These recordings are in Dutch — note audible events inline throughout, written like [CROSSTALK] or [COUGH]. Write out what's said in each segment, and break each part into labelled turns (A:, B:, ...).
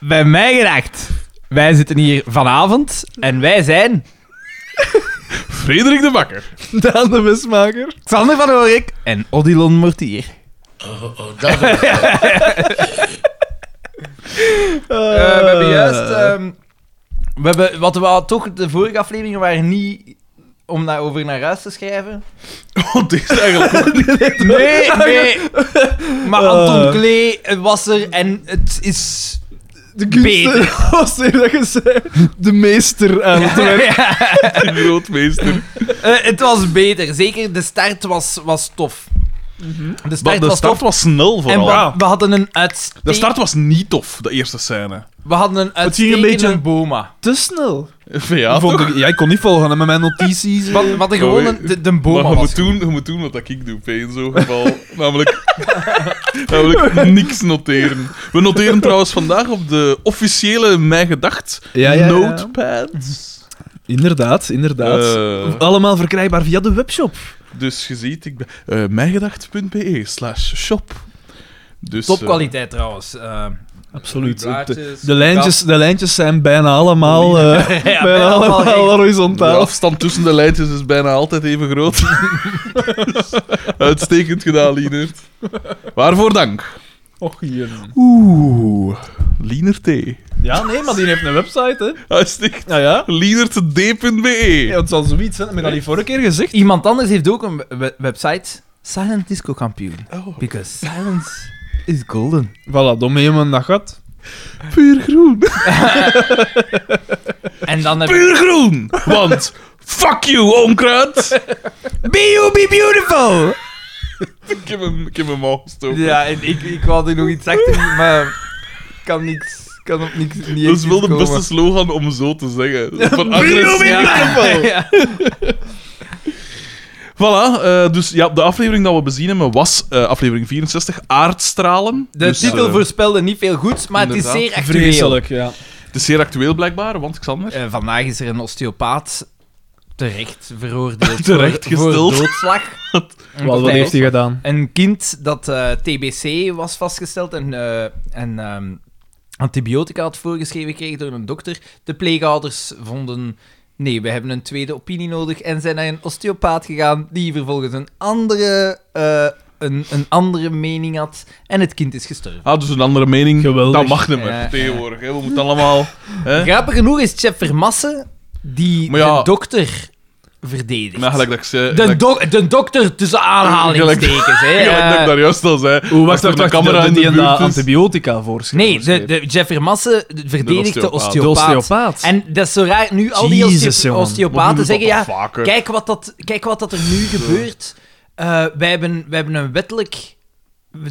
A: bij mij geraakt. Wij zitten hier vanavond en wij zijn
B: Frederik de Bakker.
C: Daan de Mesmaker.
A: Xander van Oorik en Odilon Mortier.
D: Oh, oh, dat is-
A: Eh, we hebben juist... ehm, we hebben, wat we al- toch, de vorige afleveringen waren niet om daarover naar huis te schrijven.
B: Want dit is eigenlijk ook
A: Nee, nee. Maar
C: Eh.
A: Anton Klee was er en het is...
C: De
A: Beter.
C: [LAUGHS] kunst was er dat je zei. De meester aan
A: [LAUGHS]
C: het werk.
B: een grootmeester.
A: Eh, het was beter. Zeker de start was, was tof. De
B: Maar
A: start
B: de
A: was
B: start
A: tof.
B: was snel
A: en
B: vooral.
A: we, we hadden een uitstekende...
B: De start was niet tof, de eerste scène.
A: We hadden een
C: Het ging een
A: uitstekende
C: beetje-
A: boma.
C: Te snel.
B: Ja,
C: Vond
B: toch?
C: ik, ja, ik kon niet volgen hè, met mijn notities.
A: Wat, wat een gewoon een, de, de boma
B: maar je
A: was.
B: moet, doen, je moet doen wat dat ik doe, P, in zo'n geval. [LAUGHS] namelijk, namelijk niks noteren. We noteren trouwens vandaag op de officiële Mijn Gedacht
C: Ja, ja, ja.
B: notepads.
C: Inderdaad, inderdaad.
B: Eh,
C: Allemaal verkrijgbaar via de webshop.
B: dus je ziet, ik ben, eh, mijngedacht.be E slash shop. Dus, eh,
A: Topkwaliteit trouwens. Eh,
C: Absoluut.
A: blaadjes,
C: De, de lijntjes, de lijntjes zijn bijna allemaal,
A: [LAUGHS]
C: eh,
A: Ja,
C: bijna
A: bijna allemaal
C: allemaal,
A: recht.
B: de
C: horizontaal.
B: afstand tussen de lijntjes is bijna altijd even [LAUGHS] groot. Dus, uitstekend gedaan, Lienert. Waarvoor dank.
C: Och, jeen.
B: Oeh, Lienert T.
C: ja, nee, maar die heeft een website, hè.
B: Uitstekend.
C: Ja, ja.
B: Lienert.d.be.
C: ja het zal zoiets zijn. Dat heb ik al die vorige keer gezegd.
A: Iemand anders heeft ook een we- website. Silent Disco Kampioen.
B: Oh.
A: Because silence [LAUGHS] is golden.
C: Voilà, dom helemaal in dat gat.
B: Puur groen.
A: En dan heb
B: Puur groen. Want fuck you, onkruid.
A: Be you be beautiful!
B: ik heb hem, ik heb hem al gestoken.
A: Ja, en ik, ik wilde nog iets zeggen, maar ik kan niks... Kan op niks niet
B: Dat
A: echt
B: is wel de
A: iets
B: beste
A: komen.
B: slogan om zo te zeggen. Van
A: Be
B: agressie.
A: you be beautiful! Ja.
B: Voilà, eh, dus ja, de aflevering dat we bezien hebben was eh, aflevering 64, Aardstralen.
A: De
B: Dus,
A: titel
B: eh,
A: voorspelde niet veel goeds, maar het is
B: inderdaad.
A: zeer actueel.
C: Vreselijk, ja.
B: Het is zeer actueel blijkbaar, want Xander...
A: Eh, vandaag is er een osteopaat terecht
B: [LAUGHS]
A: veroordeeld
B: Terecht
A: voor, voor
B: gesteld. [LAUGHS]
A: doodslag.
C: Wel, wat heeft hij gedaan?
A: Een kind dat eh, TBC was vastgesteld en, eh, en ehm, antibiotica had voorgeschreven gekregen door een dokter. De pleegouders vonden... Nee, we hebben een tweede opinie nodig en zijn naar een osteopaat gegaan die vervolgens een andere, eh, een, een andere mening had en het kind is gestorven.
B: Ah, dus een andere mening,
C: Geweldig.
B: dat mag niet meer
A: Ja, ja.
B: tegenwoordig. Hè. We moeten allemaal... Hè?
A: Grappig genoeg is Chef Vermassen die
B: Maar ja-
A: de dokter verdedigt.
B: Maar gelijk dat ik zei...
A: De,
B: gelijk-
A: dok- de dokter tussen aanhalingstekens,
B: [LAUGHS]
A: hè.
B: gelijk dat Eh, ik
A: Eh,
B: daar juist al
C: Hoe
B: zei. als
C: wacht,
B: er
C: wacht,
B: een
C: wacht. Camera
B: in de
C: die een
B: buurt
C: da-
B: is-
C: antibiotica voorschreef.
A: nee, de, de Jeffrey Massen verdedigt de
B: osteopaat.
C: De
A: osteopaat.
C: osteopaat.
A: En dat is zo raar, nu al die
C: Jezus,
A: osteo-
C: jongen.
B: Wat moet
A: osteopaten
B: dat
A: zeggen,
B: toch
A: ja,
B: vaker?
A: kijk wat, dat, kijk wat dat er nu gebeurt. Eh, wij, hebben, wij hebben een wettelijk...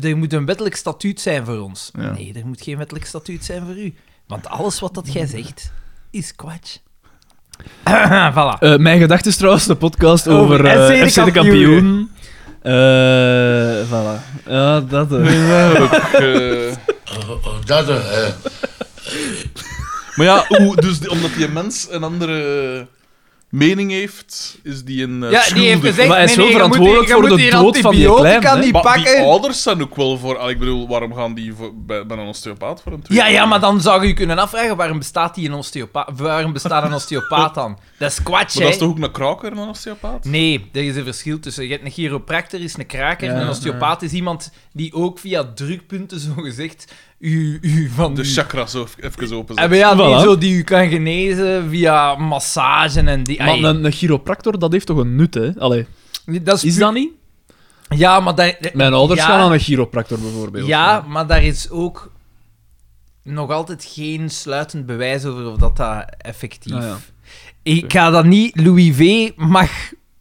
A: Er moet een wettelijk statuut zijn voor ons.
B: Ja.
A: Nee, er moet geen wettelijk statuut zijn voor u. Want alles wat dat jij zegt, is kwatsch. [COUGHS] voilà.
C: Eh, mijn gedachte is trouwens de podcast
A: Over
C: over eh,
A: SC de
C: FC de
A: kampioen.
C: kampioen. Eh voilà. Ja, dat. eh.
B: Eh,
D: oh, oh, dat is- eh.
B: [LAUGHS] maar ja, hoe, dus die- omdat die mens een andere mening heeft, is die een
A: Ja,
B: eh,
A: die heeft
B: schuldige.
A: gezegd...
C: Maar hij is
A: nee, nee, je
C: wel
A: moet hier-
C: verantwoordelijk
A: je
C: voor
A: moet
C: de
A: hier
C: dood van die
A: antibiotica
C: klein, hè.
A: niet
B: Maar die
A: pakken.
B: ouders zijn ook wel voor... ah, Ik bedoel, waarom gaan die voor, bij, bij een osteopaat voor een tweede?
A: Ja, ja, maar dan zou je je kunnen afvragen waarom bestaat, die een osteopaat, waarom bestaat een osteopaat dan? Dat is kwatsch,
B: Maar dat is
A: hè?
B: toch ook een kraker, een osteopaat?
A: Nee, er is een verschil tussen. Je hebt een chiropractor, is een kraker.
C: Ja,
A: en een osteopaat is iemand die ook via drukpunten, zogezegd, u, u van
B: De
A: uw-
B: chakra zo even open
A: En ja, die,
C: Voilà.
A: zo, die u kan genezen via massage en die...
C: Maar
A: ai,
C: een, een chiropractor, dat heeft toch een nut, hè? Allee,
A: dat is,
C: is
A: pu-
C: dat niet?
A: Ja, maar daar...
C: Mijn ouders
A: ja,
C: gaan aan een chiropractor, bijvoorbeeld.
A: Ja, maar daar is ook nog altijd geen sluitend bewijs over of dat, dat effectief
C: Ah, ja.
A: Ik ga dat niet... Louis V. mag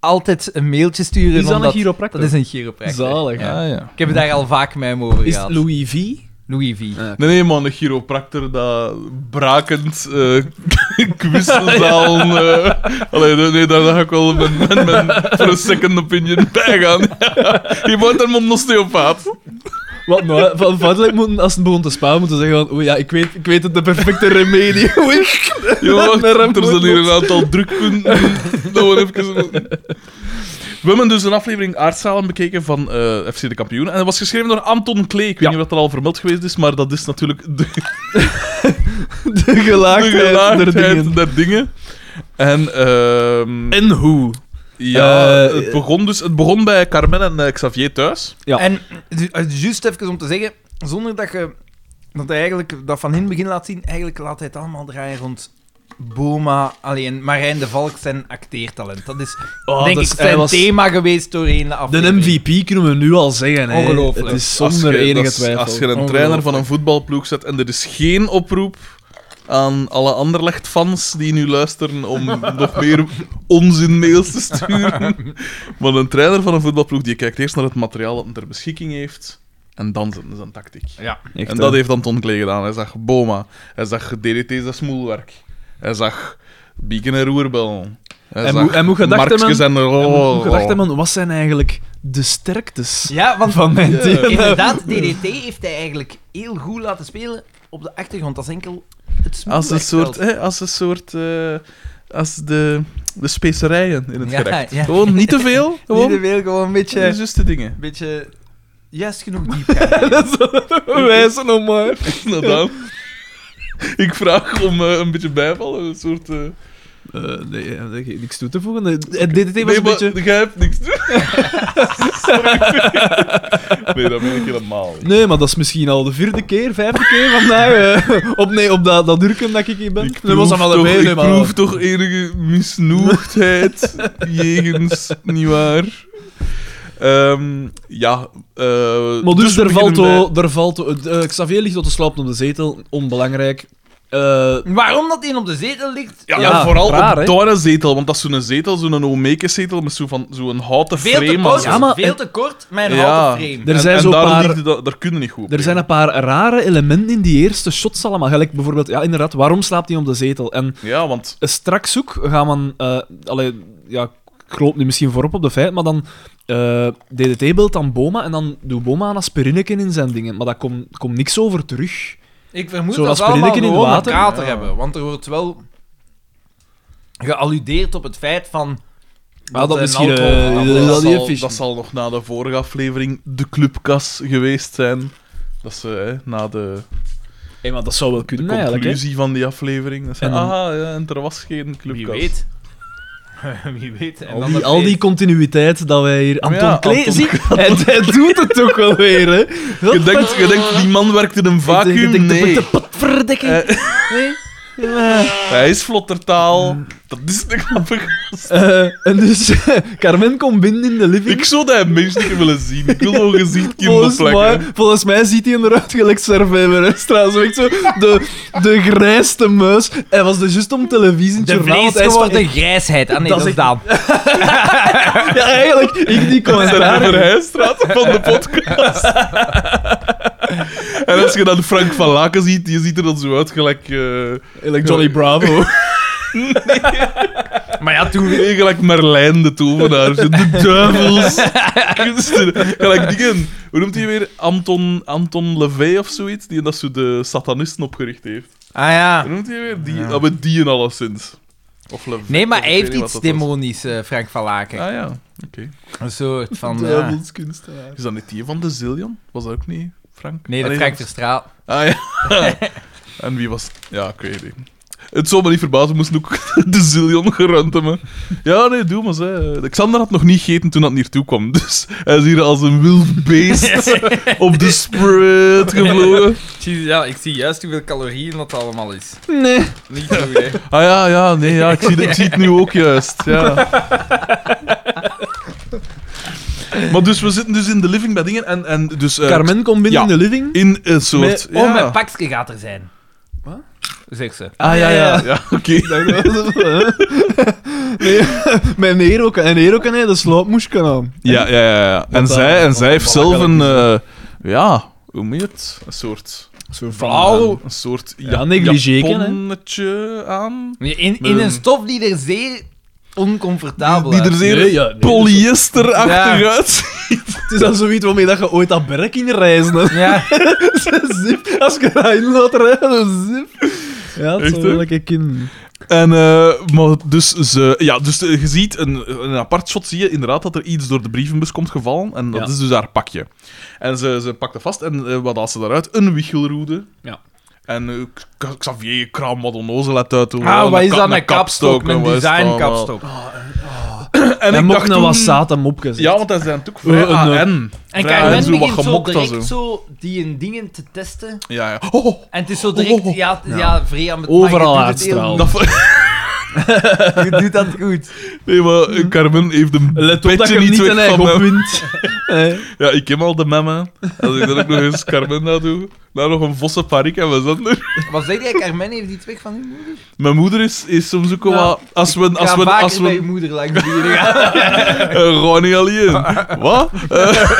A: altijd een mailtje sturen.
C: Is dat een
A: omdat-
C: chiropractor?
A: Dat is een chiropractor.
C: Zalig.
A: Ja.
B: Ah, ja.
A: Ik heb het daar al vaak mee over
C: Is
A: gehad.
C: het Louis V?
A: Louis V.
B: Nee, nee, man, een chiropractor dat brakend eh [LAUGHS] kwistenzaal. eh, allee, nee, nee, daar ga ik wel met, met, met, voor een second opinion bij gaan. [LAUGHS] Je wordt dan een osteopaat.
C: Wat nou? hè? [LAUGHS] Van feitelijk moeten, als het begon te sparen, moeten zeggen van, oeh ja, ik weet, ik weet het, de perfecte remedie. [LAUGHS] Hoe ik-
B: Je wacht,
C: Naar een
B: er zijn hier
C: bloedbad.
B: een aantal drukpunten. Dat we even... moeten- We hebben dus een aflevering Aardzalen bekeken van eh, FC de Kampioen. En dat was geschreven door Anton Klee. Ik weet
C: Ja.
B: niet of dat al vermeld geweest is, maar dat is natuurlijk de,
C: De
B: de
C: gelaagdheid, der dingen.
B: gelaagdheid der dingen. En, ehm,
C: En hoe?
B: ja,
C: eh,
B: het, begon dus, het begon bij Carmen en eh, Xavier thuis.
C: Ja.
A: En ju- eh, juist even om te zeggen, zonder dat je dat hij eigenlijk dat van in het begin laat zien, eigenlijk laat hij het allemaal draaien rond Boma, alleen Marijn de Valk zijn acteertalent. Dat is denk
C: Oh, dat
A: ik
C: is-
A: zijn
C: hij was-
A: thema geweest doorheen de
C: De
A: aflevering.
C: MVP kunnen we nu al zeggen. hè.
A: Ongelooflijk.
C: Het is
B: Als
C: zonder
B: je-
C: enige
B: dat is-
C: twijfel.
B: Als je een trainer van een voetbalploeg zet en er is geen oproep aan alle Anderlecht-fans die nu luisteren
C: [LAUGHS]
B: om nog meer onzin-mails te sturen. Want een trainer van een voetbalploeg die kijkt eerst naar het materiaal dat hem ter beschikking heeft en dan zijn, zijn tactiek.
A: Ja.
C: Echt,
B: en dat
C: hè.
B: heeft Anton Klee gedaan. Hij zag Boma, hij zag DDT, dat smoelwerk. Hij zag Bieken en Roerbel. Hij
C: En
B: zag
C: moet- en moet gedacht
B: Markskes en oh,
C: En
B: Rol.
C: hoe gedacht hebben, wat zijn eigenlijk de
B: [LAUGHS]
C: sterktes
A: Ja, want
C: van mijn team?
A: inderdaad, DDT heeft hij eigenlijk heel goed laten spelen op de achtergrond. Dat is enkel het
B: Als een soort,
A: smoelwerkveld.
B: hè, als een soort, eh, als de, de specerijen in het
A: Ja,
B: gerecht.
A: ja.
B: Gewoon niet te veel, gewoon
A: Niet te veel, gewoon een
B: de
A: beetje...
B: juiste dingen. [LAUGHS]
A: Een beetje... Juist genoeg diepgang.
C: Wijzen om maar.
B: Nou dan. Ik vraag om eh, een beetje bijval, een soort... eh,
C: nee, ja, daar heb ik niks toe te voegen. Eh, DDT was
B: nee,
C: een
B: maar
C: beetje...
B: jij hebt niks. [LAUGHS] Sorry. nee, dat ben ik helemaal niet.
C: Nee, maar dat is misschien al de vierde keer, vijfde keer vandaag. eh, [LAUGHS] op, nee, op dat, dat Urken dat ik hier ben.
B: Ik
C: dat was
B: proef
C: aan
B: toch,
C: allebei, nee,
B: ik
C: maar...
B: proef toch enige
C: [LAUGHS]
B: misnoegdheid jegens, nietwaar? Ehm ja, eh
C: Maar dus,
B: we
C: er, valt
B: beginnen bij-
C: o- er valt... o- eh, Xavier ligt tot te slapen op de zetel. Onbelangrijk. Eh,
A: [LAUGHS] Waarom dat één op de zetel ligt?
B: Ja,
C: Ja,
B: en vooral
C: raar, hè?
B: op een zetel, want dat is zo'n zetel, zo'n Omeke-zetel met zo'n van- zo'n houten
A: Veel te
B: frame.
A: kort,
B: aan.
C: Ja, maar-
A: veel te kort, mijn
B: Ja.
A: houten frame.
C: Er
B: En-
C: zijn
B: en
C: zo'n
B: daar
C: paar-
B: ligt dat, daar kunnen niet goed op
C: Er zijn een paar rare elementen in die eerste shots allemaal. Gelijk bijvoorbeeld, ja, inderdaad, waarom slaapt hij op de zetel? En
B: Ja, want...
C: straks ook gaan we... eh allee, ja, ik loop nu misschien voorop op de feit, maar dan... eh, DDT beeldt dan Boma en dan doet Boma een aspirineke in zijn dingen. Maar daar komt komt niks over terug.
A: Ik vermoed
C: Zo'n
A: dat ze allemaal
C: aspirineke in het
A: gewoon
C: water.
A: een kater
B: Ja.
A: hebben. Want er wordt wel gealludeerd op het feit van...
C: dat
A: een
C: misschien,
A: alcohol-
C: eh,
A: alcohol-
C: dat-
B: dat,
C: die
B: zal,
C: efficiënt.
B: dat zal nog na de vorige aflevering de clubkas geweest zijn. Dat ze, hè, na de
C: Hé, maar dat zou wel kunnen, eigenlijk. Hè?
B: conclusie van die aflevering... Dat ze,
C: En dan-
B: ah, ja, en er was geen clubkas.
A: Wie weet. [LAUGHS] Wie weet. En
C: Al
A: dan
C: die,
A: dat
C: al die
A: feest.
C: continuïteit dat wij hier...
B: Maar
C: Anton
B: ja,
C: Klee,
B: Anton-
C: zie, hij, hij doet het toch wel weer, hè?
B: Je denkt, je denkt, die man werkt in een vacuüm? Nee.
C: De potverdekking.
B: Eh,
C: Nee. Ja.
B: Hij is vlottertaal. Dat is de grappige
C: Eh, en dus, [LAUGHS] Carmen komt binnen in de living.
B: Ik zou dat mensen niet willen zien. Ik wil nog een gezicht
C: Volgens
B: kinderen
C: mij, volgens mij ziet hij eruit gelijk Survivor Zo echt zo, de, de grijste muis. Hij was dus juist om televisie in het
A: De
C: journaal, want hij is van-
A: [LAUGHS] vleesgeworden grijsheid. Ah nee,
C: Dat
A: dat is
C: is
A: Daan.
C: Ja, eigenlijk, ik
B: [LAUGHS]
C: die
B: de
C: commentaar.
B: Verheijstraat van de podcast. en als je dan Frank van Laken ziet, je ziet er dan zo uit gelijk... eh,
C: Like Johnny Bravo.
A: Maar ja, toen...
B: nee, gelijk Merlijn de tovenaar. Zo, De
A: [LAUGHS]
B: duivels. Kunsten. gelijk dingen. Hoe noemt hij weer? Anton, Anton Levey of zoiets? Die dat zo de satanisten opgericht heeft.
A: Ah ja.
B: Hoe noemt hij weer? Die, ah, maar die en alleszins. Of Levey.
A: Nee, maar
B: of
A: hij
B: ik
A: heeft
B: weet niet
A: iets
B: wat dat was.
A: demonisch, eh, Frank van Laken.
B: Ah ja, oké.
A: Een soort van... ja.
C: Duivelskunstenaar.
B: Is dat niet die van de Zillion? Was dat ook niet Frank?
A: Nee, dat
B: Allee,
A: Frank Verstraat.
B: Ah ja. [LAUGHS] en wie was. Ja, ik weet het niet. Het zou me niet verbazen, we moesten ook [LAUGHS] de zillion geruimd hebben. Ja, nee, doe maar. Ze. Xander had nog niet gegeten toen dat hier toe kwam. Dus hij is hier als een wild [LAUGHS] beest op de spread gevlogen.
A: Ja, ik zie juist hoeveel calorieën dat allemaal is.
C: Nee.
A: Niet goed, hè.
B: Ah [LAUGHS] ja, ja, nee, ja, ik zie, ik zie het nu ook juist. Ja. Maar dus we zitten dus in de living bij dingen en, en dus... eh,
C: Carmen komt binnen
B: Ja.
C: in de living.
B: In een soort...
A: Oh, mijn
B: ja.
A: pakje gaat er zijn.
C: Wat?
A: Zeg ze.
B: Ah ja, ja, ja, oké.
C: [LAUGHS] nee, mijn Nero kan, en Nero kan hij de slaapmoesken aan.
B: Ja, ja, ja. ja. En,
C: Want, eh,
B: zij, en
C: want
B: zij heeft
C: dat
B: zelf
C: kan
B: een. eh, ja, hoe moet je het? Een soort.
C: Zo'n
B: Een, een soort. Ja,
C: negligéken, hè.
B: japonnetje aan.
A: In, in
B: Ehm.
A: een stof die er zeer oncomfortabel
B: Die er
A: uitziet.
B: zeer
C: Nee, ja, nee,
B: polyesterachtig
A: Ja.
B: uit.
C: Het is dan zoiets waarmee dat je ooit dat berk in reizen.
B: [LAUGHS]
C: hè.
A: Ja, Ah,
C: [LAUGHS] zip. Als je daarin laat rijden, dan zip. Ja, het
B: Echt,
C: zou
B: hè?
C: wel een keer kunnen.
B: En, eh, maar dus, ze, ja, dus eh, je ziet, een, een apart shot zie je inderdaad dat er iets door de brievenbus komt gevallen. En dat
C: Ja.
B: is dus haar pakje. En ze, ze pakt het vast en eh, wat haalt ze daaruit? Een wichelroede.
C: Ja.
B: En eh, K- Xavier kraam wat onnozel uit. uit hoe-
A: Ah, wat is
B: ka-
A: dat? Een kapstok, een
B: en wat is dat
A: design
B: allemaal?
A: kapstok.
C: En
B: En, ik
C: ik
B: dacht
C: nog
B: toen-
C: wat zaten mopjes.
B: Ja, want dat is dan ook vrij
C: Eh, een, eh,
B: AN.
A: En
B: Vrij
A: Carmen
B: zo
A: begint zo
B: gemokt en
A: direct zo die en dingen te testen.
B: Ja, ja. Oh, oh,
A: En het is zo direct...
B: Oh, oh.
A: Ja,
B: Ja.
A: ja. Freya met
C: Overal
A: maar je doet het heel
C: uitstraalt.
B: dat ver-
A: goed. [LAUGHS] Je doet dat goed.
B: [LAUGHS] nee, maar eh, Carmen heeft een
C: Let op
B: petje
C: dat je hem niet
B: weg
C: een
B: van
C: eigen
B: hem.
C: [LAUGHS] opwint. Eh,
B: Ja, ik ken al de memmen. Als ik dan ook nog [LAUGHS] eens Carmen na doe. Nou, nog een vosse parik en we zijn er.
A: Wat zeg jij? Carmen heeft die twee van uw moeder?
B: Mijn moeder is, is soms ook wel
A: Ja.
B: wat... Als we...
A: Als
B: Als we,
A: vaker
B: als
A: bij je
B: we
A: moeder langs die gaan.
B: eh, gewoon niet
A: [LAUGHS]
B: alleen. Wat? Eh,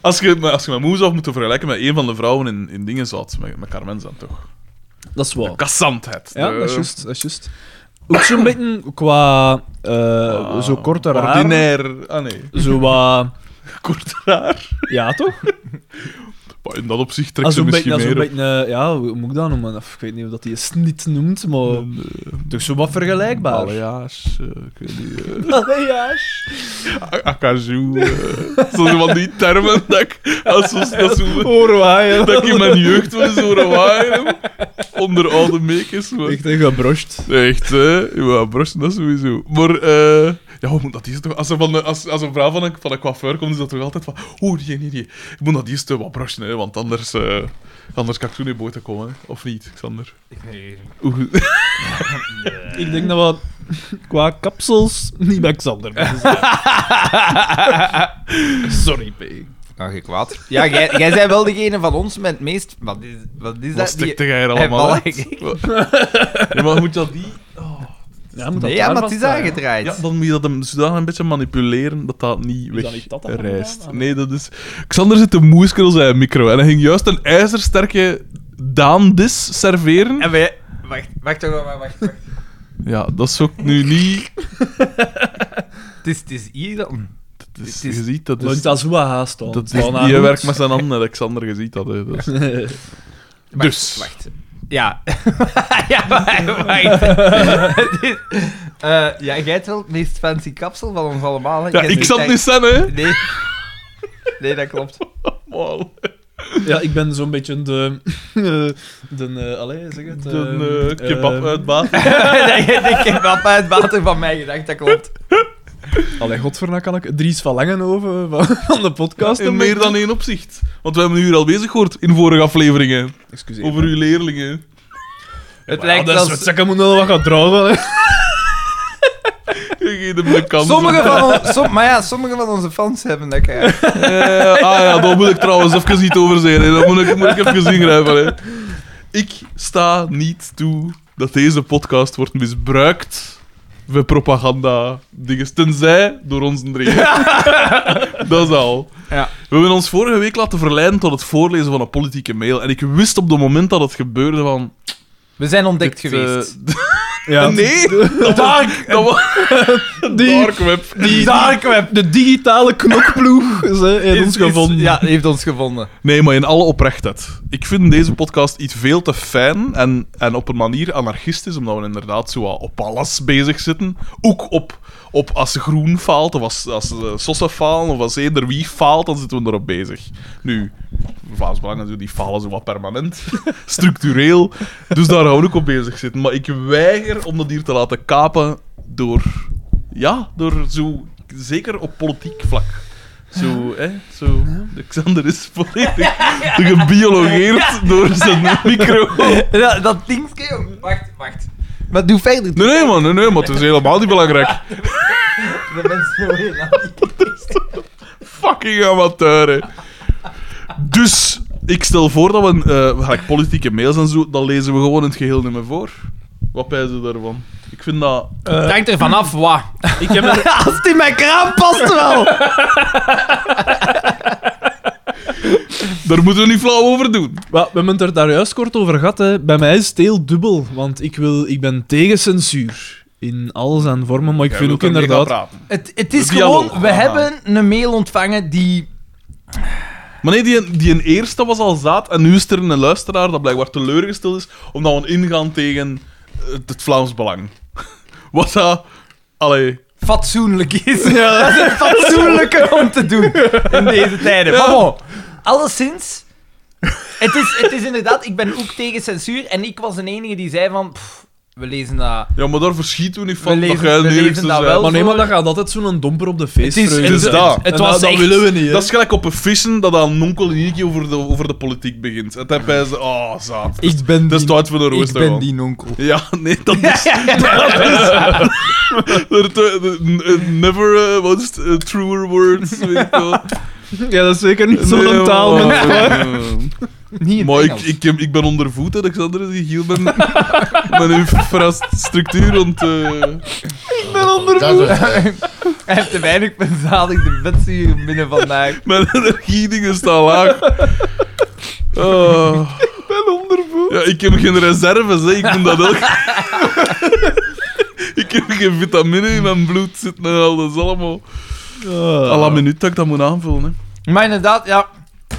B: als, je, maar als je mijn moeder zou moeten vergelijken met een van de vrouwen in, in dingen zat, met, met Carmen dan toch.
C: Dat is
B: Oh.
C: waar.
B: Kassantheid. Dus-
C: Ja,
B: De-
C: dat is juist. Dat is juist. Ook zo'n beetje qua... eh,
B: Ah,
C: zo kort haar.
B: Ordinair. Ah nee,
C: Zo wat...
B: kort haar.
C: ja,
B: [LAUGHS]
C: toch?
B: Maar in dat opzicht trekt
C: Als
B: ze
C: een Ah, beetje...
B: misschien
C: Als een
B: meer op.
C: beetje eh, ja, hoe moet ik dat noemen? Of Ik weet niet of dat die snit noemt, maar... Toch zo wat vergelijkbaar. [LAUGHS]
B: Balayage, eh, ik weet niet. eh,
C: Balayage.
B: A- Akazoo. eh. Zo van die termen dat ik, als we, dat, zo,
C: Oorwaaien.
B: dat ik in mijn jeugd was zo rawaaien. Onder oude meekjes. maar-
C: Echt een gebroscht.
B: Echt, hè? Ja, brosten, dat sowieso. Maar, eh ja, hoe moet dat eerst toch... Als, er van de, als, als een vrouw van een, van een coiffeur komt, is dat toch altijd van... Oeh, nee, nee, nee. Ik moet dat eerst eh, wat brosten, hè, want anders, eh, anders kan ik zo niet boven komen. hè. Of niet, Xander?
A: Nee.
B: Oeh.
C: Ik denk dat we qua kapsels niet bij Xander moeten zijn. [LAUGHS] Sorry, P.
A: Nou, je kwaad. [LAUGHS] Ja, jij jij bent wel degene van ons met het meest... Wat is, wat is
B: Wat
A: dat? Die-
B: stikte jij er allemaal
A: Hij
B: uit? [LAUGHS] Ja, maar moet dat die...
C: Ja, moet dat
A: Nee, ja,
C: daar
A: maar het is
C: vast zijn?
A: aangedraaid.
B: Ja, dan moet je dat hem zodanig een beetje manipuleren dat dat niet
C: Is dat niet dat dat er
B: wegrijst.
C: vandaan?
B: Nee, dat is... Xander zit te moesken op zijn micro en hij ging juist een ijzersterke Daandis serveren.
A: En wij... Wacht, wacht, wacht, wacht, wacht. wacht.
B: Ja, dat is ook nu
A: [LAUGHS]
B: niet...
A: Het is, het is hier dan.
B: Dat is,
A: Het is-
B: dus je ziet, dat is...
C: Want dat is hoe hij haast al.
B: Dat is, die werkt met zijn handen, Alexander, je ziet dat. Hè. Dat is-
A: Wacht,
B: Dus.
A: Wacht. Ja. [LAUGHS] ja, wacht. wacht. Het is- Eh, ja, jij hebt wel het meest fancy kapsel van ons allemaal. hè.
B: Ja,
A: Jij
B: ik
A: zit
B: dus- zal het
A: echt-
B: niet zijn, hè.
A: Nee. Nee, dat klopt. [LAUGHS]
B: Man.
C: Ja, ik ben zo'n beetje de... de eh allee, zeg het.
B: Een
C: eh,
A: ehm,
B: eh, kebab
C: eh,
B: uit
A: [LAUGHS]
B: baat.
A: dat je de kebab uit het water van mij gedacht, dat klopt.
C: Allee, godverna kan ik. Dries van Langenhoven van, van de podcast.
B: In meer dan één opzicht. Want we hebben u hier al bezig gehoord in vorige afleveringen.
C: Excuseer.
B: Over uw leerlingen. [LAUGHS]
A: Het
C: Ja,
A: lijkt
C: dat is
A: wel...
C: wat zeggen, moet nog wat gaan trouwen. hè.
B: Je geeft hem de kans.
A: Sommige van, ons, som- maar ja, sommige van onze fans hebben dat graag.
B: Eh, ah ja, daar moet ik trouwens even niet over zeggen. Hè. Dat moet ik, moet ik even ingrijpen. Hè. Ik sta niet toe dat deze podcast wordt misbruikt voor propaganda dingen. Tenzij door ons drieën. dat is al.
A: Ja.
B: We hebben ons vorige week laten verleiden tot het voorlezen van een politieke mail. En ik wist op het moment dat het gebeurde van...
A: We zijn ontdekt
B: dit, eh,
A: geweest.
B: [LAUGHS]
C: Ja.
B: nee, [LAUGHS] dat was, dat was
C: Die-
B: dark web.
C: Die, dark web. De digitale knokploeg is, hè, heeft ons gevonden.
A: Ja, heeft ons gevonden.
B: Nee, maar in alle oprechtheid. Ik vind deze podcast iets veel te fijn en, en op een manier anarchistisch, omdat we inderdaad zo wat op alles bezig zitten. Ook op, op als groen faalt, of als, als eh, sossen falen, of als eender wie faalt, dan zitten we erop bezig. Nu, Vlaams Belang natuurlijk, die falen zo wat permanent, [LAUGHS] structureel. Dus daar gaan we ook op bezig zitten. Maar ik weiger om dat hier te laten kapen door... Ja, door zo... Zeker op politiek vlak. Zo, hè? Zo. Alexander is [LAUGHS] volledig gebiologeerd door zijn micro.
A: Dat, dat dingetje, joh. Wacht, wacht. Maar doe verder.
B: [LAUGHS] Nee, nee, man, nee, nee, maar het is helemaal niet belangrijk.
A: De mensen horen je laten.
B: Fucking amateur, hè. Dus, ik stel voor dat we, eh gelijk politieke mails en zo, dat lezen we gewoon in het geheel niet meer voor. Wat pijzen ze daarvan? Ik vind dat...
A: Het hangt er vanaf, wat.
C: Ik heb er...
A: Als het in mijn kraan past wel.
B: Daar moeten we niet flauw over doen.
C: Wel, we hebben het er daar juist kort over gehad. Hè. Bij mij is het heel dubbel, want ik, wil, ik ben tegen censuur. In al zijn vormen, maar ik vind ook inderdaad...
A: Het, het is
B: De dialoog.
A: gewoon, we
B: Ah.
A: hebben een mail ontvangen die...
B: Maar nee, die, die een eerste was al zaad en nu is er een luisteraar dat blijkbaar teleurgesteld is omdat we ingaan tegen eh, het, het Vlaams Belang. [LAUGHS] Wat dat... Allee...
A: fatsoenlijk is. Dat is het fatsoenlijke om te doen in deze tijden. Maar bon, alleszins... Het is, het is inderdaad, ik ben ook tegen censuur en ik was de enige die zei van... pff, we lezen dat...
B: Ja, maar daar verschieten we niet
A: We
B: van. dat
A: leven-
B: jij
A: we
B: de enigste
A: leven dat
B: bent.
A: wel.
C: Maar nee, maar dan gaat altijd zo'n domper op de feestvreugde.
B: Het is nou,
C: zijn.
B: dat.
C: En
A: Het
C: dat-
A: was
C: dat
A: echt-
C: willen we niet, hè.
B: Dat is gelijk op een vissen dat aan onkel in één keer over de, over de politiek begint. En dan bij ze, oh, zaad.
C: Ik ben
B: Dat is
C: die-
B: het uit voor de rooster. man.
A: onkel.
B: Ja, nee, dat is. [LAUGHS] dat is er te- de- never eh, was het, eh, truer words. Weet ik wel.
C: Ja, dat is zeker niet zo'n
B: Nee,
C: taal.
B: oh,
C: met-
B: eh,
A: Niet in
B: Maar ik,
A: Engels.
B: ik, heb- ik ben onder voet, Alexander. Ik hield ben, [LAUGHS] ben uw structuur. Want, eh,
A: Hij heeft te weinig bezadigde vetzuur binnen vandaag.
B: Mijn [LAUGHS] energiedingen staan laag. Oh. Ik ben ondervoed. Ja, ik heb geen reserves, hè. ik moet dat ook. [LAUGHS] ik heb geen vitamine in mijn bloed zitten en al dat is allemaal.
C: Ah.
B: À la minuut dat ik dat moet aanvullen. Hè.
A: Maar inderdaad, ja...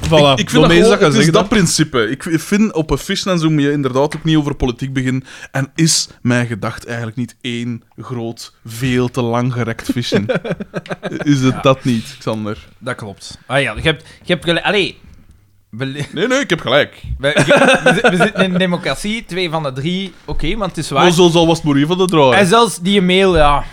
C: Voilà,
B: ik vind dat,
C: daarmee is
B: gewoon, het Ah, is
C: gezegd,
B: dat
C: hè.
B: principe. Ik vind op een fish en zo moet je inderdaad ook niet over politiek beginnen. En is mijn gedacht eigenlijk niet één groot, veel te lang gerekt vissen? [LAUGHS] is het dat niet, Xander?
A: Dat klopt. Ah ja, je hebt... Je hebt gelijk- Allee... We, le- [LAUGHS]
B: Nee, nee, ik heb gelijk.
A: we, we zi- we zitten in een democratie, twee van de drie. Oké, maar het is
B: Maar
A: waar.
B: zo zal was het moeier van de draai.
A: En zelfs die mail, ja...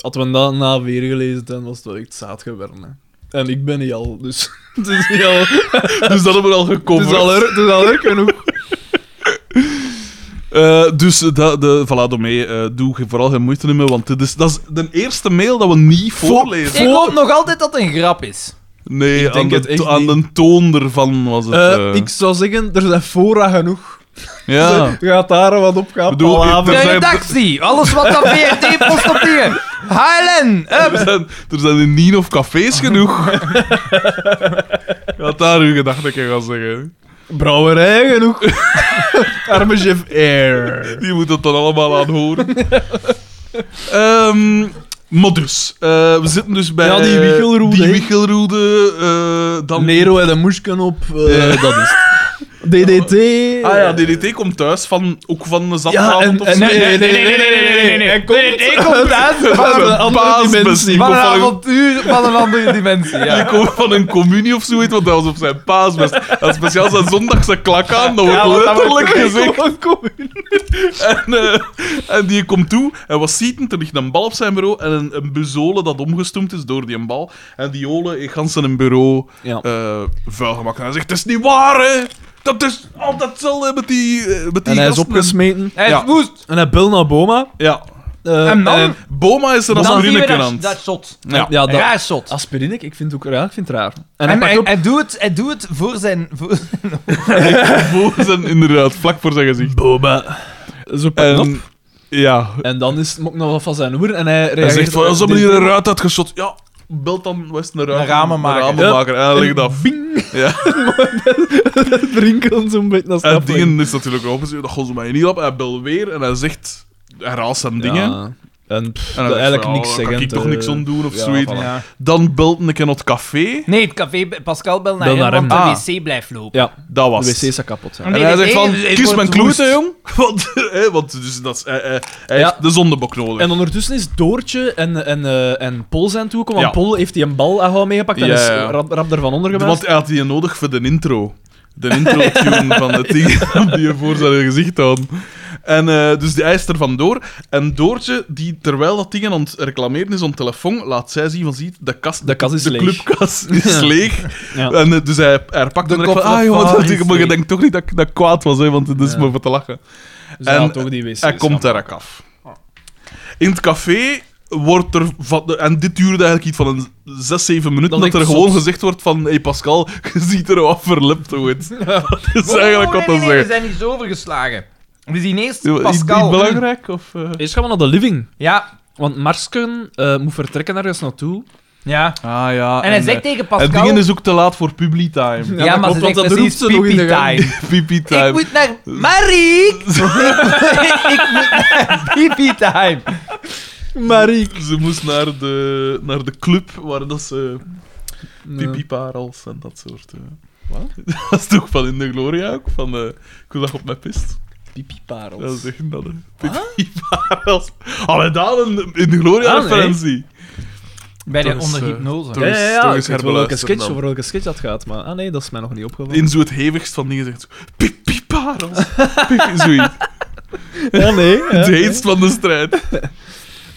C: Hadden we dat na weer gelezen, dan was het wel echt zaad geworden. hè. En ik ben niet al, dus [LAUGHS] het is niet al, het
B: Dus dat hebben we al gecoverd.
C: is al, er, het is al er genoeg.
B: [LAUGHS] Eh, dus dat, de, voilà, daarmee eh, doe ge- vooral geen moeite mee, want dit is, dat is de eerste mail dat we niet voorlezen.
A: Ik hoop nog altijd dat het een grap is.
B: Nee,
C: Ik denk
B: aan, de,
C: het echt
B: to- aan
C: niet.
B: de toon ervan was het.
C: Eh,
B: eh,
C: ik zou zeggen, er zijn fora genoeg.
B: ja.
C: Je gaat daar wat op gaan
B: Bedoel,
C: palaver.
B: Er
A: De
B: zijn-
A: redactie, alles wat dat VRT post op dingen. Highland, up.
B: Er zijn, er zijn in Nien of cafés
C: [LAUGHS]
B: genoeg. Wat daar uw gedachten kan gaan zeggen.
C: Brouwerij genoeg. Arme chef Air.
B: Die moet dat dan allemaal aan horen. Ehm, maar dus, eh, we zitten dus bij...
C: Ja, die wichelroede,
B: Die
C: hè.
B: wichelroede, eh, dan...
C: Nero en de moesken op, eh,
B: Eh,
C: dat is het. DDT.
B: Ah ja, DDT komt thuis van, ook van een
C: Ja,
B: zatavond
C: en,
B: of
C: en
B: zo.
C: nee, nee, nee, nee, nee, nee, nee, nee. Hij komt-
A: ik kom thuis van
C: een
A: een,
C: andere dimensie.
A: van een
B: Van een-
A: avontuur van een andere dimensie.
B: Die
A: Ja.
B: komt van een communie of zoiets, want dat was op zijn paasbest. En speciaal zijn zondagse klak aan, dat wordt
A: Ja, want dat
B: letterlijk
A: wordt-
B: gezegd.
C: Kom, kom.
B: En, eh, en die komt toe en wat ziet hem? Er ligt een bal op zijn bureau en een, een buzolen dat omgestoomd is door die bal. En die olen in gans zijn bureau
C: Ja.
B: eh, vuil gemaakt. En hij zegt, het is niet waar, hè. Dat is altijd hetzelfde met die, eh, met die
C: En hij is
B: gasten."
C: opgesmeten.
A: Hij is
B: Ja.
A: woest.
C: En hij belt naar Boma.
B: Ja.
C: Eh,
A: En dan?
B: En Boma is er
A: Dan
B: als
A: zien we
B: Bruneke aan.
A: dat,
B: het-
A: dat shot.
B: Ja.
C: Ja, dat-
A: Raar shot.
C: Aspirine, ik vind het ook raar. Ik vind het raar.
A: En
C: En, hij
A: hij,
C: pakt op...
A: hij doet het, hij doet het voor zijn... Voor,
B: [LAUGHS] Voor zijn, inderdaad, vlak voor zijn gezicht.
C: Boma. Zo pakt hem op.
B: En, ja,
C: En dan is het ook nog wat van zijn hoer. En hij reageert...
B: Hij zegt van,
C: op
B: als op
C: dit-
B: manier een ruit had geschot, ja, belt dan West een ruit.
A: Een ramenmaker.
B: ramenmaker. En dan ligt dat.
C: Bing!
B: [LAUGHS]
C: [LAUGHS]
B: Ja.
C: Het rinkelt zo'n beetje. Dat
B: En
C: snap ik.
B: dingen is natuurlijk ook gezien, dat gozer mij niet op. Hij belt weer en hij zegt, hij raadt zijn dingen. En
C: Ja. En pff,
B: dan
C: eigenlijk niks
B: zeggen.
C: zeggen.
B: "Oh, Kan ik toch
C: eh,
B: niks aan doen of
C: ja,
B: zoiets.
C: voilà.
A: Ja.
B: Dan belt een keer naar het café.
A: Nee, het café, Pascal bel naar,
C: Bel
A: hem,
C: naar hem.
B: Ah.
A: want de wc blijft lopen.
C: Ja,
B: Dat
C: de
B: was
C: wc's
B: het.
C: zijn kapot.
A: En
C: Ja.
B: En
A: Nee,
B: hij
A: nee,
B: zegt van,
A: nee, het
B: kies
A: wordt
B: mijn
A: woest.
B: kloeten, jong. [LAUGHS] Want, hè, want dus, dat is, hij, hij- hij
C: Ja.
B: heeft de zondebok nodig.
C: En ondertussen is Doortje en, en, eh, en Pol zijn toegekomen. Want
B: Ja.
C: Pol heeft die een bal aan jou meegepakt en
B: Ja,
C: is
B: ja.
C: rap, rap ervan ondergemaakt.
B: Want hij had die nodig voor de intro. De intro-tune van [LAUGHS] het ding die je voor zijn gezicht had. En eh, dus die hij is er vandoor. En Doortje, die terwijl dat ding aan het reclameren is op telefoon, laat zij zien van ziet, de kast...
C: De kas is
B: de
C: leeg.
B: clubkas is
C: Ja.
B: leeg.
C: Ja.
B: En eh, dus hij, hij pakt
A: De
B: hem direct
A: kop
B: van...
A: van
B: Ah, jongen,
A: Faas
B: dat
A: is
B: ding- maar je
A: leeg."
B: denkt toch niet dat, ik- dat ik kwaad was, hè, want het is
C: Ja.
B: maar voor te lachen.
C: Dus hij
B: en
C: had toch die wc's.
B: Hij komt
C: ja.
B: daar ook af. In het café wordt er van, de- en dit duurde eigenlijk iets van een 6, 7 minuten,
C: Dat ik
B: dat, er
C: zot.
B: gewoon gezegd wordt van, hey Pascal, [LAUGHS] je ziet er wat verlept [LAUGHS] uit. Dat is eigenlijk
A: nee,
B: wat dat
A: nee, nee, we
B: zeggen.
A: zijn niet zo overgeslagen. We zien eerst
B: Is Iets
A: Pascal.
B: niet belangrijk? Of, eh?
C: Eerst gaan we naar de living.
A: Ja,
C: Want Marsken eh, moet vertrekken ergens naartoe.
A: ja.
B: Ah ja.
A: En hij zegt
B: eh,
A: tegen
B: Het
A: Pascal...
B: ding is ook te laat voor public time. [LAUGHS]
A: Ja,
C: Ja, dat
A: maar ze
C: klopt, want
A: zegt
C: dat
A: precies
C: roept ze nog in de
A: pipi
C: gang.
A: time.
B: PP
A: Ik
B: time.
A: moet naar Mariek! ik moet naar pipi time.
C: Marie.
B: Ze moest naar de, naar de club waar dat ze pipi-parels en [LAUGHS] dat soort. eh.
C: Wat?
B: dat is toch van In de Gloria ook? Van, eh, ik wil dat je op mijn pist.
C: Pipiparels.
B: Dat is echt dat, hè. Pipiparels. Allee, daar een, in de Gloria-referentie.
A: Bij de
B: Toch is,
A: onder
B: eh,
A: hypnose.
B: toch-
C: ja, ja,
B: Toch
C: ja.
B: eens
C: Ik weet wel welke
B: herbeluisteren
C: sketch,
B: dan.
C: over welke sketch dat gaat, maar... Ah nee, dat is mij nog niet opgevallen.
B: In zo het hevigst van dingen zegt zo... Pipiparels. Pipi- Zoiets.
C: Ja, Oh,
B: [LAUGHS]
C: nee.
B: Het heetst van de strijd.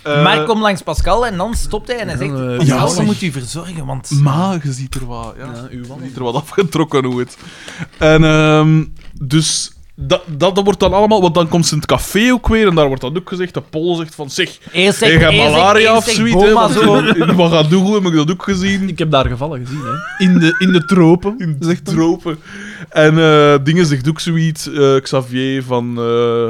B: Eh,
A: maar kom langs Pascal en dan stopt hij en hij zegt...
C: Ja, eh,
A: Pascal,
B: ja,
A: dan
B: zeg.
A: moet u verzorgen, want...
B: Maar je ziet er wat, ja.
C: Ja, uw
B: je ziet er wat afgetrokken hoe het. En ehm, dus dat, dat, dat wordt dan allemaal, want dan komt ze in het café ook weer en daar wordt dan ook gezegd, de Pol zegt van zeg,
A: Eerst
B: je
A: zegt-
B: hebt
A: eerst zegt-
B: malaria
A: eerst
B: of
A: zegt
B: zoiets, hè,
A: Boma
B: want
A: zo.
B: [LAUGHS] in- wat gaat doen, heb ik dat ook gezien.
C: Ik heb daar gevallen gezien, hè.
B: In de, in de tropen. In de tropen. En eh, dingen zegt ook zoiets, eh, Xavier, van... eh,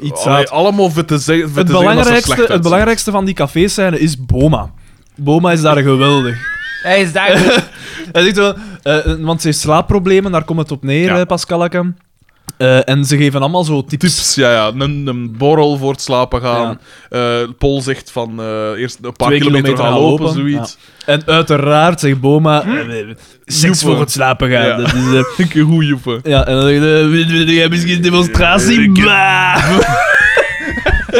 C: Iets
B: allee,
C: uit.
B: allemaal vet te zeggen, vet
C: Het
B: te zeggen dat ze slecht
C: belangrijkste, het
B: uitzien.
C: belangrijkste van die café-scène is Boma. Boma is daar geweldig.
A: Hij is daar...
C: Hij zegt wel, eh, want ze heeft slaapproblemen, daar komt het op neer,
B: Ja.
C: eh, Pascalke. Eh, en ze geven allemaal zo tips.
B: Tips, ja, ja. Een, een borrel voor het slapen gaan. Eh, Paul zegt van eh, eerst een paar
C: Twee
B: kilometer,
C: kilometer
B: gaan
C: gaan
B: lopen,
C: lopen,
B: zoiets.
C: En uiteraard zegt Boma, eh, eh, seks
B: Hm? Joepen.
C: voor het slapen gaan.
B: Ja.
C: Dat is, eh,
B: Een keer hoe joepen.
C: ja, en dan zegt hij, eh, wil- wil jij misschien een demonstratie?
B: Ik-
C: Bah!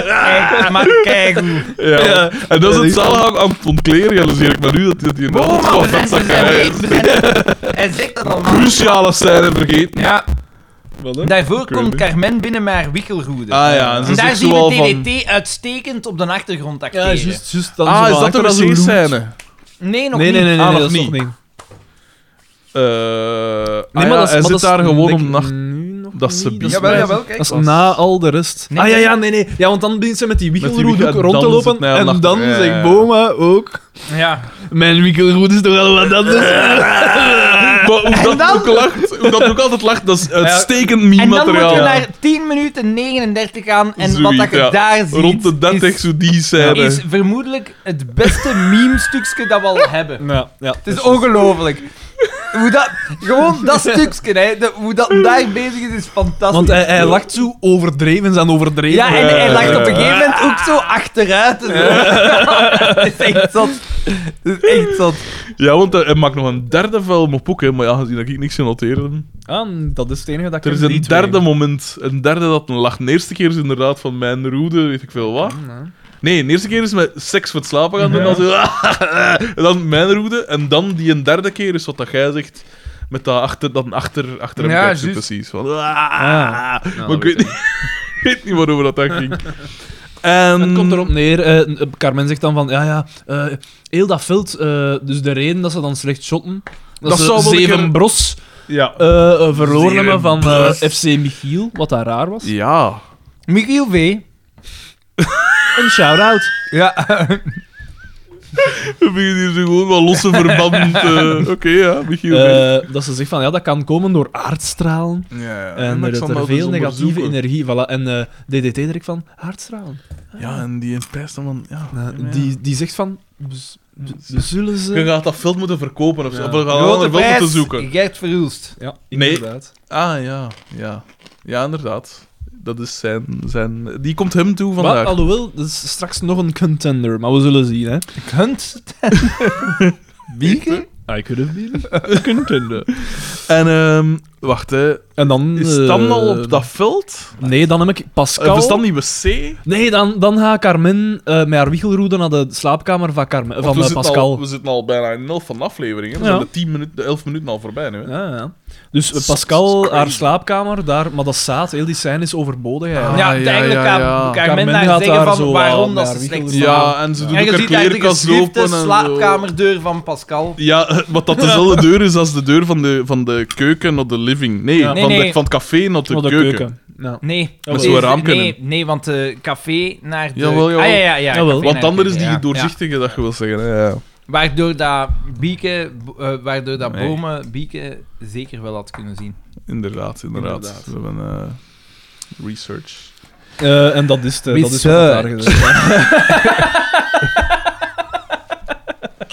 A: Kijk, maar kijk hoe.
B: Ja.
C: Ja.
B: En dat
C: Ja,
B: is het
C: die-
B: zalig aan, aan het ontkleren, realiseer ik me nu, dat dit hier
A: Boma,
B: Oh, dat is wel
A: we zijn-
B: vet
A: we zijn
B: zakkerij.
A: niet- we zijn- Hij zegt dat allemaal.
B: Cruciale scène vergeten.
A: Ja,
C: Wat, hè?
A: daarvoor
B: Ik weet
A: komt
B: niet.
A: Carmen binnen maar wikkelroede.
B: Ah ja, en ze
A: en daar
B: zegt
A: zien
B: zoal
A: we
B: van...
A: DDT uitstekend op de achtergrond
C: Ja,
A: acteren.
C: juist, juist. dan zo
B: Ah, is
C: van
B: dat de
C: achter zo loert.
B: wc-scène?
A: Nee, nog
C: Nee, nee, nee,
A: niet.
C: nee, nee,
B: Ah, nog
C: dat is nog
B: niet.
C: niet.
B: Eh, ah ja,
C: dat is-
B: hij
C: dat
B: zit
C: is-
B: daar gewoon
C: denk
B: om
C: ik
B: nacht...
C: nu nog
B: dat is
C: niet,
B: subiet.
C: is
B: Jawel,
C: bij-
B: jawel,
A: kijk.
C: Dat is na al de rest.
A: Nee,
C: ah ja,
A: nee.
C: ja, nee, nee. Ja, want dan begint ze met die
B: wiegel-
C: wikkelroede ook
B: en
C: rond te
B: dan is
C: lopen.
B: het na al
C: en
B: achter.
C: dan
B: Ja, ja, ja.
C: zegt Boma ook...
A: Ah, Ja.
C: Mijn wikkelroede is toch wel wat anders. [LAUGHS]
B: Maar hoe dat ook lacht, hoe dat ook altijd lacht, dat is uitstekend meme
A: En dan moet je
B: materiaal.
A: naar 10 minuten 39 gaan en
B: Zoiets,
A: wat dat je
B: ja.
A: daar ziet...
B: Rond de 30
A: is,
B: zo die scène.
A: is vermoedelijk het beste meme-stukje dat we
B: [LAUGHS]
A: al hebben.
C: Ja, ja. Dus-
A: Het is ongelooflijk. Hoe dat... Gewoon dat stukje, hè. de- hoe dat daar bezig is, is fantastisch.
C: Want hij, hij lacht zo overdreven zijn overdreven.
A: Ja, en hij
B: Eh.
A: lacht op een gegeven moment ook zo achteruit. en zo. [LAUGHS] Het is echt zot. Het is echt zot.
B: Ja, want eh, hij hij maakt nog een derde film op ook, hè. maar ja, gezien dat ik niks genoteerd heb.
C: Ah, dat is het enige dat ik
B: Er is
C: hem
B: een
C: niet
B: derde
C: weet.
B: moment, een derde dat een lacht. De eerste keer is inderdaad van mijn roede, weet ik veel wat. Nee, de eerste keer is met seks voor het slapen gaan doen. Dan zo, [LAUGHS] en dan mijn roede. En dan die een derde keer is wat dat jij zegt. Met dat achter, dat achter, achter hem
A: Ja,
B: kijkt zo
A: juist.
B: precies. Van,
C: Ah.
B: maar
C: dat
B: ik weet niet, [LAUGHS] ik weet niet waarover
A: [LAUGHS]
B: dat, dat ging. En...
C: Het komt erop neer. eh, Carmen zegt dan van, ja, ja, eh, heel dat veld, eh, dus de reden dat ze dan slecht shotten, dat,
B: Dat
C: ze
B: zou wel een
C: zeven
B: keer-
C: bros
B: Ja.
C: eh, eh, verloren
B: Zeven
C: hebben van eh,
B: bros.
C: FC Michiel, wat daar raar was.
B: Ja.
A: Michiel V.
C: Een shout-out.
A: Ja.
B: We beginnen hier zo gewoon wat losse verbanden.
C: [LAUGHS]
B: te- Oké, ja, Michiel.
C: Eh, dat ze zegt van, ja, dat kan komen door aardstralen.
B: ja, ja.
C: En,
B: ik
C: dat
B: zal
C: er
B: dat
C: veel
B: eens
C: negatieve
B: onderzoeken.
C: energie... Voilà. En eh, DDT direct van, aardstralen.
B: Ja, en die prijs dan van... Ja,
C: Eh,
B: ja.
C: die, die zegt van, we- we- we zullen ze...
B: Je gaat dat veld moeten verkopen of zo.
C: Ja.
B: Of we gaan een
A: Grote
B: ander veld moeten
A: prijs,
B: zoeken.
A: Gert Verhulst.
C: Ja,
B: Nee.
C: inderdaad.
B: Ah, ja. Ja, ja inderdaad. Dat is zijn, zijn... Die komt hem toe
C: Maar,
B: vandaag.
C: alhoewel, dat is straks nog een contender, maar we zullen zien, hè.
A: Kunt.
C: [LAUGHS]
A: Wiegen?
B: Ah,
C: I could have been contender.
B: En, ehm, wacht, hè.
C: En dan...
B: Is
C: eh,
B: Stan al op dat Eh, veld?
C: Nee, dan heb ik Pascal...
B: Of is Stan die wc?
C: Nee, dan, dan ga ik Carmen eh met haar wiegelroede naar de slaapkamer van, Carmen,
B: Want
C: van
B: we
C: eh,
B: zitten
C: Pascal.
B: Al, we zitten al bijna in de helft van de aflevering. Hè. We
C: Ja.
B: zijn de 10 minuten, de 11 minuten al voorbij nu. Hè.
C: Ja, ja. Dus eh,
B: Dat is- dat is
C: Pascal,
B: crazy.
C: haar slaapkamer, daar, maar dat staat, heel die scène is overbodig. hè.
B: Ah,
A: ja,
B: ja,
A: eigenlijk
B: ja,
A: kan
B: ja.
A: Carmen
C: Carmen
A: daar
C: gaat
A: zeggen van
C: daar zo
A: waarom
C: aan,
A: dat
C: ja,
A: ze slecht
C: wiegelen.
A: staan.
B: Ja, en ze doet
A: en
B: ook
A: je
B: haar
A: ziet daar de
B: klerenkast open.
A: geschrifte
B: En zo.
A: slaapkamerdeur van Pascal.
B: Ja, [LAUGHS] wat dat dezelfde deur is als de deur van de, van de keuken naar de living. Nee,
C: Ja.
B: van,
A: Nee,
B: De,
A: nee.
B: van het café naar de,
C: Op de
B: keuken.
C: keuken. Ja.
A: Nee,
B: Dat
A: deze-
B: zou een
A: nee,
B: raam kunnen.
A: nee, want de café naar de...
B: Jawel, jawel.
A: Ah, ja, ja, ja,
C: Jawel.
A: café
B: Want
A: naar de
B: ander is
A: keuken,
B: die
A: ja.
B: doorzichtige, dat je wil zeggen. hè, Ja.
A: Ja. Waardoor dat bieken, bo- eh, waardoor dat
B: Nee.
A: bomen bieken zeker wel had kunnen zien.
B: Inderdaad, inderdaad.
C: Inderdaad.
B: We hebben eh, research.
C: Eh, en dat is, de, dat is wat
A: Research.
C: daar gezegd wordt.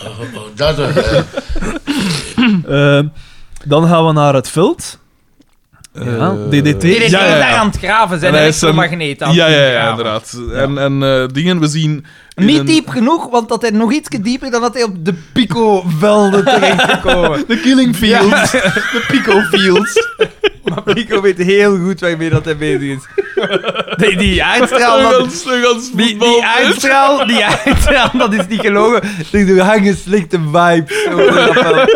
D: Oh, Dat is
C: Eh, dan gaan we naar het veld. Ja,
B: Eh,
C: DDT.
A: Die is
B: Ja, ja,
A: daar
B: ja.
A: aan het graven, zijn
B: En hij
A: en
B: is een-
A: elektromagneet aan
B: Ja,
A: het
B: ja, ja,
A: graven.
B: inderdaad. En, en eh, dingen, we zien... in
A: Niet
B: een-
A: diep genoeg, want dat hij nog iets dieper dan dat hij op de [LAUGHS] pico-velden terechtgekomen.
C: De Killing Fields. De Pico Fields.
A: Maar Pico weet heel goed waarmee dat hij bezig is. [LAUGHS] Die, die
B: Een
A: aardstraal, dat,
B: gans, een gans
A: die, die
B: voetbal. [LAUGHS]
A: aardstraal, die aardstraal, dat is niet gelogen. Er er hangen slechte vibes over dat veld.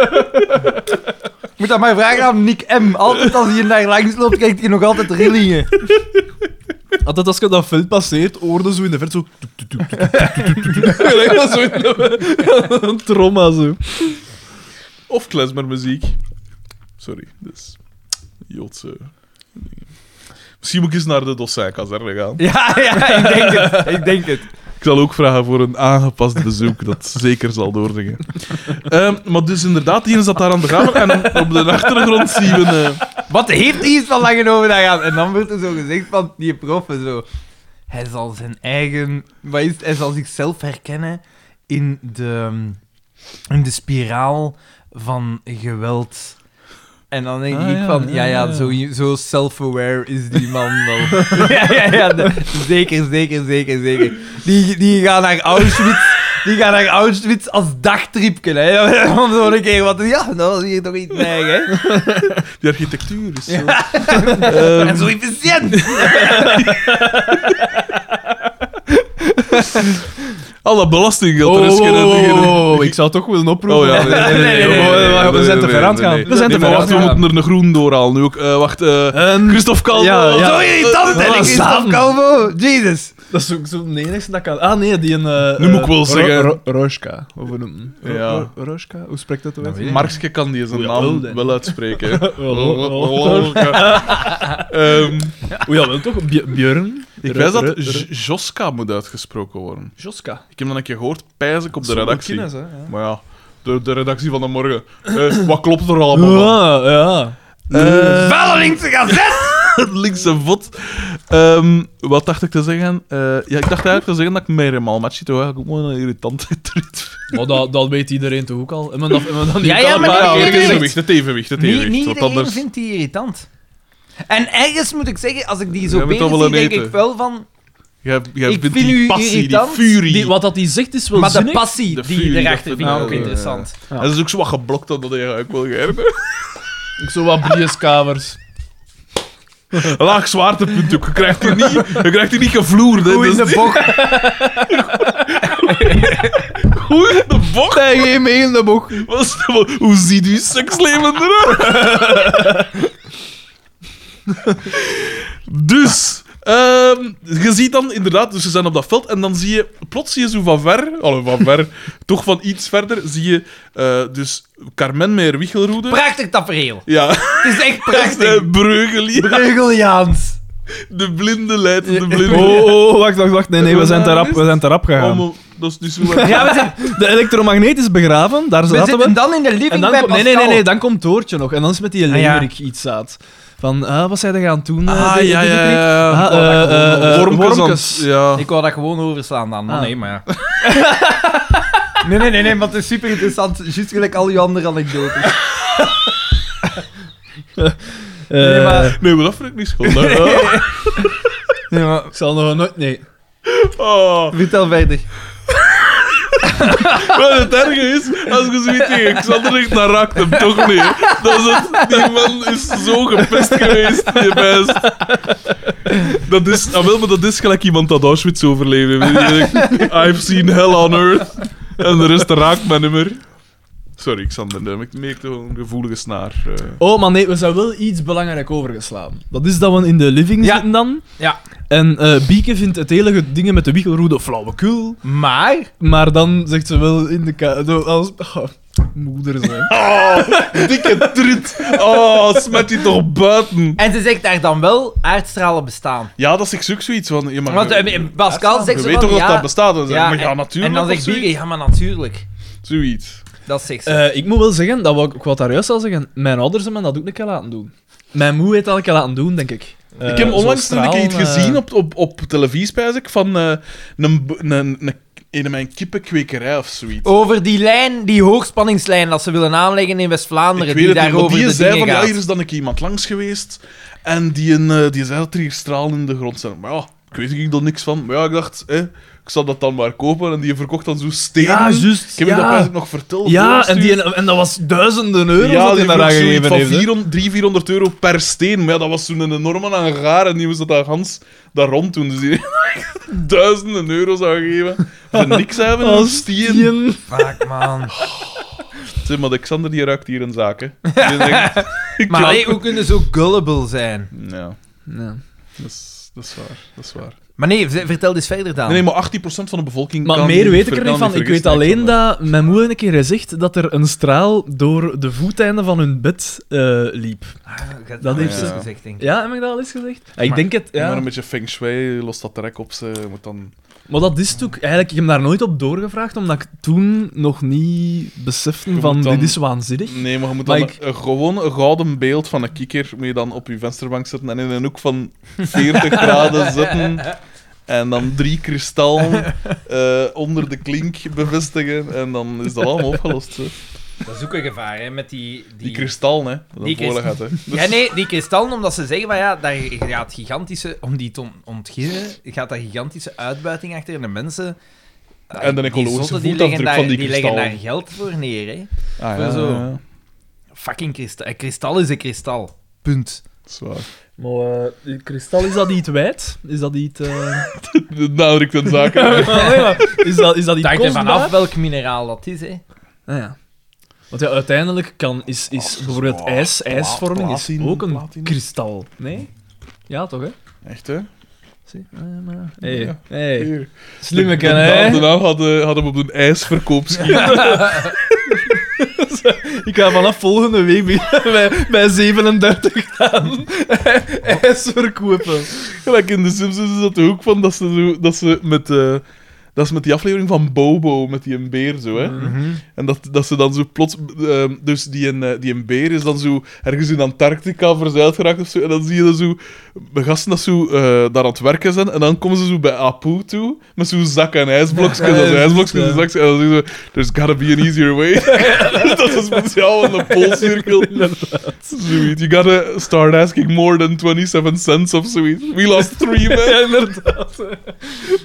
A: Ik moet dat maar vragen aan Nick M. Altijd als hij daar langs loopt, kijkt hij nog altijd rillingen.
C: Altijd als je dat veld passeert, hoorde zo in de verte zo... toet, toet, toet, toet, toet, toet, toet. Gelijk als zo in de- Een tromma zo.
B: Of klezmermuziek. Sorry, dus. Joodse. dingen. Misschien moet ik eens naar de dossijnkazerne gaan.
A: Ja, ja, ik denk het. Ik denk het.
B: Ik zal ook vragen voor een aangepast
C: [LAUGHS]
B: bezoek, dat zeker zal doordringen. Ehm, maar dus inderdaad, die is dat daar aan de gang. En op de achtergrond zien we... eh,
A: Wat heeft hij iets van lange over daar aan? En dan wordt er zo gezegd van die prof en zo. Hij zal zijn eigen. Wat is het? Hij zal zichzelf herkennen in de, in de spiraal van geweld. En dan denk
B: Ah,
A: ik
B: ja,
A: van, ja, ja,
B: ja, ja.
A: zo, zo self-aware is die man wel. [LAUGHS] ja, ja, ja, de- zeker, zeker, zeker, zeker. Die, die gaan naar Auschwitz. Die gaan naar Auschwitz als dagtripken, hè. [LAUGHS] Om zo'n keer wat... Ja, nou, dat is hier toch iets neig, hè.
B: die architectuur is zo... Ehm,
A: En zo efficiënt.
B: al dat belastinggeld
C: Oh,
B: er is kunnen
C: ik zou toch willen oproepen.
B: Oh ja, nee, nee, nee, nee, nee, nee, nee,
C: we zijn
B: nee,
C: te ver
B: nee,
C: aan het gaan.
B: nee.
C: We zijn te
B: Nee, maar
C: ver aan het
B: wacht, we
C: gaan.
B: moeten er een groen doorhalen nu ook. Eh, wacht, eh
C: Ehm,
B: Christophe Calvo.
C: ja, ja.
A: Zo irritant,
C: Eh,
A: hè,
C: eh,
A: Christophe
C: samen.
A: Calvo. Jesus.
C: Dat is ook zo'n enigste dat kan. Ah nee, die een. eh,
B: Nu moet ik wel
C: eh,
B: zeggen-
C: Ro- Ro- Roška, of hoe noemt Nou, hem? Ro-
B: Ja.
C: Ro- Roška? Hoe spreekt dat eruit?
B: Markske kan die zijn
C: Oei,
B: naam
C: hulde. [LAUGHS]
B: wel uitspreken.
C: Oh, Wel,
B: Ehm,
C: ja, wel toch? Bj- Björn?
B: ik
C: Ro-
B: wijs
C: Ro-
B: dat
C: Ro-
B: J- Joska moet uitgesproken worden.
C: Joska.
B: Ik heb dat een keer gehoord, pijs ik op de
C: Zonder
B: redactie.
C: kines, hè, ja.
B: Maar ja, de, de redactie van de morgen. Eh, wat klopt er allemaal van?
C: Ja, Ah, ja.
B: Eh, [LAUGHS]
A: Vuile linkse [LAUGHS] gazet.
B: het linkse vod. Ehm, wat dacht ik te zeggen? Eh, ja, ik dacht eigenlijk te zeggen dat ik meer in Malmatje toch eigenlijk ook wel een [LAUGHS] irritante trit vind.
C: Maar dat, dat weet iedereen toch ook al? En men dat, en men dat niet
A: Ja,
C: ook
A: ja,
C: al
A: maar
C: een
A: dat
C: paar
B: Ah, ja,
A: weet
C: keer
B: het
A: iedereen.
C: gezegd?
B: evenwicht, het evenwicht, het
A: Niet,
B: evenwicht.
A: niet
B: want
A: iedereen
B: anders...
A: vindt die irritant. En ergens moet ik zeggen, als ik die zo
B: Jij moet
A: bezig
B: toch
A: zie,
B: wel een
A: denk
B: eten.
A: ik wel van...
B: Jij, jij
A: Ik
B: vindt
A: vind
B: die
A: u
B: passie,
A: irritant.
B: die furie.
C: Die- wat dat hij zegt is wel
A: maar de
C: zinnig.
A: passie
B: De
A: die
B: furie,
A: erachter
B: dat
A: vind ik
B: vind
A: ook
C: eh,
B: ik wel,
A: interessant.
C: Ja.
B: Dat is ook zo wat geblokt dat dat eigenlijk wel geërgerd.
C: Ik zo wat brieskavers.
B: Laag zwaartepunt ook. Je krijgt die niet, je krijgt die niet gevloerd. Hè.
A: Hoe in
B: Dus
A: de
B: die-
A: bok.
B: [LAUGHS] Hoe in de bocht?
C: Nee, geen mee in de bocht.
B: Was, hoe ziet uw seksleven eruit? [LAUGHS] dus, ehm, je ziet dan inderdaad, dus ze zijn op dat veld en dan zie je, plots zie je zo van ver, allee, van ver, [LAUGHS] toch van iets verder, zie je eh, dus Carmen Meijer
C: eh.
B: Wichelroede.
A: Prachtig tafereel.
B: Ja, [LAUGHS]
A: Het is
C: [LAUGHS]
A: echt prachtig.
B: de Breugelier,
A: Breugeliaans.
B: de blinde leidt de blinde.
C: [LAUGHS] Oh, oh, wacht, wacht, wacht. Nee, nee, we zijn te rap, we zijn te rap
B: Oh,
C: gegaan.
B: maar dat is niet zo
C: [LAUGHS]
B: waar.
A: Ja, we, zijn,
C: De elektromagneet is begraven, daar
A: we
C: zaten
A: zitten
C: we.
A: dan in de living
C: En dan
A: bij
C: komt- nee,
A: Pascal.
C: nee, nee, nee, dan komt Toortje nog. En dan is met die
A: Ah, ja.
C: leeuwerik iets zat. Van, ah, wat zij er gaan doen? eh,
B: Ah,
C: de- de-
B: ja,
C: de-
B: ja, ja.
C: Ah, eh, eh, eh,
B: Wormkes.
C: wormkes.
B: aan- Ja.
A: Ik wou dat gewoon overslaan dan, maar
C: Ah.
A: nee, maar
C: [LAUGHS]
A: ja. [LAUGHS] nee, nee, nee, nee, want het is super interessant. Juist gelijk al je andere anekdotes.
C: Eh,
A: Nee,
C: [LAUGHS]
A: maar-
B: Nee, maar dat vind ik niet schoon. hè.
A: Nee, maar
C: Ik zal nog nooit... Nee.
B: Oh.
A: vertel verder.
B: Wat het erge is, als je zoiets tegen Xander zegt, dan raakt hem toch niet. Dat is het. Die man is zo gepest geweest, die best. Dat is, ah, wel, maar dat is gelijk iemand dat Auschwitz overleefde. Die zegt, I've seen hell on earth. En de rest raakt mijn nummer. Sorry, Xander, nee, maar ik merk toch een gevoelige snaar. eh.
C: Oh, maar nee, we zijn wel iets belangrijk overgeslagen. Dat is dat we in de living
A: Ja.
C: zitten dan.
A: Ja.
C: En eh, Bieke vindt het hele ge- dingen met de wiegelroede flauwekul.
A: Maar,
C: Maar dan zegt ze wel in de kamer... Als... [LAUGHS] Ah, moeder
B: [LAUGHS]
C: zijn.
B: Oh, [LAUGHS] dikke trut. Oh, smet die toch buiten.
A: en ze zegt daar dan wel, aardstralen bestaan.
B: Ja, dat is ik ook zoiets van... Je, mag,
A: Want eh,
B: je
A: Pascal zegt ze
B: weet
A: van, ja,
B: toch dat dat bestaat? Dan zeg ik, maar ja,
A: en-
B: natuurlijk.
A: En dan
B: of
A: zegt Bieke,
B: zoiets.
A: ja, maar natuurlijk.
B: Zoiets.
A: Dat zegt ze.
C: Eh, ik moet wel zeggen, dat wat, ik wat daar juist al zeggen, mijn ouders hebben mij dat ook een keer laten doen. Mijn moe heeft dat een keer laten doen, denk ik. Eh,
B: ik heb onlangs
C: zo'n
B: een keer iets
C: straal, eh,
B: gezien op, op, op televisie, spijs ik, van eh, een, bo- een, een, een, mijn kippenkwekerij of zoiets.
A: Over die lijn, die hoogspanningslijn dat ze willen aanleggen in West-Vlaanderen,
B: ik
A: die
B: weet het niet, maar
A: daarover
B: die
A: de
B: zei
A: dingen
B: van, ja,
A: gaat.
B: hier is dan een keer iemand langs geweest en die, een, eh, die zei dat er hier stralen in de grond zijn. Maar ja, Ik weet ik dan niks van. Maar ja, ik dacht, hè, ik zal dat dan maar kopen. En die verkocht dan zo stenen.
C: Ja, juist,
B: Ik heb je
C: ja.
B: dat prijs ook nog verteld.
C: Ja, en,
B: doorgestuurd.
C: die, en dat was duizenden euro's
B: ja,
C: dat
B: die
C: hij daar
B: vroeg
C: aan gegeven
B: zoiets van
C: heeft. hè.
B: 400, 300, 400 euro per steen. Maar ja, dat was toen een enorme hangaar en die moest dat aan Hans daar rond doen. Dus die [LAUGHS] heeft duizenden euro's aan gegeven. Voor niks hebben,
C: Oh,
B: een stien.
A: Fuck,
B: [LAUGHS]
A: man.
B: Zeg maar, Alexander die ruikt hier een zaak,
C: [LAUGHS]
B: hè. Die denkt, [LAUGHS] ik
A: Maar
B: ja,
A: allee, hoe kunnen ze zo gullible zijn?
B: Ja,
C: Ja.
B: dat is, dat is waar. Dat is waar.
A: Maar nee, v- vertel eens verder dan.
B: Nee, nee, maar 18% van de bevolking
C: Maar
B: kan
C: meer
B: niet
C: weet ik
B: ver-
C: er
B: kan
C: niet van. Ik weet
B: vergissen,
C: alleen
B: Alexander.
C: dat mijn moeder een keer heeft gezegd dat er een straal door de voeteinden van hun bed eh, liep.
A: Ah, dat
C: dat
A: heeft
C: heeft
A: ze
B: ze-
A: gezegd, denk ik.
C: Ja, heb ik dat al eens gezegd? Ja, ik
A: Maar-
C: denk het, ja.
B: Maar een
C: Maar,
B: beetje feng shui lost dat trek op. Ze Je moet dan...
C: dat is natuurlijk... Eigenlijk, ik heb daar nooit op doorgevraagd, omdat ik toen nog niet besefte
B: moet
C: van,
B: dan-
C: dit is waanzinnig.
B: Nee, maar je moet
C: Maar
B: dan
C: ik-
B: een, gewoon een gouden beeld van een kikker moet je dan op je vensterbank zetten en in een hoek van
A: [LAUGHS]
B: 40 graden zetten. En dan drie kristallen
A: [LAUGHS]
B: eh, onder de klink bevestigen. En dan is dat allemaal opgelost. hè.
A: Dat is ook een gevaar, hè, met die...
B: Die kristallen, hè. Dat
A: die
B: die
A: kristallen.
B: gaat, hè. Dus-
A: Ja, nee, die kristallen, omdat ze zeggen van ja, daar gaat gigantische, om die te on- ontginnen, gaat daar gigantische uitbuiting achter en de mensen. eh,
B: En de
A: die
B: ecologische
A: zotten, die
B: voetafdruk
A: leggen daar-
B: van die
A: leggen daar
B: kristallen.
A: geld voor neer, hè?
B: Ah,
A: Maar zo.
B: ja.
A: Fucking kristal. Een kristal is een kristal. Punt.
B: Dat is waar.
C: Maar eh, kristal, is dat iets wijd? Is dat iets... eh, [LAUGHS]
B: De nadruk ten
A: [LAUGHS]
B: zaken.
C: maar nee, maar is dat, is dat iets
A: Dank er
C: kostbaar?
A: vanaf welk mineraal dat is, hè?
C: Ah, ja. Want ja, uiteindelijk kan, is, is bijvoorbeeld ijs, ijsvorming is
B: platine,
C: ook een
B: platine.
C: kristal. Nee? Ja, toch, hè?
B: Echt, hè?
C: Zie, eh, maar- Hey,
B: Ja.
C: hey.
B: Hier.
C: Slimme
B: De-
C: ken,
B: de naam- De
C: hè?
B: naam hadden, hadden we op een ijsverkoop
C: Ik ga vanaf volgende week beginnen bij, [LAUGHS] bij 37
B: [LAUGHS]
C: gaan ijs verkopen.
B: Gelijk in de Simpsons is dat de hoek van dat ze, zo, dat ze met... eh, dat is met die aflevering van Bobo, met die een beer zo, hè.
C: Mhm.
B: En dat, dat ze dan zo plots... ehm, dus die een, eh, die een beer is dan zo ergens in Antarctica verzeild geraakt of zo. En dan zie je dat zo... de Gasten dat zo eh, daar aan het werken zijn. En dan komen ze zo bij Apu toe. Met zo'n zak en ijsblokjes. en
C: Ja,
B: zo'n ijsblokjes
C: ja.
B: en zak. En dan zeggen ze... There's gotta be an easier way. dus dat is speciaal aan de
C: [LAUGHS]
B: poolcirkel. Zoiets. You gotta start asking more than 27 cents of zoiets. We
C: [LAUGHS]
B: lost three men.
C: Ja, inderdaad.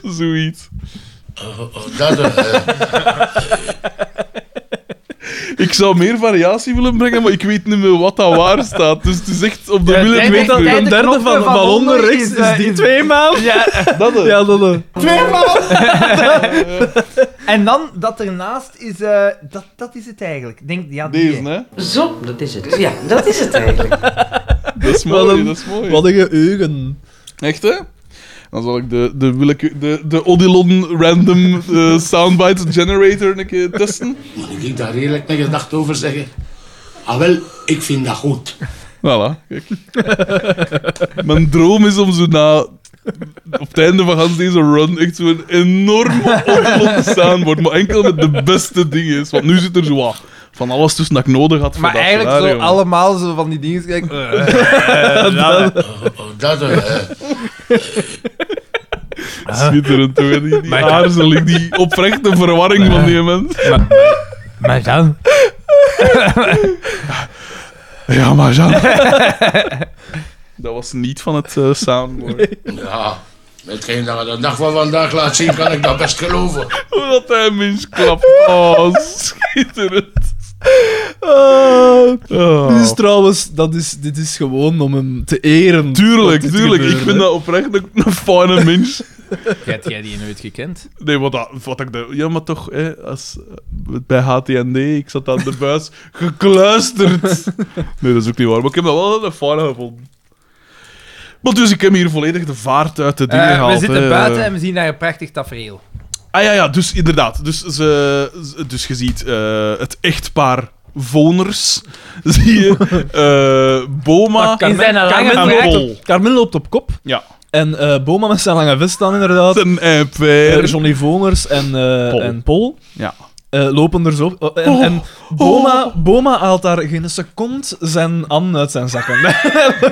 B: Zoiets.
D: oh, eh, Dazzle.
B: Ik zou meer variatie willen brengen, maar ik weet niet meer wat dat waar staat. Dus het is echt op de
A: Ja,
B: wil
A: het
B: en
C: Ik weet dat
B: wegdeur.
A: Kijk,
C: een
A: de
C: derde
A: knoppen
C: van,
A: van
C: van onder
A: onder
C: rechts
A: is, eh,
C: is die
A: is-
C: twee maanden.
A: Ja, [LAUGHS]
B: Dat hè.
C: Ja, dat eh.
A: en dan dat ernaast is, eh, dat, dat is het eigenlijk. Ik Denk, ja, die,
B: Deze,
A: hè.
B: hè.
E: Zo, dat is het. Ja, dat is het eigenlijk.
B: Dat is
C: Wat
B: mooi,
C: een-
B: dat is mooi.
C: Wat een geheugen.
B: Echt, hè? Dan zal ik de, de, willeke- de, de Odilon Random eh, Soundbite Generator een keer testen.
D: Mag ik daar eerlijk mijn gedachten over zeggen? Ah wel, ik vind dat goed.
B: Voilà, kijk. Mijn droom is om zo na... Op het einde van gans deze run echt zo'n enorme oplossing soundboard. Maar enkel met de beste dingen is. Want nu zit er zo wat van alles tussen dat ik nodig had voor
A: Maar
B: dat
A: eigenlijk zo
B: scenario.
A: allemaal zo van die dingen. Kijk, Eh,
D: Oh, Dazzle.
B: Schitterend, toch? hè? Die, die aarzeling, die oprechte verwarring van die mensen.
A: maar dan?
B: Ja, maar Jean... Dat was niet van het eh, soundboard.
D: Ja, hetgeen dat we de dag van vandaag laat zien, kan ik dat best geloven.
B: Hoe dat hij mens klapt.
A: [LAUGHS]
B: Oh, schitterend.
C: Ah.
B: Oh.
C: Dit is trouwens, dat is, dit is gewoon om hem te eren.
B: Tuurlijk,
C: Dat dit
B: tuurlijk.
C: gebeurde.
B: Ik vind dat oprecht een, een fijne mens.
A: Heb jij die nooit gekend?
B: Nee, wat, dat- wat ik... de- Ja, maar toch, hè, als, eh, bij HTND, ik zat aan de buis [LAUGHS] gekluisterd. Nee, dat is ook niet waar. Maar ik heb dat wel een fijne gevonden. Maar dus, ik heb hier volledig de vaart uit de dingen
A: Eh,
B: gehaald.
A: we zitten
B: hè.
A: buiten en we zien daar een prachtig tafereel.
B: Ah ja, ja, dus inderdaad. Dus, ze, ze- dus je ziet eh, het echtpaar Voners. [LAUGHS] Zie je eh, Boma
A: In zijn lange
B: en
A: vrouw.
B: Pol.
C: Carmen Ah, loopt op kop.
B: Ja.
C: En eh, Boma met zijn lange vest aan, inderdaad.
B: Ten en
C: Eh,
B: per.
C: Johnny Voners en, eh,
B: Pol.
C: en Pol
B: Ja.
C: eh, lopen er zo op. Oh, en,
B: Oh.
C: en Boma, Boma haalt daar geen seconde zijn hand uit zijn zakken.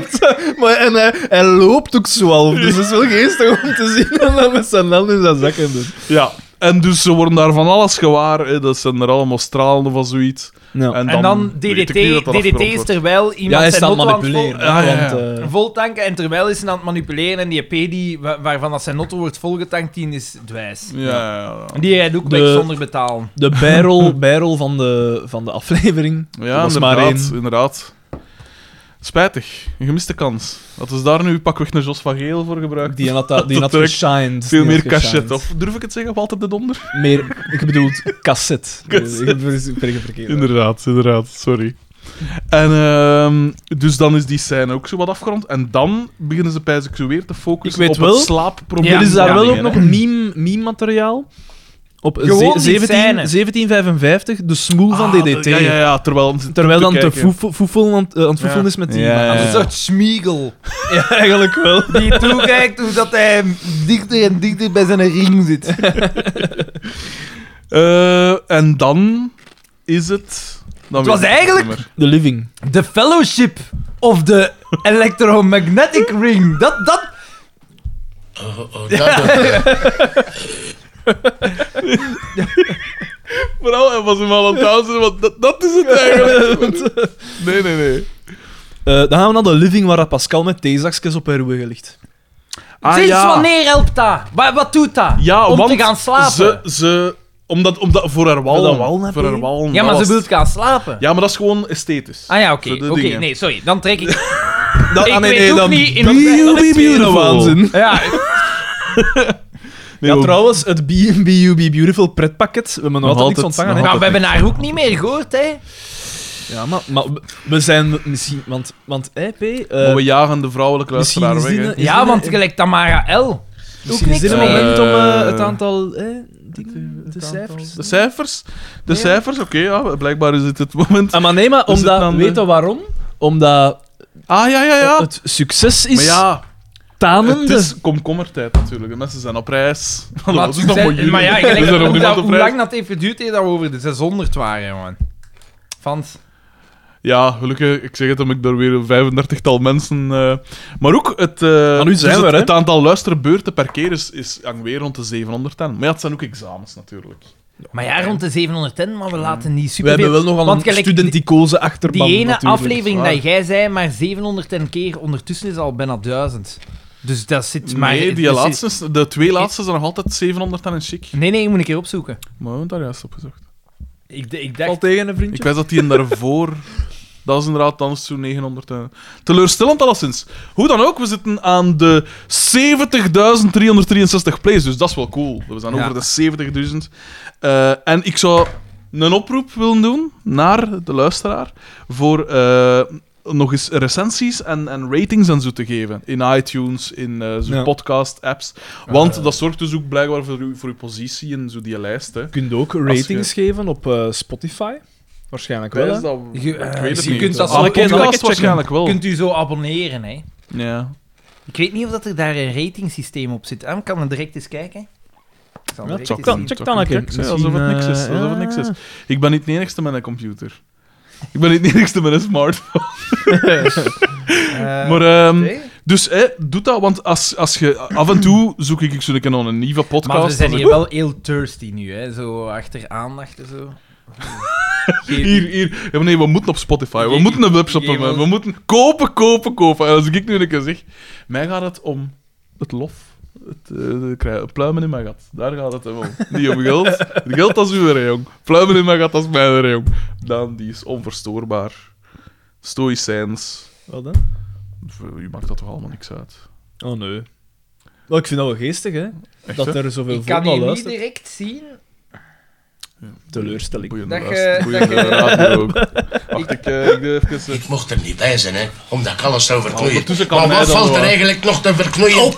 C: [LAUGHS] maar, en hij, hij loopt ook zo al. Dus het is wel geestig om te zien hoe hij met zijn hand in zijn zakken doet.
B: ja. En dus ze worden daar van alles gewaar. Hè. Dat zijn er allemaal stralen of zoiets.
C: Ja.
B: En dan,
A: En dan
B: weet ik niet
A: DDT,
B: dat dat
A: DDT
B: afgerond
A: is
B: wordt.
A: terwijl
C: ja,
A: iemand
C: hij
A: zijn
C: staat
A: auto aan het
C: manipuleren.
B: vol- Ah, ja, ja.
C: Want, eh,
A: vol- voltanken en terwijl is hij aan het manipuleren en die E P die, wa- waarvan dat zijn auto wordt volgetankt, die is dwijs.
B: Ja, ja, ja.
A: Die hij ook
C: De-
A: weg zonder betalen.
C: de barrel, barrel van, de, van de aflevering.
B: Ja,
C: was maar
B: inderdaad,
C: één.
B: inderdaad. Spijtig. Een gemiste kans. Dat is daar nu pakweg naar Jos van Geel voor gebruikt.
C: Die had, dat- die had
B: Dat trekt
C: geshined.
B: Veel
C: Die had
B: meer cachet,
C: geshined.
B: of durf ik het zeggen, of altijd de donder?
C: Meer, ik bedoel, cassette.
B: [LAUGHS] Cassette.
C: Ik spreek het verkeerd.
B: Inderdaad, inderdaad, sorry. En ehm, dus dan is die scène ook zo wat afgerond. En dan beginnen ze bij zo weer te focussen
C: Ik weet
B: op
C: wel,
B: het slaapprobleem.
A: Ja,
C: er is daar
A: ja,
C: wel
A: dingen,
C: ook nog meme- meme-materiaal. op
A: Gewoon die
C: ze- 17,
A: scène.
C: 1755, de smoel van DDT.
B: Ah, Ja, ja, ja, terwijl, ze
C: Terwijl
B: toe
C: dan te
B: kijken.
C: foefel- foefelen aan, het- eh, aan het foefelen
B: Ja.
C: is met die.
B: Ja, ja,
A: Een
B: ja.
A: soort schmiegel.
C: [LAUGHS] Ja, eigenlijk wel.
A: Die toekijkt hoe dat hij dichter en dichter bij zijn ring zit.
B: Eh, en dan is het... Dan
A: Het
B: weet
A: was
B: ik
A: eigenlijk-
B: niet meer.
C: The Living.
A: The Fellowship of the Electromagnetic Ring. Dat, dat...
D: Oh, oh, dat,
B: Vooral, hij was hem al aan het
A: [LAUGHS]
B: houden, want dat, dat is het eigenlijk. Nee, nee, nee.
C: Eh, dan gaan we naar The Living, waar dat Pascal met theezakjes op haar rug ligt.
B: Ah,
A: Sinds wanneer helpt dat? Wat, wat doet dat?
B: Ja,
A: Om
B: want
A: te gaan slapen.
B: Ze, ze, omdat, omdat, voor haar
C: Voor
B: wallen.
C: haar wallen,
B: Voor
C: hè,
B: haar wallen,
A: ja, maar
B: dat
A: ze
B: was-
A: wil gaan slapen.
B: Ja, maar dat is gewoon esthetisch.
A: Ah ja, oké.
B: Zo de
A: Oké,
B: dingen.
A: nee, sorry. Dan trek ik...
C: Dat,
A: Ik
C: ah, nee,
A: weet
C: nee,
A: ook
C: dan
A: niet in
C: Be
A: wat-
C: You Be
B: dat is
C: Beautiful.
B: helemaal.
C: Waanzin.
A: Ja,
B: [LAUGHS] Nee,
C: ja,
B: maar-
C: trouwens, het B&B Be Beautiful pretpakket. We hebben nog altijd niks ontvangen, hè?
A: nou, we hebben haar ook niet meer gehoord, hè.
C: Ja, maar, maar we- we zijn misschien... Want, want hè, P, eh,
B: Maar we jagen de vrouwelijke
C: misschien
B: luisteraar
C: is
B: weg.
C: die
B: hè.
C: een-
A: Ja,
C: er
A: want
C: een-
A: gelijk Tamara L. Ook
C: misschien
A: niks
C: is dit een
A: meer.
C: moment om eh, het
B: Eh,
C: aantal... eh, dingen, de cijfers...
B: De cijfers? De
C: Ja.
B: cijfers, oké, ja, blijkbaar is het het moment.
C: Ah, maar nee, maar
B: Is het
C: omdat...
B: dan de-
C: Weet je waarom? Omdat
B: Ah, ja, ja, ja.
C: het succes
B: Maar
C: is
B: ja, het
C: tanende.
B: is komkommertijd natuurlijk. De mensen zijn op reis. [LAUGHS]
A: Maar,
B: dat is nog maar juni.
A: maar
B: [LAUGHS]
A: ja,
B: Er
A: gelijk,
B: is er nog
A: hoe,
B: niemand
A: dat,
B: op
A: hoe
B: reis.
A: lang dat heeft geduurd eer dat we over de 600 waren, man. Van
B: Ja, gelukkig, ik zeg het omdat ik daar weer een 35-tal mensen. eh, maar ook het, eh,
C: Ah, nu zijn
B: dus
C: we
B: het,
C: er, hè?
B: het aantal luisterbeurten per keer is, is hangt weer rond de 710. Maar ja, het zijn ook examens natuurlijk.
A: Maar ja, rond de 710, maar we laten niet
C: we
A: super
C: hebben wel nogal een
A: die,
C: studenticose achterban.
A: die ene
C: natuurlijk.
A: aflevering
B: waar.
A: dat jij zei, maar 710 keer ondertussen is al bijna 1000. Dus dat zit maar...
B: nee, die
A: dus-
B: laatste, is- de twee laatste zijn nog altijd 710 en chic.
A: Nee, nee, ik moet een keer opzoeken.
B: Maar we hebben daar juist op gezocht.
A: Ik, d- ik
C: Valt
A: dacht...
C: tegen een
B: Ik
C: vriendje?
B: wist dat die een daarvoor. Dat is inderdaad dan zo'n 900. en- Teleurstellend alleszins. Hoe dan ook, we zitten aan de 70.363 plays, dus dat is wel cool. We zijn
A: Ja.
B: over de 70.000. Eh, en ik zou een oproep willen doen naar de luisteraar voor eh, nog eens recensies en, en ratings en zo te geven. In iTunes, in eh zo'n
C: Ja.
B: podcast-apps. Want dat zorgt dus ook blijkbaar voor, uw- voor uw positie in zo die lijst. Hè.
C: Je kunt ook ratings geven op eh, Spotify. Waarschijnlijk wel,
B: Is
C: hè?
B: dat-
A: Je-
B: ik
A: eh,
B: weet het
A: je
B: niet.
A: kunt dat
B: Alle
A: elke keer
B: podcasts
A: checken.
B: Ah, waarschijnlijk wel.
A: Kunt u zo abonneren, hè.
B: Ja.
A: Ik weet niet of dat er daar een ratingsysteem op zit. Ah, ik kan er direct eens kijken. Ik zal
C: Ja,
A: direct
C: check
A: eens
C: dan,
A: zien.
C: check dan een keer.
B: Kijk, zeg, alsof het
C: Misschien,
B: niks is.
C: eh,
B: Alsof het niks is.
C: ja.
B: Ik ben niet de enigste met een computer. Ik ben niet de enigste met een smartphone.
A: Eh,
B: Maar, ehm,
A: oké.
B: dus hè, doe dat, want als, als je, af en toe zoek ik zo'n keer naar een nieuwe podcast.
A: Maar we zijn
B: Dan
A: hier
B: zeg ik,
A: wel heel thirsty nu, hè? Zo achter aandacht en zo.
B: "Oeh, Hier, hier. Ja, maar nee, we moeten op Spotify. We
A: Je-
B: moeten een webshop
A: je
B: hebben.
A: wil-
B: We moeten kopen, kopen, kopen. En als ik nu een keer zeg, mij gaat het om het lof. Het, eh, de krui- pluimen in mijn gat. Daar gaat het hem om. Niet om geld. Het geld als uw hè, jong. Pluimen in mijn gat als mijn hè, jong. Dan, die is onverstoorbaar. Stoïcijns.
C: Wat dan?
B: U maakt dat toch allemaal niks uit?
C: Oh nee. Wel, ik vind dat wel geestig, hè?
B: Echt,
C: dat eh,
B: hè?
C: er zoveel
A: Ik kan
C: volk
A: hier
C: naar
A: niet
C: luistert.
A: direct zien.
C: Teleurstelling.
B: Boeiende
A: Dat
B: luister-
A: je-
B: boeiende
A: dat je-
B: radio ook. Wacht, ik, eh, ik doe even... eh,
D: ik mocht er niet bij zijn, hè, omdat ik alles zou verknoeien.
B: Ondertussen kan
D: Maar
B: hij
D: wat
B: dan
D: valt
B: wel.
D: er eigenlijk nog te verknoeien?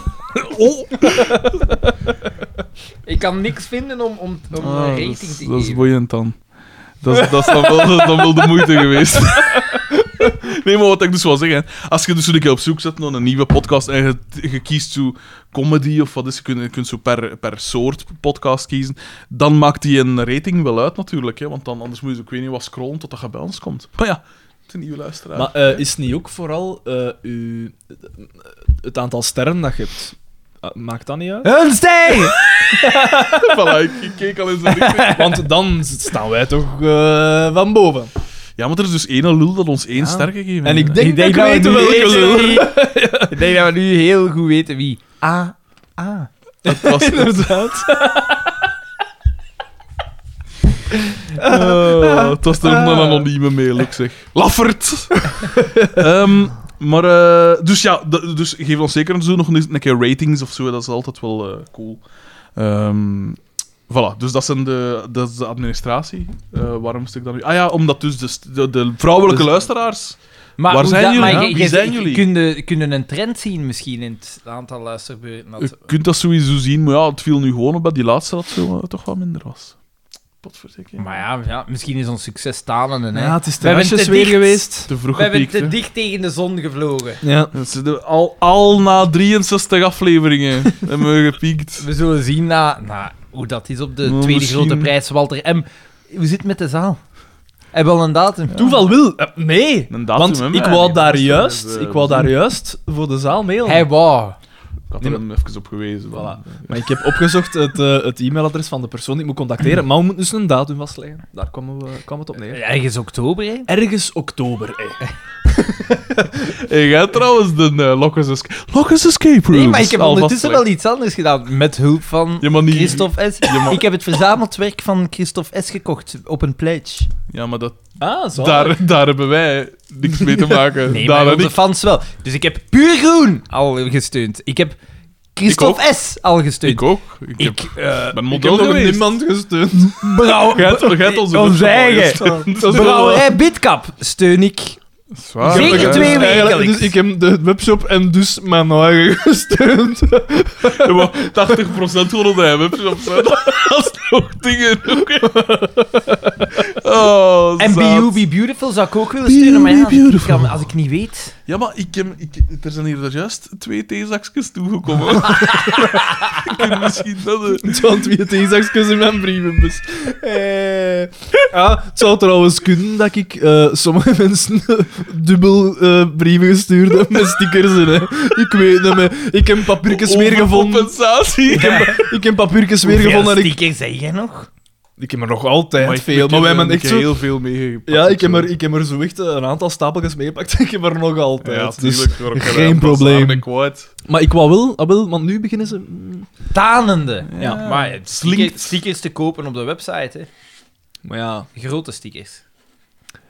A: Ik kan niks vinden om, om, om
B: ah,
A: een
B: dat
A: rating
B: is-
A: te
B: Dat is
A: geven.
B: boeiend dan. Dat is, dat is dan, wel, dat is dan wel de moeite geweest. [LAUGHS] Nee, maar wat ik dus wil zeggen, hè, als je dus een keer op zoek zet naar een nieuwe podcast en je, je kiest zo comedy of wat is, je kunt, je kunt zo per, per soort podcast kiezen, dan maakt die een rating wel uit natuurlijk, hè, want dan, anders moet je, ik weet niet wat, scrollen tot dat je bij ons komt. Maar ja, het is een nieuwe luisteraar.
C: Maar eh, is het niet ook vooral eh, uw- het aantal sterren dat je hebt? Ah, eh, maakt dat niet uit?
A: Een ster!
B: [LAUGHS] voilà, ik, ik keek al
C: [LAUGHS]
B: in zijn richting.
C: Want dan z- staan wij toch eh, van boven.
B: Ja, maar er is dus één lul dat ons één ster gegeven
C: En ik
B: heeft.
C: denk,
A: Ik denk
C: dat ik
A: dat
C: weet
A: we nu
C: welke
A: weten
C: lul.
A: wie- [LAUGHS] Ik denk dat we nu heel goed weten wie. A. A.
B: Het was, [LAUGHS]
C: Inderdaad.
B: eh, het was toch een anonieme mail, ik zeg. Laffert! Ehm, maar, eh, dus ja, de- dus geef ons zeker zo nog een, een keer ratings of zo, dat is altijd wel eh, cool. Ehm, voilà, dus dat, zijn de, dat is de administratie. Eh, waarom stuk dan nu? Ah ja, omdat dus de, st- de, de vrouwelijke luisteraars.
A: Maar
B: Waar
A: hoe
B: zijn
A: dat-
B: jullie,
A: maar
B: hè?
A: je-
B: Wie
A: je-
B: zijn
A: je-
B: jullie?
A: Kunnen kunnen een trend zien misschien in het aantal luisterbeurten.
B: Je
A: dat-
B: kunt dat sowieso zien, maar ja, het viel nu gewoon op dat die laatste dat zo, eh, toch wat minder was. Potverdikke.
A: Maar ja, ja, misschien is ons succes stalen. hè.
C: Ja, het is
A: We hebben
C: terrasjes
A: te
C: weer
A: dicht.
C: geweest.
B: Te vroeg
A: We hebben
B: gepiekt,
A: te
B: hè.
A: dicht tegen de zon gevlogen.
C: Ja.
B: Dat is de- Al, al na 63 [LAUGHS] afleveringen hebben we gepiekt.
A: We zullen zien na, na hoe dat is op de
B: Nou,
A: tweede
B: misschien-
A: grote prijs. Walter M. Hoe zit het met de zaal? Hebben we al een datum?
C: Toeval wil. eh, nee.
B: Een datum,
C: Want
B: hè,
C: ik
B: maar-
C: wou
B: Ja,
C: daar
B: dat is-
C: juist,
B: dat is, eh,
C: ik wou daar juist voor de zaal mailen.
A: Hij wou.
B: Ik had er hem even op gewezen.
C: Voilà.
B: Voilà.
C: Maar ik heb opgezocht het, eh, het e-mailadres van de persoon die ik moet contacteren. Maar we moeten dus een datum vastleggen. Daar kwam, we, kwam het op neer.
A: Ergens oktober, hè?
C: Ergens oktober, eh.
B: Hey, jij hebt trouwens de eh, Lockers Escape... Lockers Escape Room.
A: Nee, maar ik heb ondertussen wel iets anders gedaan. Met hulp van
B: Ja, maar niet-
A: Christophe S. Ik heb het verzameld werk van Christophe S. gekocht op een pledge.
B: Ja, maar dat,
C: Ah, zo.
B: daar, daar hebben wij niks mee
A: [LAUGHS]
B: te maken.
A: Nee,
B: Daan
A: maar
B: en
A: onze
B: ik.
A: fans wel. Dus ik heb puur groen al gesteund. Ik heb Christophe S. al gesteund.
B: Ik ook. Ik, heb,
A: Ik, eh,
B: ben model geweest.
C: niemand gesteund.
A: brouw-
B: Jij hebt- jij hebt onze
A: Ons eigen. [LAUGHS]
B: webshop al [LAUGHS] gestaan.
A: Brouwerij Bidkap steun ik.
C: Ah,
B: Zwaar,
A: Zeker
B: hè.
A: twee weken.
C: Dus ik heb de webshop en dus mijn eigen gesteund.
B: Ja, maar 80% gewoon op de hem. Dat is nog dingen. Oh,
A: En
B: zaad.
A: Be You Be Beautiful zou ik ook willen steunen, maar ja,
B: Be You Be
A: ik
B: Beautiful.
A: kan- als ik niet weet...
B: Ja, maar ik heb, ik, er zijn hier daar juist twee theezakjes
C: [LAUGHS]
B: toegekomen. ik kan misschien dat... eh,
C: Het zou twee theezakjes in mijn brievenbus. Eh, ja, het zou trouwens kunnen dat ik eh, sommige mensen [LAUGHS] dubbel eh, brieven gestuurd heb met stickers in. Hè. Ik weet het niet. Ik heb papiertjes weer gevonden.
B: Compensatie.
C: Ik heb papiertjes weer
A: Hoeveel
C: gevonden. en Ik,
A: stickers zeg jij nog?
C: ik heb er nog altijd veel.
B: ik eh,
C: Maar wij
B: heb
C: hebben
B: er-
C: echt
B: ik heb
C: zo...
B: heel veel meegepakt.
C: Ja, ik heb,
B: zo.
C: er, ik heb er zo echt eh, een aantal stapeltjes meegepakt. Ik heb er nog altijd.
B: Ja,
C: dus-
B: tuurlijk, hoor, ik heb
C: geen
B: er- dat is
C: probleem.
B: waar, Ik wou het.
C: Maar ik wou wel, ah, wel, want nu beginnen ze... mm,
A: Tanende.
C: Ja.
A: Maar het
B: Slinkt.
A: stickers, stickers te kopen op de website, hè.
C: Maar ja...
A: Grote stickers.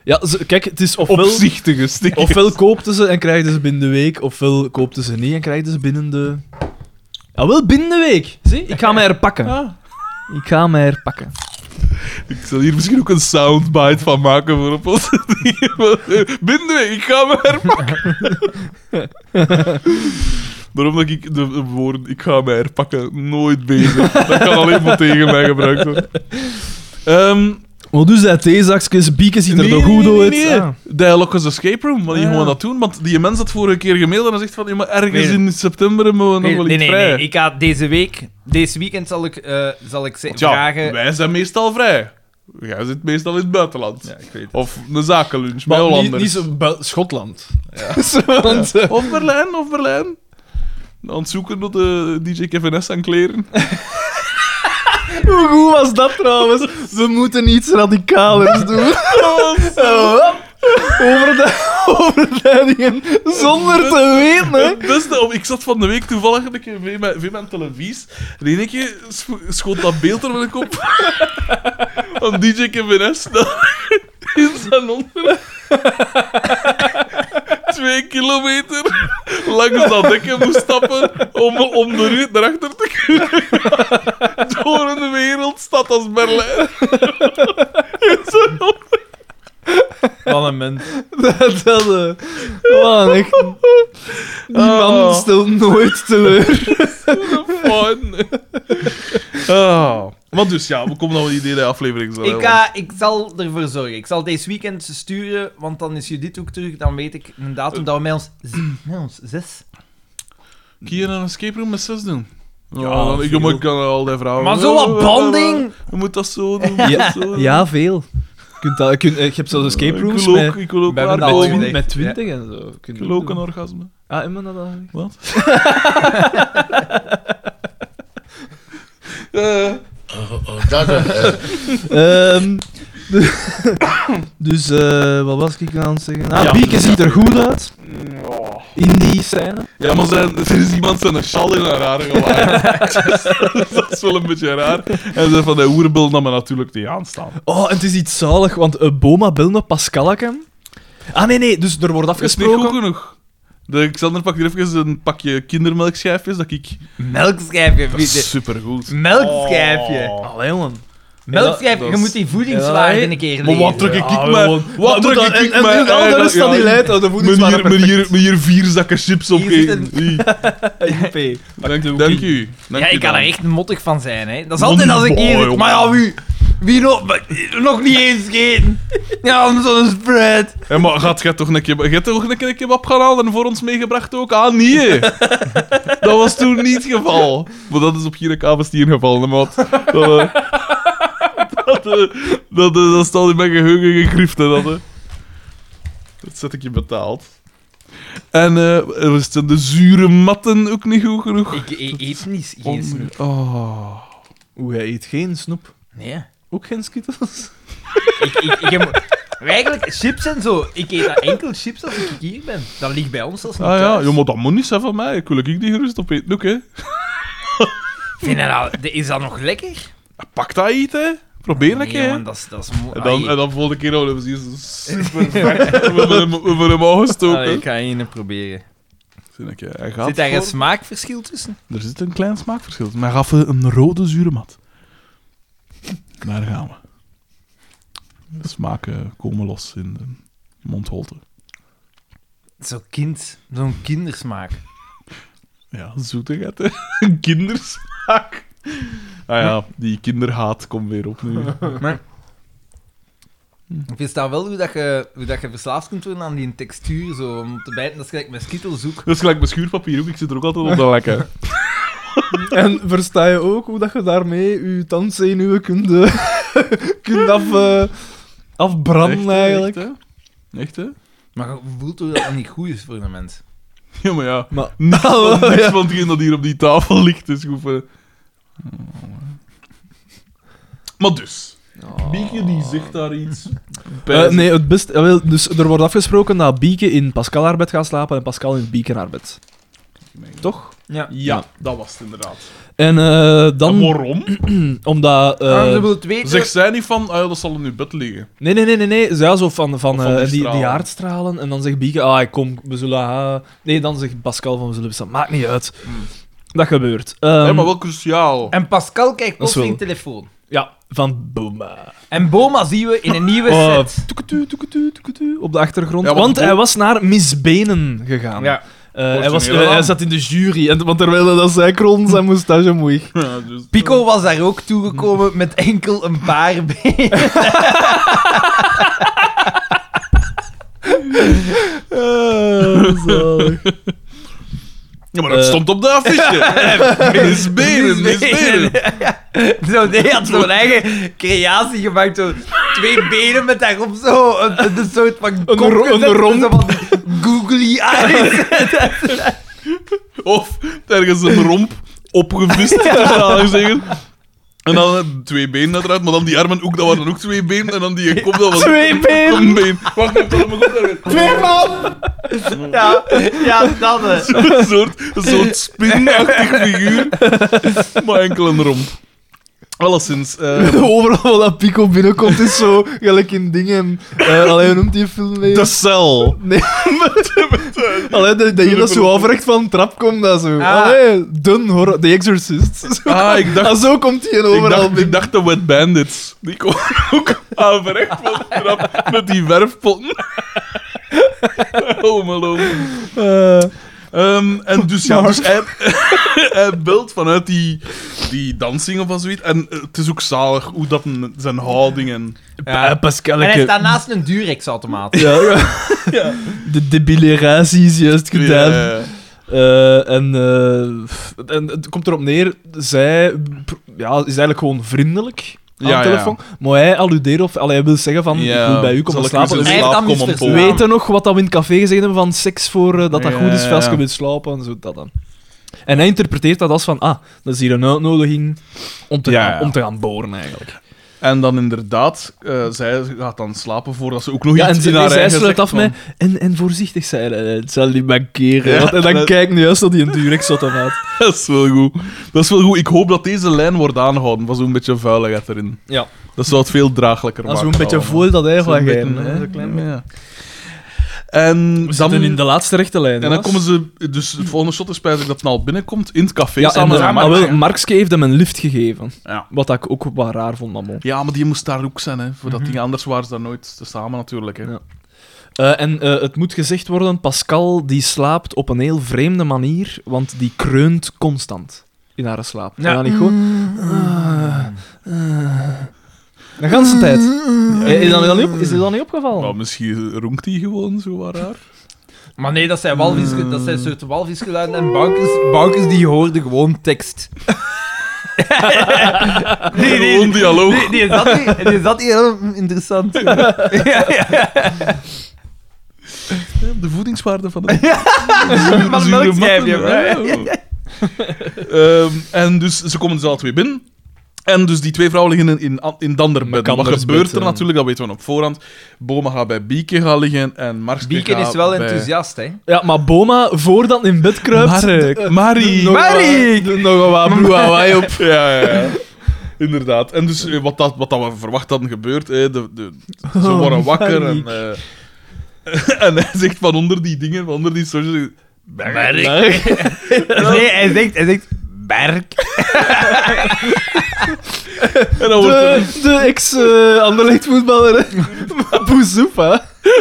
C: Ja, ze- kijk, het is ofwel...
B: Opzichtige stik.
C: Ofwel koopten ze en krijgden ze binnen de week, ofwel koopten ze niet en krijgden ze binnen de... Ja, wel binnen de week. Zie, ik ga mij herpakken. Ik ga mij herpakken.
B: Ik zal hier misschien ook een soundbite van maken voor op [LAUGHS] ons. Binden, ik ga me herpakken. [LAUGHS] Daarom dat ik de woorden ik ga me herpakken nooit bezig. Dat kan alleen maar tegen mij gebruikt worden. Ehm
C: Maar dus dat theezakjes, bieken ziet er nog goed
B: nee,
C: uit.
B: nee, nee.
C: Ah.
B: Die Lockers Escape Room, wat die
A: Ah.
C: Ja.
B: gewoon dat doen. Want die mens had vorige keer gemaild en hij zegt van, ja, maar ergens
A: Nee.
B: in september hebben we nog
A: Nee,
B: wel
A: nee,
B: iets
A: nee,
B: vrij.
A: nee. Ik ga deze week, deze weekend zal ik, eh, zal ik ze-
B: Want ja,
A: vragen...
B: wij zijn meestal vrij. Jij zit meestal in het buitenland.
A: ik weet
B: Of een zakenlunch met
C: Maar niet,
B: Hollanders.
C: niet zo bel- Schotland. [LAUGHS] Zo, want, eh,
B: [LAUGHS] Of Berlijn, of Berlijn. Aan het zoeken naar de DJ Kevin S. aan [LAUGHS] kleren.
C: hoe goed was dat trouwens? Ze moeten iets [LAUGHS] radicalers doen.
B: Oh,
C: Zo, hop. Over de overleidingen, zonder te weten. Hè.
B: Het beste, om- ik zat van de week toevallig een keer bij mijn, bij mijn televisie. En in één keer scho- schoot dat beeld er wel een [LAUGHS] kop van DJ Kevin S. [LAUGHS] dat in zijn [LAUGHS] onder. Twee kilometer langs dat dekje moest stappen om, om de rit erachter te kunnen. gaan. [LAUGHS] Door een wereldstad als Berlijn. In zijn onder.
A: Wat een mens.
C: [LAUGHS] Dat, dat, eh, man, echt. Die man
B: Oh.
C: stelt nooit teleur.
B: fun. Ah. Maar dus ja, we komen dan wel idee de aflevering zo.
A: Ik, ga, ik zal ervoor zorgen. Ik zal deze weekend sturen, want dan is Judith ook terug. Dan weet ik een datum dat we met ons, z- met ons zes.
B: Kun je een escape room met zes doen? Oh, Ja,
C: Ja,
B: dan, ik,
C: veel.
B: maar ik kan al die vragen. Oh,
A: Maar zo wat bonding!
B: Je moet dat zo doen. je moet dat zo doen.
C: veel. Je, kunt dat, je, kunt, eh, je hebt zelfs escape
B: ik
C: rooms
B: wil ook,
C: met,
B: ik wil ook
A: Bij
B: daar
A: mijn
B: komen.
A: natuurlijk.
B: Ik
C: met 20 en zo. Kun je
B: wil ook
C: doen.
B: een orgasme.
C: Ah, immer dat eigenlijk?
B: Wat? Eh,
D: Dat, eh, eh,
C: Ehm, de- dus eh, wat was ik aan het zeggen? Ah,
B: Ja.
C: Bieke ziet er goed uit
B: ja.
C: in die scène.
B: Ja, maar zijn, er is iemand zijn sjaal in haar haar [LAUGHS] gewaaid. Dus dat is wel een beetje raar. En ze van de oerbel nam me natuurlijk niet aanstaan.
C: Oh, en het is iets zalig, want eh, Boma belde met Pascalaken. Ah nee, nee, dus er wordt
B: Dat is niet goed
C: afgesproken.
B: genoeg. De Xander pakt hier even een pakje kindermelkschijfjes dat ik...
A: Melkschijfje,
B: Dat is
A: vrienden.
B: supergoed.
A: Melkschijfje.
C: Allee jongen.
A: Melkschijfje, je
B: dat is-
A: moet die voedingswaarde
C: Ja,
A: een keer
B: Maar
A: lezen.
B: wat trek ik mij... Wat trek ik mij...
C: En, en, en
B: eigen-
C: daar is dan
B: ja,
C: die leid, oh, de
B: Met
C: voedingswaarde
B: hier, met, hier, met hier vier zakken chips op
A: Hier zit
B: één.
A: [LAUGHS]
B: Oei.
C: perfect. IP.
B: Dank, dank u. Dank
A: Ja,
B: u
A: ik kan
B: dan.
A: er echt mottig van zijn, hè. Dat is
B: Money
A: altijd als ik hier
B: boy,
A: zit, Maar ja,
B: jongen.
A: wie... Wie nog... Nog niet eens gegeten. Ja, zo'n spread.
B: Hé, maar gaat jij toch een kebab, jij hebt toch een keer een kebab gaan halen en voor ons meegebracht ook? Ah, nee.
A: [LAUGHS]
B: hè. dat was toen niet het geval. Maar dat is op hier kabels die een geval, hè, maat. Dat, eh, dat, eh, dat, eh, dat staat in mijn geheugen gegrift, hè, dat, hè. Dat zet ik je betaald. En eh was de zure matten ook niet goed genoeg?
A: Ik e- eet niet, geen snoep.
B: Oh.
C: Oeh, hij eet geen snoep.
A: Nee.
C: Ook geen skittles.
A: Ik, ik, ik heb... [LAUGHS] Eigenlijk, chips en zo. Ik eet dat enkel chips als ik hier ben. Dat ligt bij ons als niet
B: Ah ja,
A: thuis.
B: ja, maar dat moet niet zijn van mij. Ik wil ik die gerust op eten ook, hè.
A: Vind je dat... Is dat nog lekker?
B: Pak dat eten, hè. Probeer een
A: Nee,
B: keer. hè.
A: jongen, dat is... Dat is mo-
B: En dan,
A: Ai.
B: en dan volgende keer oh, dat is
A: [LAUGHS]
B: super vet. We hebben hem, we hebben hem al
A: Allee, ik
B: gestoken.
A: ga één proberen.
B: Zie ik, eh, Hij gaat
A: Zit daar een
B: voor-
A: smaakverschil tussen?
B: er zit een klein smaakverschil. tussen, Maar hij gaf een rode zure mat. Daar gaan we. De smaken komen los in de mondholte.
A: Zo'n kind. Zo'n kindersmaak.
B: Ja, zoetigheid, hè. [LAUGHS] Een kindersmaak. Ah ja, die kinderhaat komt weer
C: [LAUGHS]
B: op nu.
A: Ik vind dat wel hoe, dat je, hoe dat je verslaafd kunt worden aan die textuur, zo, om te bijten. Dat is gelijk met Skittles ook.
B: Dat is gelijk mijn schuurpapier ook. Ik zit er ook altijd op te
C: [LAUGHS]
B: lekken.
C: en versta je ook hoe dat je daarmee je tandzenuwen kunt, eh, [LAUGHS] kunt af, eh, afbranden,
B: Echt, hè,
C: eigenlijk.
B: Echt, hè? Echt, hè? [LAUGHS]
A: Maar je voelt hoe dat dat niet goed is voor een mens.
B: Ja, maar ja.
C: Maar-
B: Niks, van,
C: Oh,
B: niks
C: ja.
B: van hetgeen dat hier op die tafel [LAUGHS] ligt is goed voor- Maar dus. Bieke die zegt daar iets. bij.
C: Oh. Eh, nee, het best, jawel, dus er wordt afgesproken dat Bieke in Pascal haar bed gaat slapen en Pascal in Bieke haar bed. Toch?
A: Ja.
B: Ja, dat was het inderdaad.
C: En eh, dan,
B: En waarom?
C: omdat... eh,
A: Ah, ze wil het weten.
B: Zegt
C: [LAUGHS]
B: zij niet van, ah ja, dat zal in uw bed liggen.
C: nee, nee, nee, nee, nee. Zij zo van, van,
B: Of van
C: eh,
B: die
C: die, die,
B: stralen.
C: aardstralen. En dan zegt Bieke, ah, ik kom, we zullen... ah. nee, dan zegt Pascal van, we zullen bestaan. Maakt niet uit. Dat gebeurt. Ehm,
B: Hé, maar wel cruciaal.
A: En Pascal kijkt
C: Dat
A: op
C: is
A: zijn
C: wel-
A: telefoon.
C: Ja, van eh. Boma.
A: En Boma zien we in een nieuwe
C: Oh,
A: set.
C: toeketu, toeketu, toeketu, op de achtergrond.
B: Ja, want
C: want
B: Bo-
C: hij was naar Miss Benen gegaan.
A: Ja.
C: Eh,
B: Wordt
C: hij, was,
B: een hele
C: eh, hij
B: naam.
C: zat in de jury, en, want terwijl hij dat zei, krolde zijn moustache moeig.
B: [LAUGHS] Ja, dus-
A: Pico was daar ook toegekomen met enkel een paar [LAUGHS] benen.
C: [LAUGHS]
B: Ja, maar dat
C: Eh.
B: stond op de affiche. Eh, Miss Beren,
C: dus
B: Miss Beren.
A: [LAUGHS] Zo, nee, hij had zo'n eigen creatie gemaakt. Zo, twee benen met daarop zo een, een soort van kop
C: ro- een
A: gezet,
C: romp.
A: Zo van die
C: [LAUGHS]
A: googly eyes.
B: Of ergens een romp opgevist, zou ik zeggen. En dan eh, twee benen eruit, maar dan die armen ook, dat waren ook twee benen. En dan die kop, dat was
C: Twee benen!
B: een been. Wacht, ik heb dat allemaal goed uit.
A: Ja, ja, dat is.
B: Een soort, een soort spinachtig figuur, maar enkel een romp. Alleszins, eh
C: Overal waar dat Pico binnenkomt is zo gelijk in dingen. Eh
B: [LAUGHS]
C: alleen noemt die film mee.
B: de cel.
C: Nee, alleen dat dat je dat zo afrecht van een trap komt, dat zo.
A: Ah.
C: Allee, dun horror, The Exorcist. Zo,
B: Ah, ik dacht,
C: Ah, zo komt hij
B: ik
C: overal
B: dacht,
C: binnen.
B: ik dacht de Wet Bandits. Die komen [LAUGHS] ook aanverrecht van de trap met die werfpotten. Oh, malone.
C: Eh,
B: Ehm, en dus ja,
C: Mark.
B: dus hij, [LAUGHS] hij belt vanuit die, die dansing of wat zoiets. En eh, het is ook zalig hoe dat een- zijn houding en...
A: Ja.
C: eh, Pascal,
A: En hij
C: ik-
A: staat naast een Durex-automaat.
C: Ja, [LAUGHS] ja. De debileratie is juist gedaan.
B: Ja,
C: Eh, en, eh, pff, en het komt erop neer, zij pr- ja, is eigenlijk gewoon vriendelijk aan
B: Ja,
C: de
B: ja.
C: telefoon. Maar hij alludeert of allee, hij wil zeggen van,
B: Ja,
C: ik wil bij u
B: zal
C: komen
B: ik
C: slapen.
B: eens in
A: Hij
C: We
A: heeft
B: slaap
A: dat
B: komen,
A: mis
B: Paul?
A: verstaan.
C: weten nog wat dat we in het café gezegd hebben van seks voor eh, dat dat
B: Ja,
C: goed is,
B: ja,
C: als je
B: ja.
C: wilt slapen en zo. Dat dan. En hij interpreteert dat als van, ah, dat is hier een uitnodiging om te,
B: Ja,
C: gaan,
B: ja.
C: om te gaan boren eigenlijk.
B: En dan inderdaad, eh, zij gaat dan slapen voordat ze ook nog
C: Ja, en
B: iets in
C: ze-
B: haar
C: zij
B: eigen
C: sluit
B: zegt
C: af
B: van-
C: met, en, en voorzichtig zijn, en het zal niet mankeren.
B: Ja,
C: want- en dan
B: dat-
C: kijk ik nu juist dat hij een Durex zat aan had.
B: [LAUGHS] Dat is wel goed. Dat is wel goed. Ik hoop dat deze lijn wordt aangehouden van zo'n beetje vuiligheid erin.
C: Ja.
B: Dat zou het veel draaglijker
C: Als
B: maken.
C: we een beetje
B: allemaal.
C: voel dat hij
B: Zo'n
C: van
B: beetje,
C: gaan, hè.
B: hè, een klein beetje. En
C: We
B: dan,
C: zitten in de laatste rechte lijn.
B: en dan
C: helaas.
B: komen ze... Dus het volgende shot is spijtig dat het al binnenkomt in het café
C: Ja, en,
B: samen
C: eh,
B: met
C: maar
B: Mark.
C: wel, Markske heeft hem een lift gegeven.
B: Ja.
C: Wat ik ook wel raar vond, maar bon.
B: ja, maar die moest daar ook zijn, hè. Voordat
C: Mhm.
B: die anders waren ze daar nooit te samen natuurlijk, hè.
C: Ja. Eh, en eh, het moet gezegd worden, Pascal die slaapt op een heel vreemde manier, want die kreunt constant in haar slaap. Ja.
A: Ja.
C: dat niet goed? De ganse tijd. Eh, Is dat, dan niet op- is dat dan niet opgevallen?
B: Maar misschien ronkt die gewoon zo wat raar.
A: Maar nee, dat zijn, walvis, dat zijn soorten walvisgeluiden en bankers, bankers die hoorden gewoon tekst. nee, nee,
B: Gewoon
A: nee,
B: dialoog.
A: nee, nee, is dat niet, nee, is dat niet heel interessant? ja, ja.
B: De voedingswaarde van de...
A: Maar
B: Zure
A: melk schrijf je,
B: matten,
A: hè?
B: ja. Ehm, en dus ze komen dus alle twee binnen. En dus die twee vrouwen liggen in, in, an- in Danderbed. Wat
A: dus
C: Mekandersbed,
B: gebeurt er
C: ja.
B: natuurlijk, dat weten we op voorhand. Boma gaat bij Bieke gaan liggen en Marks
A: Bieken is wel enthousiast, hè?
C: Ja, maar Boma, voordat hij in bed kruipt...
A: [LAUGHS]
C: eh,
B: Marie. Marie.
C: nog wat- Nog wat broer hawaai op.
B: Ja, ja, ja. Inderdaad. En dus eh, wat, dat, wat dat we verwacht hadden gebeurt, eh, de, de, ze
C: Oh,
B: worden wakker en,
C: Marie.
B: eh, [LAUGHS] en hij zegt van onder die dingen, van onder die socials... Merk.
A: Nee, hij zegt, hij zegt Berk.
B: En dan wordt er-
C: De, de ex-Anderlecht-voetballer. Boezoep, hè.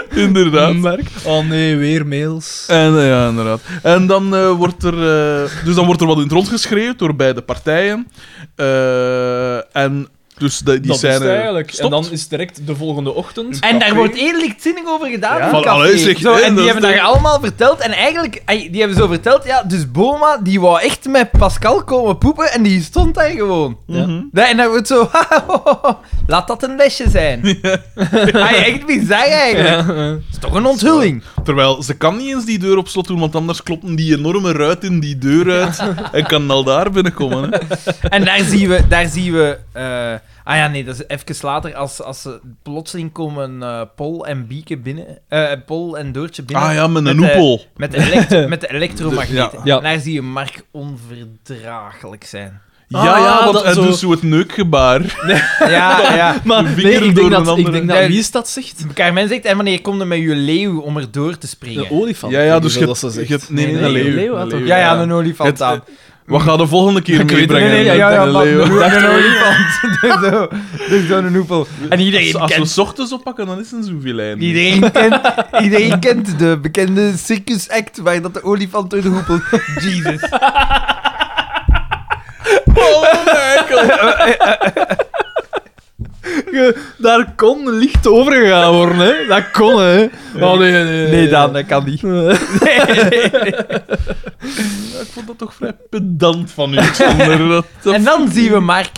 C: [LAUGHS]
B: inderdaad...
C: Mark. Oh nee, weer mails.
B: En, eh, ja, inderdaad. En dan, eh, wordt er, eh, dus dan wordt er wat in het rond geschreeuwd door beide partijen. Eh, en dus de- die
C: dat
B: scène
C: is het eigenlijk.
B: stopt.
C: En dan is het direct de volgende ochtend. [LAUGHS]
A: En daar
B: Café.
A: wordt heel lichtzinnig over gedaan.
B: Ja.
A: in
B: Van,
A: café.
B: allee, zeg,
A: zo,
B: hè,
A: en
B: dat
A: die
B: is
A: hebben
B: toch-
A: daar allemaal verteld. En eigenlijk, ai, die hebben zo verteld, ja, dus Boma, die wou echt met Pascal komen poepen en die stond daar gewoon.
B: Mhm.
A: Nee, en dan wordt zo, [LAUGHS] laat dat een lesje zijn.
B: [LAUGHS]
A: Ai, echt bizar eigenlijk.
C: eh,
A: Dat is toch een onthulling.
B: Terwijl ze kan niet eens die deur op slot doen, want anders kloppen die enorme ruit in die deur uit en kan al daar binnenkomen. Hè.
A: En daar zien we, daar zien we eh, ah ja, nee, dat is even later, als, als ze plotseling komen eh Pol en Bieke binnen, eh, Pol en Doortje binnen.
B: Ah ja, met een
A: eh,
B: hoepel.
A: Met de,
B: [LAUGHS]
A: elekt- met de elektromagneet.
B: Dus, Ja.
C: Ja.
A: En Daar zie je Mark onverdraaglijk
B: [LAUGHS]
A: zijn.
C: Ah,
B: ja,
C: ja,
B: want
C: dat
B: hij
C: zo-
B: doet zo het neukgebaar.
A: Ja, [LAUGHS] ja.
C: Maar
B: De
C: nee,
B: vinger
C: ik
B: door
C: denk
B: een
C: dat, ik
B: andere.
C: denk dat
A: Ja.
C: wie is dat zegt?
A: Carmen zegt, en wanneer komt er met je leeuw om er door te
C: De
A: springen?
C: olifant.
B: Ja, ja, dus
C: Zo
B: je
C: dat
B: hebt...
C: ze
B: je
C: zegt.
B: hebt- Nee, nee,
C: Nee,
B: een
C: nee,
B: leeuw.
C: leeuw,
B: Een
C: had
B: leeuw,
C: toch-
A: ja, ja, een olifant
B: Het-
A: aan.
B: Wat gaat de volgende keer
C: weet het
B: meebrengen?
A: Nee, nee, ja,
B: Een
A: ja,
B: leeuw.
A: maar [LAUGHS] een olifant. [LAUGHS] Dus zo- Dus zo'n hoepel. En
B: Als,
A: iedereen
B: als we
A: kent,
B: s ochtends oppakken, dan is het zo'n filijn.
A: iedereen, kent, iedereen kent de bekende circus act waar dat de olifant door de hoepel...
B: [LAUGHS]
A: Jesus.
C: Je- Daar kon licht over gegaan worden, hè. Dat kon, hè. Oh, nee, nee, nee.
A: Nee, Daan, dat kan
C: [LAUGHS]
A: niet.
B: Ja, ik vond dat toch vrij pedant van u,
C: [LAUGHS]
B: Xander. Dat, dat-
A: [LAUGHS] En dan zien we Mark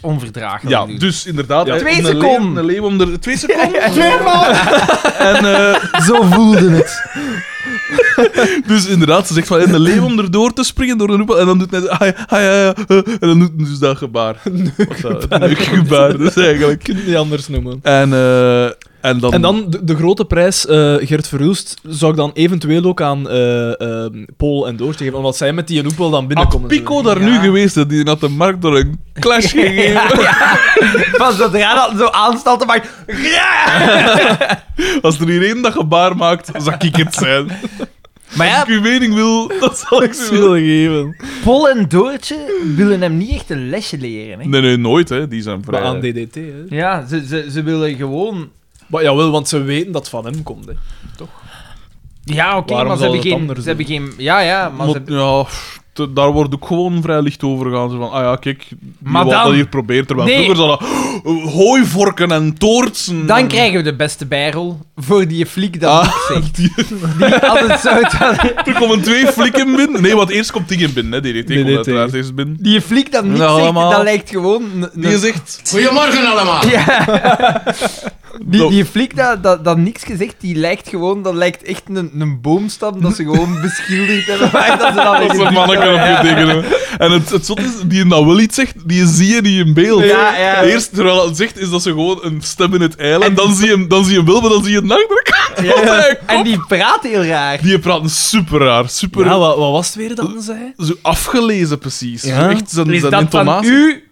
A: onverdraaglijk
B: Ja,
A: doen.
B: dus inderdaad.
A: Ja.
B: hè,
A: Twee
B: een
A: seconden.
B: leeuw- Een leeuw om de... Twee seconden? eh,
A: En, Zo voelde het.
B: Dus inderdaad, ze zegt van, en een leeuw om erdoor te springen door een hoepel. En dan doet hij... Ah, ja, ah, ja, ja, eh, en dan doet hij dus dat gebaar. Wat dat- Een neukgebaar, dus eigenlijk.
C: Je kunt het niet anders noemen.
B: En, eh, en dan...
C: En dan de, de grote prijs, eh, Gert Verhulst, zou ik dan eventueel ook aan eh ehm, Paul en Doortje geven, omdat zij met die hoepel dan
B: Had
C: binnenkomen.
B: Pico daar nu geweest, hè, die had de markt door een clash gegeven.
A: Pas zodra dat zo aanstalt te maken.
B: Als er hier één dat gebaar maakt, zal ik het zijn.
A: Maar
B: Als
A: ja,
B: ik uw mening wil, dat zal ik
C: Ik
B: ze
C: wil
B: willen.
C: geven.
A: Pol en Doortje willen hem niet echt een lesje leren. Hè?
B: Nee, nee, nooit, hè. Die zijn vrij.
C: Maar aan DDT, hè.
A: Ja, ze, ze, ze willen gewoon.
C: Maar jawel, want ze weten dat het van hem komt, hè.
A: Ja, oké,
C: Waarom
A: maar ze
C: zouden
A: hebben,
C: het
A: geen,
C: anders
A: ze hebben geen. Ja, ja, maar ze
B: Maar, ja, pff, te- daar wordt ook gewoon vrij licht over gegaan. Zo van, ah ja, kijk,
A: Maar
B: maar wat
A: dan-
B: dat hier probeert. Terwijl
A: Nee.
B: vroeger zat dat hooivorken en toortsen.
A: Dan
B: [LAUGHS] en-
A: krijgen we de beste bijrol voor die fliek dat
B: Ah,
A: Nick zegt. Die, altijd zo het-
B: Er komen twee flikken binnen. Nee, want eerst komt Dingen binnen, hè. DDT, komt
C: DDT.
B: uiteraard eerst binnen.
A: die fliek dat Nick
B: Nou,
A: zegt,
B: allemaal.
A: dat lijkt gewoon... een-
B: Die
A: een-
B: zegt...
D: Goedemorgen allemaal.
A: Ja. Die,
B: Dat-
A: die flik dat, dat, dat niks gezegd, die lijkt gewoon, dat lijkt echt een, een boomstam dat ze gewoon beschilderd hebben. Maar dat ze dat
B: [LAUGHS] Dat is een manneke op je tekenen. En het, het zot is, die nou wel iets zegt, die zie je niet in beeld.
A: Ja, ja.
B: Eerst, terwijl het zegt, is dat ze gewoon een stem in het eiland. En dan zie je hem, dan zie je hem wel, maar dan zie je het nachtruk.
A: Ja.
B: Wat een kop.
A: En die praat heel raar.
B: Die praten super raar, super
C: Ja, wat, wat was het weer dat ze zei?
B: zo afgelezen precies.
C: Ja?
B: Echt zijn,
A: Is
B: zijn
A: dat van
B: intonatie.
A: u?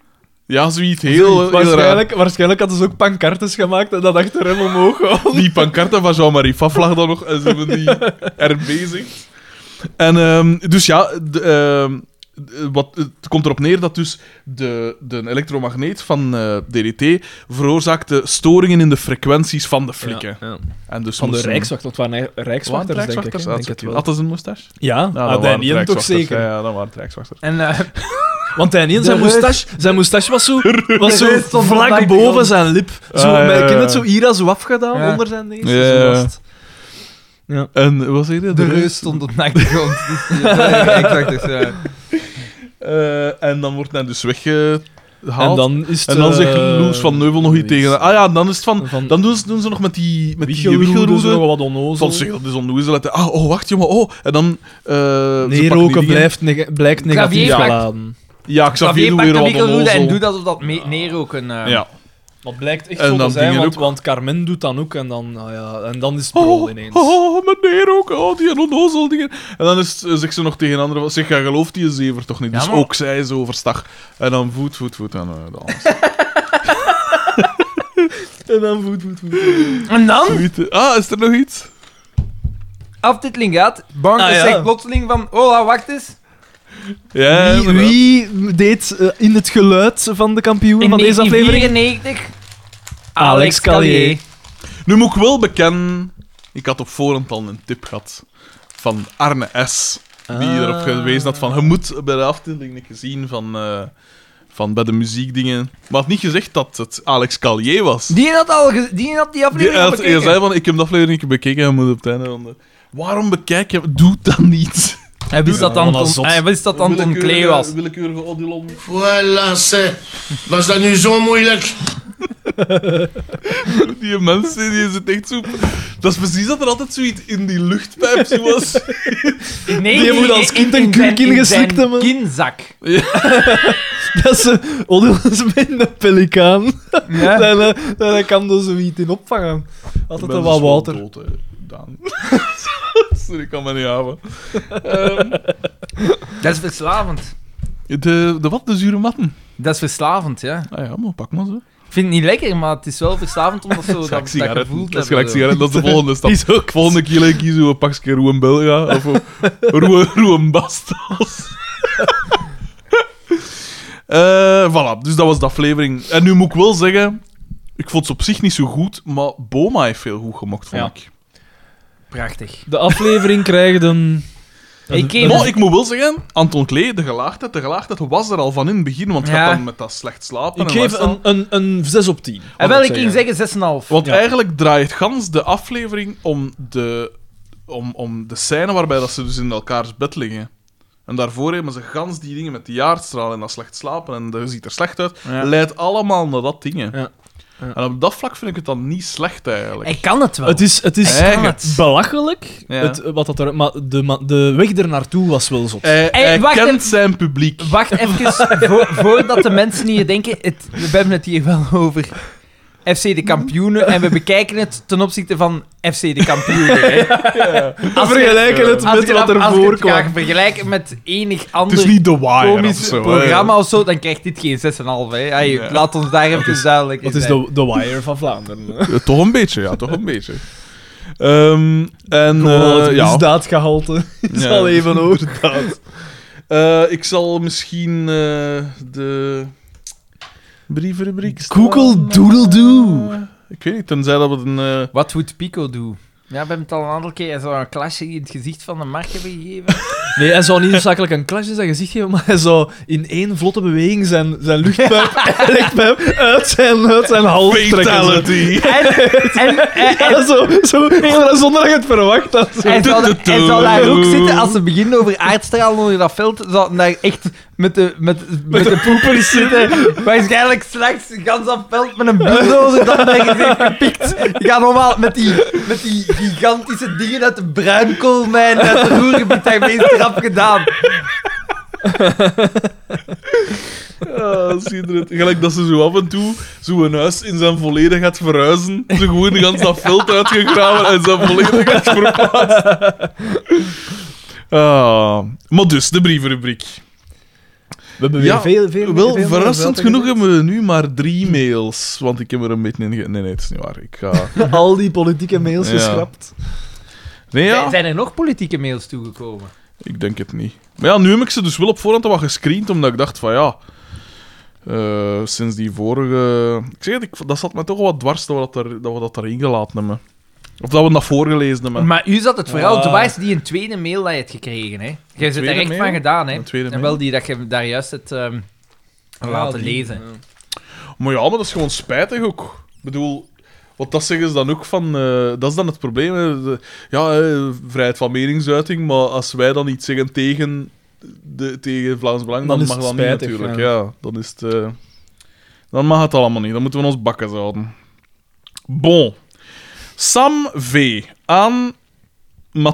B: Ja, zoiets heel, heel raar.
C: Waarschijnlijk, waarschijnlijk hadden ze ook pancartes gemaakt en dat achter hem omhoog gehaald.
B: Die pancarta van Jean-Marie Pfaff lag dan nog en ze hebben
A: [LAUGHS]
B: die erbij zegt. En ehm, dus ja, de, ehm, de- wat, het komt erop neer dat dus de, de elektromagneet van eh, DDT veroorzaakte storingen in de frequenties van de flikken. En dus
C: Van de
B: moesten-
C: Rijkswacht, want het waren
B: Waren het
C: Rijkswachters, denk ik.
B: Rijkswachters?
C: hè?
B: Ah,
C: Denk het wel.
B: Hadden ze een moustache?
C: Ja,
B: Ja,
C: ah,
B: dat
C: de
B: waren
C: Nien toch
B: Rijkswachters.
C: zeker.
B: Ja, ja, dat waren het Rijkswachters.
A: En [LAUGHS] eh,
C: Want hij niet, zijn
A: De reus.
C: moustache, zijn moustache was [LAUGHS] zo, was zo
A: reus stond op de
C: vlak boven
A: grond.
C: zijn lip. Zo,
B: Ah, ja,
C: maar ik
B: ja,
C: ken
B: ja.
C: het zo hier zo afgedaan
A: Ja.
C: onder zijn neus.
B: Ja,
C: Zo
B: ja,
C: was
B: ja.
C: het.
B: Eh, En wat zeg je?
A: de reus stond op naakt [LAUGHS] grond. Dus, die- ja, exact, dus, ja.
B: Eh, en dan wordt hij dus weggehaald.
C: En dan is het...
B: En dan
C: eh,
B: zegt Loes van Neuvel nog iets tegen. Ah ja, dan is het van.
C: Van-
B: Dan doen ze, doen ze nog met die, met die
C: Wichelroede, zo
B: wichelroede.
C: nog wat onnozel.
B: Van zich, dat is onnoezel. uit de- Ah, oh, wacht jongen. Oh, en dan. eh, ze
C: Nee,
B: pakken die
C: roken
B: dingen.
C: blijft neg- blijkt negatief
A: Xavier pakt-
C: geladen.
B: Ja, Xavier
A: Xavier
B: doet
A: pakt de
B: weer wat onnozel.
A: microdoelen en doet alsof dat mee, neerroken. eh.
B: Ja.
C: Dat blijkt echt
B: En
C: zo
B: dan
C: te zijn,
B: dingen
C: want,
B: ook.
C: want Carmen doet dan ook en dan, ah ja, en dan is het prol
B: Oh,
C: ineens.
B: oh, meneer ook. Oh, die onnozel dingen. En dan is, eh, zegt ze nog tegen anderen. van, Zeg, jij gelooft die zever toch niet?
A: Ja,
B: Dus
A: maar-
B: ook zij is overstag. En dan voet, voet, voet. En eh, dan.
C: En dan voet, voet, voet.
A: En dan,
B: Zoiets. Ah, is er nog iets?
A: aftiteling gaat, Barnes
C: Ah, ja.
A: zegt plotseling van, hola, wacht eens.
B: Ja,
C: Wie,
B: inderdaad.
C: wie deed eh, in het geluid van de kampioen
A: In
C: van deze aflevering?
A: 1994,
C: Alex Callier.
B: Nu moet ik wel bekennen, ik had op voorhand al een tip gehad van Arne S. Die
C: Ah.
B: erop gewezen had van, je moet bij de afdeling niet gezien van, eh, van bij de muziekdingen. Maar had niet gezegd dat het Alex Callier was. Die,
A: Die had, al ge- die had die aflevering al
B: hij had- hij
A: bekeken.
B: zei van, ik heb de aflevering bekeken en moet op het einde van de- Waarom bekijk je... Doe dat niet.
A: Hij wist dat
C: Ja,
A: Anton,
C: wat een zot.
A: hij wist dat Anton
B: Willekeurige-
A: Klee was.
B: Willekeurige Odilon.
D: Voilà, c'est. Was dat nu zo moeilijk?
B: Die mensen, die zitten echt zo... Dat is precies dat er altijd zoiets in die luchtpijp zo was.
A: Nee,
C: Die moet
A: in- in-
C: als kind een
A: in zijn-
C: kurk ingeslikt
A: in zijn
C: hebben.
A: kinzak.
C: Dat ze onderwijs met een pelikaan. [LAUGHS]
A: Ja.
C: En eh, daar kan er zoiets in opvangen. Altijd
B: Dat
C: een wat water.
B: Dood, hè, Daan. [LAUGHS] Sorry, ik kan me niet houden. Ehm,
A: Dat is verslavend.
B: de, de wat? De zure matten?
A: Dat is verslavend, ja.
B: Ah ja, maar pak maar zo.
A: Ik vind het niet lekker, maar het is wel verslavend omdat zo dat,
B: Dat
A: dat
B: is gelijk
A: gevoel
B: sigaretten.
A: te
B: Dat
A: hebben,
B: is gelijk
A: zo.
B: sigaretten. Dat is de volgende stap.
C: is ook
B: Volgende keer kiezen we een pakje Roem Belga of een Roe- Roem Bastos. [LAUGHS] Eh, voilà, dus dat was de aflevering. En nu moet ik wel zeggen, ik vond ze op zich niet zo goed, maar Boma heeft veel goed gemokt, vond
C: Ja.
B: ik.
A: Prachtig.
C: De aflevering krijgt een...
A: Ik ken-
B: Maar ik moet wel zeggen, Anton Klee, de gelaagdheid, de gelaagdheid was er al van in het begin, want je
A: Ja.
B: gaat dan met dat slecht slapen.
C: Ik
B: en
C: geef
B: wat is dat?
C: een, een, een 6 op 10.
A: En Ah, wel, ik
C: Wat
A: ging
C: zeggen.
A: zeggen 6,5.
B: Want
C: Ja.
B: eigenlijk draait gans de aflevering om de, om, om de scène waarbij dat ze dus in elkaars bed liggen. En daarvoor hebben ze gans die dingen met de jaarstraal en dat slecht slapen en dat ziet er slecht uit.
A: Ja.
B: Leidt allemaal naar dat dingen.
C: Ja. Ja.
B: En op dat vlak vind ik het dan niet slecht eigenlijk.
A: Hij kan het wel.
C: Het is, het is
B: Eigen.
C: belachelijk,
B: Ja.
C: het, eh, wat dat er, maar de, ma- de weg ernaartoe was wel zot.
B: Hij,
A: Hey,
B: hij
A: wacht
B: kent
A: even.
B: zijn publiek.
A: Wacht even, [LAUGHS] vo- voordat de mensen hier denken, het, we hebben het hier wel over FC de kampioenen en we bekijken het ten opzichte van FC de kampioenen.
C: [LAUGHS]
A: hè.
C: We vergelijken het
A: Als
C: met
A: je
C: wat
A: dat- als je
C: ervoor
A: het
C: kwam.
A: gaat vergelijken met enig
B: Het is
A: ander
B: niet de wire of
A: komisch
B: zo. hè.
A: programma of zo, dan krijgt dit geen 6,5. Hè. Hey,
B: Ja.
A: Laat ons daar even duidelijk in
C: Dat is
A: zijn.
C: de, de wire van [LAUGHS] Vlaanderen.
B: Eh, Toch een beetje, ja,
C: [LAUGHS]
B: toch een beetje. Ehm, en
C: Gewoon
B: eh,
C: het
B: ja.
C: misdaadgehalte [LAUGHS] is
B: Ja.
C: al even over.
B: Eh, ik zal misschien eh, de brievenrubriek staan.
C: Google Doodle Doo.
B: Eh, ik weet niet, tenzij dat we een... eh,
A: What would Pico do? Ja, we hebben het al een aantal keer zo een klasje in het gezicht van de markt hebben gegeven.
C: Nee, hij zou niet noodzakelijk een klasje in zijn gezicht geven, maar hij zou in één vlotte beweging zijn, zijn [LAUGHS] luchtpijp, luchtpijp uit zijn, uit zijn hals trekken. zo.
B: Fatality!
A: En, en, en- en-
C: Ja, zo, zo, heel zonder dat je het verwacht had.
A: Hij zou,
B: Tututu.
A: hij zou daar ook zitten als ze beginnen over aardstralen onder dat veld. Zou hij daar echt met de, met, met de poepers zitten. Waarschijnlijk straks gans dat veld met een bulldozer dat mijn gezicht gepikt. Ik ga normaal met die, met die gigantische dingen uit de bruinkoolmijn uit het roergebied heb ik deze trap gedaan.
B: [LAUGHS] Ja, schitterend. Gelijk dat ze zo af en toe zo'n huis in zijn volledig gaat verhuizen. Ze gewoon gans dat veld uitgegraven en zijn volledig gaat verplaatst.
C: [LAUGHS]
B: Ah, maar dus, de brievenrubriek.
C: We hebben weer
B: Ja,
C: veel, veel...
B: Wel,
C: veel-
B: verrassend
C: veel-
B: genoeg hebben we nu maar drie mails. Want ik heb er een beetje in... ge- Nee, nee, het is niet waar. Ik [LAUGHS] ga...
C: Al die politieke mails
B: Ja.
C: geschrapt.
B: Nee, ja.
A: Zijn er nog politieke mails toegekomen?
B: Ik denk het niet. Maar ja, nu heb ik ze dus wel op voorhand wat gescreend, omdat ik dacht van ja... eh, sinds die vorige... Ik zeg het, ik, dat zat me toch wat dwars dat we dat, er, dat, we dat erin gelaten hebben. Of dat we dat voorgelezen hebben.
A: Maar u zat het vooral
C: Ah.
A: dwijs die een tweede mail dat je hebt gekregen, hè? Jij zit er
B: tweede
A: echt
B: mail?
A: van gedaan, hè?
B: Een tweede
A: En wel die dat je daar juist hebt ehm, laten
C: die,
A: lezen.
B: Maar ja, maar dat is gewoon spijtig ook. Ik bedoel, want dat zeggen ze dan ook van... eh, dat is dan het probleem. hè. De- ja, eh, vrijheid van meningsuiting, maar als wij dan iets zeggen tegen, de, tegen Vlaams Belang, dan,
C: Dan is
B: mag
C: het
B: dat
C: spijtig,
B: niet natuurlijk. Ja.
C: ja.
B: dan is het... eh, dan mag het allemaal niet. Dan moeten we ons bakken houden. Bon. Sam V. aan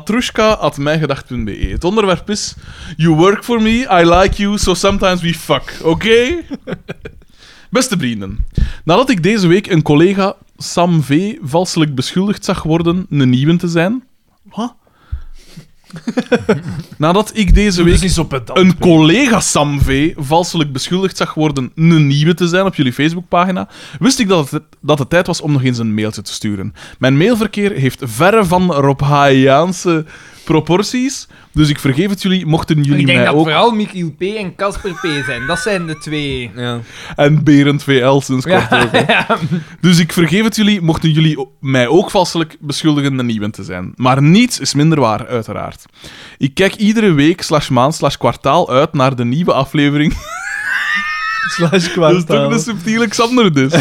B: matrushka.mijgedacht.be. E. Het onderwerp is... You work for me, I like you, so sometimes we fuck. Oké? Beste vrienden, nadat ik deze week een collega Sam V. valselijk beschuldigd zag worden een nieuwe te zijn. Wat? nadat ik deze week
C: is op het
B: een collega Sam V. valselijk beschuldigd zag worden een nieuwe te zijn op jullie Facebookpagina, wist ik dat het, dat het tijd was om nog eens een mailtje te sturen. Mijn mailverkeer heeft verre van Rob Haayaanse proporties, dus ik vergeef het jullie mochten jullie
A: Ik denk
B: mij
A: dat
B: ook...
A: vooral Michiel P. en Casper P. zijn. Dat zijn de twee.
C: Ja.
B: En Berend VL sinds kort ook.
A: [LAUGHS]
B: hè. Dus ik vergeef het jullie, mochten jullie o- mij ook valselijk beschuldigen een nieuwe te zijn. Maar niets is minder waar, uiteraard. Ik kijk iedere week, slash maand, slash kwartaal uit naar de nieuwe aflevering
C: [LAUGHS] Slash
B: dat is Dus toch
C: kwartaal.
B: de subtiele Xander dus.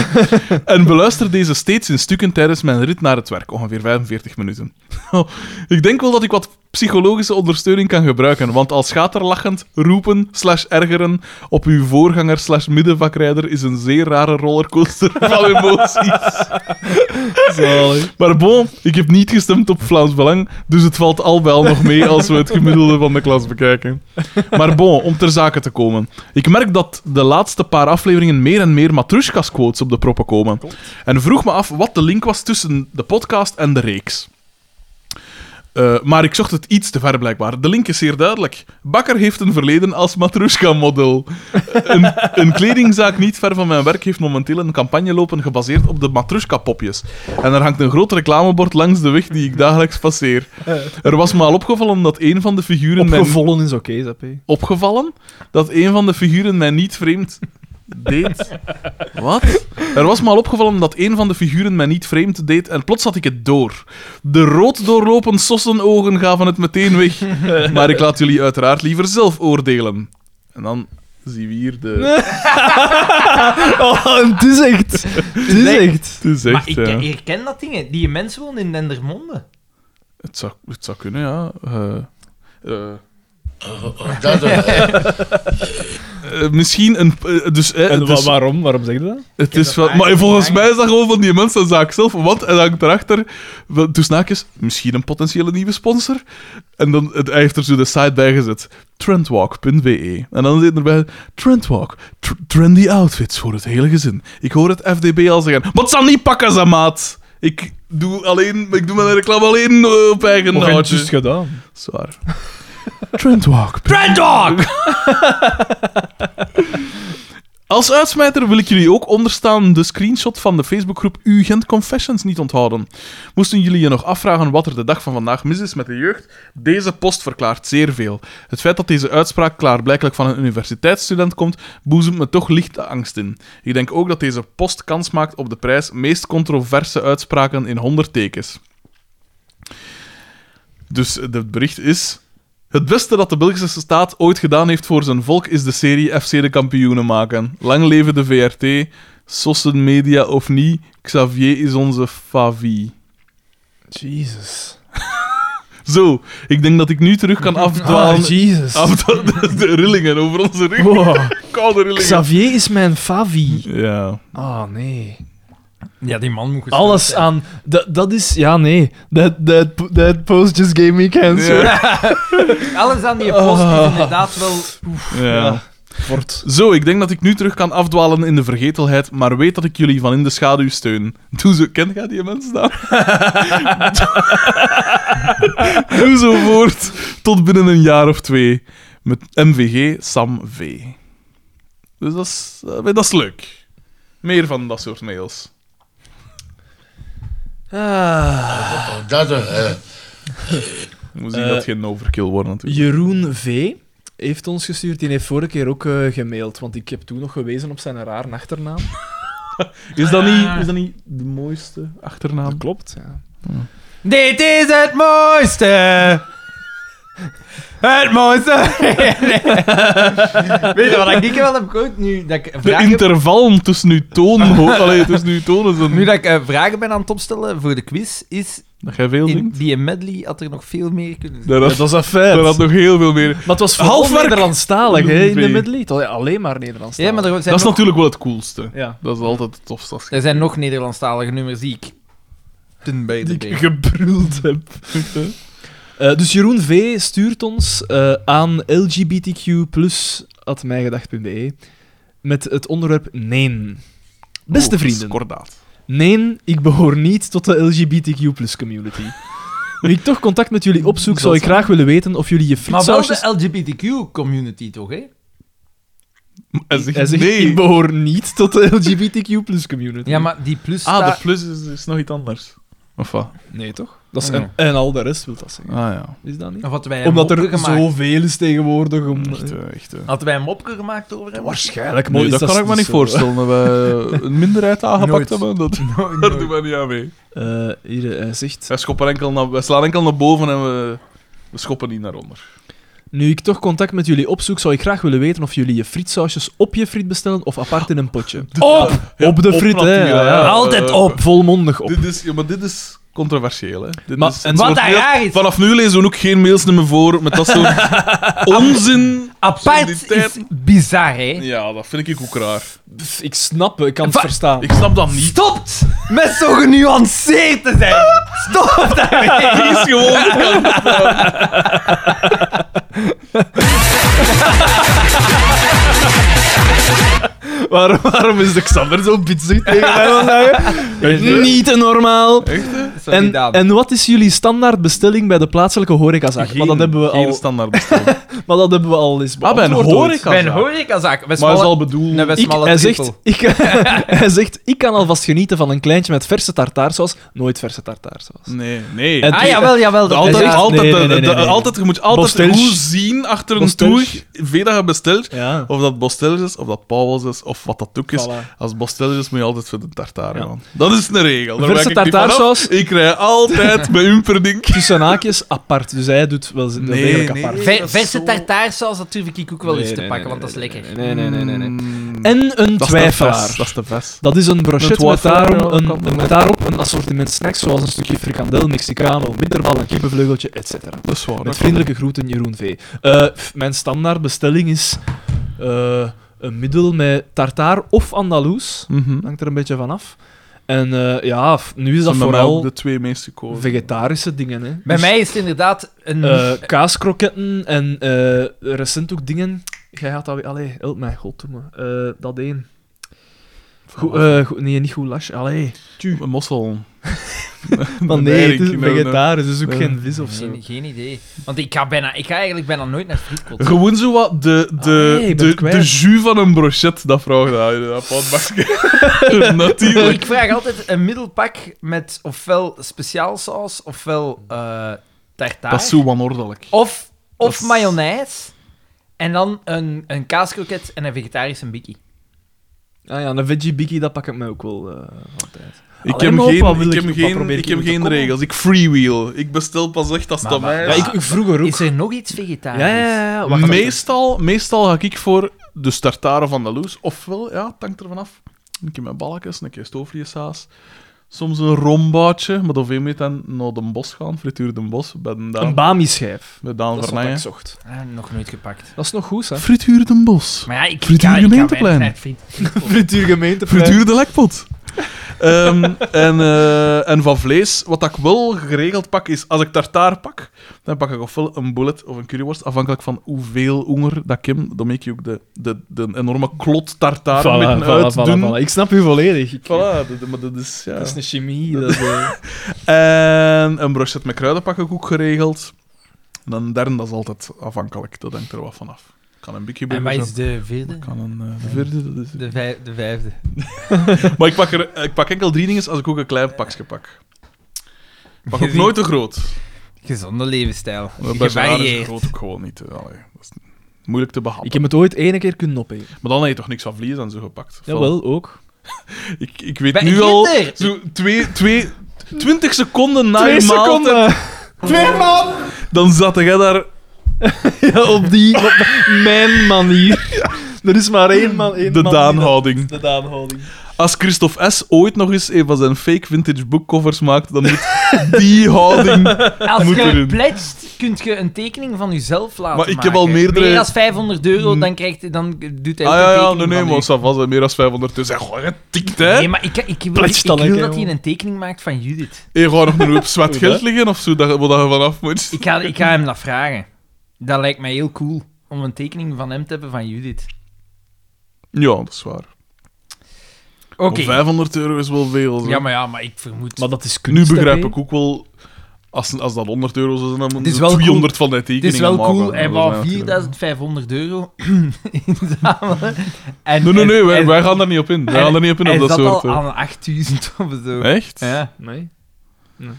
B: en beluister deze steeds in stukken tijdens mijn rit naar het werk, ongeveer 45 minuten. [LAUGHS] ik denk wel dat ik wat psychologische ondersteuning kan gebruiken, want als schaterlachend roepen slash ergeren op uw voorganger slash middenvakrijder is een zeer rare rollercoaster [LAUGHS] van emoties.
C: Zalig.
B: Maar bon, ik heb niet gestemd op Vlaams Belang, dus het valt al wel nog mee als we het gemiddelde van de klas bekijken. Maar bon, om ter zake te komen. Ik merk dat de laatste paar afleveringen meer en meer matrushkas quotes op de proppen komen. En vroeg me af wat de link was tussen de podcast en de reeks. Eh, maar ik zocht het iets te ver blijkbaar. De link is zeer duidelijk. Bakker heeft een verleden als matrushka-model. Eh, Een, een kledingzaak niet ver van mijn werk heeft momenteel een campagne lopen gebaseerd op de matrushka-popjes. En er hangt een groot reclamebord langs de weg die ik dagelijks passeer. Er was me al opgevallen dat een van de figuren mij
C: Opgevallen is oké, Zap. hè.
B: opgevallen dat een van de figuren mij niet vreemd deed. Wat? Er was me al opgevallen dat een van de figuren mij niet vreemd deed en plots had ik het door. De rood doorlopen sossenogen gaven het meteen weg. Maar ik laat jullie uiteraard liever zelf oordelen. En dan zien we hier de...
C: [LAUGHS] Oh, het is echt. Het is
A: Nee.
C: echt.
B: Het is
A: Maar
B: echt,
A: ik
B: ja.
A: herken dat dingen. Die mensen wonen in Dendermonde.
B: het, zou, het zou kunnen, ja. Eh, eh,
D: Dat, eh,
B: eh, misschien een... eh, dus, eh,
C: En
B: het
C: wa-
B: is-
C: waarom? Waarom zeg je dat?
B: Het is
A: dat
B: wel, maar
A: eigenlijk
B: volgens
A: niet
B: mij is dat gewoon van die mensen zaak zelf. Want hij hangt erachter, wel, dus naakjes, misschien een potentiële nieuwe sponsor. En dan, het, hij heeft er zo de site bij gezet. Trendwalk.be. En dan zit erbij, Trendwalk, tr- trendy outfits voor het hele gezin. Ik hoor het FDB al zeggen, maar het zal niet pakken, ze maat. Ik doe, alleen, ik doe mijn reclame alleen eh, op eigen
C: Nog
B: houtje.
C: juist gedaan.
B: Zwaar. Trendwalk.
A: Brandog!
B: Als uitsmijter wil ik jullie ook onderstaan de screenshot van de Facebookgroep UGent Confessions niet onthouden. Moesten jullie je nog afvragen wat er de dag van vandaag mis is met de jeugd? Deze post verklaart zeer veel. Het feit dat deze uitspraak klaarblijkelijk van een universiteitsstudent komt, boezemt me toch licht angst in. Ik denk ook dat deze post kans maakt op de prijs meest controverse uitspraken in 100 tekens. Dus eh, het bericht is... Het beste dat de Belgische staat ooit gedaan heeft voor zijn volk is de serie FC de kampioenen maken. Lang leven de VRT, Sossen Media of niet, Xavier is onze favie.
C: Jesus.
B: Zo, ik denk dat ik nu terug kan
C: [LAUGHS]
B: afdwalen. [LAUGHS]
C: Ah, Jesus.
B: afdwa- de, de rillingen over onze rug.
C: Wow.
B: Koude rillingen.
C: [LAUGHS] Xavier is mijn favi.
B: Ja.
C: Ah, nee.
A: Ja, die man moet gespeeld
C: Alles
A: zijn.
C: aan... Dat, dat is... Ja, nee. That, that, that post just gave me cancer.
B: Ja.
A: Alles aan die post is inderdaad wel...
B: ja.
C: Fort.
B: Zo, ik denk dat ik nu terug kan afdwalen in de vergetelheid, maar weet dat ik jullie van in de schaduw steun. Doe zo, ken jij die
A: [LAUGHS]
B: mensen daar? Doe zo voort, tot binnen een jaar of twee. Met MVG Sam V. Dus dat is, eh, dat is leuk. Meer van dat soort mails.
C: Ah,
D: Dat, eh,
B: Moet
A: Eh,
B: zien dat geen overkill wordt natuurlijk.
C: Jeroen V. heeft ons gestuurd. Die heeft vorige keer ook eh, gemaild, want ik heb toen nog gewezen op zijn raar achternaam.
B: Is dat niet, is dat niet de mooiste achternaam?
C: klopt, ja.
A: Dit is het mooiste! Het mooiste! [LAUGHS] Nee, nee. Weet je wat ik dikke wel heb gehoord? Nu dat ik
B: De
A: vragen,
B: interval tussen uw tonen... ho- Allee, tussen uw tonen...
A: nu
B: Zijn...
A: dat ik eh, vragen ben aan het opstellen voor de quiz, is
B: Dat jij veel
A: in
B: zingt.
A: die medley had er nog veel meer kunnen zijn.
B: Daar had-
C: Dat was een
B: daar
C: feit.
B: had nog heel veel meer...
C: Maar het was
B: vooral
C: half Nederlandstalig, hè, in de
B: Nee.
C: Middle East. Allee, Alleen maar Nederlandstalig.
A: Ja, maar er zijn,
B: Dat is
A: nog,
B: natuurlijk wel het coolste.
C: Ja.
B: Dat is altijd het tofste. als je-
A: er zijn nog Nederlandstalige nummers die ik ten beide
C: Die ik [LAUGHS] gebruld heb. Eh, dus Jeroen V. stuurt ons eh, aan lgbtq E met het onderwerp nee. Beste
B: Oh, dat is
C: vrienden.
B: Kordaat.
C: Nee, ik behoor niet tot de LGBTQ community. Nu ik toch contact met jullie opzoek, zou ik graag willen weten of jullie je
A: Maar wel
C: frietsausjes...
A: de LGBTQ-community toch, hè?
B: Hij zegt,
C: Hij zegt,
B: nee.
C: ik behoor niet tot de LGBTQ community.
A: Ja, maar die plus
B: Ah,
A: staat-
B: de plus is, is nog iets anders. Of wat?
C: Nee, toch? Dat is
A: Ah, ja.
C: en, en al de rest wil dat
B: Ah
C: zeggen.
B: ja.
C: Is dat niet?
A: Of hadden wij een
C: Omdat
A: mopje
C: er
A: gemaakt?
C: zoveel is tegenwoordig om...
B: Echt, eh, echt. eh.
A: Hadden wij een mopje gemaakt over hem?
C: Waarschijnlijk, maar
B: Nee,
C: is
B: dat kan ik me
C: dus
B: niet
C: zo.
B: voorstellen. Dat wij een minderheid aangepakt
A: Nooit.
B: hebben. Dat,
A: Nooit,
B: daar
A: nooit.
B: doen wij niet aan mee.
C: Eh, hier, eh, hij zegt...
B: Wij, schoppen enkel naar, wij slaan enkel naar boven en we, we schoppen niet naar onder.
C: Nu ik toch contact met jullie opzoek, zou ik graag willen weten of jullie je frietsausjes op je friet bestellen of apart in een
B: [LAUGHS]
C: potje.
A: Op!
C: op de
B: op
C: friet, hè.
B: natuurlijk, ja.
C: Altijd
B: Eh,
C: op. Volmondig op.
B: Dit is, ja, maar dit is controversieel, hè. Dit
C: Maar-
B: is,
C: en
A: Wat
B: vanaf
A: daar
B: nu-
A: raar is.
B: Vanaf nu lezen we ook geen mails meer voor met dat soort onzin.
A: Apart is
B: Absurditeit.
A: bizar, hè?
B: Ja, dat vind ik ook raar.
C: Pff, ik snap het, ik kan het
A: Va-
C: verstaan.
B: Ik snap dat niet.
A: Stopt met zo genuanceerd te zijn! Stop
C: [LAUGHS]
A: daarmee!
B: is gewoon.
C: Waarom, waarom is de Xander zo bitsig tegen mij vandaag? Niet te normaal.
B: Echt, hè?
C: En, en wat is jullie standaard bestelling bij de plaatselijke horecazaak? maar, dat hebben we
B: geen
C: al,
B: standaard
C: [LAUGHS]
B: bestelling.
C: maar dat hebben we al eens
B: Ah, bij een
C: beantwoord ooit.
B: horecazaak.
A: Bij een horecazaak.
B: maar is al bedoeld.
A: Een
C: Ik,
A: Westmalle
C: hij,
A: trippel.
C: zegt, ik,
B: [LAUGHS]
C: [LAUGHS] hij zegt, ik kan alvast genieten van een kleintje met verse tartaarsaus. Nooit verse tartaarsaus.
B: Nee, nee.
C: En-
A: Ah, jawel, jawel. Dat
B: altijd,
A: is echt-
B: altijd,
C: Nee,
B: de-
C: nee, nee,
B: de-
C: nee, nee.
B: altijd, je moet altijd
C: Bostelch.
B: goed zien achter een
C: Bostelch.
B: toer, veel dat je bestelt,
C: Ja.
B: of dat Bostelch is, of dat Pauwels is, of wat dat ook is.
C: Voilà.
B: Als Bostelch is, moet je altijd voor de tartare
C: Ja.
B: gaan. Dat is een regel. Daar
C: Verse
B: wijk ik niet
C: tartaarsaus.
B: van af. Ik rij
C: [LAUGHS]
B: altijd mijn Umperdink.
C: Tussen haakjes apart. Dus hij doet wel wel
B: Nee,
C: degelijk
B: nee.
C: apart.
A: Ver-
B: dat is
A: Verse
B: zo-
A: tartaarsaus, dat durf ik ook wel eens
C: Nee,
A: te
C: nee,
A: pakken,
C: nee,
A: want dat is
C: nee,
A: lekker.
C: Nee, nee, nee, nee. nee, nee.
B: Mm,
C: En een
B: dat is de
C: twijfelaar.
B: vest, Dat is de vest.
C: Dat is een
B: Het
C: brochet met,
B: water,
C: daarom
B: ja, kan
C: een,
B: wel.
C: met daarop een assortiment snacks zoals een stukje frikandel, mexicano, bitterbal, een kippenvleugeltje, etc.
B: Dat is waar.
C: Met
B: dat
C: vriendelijke groeten, Jeroen V. Eh, pff, mijn standaard bestelling is eh, een middel met tartaar of andaloes.
B: kan. Mhm.
C: Hangt er een beetje van af. En eh, ja, f- nu is dat
B: zijn bij mij ook
C: vooral
B: de twee meest gekozen.
C: vegetarische dingen. Hè.
A: Bij
C: Dus,
A: mij is het inderdaad een...
C: eh, kaaskroketten en eh, recent ook dingen. Jij gaat dat weer. Allee, help mij, god doe me. Eh, dat één. Goed, eh, goed- nee, niet goulash. Allee. [LAUGHS]
B: Een mossel.
C: Maar
B: Een nou,
C: nee, het
B: eirik,
C: is
B: no, no.
C: vegetarisch, dus ook
B: Nee.
C: geen vis of zo.
A: Geen, geen idee. Want ik ga, bijna, ik ga eigenlijk bijna nooit naar frietkot.
B: Gewoon zo wat de, de,
C: Ah, nee, ik ben
B: de,
C: het kwijt.
B: de jus van een brochet, dat vraagt hij. Dat potbakje.
C: [LAUGHS]
B: Natuurlijk.
A: Ik vraag altijd een middelpak met ofwel speciaal saus, ofwel eh tartaar.
B: Dat is zo wanordelijk.
A: Of,
B: Dat
A: of
B: is-
A: mayonaise. En dan een, een kaaskroket en een vegetarische bikkie.
C: Ah ja, een veggie bikkie, dat pak ik mij ook wel eh, van tijd.
B: Ik
C: Alleen
B: heb
C: maar op, wat
B: geen,
C: wil
B: ik
C: ik-
B: heb
C: wat
B: geen,
C: probeer ik
B: ik heb
C: hier te
B: geen
C: komen?
B: regels. Ik freewheel. Ik bestel pas echt als het aan mij
C: Ja,
B: is.
C: ik, ik vroeger ook.
A: Is er nog iets vegetarisch?
C: Ja, ja, ja. ja, wacht,
B: meestal, meestal ga ik voor de startaren van de loes. Ofwel, ja, het hangt er vanaf. Een keer met balkjes, een keer stoofvliesaas. soms een rombaatje, maar dan veel meer dan naar de bos gaan, frituur de bos, bij de Daan,
C: Een Bami-schijf.
B: bij
C: Dat is
B: Daan
C: wat ik
B: Verneijen.
C: zocht.
A: Ah, nog nooit gepakt.
C: Dat is nog goed, hè?
B: Frituur de bos.
A: Maar ja, ik
B: Frituur
A: ik ik
B: gemeenteplein.
A: weinig tijd friet-
C: [LAUGHS] Frituur gemeente.
B: Frituur de
C: [LAUGHS]
B: lekpot. Ehm, en, eh, en van vlees, wat dat ik wel geregeld pak, is als ik tartaar pak, dan pak ik ofwel een bullet of een curryworst, afhankelijk van hoeveel honger dat ik heb. Dan maak je ook de, de, de enorme klot tartaar
C: Voilà,
B: midden
C: voilà,
B: uit
C: voilà,
B: doen.
C: voilà. Ik snap u volledig. Ik- eh,
B: Voilà, dat- dat- maar dat is... Ja.
C: Dat is een [LAUGHS] chemie. Dat is, eh,
B: En een brochet met kruiden pak ik ook geregeld. En een derde, dat is altijd afhankelijk. Dat hangt er wat van af. Kan een bikje
A: En wat
B: burger
A: is
B: zijn.
A: de vierde?
B: Kan een eh, de vierde, dat is...
A: De, vijf, de vijfde.
B: Maar ik pak, er, eh, ik pak enkel drie dingen als ik ook een klein pakje pak. Ik pak ook
A: Gezien.
B: nooit te groot.
A: Gezonde levensstijl.
B: Bij zwaar is
A: Gevarieerd.
B: groot ook gewoon niet. eh, allee, dat is moeilijk te behappen.
C: ik heb het ooit ene keer kunnen opeten.
B: Maar dan heb je toch niks van vlees en zo gepakt? Of wel?
C: Jawel, ook.
B: Ik, ik weet
A: Bij
B: nu al...
A: Ginder!
B: Zo twee, twee, twintig seconden na je maaltijd,
C: Twee man!
B: dan zat jij daar...
C: [LAUGHS] Ja, op die... Op mijn manier. [LAUGHS] Er is maar één man. Één
B: De
C: man die dat-
B: Daanhouding.
C: De Daanhouding.
B: Als Christophe S. ooit nog eens een van zijn fake vintage boekcovers maakt, dan moet die
C: [LAUGHS]
B: houding... Ah
A: Als
B: Moet
A: je
B: erin.
A: pletst, kun je een tekening van jezelf laten
B: Maar ik heb
A: maken.
B: al meerdere-
A: Meer dan 500 euro, dan, krijgt, hij- dan doet hij
B: Ah
A: ook een
B: ja, ja,
A: tekening
B: nee, nee,
A: van u.
B: maar ça va, zijn meer dan dus 500 tussen. Goh, getikt, hè?
A: Nee, maar ik, ik, wil, ik,
C: Pletst dan,
A: wil
C: hè,
A: dat hij
C: jongen.
A: een tekening maakt van Judith.
B: Je gaat nog [LAUGHS] een hoop zwart geld liggen of zo, dat, je- waar dat je vanaf moet.
A: Ik ga, ik ga hem dat vragen. Dat lijkt mij heel cool, om een tekening van hem te hebben van Judith.
B: [LAUGHS] Ja, dat is waar.
A: Oké.
B: Maar 500 euro is wel veel. zo.
A: Ja, maar ja, maar ik vermoed...
C: Maar dat is
B: nu
C: kunst,
B: begrijp
C: hè,
B: ik ook wel, als, als dat 100 euro zou zijn, dan
A: is
B: moeten
A: wel
B: we 200 van die
A: het is
B: tekeningen
A: wel
B: maken.
A: cool,
B: Ja,
A: hij
B: dat
A: wou
B: zijn natuurlijk-
A: 4500 euro [LAUGHS] inzamelen. En-
B: Nee, nee,
A: en-
B: nee, wij,
A: en-
B: wij gaan daar niet op in. Wij
A: en-
B: gaan daar niet op in
A: hij
B: op dat
A: zat
B: soort...
A: al
B: eh.
A: aan [LAUGHS] 8000 of zo.
B: Echt?
A: Ja.
C: Nee? Nee.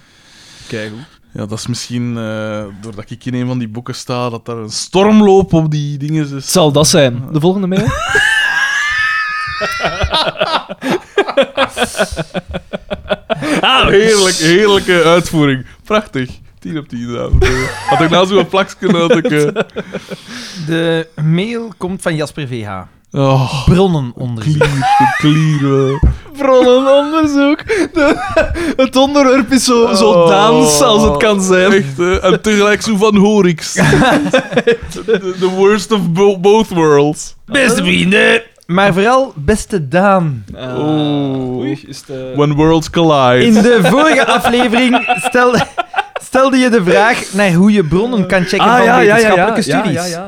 C: Kijk hoe.
B: Ja, dat is misschien, eh, doordat ik in een van die boeken sta, dat er een stormloop op die dingen
C: Het
B: is. Dus
C: zal dat zijn. De volgende [LAUGHS] mail?
A: Ah,
B: Heerlijk, heerlijke uitvoering. Prachtig. 10 op 10, dames. en heren. Had ik nou zo'n plakje, had ik...
A: [LAUGHS]
B: eh,
A: De mail komt van Jasper VH.
B: Oh,
A: bronnenonderzoek.
B: klier, klier. wel.
C: Bronnenonderzoek. De- het onderwerp is zo, zo
B: Oh.
C: dans als het kan zijn.
B: Echt, hè? en tegelijk zo van
A: [LAUGHS]
B: Horix. the, the worst of bo- both worlds.
A: Beste vrienden! Maar vooral beste Daan.
C: Oh.
B: Oeh.
C: Ah. Oei, is eh, de...
B: Oh. When worlds
A: Ah. In
B: collide.
A: de vorige
B: [LAUGHS]
A: aflevering stel- stelde je de vraag naar hoe je bronnen kan checken
B: Ah,
C: Ah,
A: van wetenschappelijke studies.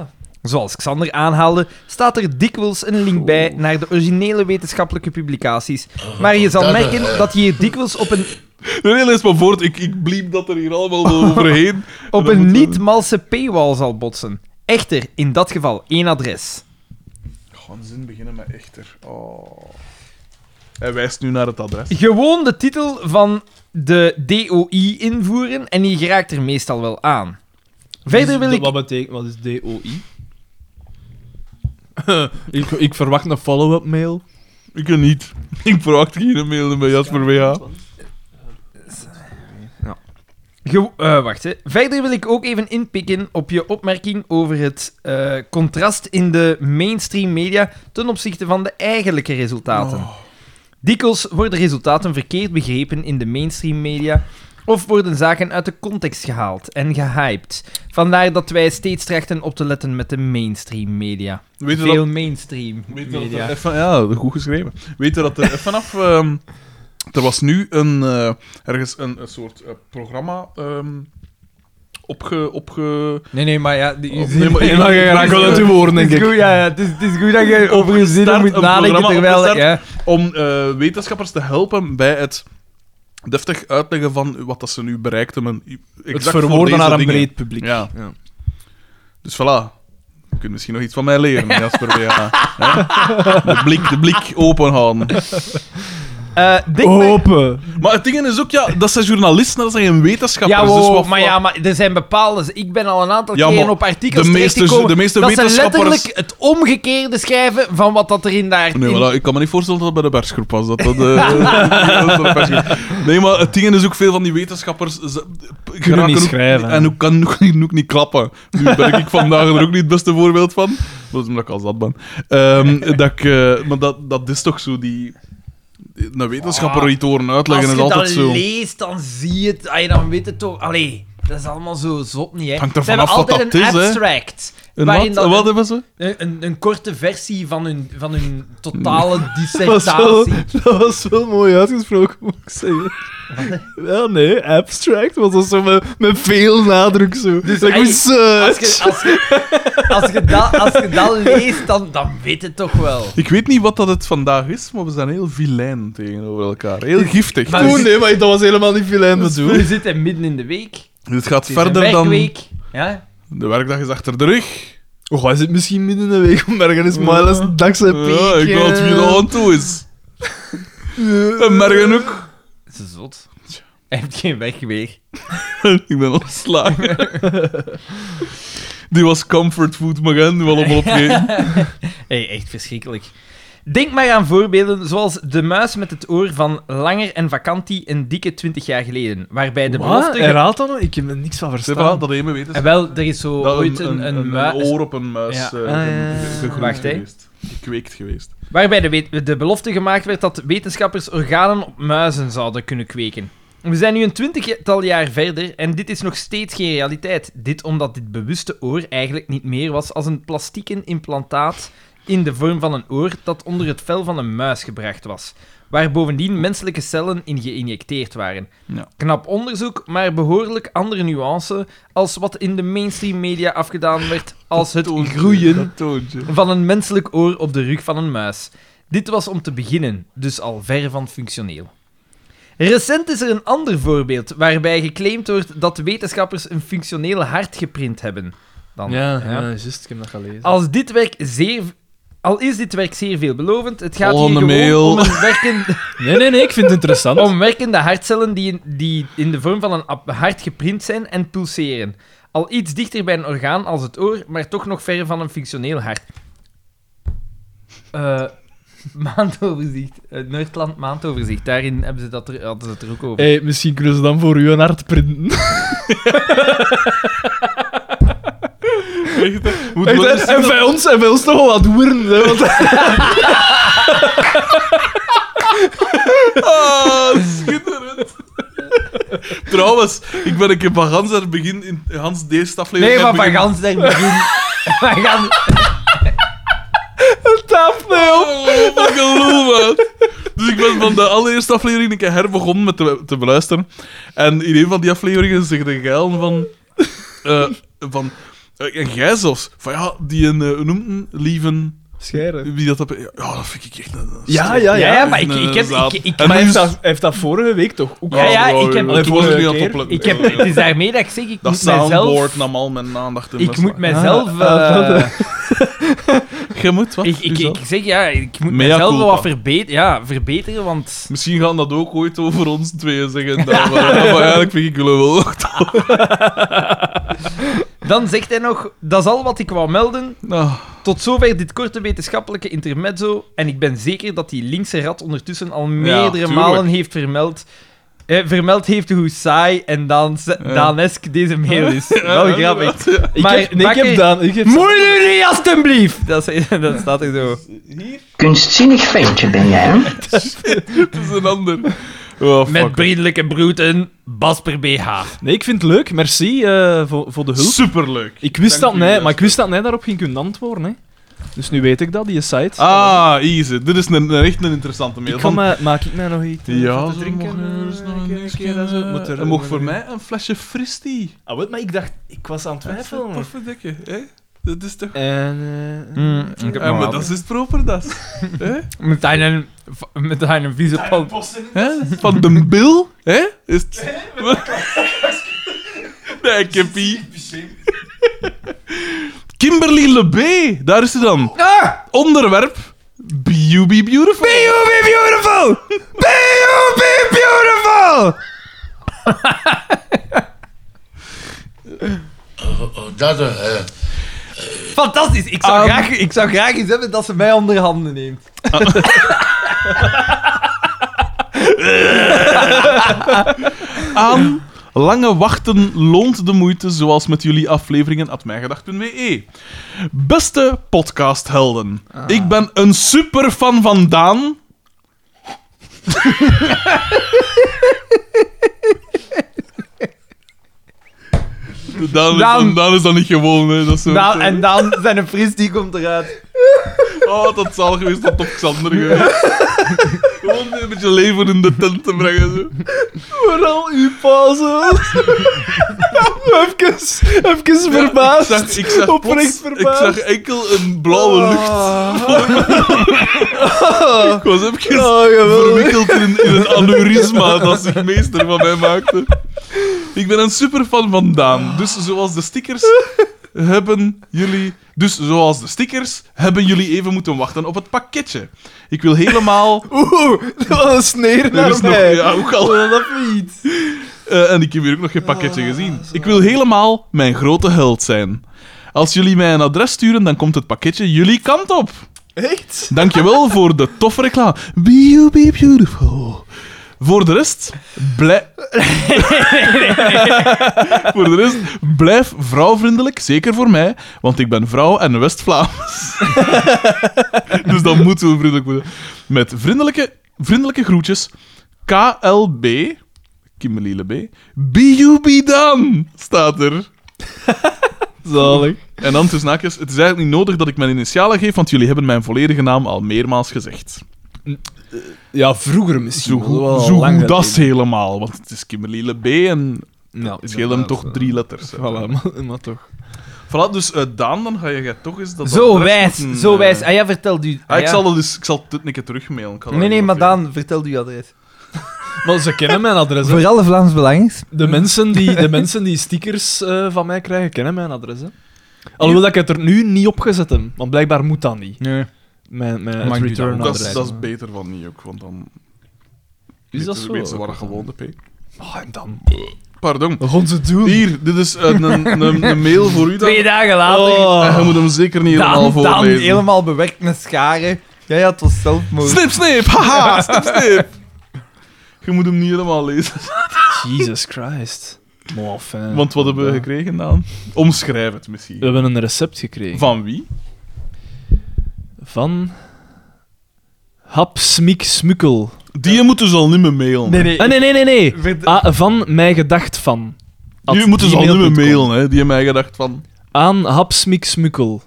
A: Zoals Xander aanhaalde, staat er dikwijls een link
B: Oh.
A: bij naar de originele wetenschappelijke publicaties. Maar je
B: Oh.
A: zal merken dat je hier dikwijls op een,
B: Nee, nee, lees maar voort. Ik, ik bliep dat er hier allemaal wel [LAUGHS] overheen.
A: op
B: Dan
A: een
B: moeten we-
A: niet-malse paywall zal botsen. Echter, in dat geval één adres.
B: Gewoon zin beginnen met echter. Oh. Hij wijst nu naar het adres.
A: Gewoon de titel van de DOI invoeren en je geraakt er meestal wel aan. Verder
B: Dus
A: wil ik...
C: Dus Wat betekent... Wat is DOI? [LAUGHS] ik, ik verwacht een follow-up mail.
B: Ik kan niet. Ik verwacht geen mail bij Jasper WH.
A: Ge- eh, wacht, hè. Verder wil ik ook even inpikken op je opmerking over het eh, contrast in de mainstream media ten opzichte van de eigenlijke resultaten.
B: Oh.
A: Dikwijls worden resultaten verkeerd begrepen in de mainstream media of worden zaken uit de context gehaald en gehyped. Vandaar dat wij steeds trachten op te letten met de mainstream media.
B: Weet je
A: Veel
B: dat...
A: mainstream
B: Weet je dat
A: media.
B: er even, ja, goed geschreven. Weet je dat er [LAUGHS] even af... ehm, er was nu een, eh, ergens een, een soort eh, programma ehm, opge... opge
A: Nee, nee, maar ja... Die,
B: op, Oh, nee, maar-
A: [LAUGHS]
C: Ik mag graag wel uit uw woorden, denk
A: Het is
C: ik.
A: goed, ja, ja, het, is, het is goed dat je over je zinnen
B: Opgestart,
A: moet
B: een
A: nadenken
B: programma
A: terwijl...
B: opgestart.
A: Ja.
B: om eh, wetenschappers te helpen bij het deftig uitleggen van wat dat ze nu bereikt hebben.
C: Het
B: Exact voor deze
C: verwoorden naar een
B: dingen.
C: breed publiek.
B: Ja.
C: Ja.
B: Dus voilà. Je kunt misschien nog iets van mij leren, Jasper BH. Hè? De blik, de blik open houden.
A: Eh,
B: Oh,
A: denk maar-
C: Open.
B: Maar het ding is ook, ja, dat zijn journalisten, dat zijn geen wetenschappers.
A: Ja, wow,
B: dus
A: wow,
B: wat-
A: maar ja, maar er zijn bepaalde... Ik ben al een aantal
B: Ja,
A: keren
B: maar
A: op artikels
B: de meeste-
A: terechtgekomen
B: de meeste
A: dat ze
B: wetenschappers-
A: letterlijk het omgekeerde schrijven van wat dat er in daar...
B: Nee, maar dat- ik kan me niet voorstellen dat dat bij de persgroep was. Dat, dat,
C: [LAUGHS]
B: eh, dat is wel persgroep. nee, maar het ding is ook veel van die wetenschappers... Ze, geraken
C: niet
B: ook-
C: schrijven, hè.
B: En ook kan [LAUGHS] ook, niet- ook niet klappen. Nu ben ik vandaag er ook niet het beste voorbeeld van. Dat is omdat ik al zat ben. Ehm, dat ik, eh, maar dat, dat is toch zo die... een wetenschapper iets horen uitleggen
A: Als
B: is
A: je dat
B: altijd zo.
A: leest, dan zie je het. Ay, dan weet het toch. Allee, dat is allemaal zo zot niet, hè.
B: hangt er
A: Ze hebben
B: vanaf wat
A: altijd
B: dat
A: een
B: is, hè.
A: abstract.
B: Een
A: waarin
B: wat?
A: dat
B: Een wat
A: een-
B: hebben ze?
A: Een, een, een korte versie van hun, van
B: [LAUGHS]
A: hun totale
C: Dat was, wel,
A: dissertatie.
C: dat was wel mooi uitgesproken, moet ik zeggen. Ja, nee, abstract. Want dat was zo met, met veel nadruk zo. Dus ik
A: eigenlijk,
C: moest... eh,
A: Als je, als je, als je, dat, als je dat leest, dan, dan weet het toch wel.
B: Ik weet niet wat dat het vandaag is, maar we zijn heel vilijn tegenover elkaar. Heel giftig.
A: Maar-
B: Dus
C: Oeh, nee, maar dat was helemaal niet filijn bedoeld.
A: We zitten midden in de week. Het
B: dit gaat
A: is
B: verder
A: een
B: dan...
A: werkweek. Ja?
B: De werkdag is achter de rug.
C: Oh, hij zit misschien midden in de week om ergens maar dat is dankzij piek.
B: Ja, ik weet het wie
C: eh.
B: er aan toe is. En morgen ook. [LAUGHS]
A: Het is zot. Hij heeft geen wegweek.
B: Ik ben ontslagen. Die was comfort food, maar gaan nu wel op opgeven.
A: [LAUGHS] Hey, echt verschrikkelijk. Denk maar aan voorbeelden zoals de muis met het oor van Langer en Vakantie een dikke 20 jaar geleden. Waarbij de
C: Wat?
A: belofte... ge-
C: Herhaalt dat nog? Ik heb er niks van
B: Zeg maar,
C: verstaan.
B: dat eenmaal weten.
A: Eh, Wel, er is zo
B: Dat
A: ooit een, een, muis...
B: oor op een muis
A: Ja.
B: eh,
C: Ah, ja.
B: ge- ge- gegroeid
A: Wacht, hè.
B: geweest. Gekweekt geweest.
A: Waarbij de, wet- de belofte gemaakt werd dat wetenschappers organen op muizen zouden kunnen kweken. We zijn nu een twintigtal jaar verder en dit is nog steeds geen realiteit. Dit omdat dit bewuste oor eigenlijk niet meer was als een plastieken implantaat in de vorm van een oor dat onder het vel van een muis gebracht was, waar bovendien menselijke cellen in geïnjecteerd waren.
B: Ja.
A: Knap onderzoek, maar behoorlijk andere nuance als wat in de mainstream media afgedaan werd als het groeien
B: Dat toontje.
A: van een menselijk oor op de rug van een muis. Dit was om te beginnen, dus al ver van functioneel. Recent is er een ander voorbeeld waarbij geclaimd wordt dat wetenschappers een functioneel hart geprint hebben. Dan,
C: Ja, Ah,
A: ja.
C: ja, juist. Ik heb dat gelezen.
A: Als dit werk zeer... Al is dit werk zeer veelbelovend, het gaat
B: Volgende
A: hier gewoon
B: mail.
A: om een werkende...
C: Nee, nee, nee. Ik vind het interessant.
A: Om werkende hartcellen die in, die in de vorm van een ap- hart geprint zijn en pulseren. Al iets dichter bij een orgaan als het oor, maar toch nog ver van een functioneel hart. Eh, [LAUGHS] maandoverzicht. Het Noordland maandoverzicht. Daarin hebben ze dat er, hadden ze het er ook over.
C: Hey, misschien kunnen ze dan voor u een hart printen.
B: Echt, hè? Moet
C: Echt,
B: wel
C: hè?
B: eens-
C: en, bij ons, en bij ons toch wel wat woeren. Hè, want
B: Ah,
A: [LAUGHS]
B: schitterend. Trouwens, ik ben een keer van Gans aan het begin, in Hans deze aflevering...
A: nee, maar
B: aan
A: van
B: het eh,
A: gans
B: begin-
A: der [LAUGHS] begin. Van gans-
C: tafelhulp.
B: Oh, wat geloof, man. Dus ik ben van de allereerste aflevering een keer herbegonnen met te, te beluisteren. En in een van die afleveringen zegt de geil van... eh, van eh, en jij zelfs. Van ja, die een eh, hoe noemt hem? lieven...
C: Scheren.
B: Wie dat... heb- Ja, dat vind ik echt een... een
C: Ja,
B: strop.
A: ja,
C: ja, ja.
A: ja, maar ik, ik heb... Ik, ik,
B: En
C: Maar hij
B: nu
C: heeft,
B: is-
C: dat, hij heeft dat vorige week toch ook
A: Ja, ja, ik heb-
B: Het
A: ik-
B: was er
C: ik-
B: niet aan het
C: ik-
B: opletten.
A: ik heb het is daarmee dat ik zeg, ik
B: Dat
A: moet mezelf...
B: soundboard nam al mijn aandacht in
A: Ik
B: beslag.
A: moet mijzelf...
C: Ah, ah,
A: eh,
B: Je moet wat?
A: ik, ik,
B: Jezelf?
A: ik zeg, ja, ik moet
B: Mea
A: mezelf wel
B: culpa.
A: wat verbeteren, ja, verbeteren, want...
B: Misschien gaan dat ook ooit over ons tweeën zeggen.
A: [LAUGHS]
B: Dan, maar, ja, maar eigenlijk vind ik jullie wel [LAUGHS] ook.
A: Dan zegt hij nog: Dat is al wat ik wou melden.
B: Nou,
A: Tot zover dit korte wetenschappelijke intermezzo. En ik ben zeker dat die linkse rat ondertussen al meerdere
B: tuurlijk.
A: malen heeft vermeld. Eh, vermeld heeft hoe saai en dan
B: Ja.
A: Daanesk deze mail is. Wel grappig.
C: Ik
A: Maar
C: heb, nee, ik
A: Bakker-
C: heb Daan. Ik heb
A: Moei jullie alstublieft! Dat, is- [LAUGHS] dat staat er zo.
E: Kunstzinnig ventje ben jij, hè?
B: het is een ander. Oh, fuck.
A: Met vriendelijke broeten, Basper BH.
C: Nee, ik vind het leuk. Merci eh, voor, voor de hulp.
B: Superleuk.
C: Ik wist
B: Dank
C: dat,
B: u,
C: nee,
B: juist.
C: maar ik wist dat hij daarop ging kunnen antwoorden. Hè. Dus nu weet ik dat, die site.
B: Ah, easy. Dit is een, een- echt een interessante mail.
C: ik ga
B: Van-
C: mij, maak ik mij nog iets eh,
B: ja,
C: van
B: ze
C: te drinken?
B: mogen eens
C: eh,
B: nog
C: een keer,
B: een
C: een keer en zo?
B: keer,
C: Moet
B: eh,
C: er-
B: En mocht voor
C: moet er-
B: mij een flesje fristie.
C: Ah, wat, maar ik dacht, ik was aan het twijfelen.
B: Poffe dikke, hè? Dat is toch...
C: En, eh,
A: ik heb
B: Ja, maar dat is proper, dat. Hè?
A: Met een, met een vieze pan.
B: Hè? Van de bil, hè? Is het... Nee, ik heb hier. Kimberly Lebé, daar is ze dan. Onderwerp: Beauty Beautiful. Beauty Beautiful! Beauty Beautiful!
D: Dat, eh,
A: Fantastisch! Ik zou,
B: Aan-
A: graag, ik zou graag eens hebben dat ze mij onder handen neemt.
B: Aan lange wachten loont de moeite, zoals met jullie afleveringen at mijngedacht.be. e. Beste podcasthelden, ik ben een superfan van Daan. Daan, is-
A: Daan.
B: Daan is dat niet gewoon, hè. Dat is zo...
A: Nou, en dan zijn een fris die komt eruit.
B: Oh, dat zal geweest dat op Xander geweest. Gewoon een beetje leven in de tent te brengen. Zo.
C: Vooral uw
A: [LAUGHS]
C: pauzes. even, even verbaasd.
B: Ik zag, ik zag
C: Oprecht
B: plots-
C: verbaasd.
B: Ik zag enkel een blauwe
A: Oh. Ah.
B: lucht. Ik was even
C: Oh, geweldig.
B: verwikkeld in, in een aneurysma dat zich meester van mij maakte. Ik ben een superfan van Daan. Dus zoals de stickers hebben jullie... Dus zoals de stickers hebben jullie even moeten wachten op het pakketje. Ik wil helemaal...
C: Oeh, [LAUGHS] dat was een sneer
B: Er is
C: naar
B: nog...
C: mij.
B: Ja, ook al...
C: Oh, dat niet.
B: Eh, en ik heb hier ook nog geen pakketje gezien. Ik wil helemaal mijn grote held zijn. Als jullie mij een adres sturen, dan komt het pakketje jullie kant op.
C: Echt?
B: Dankjewel voor de toffe reclame. Be you be beautiful. Voor de rest, blijf... [LAUGHS] voor de rest, blijf vrouwvriendelijk, zeker voor mij, want ik ben vrouw en West-Vlaams. [LAUGHS] dus dat moet wel vriendelijk worden. Met vriendelijke, vriendelijke groetjes, KLB, Kimberly B, Be you be done, staat er.
C: Zalig.
B: En dan tussen haakjes, het is eigenlijk niet nodig dat ik mijn initialen geef, want jullie hebben mijn volledige naam al meermaals gezegd.
C: Ja, vroeger misschien.
B: Zo
C: wel al
B: goed, zo
C: lang
B: goed dat is
C: geleden.
B: helemaal, want het is Kimberly B en
C: Nou,
B: het scheelt hem
C: inderdaad,
B: toch
C: eh,
B: drie letters. hè.
C: Voilà,
B: [LAUGHS]
C: maar, maar toch.
B: Voilà, dus eh, Daan, dan ga je jij toch eens dat...
A: Zo
B: adres
A: wijs,
B: moeten,
A: zo
B: eh,
A: wijs. Ah ja, vertel u.
B: ah,
A: Ah,
B: ik,
A: ja.
B: zal dat dus, ik zal het een keer terugmailen. Ik ga dat
A: Nee, nee,
B: even
A: maar
B: even-
A: Daan, vertel uw adres.
C: Maar ze kennen mijn adres. hè.
A: Voor alle Vlaams Belangers.
C: De mensen die, de mensen die stickers eh, van mij krijgen, kennen mijn adres. Hè? Alhoewel dat ik het er nu niet op gezet heb, want blijkbaar moet dat niet.
A: Nee.
C: Mijn, mijn
A: Mag
C: het
A: niet
C: return
A: doen.
B: Dat is,
C: adres.
B: dat is beter van niet ook, want dan
C: Is dat zo?
B: weten ze waar gewoon de P.
C: Ah, en dan...
B: Pardon.
C: Wat gaan ze doen?
B: Hier, dit is eh, een,
A: [LAUGHS]
B: een, een, mail voor u dan.
A: Twee dagen later.
B: En je
C: Oh.
B: moet hem zeker niet
A: Daan,
B: helemaal
A: Daan,
B: voorlezen.
A: helemaal bewerkt met scharen. Ja, ja, het was zelfmoord.
B: Snip, snip! Haha, snip, snip! Je moet hem niet helemaal lezen.
C: Oh, Jesus Christ. Maar fijn.
B: Want wat hebben we gekregen dan? Omschrijf het
C: We
B: misschien.
C: hebben een recept gekregen.
B: Van wie?
C: Van... Hap Smik Smukkel.
B: Die moeten ze al niet meer mailen.
A: Nee, nee.
C: Ah, nee, nee, nee, nee.
A: Verd-
C: Ah, van mij gedacht van.
B: Die
C: At
B: moeten ze al niet meer
C: gmail.com.
B: mailen, hè. Die hebben mij gedacht van...
C: Aan hapsmiksmukkel.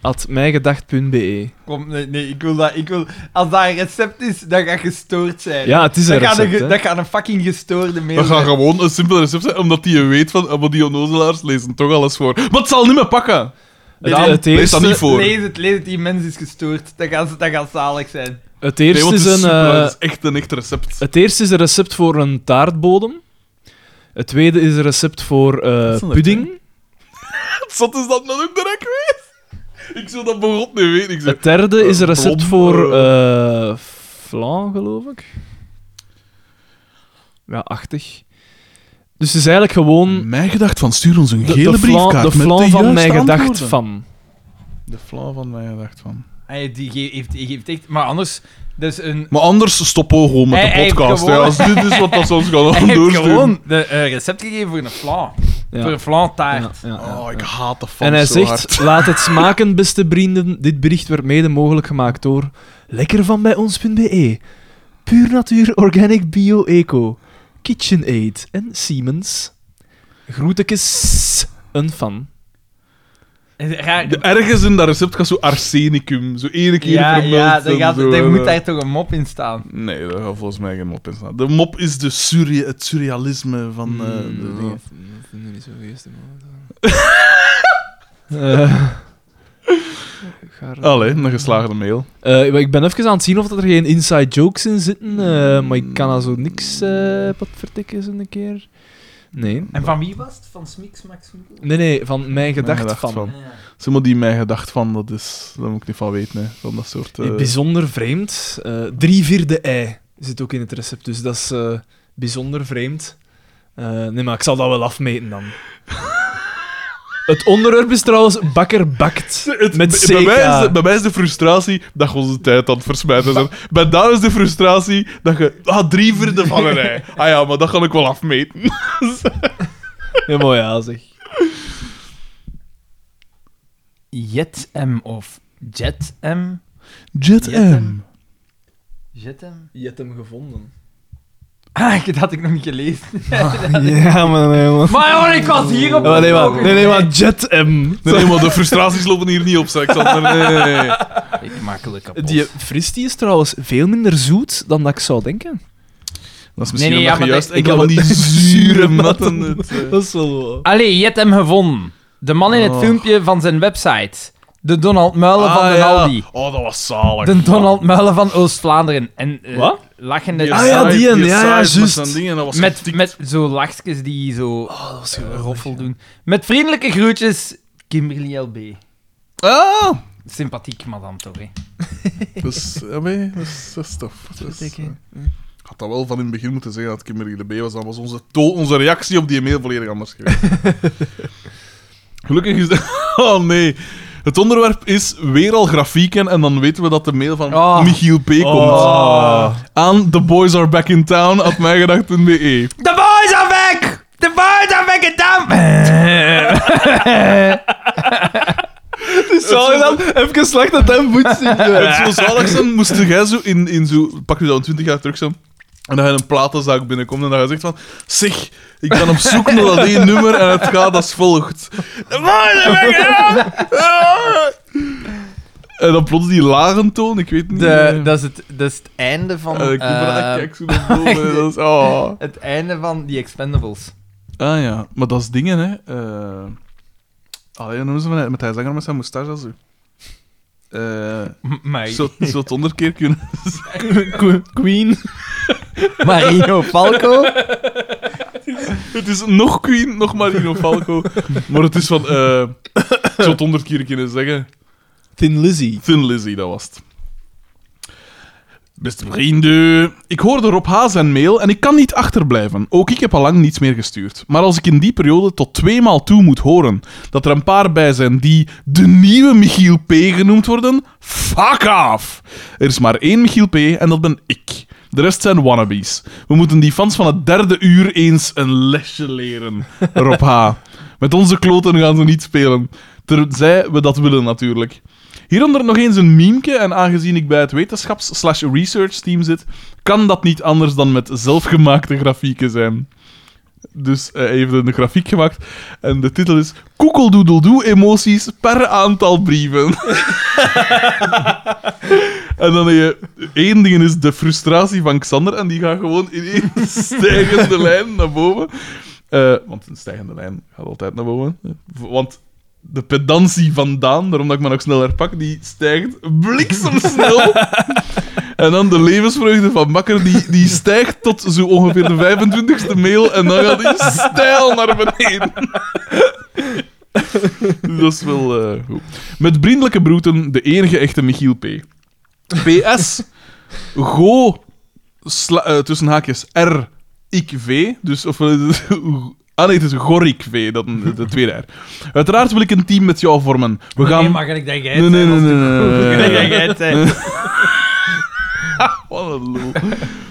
C: At mijgedacht.be.
A: Kom, nee, nee, ik wil dat, ik wil... Als dat een recept is, dan ga je gestoord zijn.
C: Ja, het is een
A: [LAUGHS] dat gaat
C: recept,
A: een,
C: hè.
A: ge- dat gaat een fucking gestoorde mail
B: We gaan
A: zijn.
B: gewoon een simpel recept zijn, omdat die weet van... eh, Maar die onnozelaars lezen toch alles voor. Maar het zal niet meer pakken!
C: Het,
A: nee,
C: het
B: lees dat
C: eerste,
B: niet voor.
A: Lees het, lees het. Die mens is gestoord. Dat gaat, dat gaat zalig zijn.
C: Het
B: Nee,
C: eerste
B: want
C: is,
B: het is,
C: een,
B: super,
C: eh,
B: het is echt een echt recept.
C: het eerste is een recept voor een taartbodem. Het tweede is een recept voor eh,
B: is een
C: pudding.
B: Het zat is dat dan ook direct weet. Ik zou dat begot niet weten. Ik zou...
C: Het derde is een
B: Eh,
C: recept
B: blom,
C: voor eh flan, geloof ik. Ja, achtig. Dus het is eigenlijk gewoon
B: Mijn gedacht van stuur ons een
C: de, de flan, de flan van mij gedacht van.
B: De flan van mij gedacht van.
A: Hij, die ge- heeft, die geeft echt... Maar anders, dus
B: [LAUGHS]
A: een...
B: Maar anders stoppen we gewoon met
A: Hij- hij
B: de
A: heeft
B: podcast. hè.
A: gewoon-
B: Als dit is wat dat ze ons gaan [LAUGHS]
A: Hij heeft
B: doorsturen.
A: gewoon de eh, recept gegeven voor een flan.
C: Ja.
A: Voor een flantaart.
C: Ja, ja, ja.
B: Oh, ik haat de fans
C: En hij
B: zo
C: zegt,
B: hard.
C: laat
B: [LAUGHS]
C: het smaken, beste vrienden. Dit bericht werd mede mogelijk gemaakt door lekkervanbijons.be, e. Puur Natuur Organic Bio Eco, KitchenAid en Siemens. Groetekes, een fan.
A: Is het raar-
B: De- Ergens in dat recept gaat zo arsenicum. Zo ene keer
A: Ja,
B: vermeld.
A: ja, er,
B: en
A: gaat,
B: zo,
A: er
B: eh.
A: moet daar toch een mop in staan.
B: Nee, daar gaat volgens mij geen mop in staan. De mop is de surre- het surrealisme van eh,
C: Hmm,
B: de dingen.
C: Eh,
B: Allee, een geslaagde mail.
C: eh, ik ben even aan het zien of dat er geen inside jokes in zitten,
B: Mm.
C: eh, maar ik kan daar zo niks eh wat vertikken zo een keer. Nee.
A: En van wie was het? Van Ah, Smiks Max
C: Nee, nee, van mijn gedacht,
B: gedacht
C: van.
B: van. Ze moet die mij gedacht van, dat is... Daar moet ik niet van weten, hè. Van dat soort... eh,
C: Eh, Bijzonder vreemd. Eh, drie vierde ei zit ook in het recept, dus dat is eh, bijzonder vreemd. Eh, nee, maar ik zal dat wel afmeten dan.
B: [LAUGHS]
C: het onderwerp is trouwens bakker bakt.
B: [LAUGHS] Het-
C: met
B: bij- bij,
C: CK.
B: mij is de, bij mij is de frustratie dat je onze tijd aan het versmijten zijn. Bij daar is de frustratie dat je... Ah, drie vierde van een
C: [LAUGHS]
B: ei. Ah ja, maar dat kan ik wel afmeten.
C: [LAUGHS] Ja, mooi ja, zeg.
A: Jet M of Jet M?
B: Jet
A: M. Zet hem.
C: Je hebt hem gevonden.
A: Ah, [LAUGHS] dat had ik nog niet
B: [LAUGHS]
A: gelezen.
C: ja, maar nee, man.
A: Maar hoor, ik was hier op.
C: Maar nee, maar, nee, nee, maar Jet M.
B: Nee, maar de frustraties lopen hier niet op, zeg ik. zal maar- Nee, nee, nee.
A: Ik makkelijk kapot.
C: Die fris die is trouwens veel minder zoet dan dat ik zou denken.
B: Dat is misschien
A: nee, ja,
B: nee, nog
A: maar
B: juist.
A: dat-
B: Ik had die [LAUGHS]
A: [LAUGHS]
B: zure matten. Het, eh.
C: Dat is wel waar.
A: Allee, je hebt hem gevonden. De man in het
B: Oh.
A: filmpje van zijn website. De Donald Muilen
B: Ah,
A: van de
B: ja.
A: Aldi.
B: Oh, dat was zalig.
A: De Donald Muilen van Oost-Vlaanderen. En eh,
C: Wat?
A: lachende...
B: Die
C: Ah, ja,
B: site-
C: die een, ja,
B: site
C: ja,
B: met
C: juist.
B: zijn dingen, dat was
A: Met,
B: getikt.
A: met zo lachjes die zo eh, roffel doen. Met vriendelijke groetjes, Kimberly LB.
B: Ah!
A: Sympathiek, madame, toch? hè?
B: Dus, ja, nee, dat is, dat is tof. Dat is, eh, ik had dat wel van in het begin moeten zeggen dat Kimberly de B was. Dan was onze, to- onze reactie op die mail volledig anders geweest. Gelukkig is dat... [LAUGHS] Oh nee. Het onderwerp is weer al grafieken en dan weten we dat de mail van
A: Ah.
B: Michiel P. komt.
C: Ah.
B: Aan The Boys Are Back in Town, at mijgedacht.be.
A: The boys are back! The boys are back in town!
C: Zou je dan even slecht dat hem moet
B: [LAUGHS]
C: zien?
B: Het zou zalig zijn, moest jij zo in, in zo... Pak je dat in 20 jaar terug zo. En dan ga je een platenzaak binnenkomt en dan ga je zegt van... Zeg, ik ben op zoek naar dat één nummer en het gaat als volgt. [LAUGHS] En dan plots die lagentoon, ik weet niet...
A: De,
B: eh,
A: dat, is het, dat is het einde van...
B: eh, ik hoef maar
A: eh,
B: dat ik kijk
C: [LAUGHS]
B: zo naar boven, hè, dat is- ah.
A: het einde van The Expendables.
B: Ah ja, maar dat is dingen, hè. eh Alleen noemen ze van, met hij zanger met zijn moustache, zo. Eh
A: Marie.
B: zo, zo het onderkeer kunnen...
C: Queen.
A: Marino Falco.
B: Het is nog Queen, nog Marino Falco. maar het is van... eh ik zou het honderd keer kunnen zeggen.
C: Thin Lizzy.
B: Thin Lizzy, dat was het. Beste vrienden, ik hoorde Rob H. zijn mail en ik kan niet achterblijven. Ook ik heb al lang niets meer gestuurd. Maar als ik in die periode tot tweemaal toe moet horen dat er een paar bij zijn die de nieuwe Michiel P. genoemd worden, fuck off! Er is maar één Michiel P. en dat ben ik. De rest zijn wannabes. We moeten die fans van het derde uur eens een lesje leren, Rob H. Met onze kloten gaan ze niet spelen. Terzij we dat willen natuurlijk. Hieronder nog eens een memeke en aangezien ik bij het wetenschaps-slash-research-team zit, kan dat niet anders dan met zelfgemaakte grafieken zijn. Dus eh, hij heeft een grafiek gemaakt en de titel is Koekeldoedeldoe emoties per aantal brieven. [LAUGHS] en dan heb je één ding is de frustratie van Xander en die gaat gewoon in één stijgende lijn naar boven. Eh, want een stijgende lijn gaat altijd naar boven. Want de pedantie van Daan, daarom dat ik me nog snel herpak, die stijgt bliksemsnel. en dan de levensvreugde van Makker, die, die stijgt tot zo ongeveer de 25ste mail. En dan gaat die stijl naar beneden. Dat is wel eh, goed. Met vriendelijke broeten, de enige echte Michiel P. PS, go, sla- eh, tussen haakjes, R, ik, V. Dus, of, eh, ah nee, het is Gorik V, dat, de tweede R. Uiteraard wil ik een team met jou vormen. We gaan...
A: Nee, makkelijk dat jij het
B: Nee,
A: zei,
B: nee, nee,
A: dat
B: nee,
A: is
B: nee,
A: toch-
B: nee, nee,
A: dat
B: nee.
A: jij het zei.
B: Wat een lul.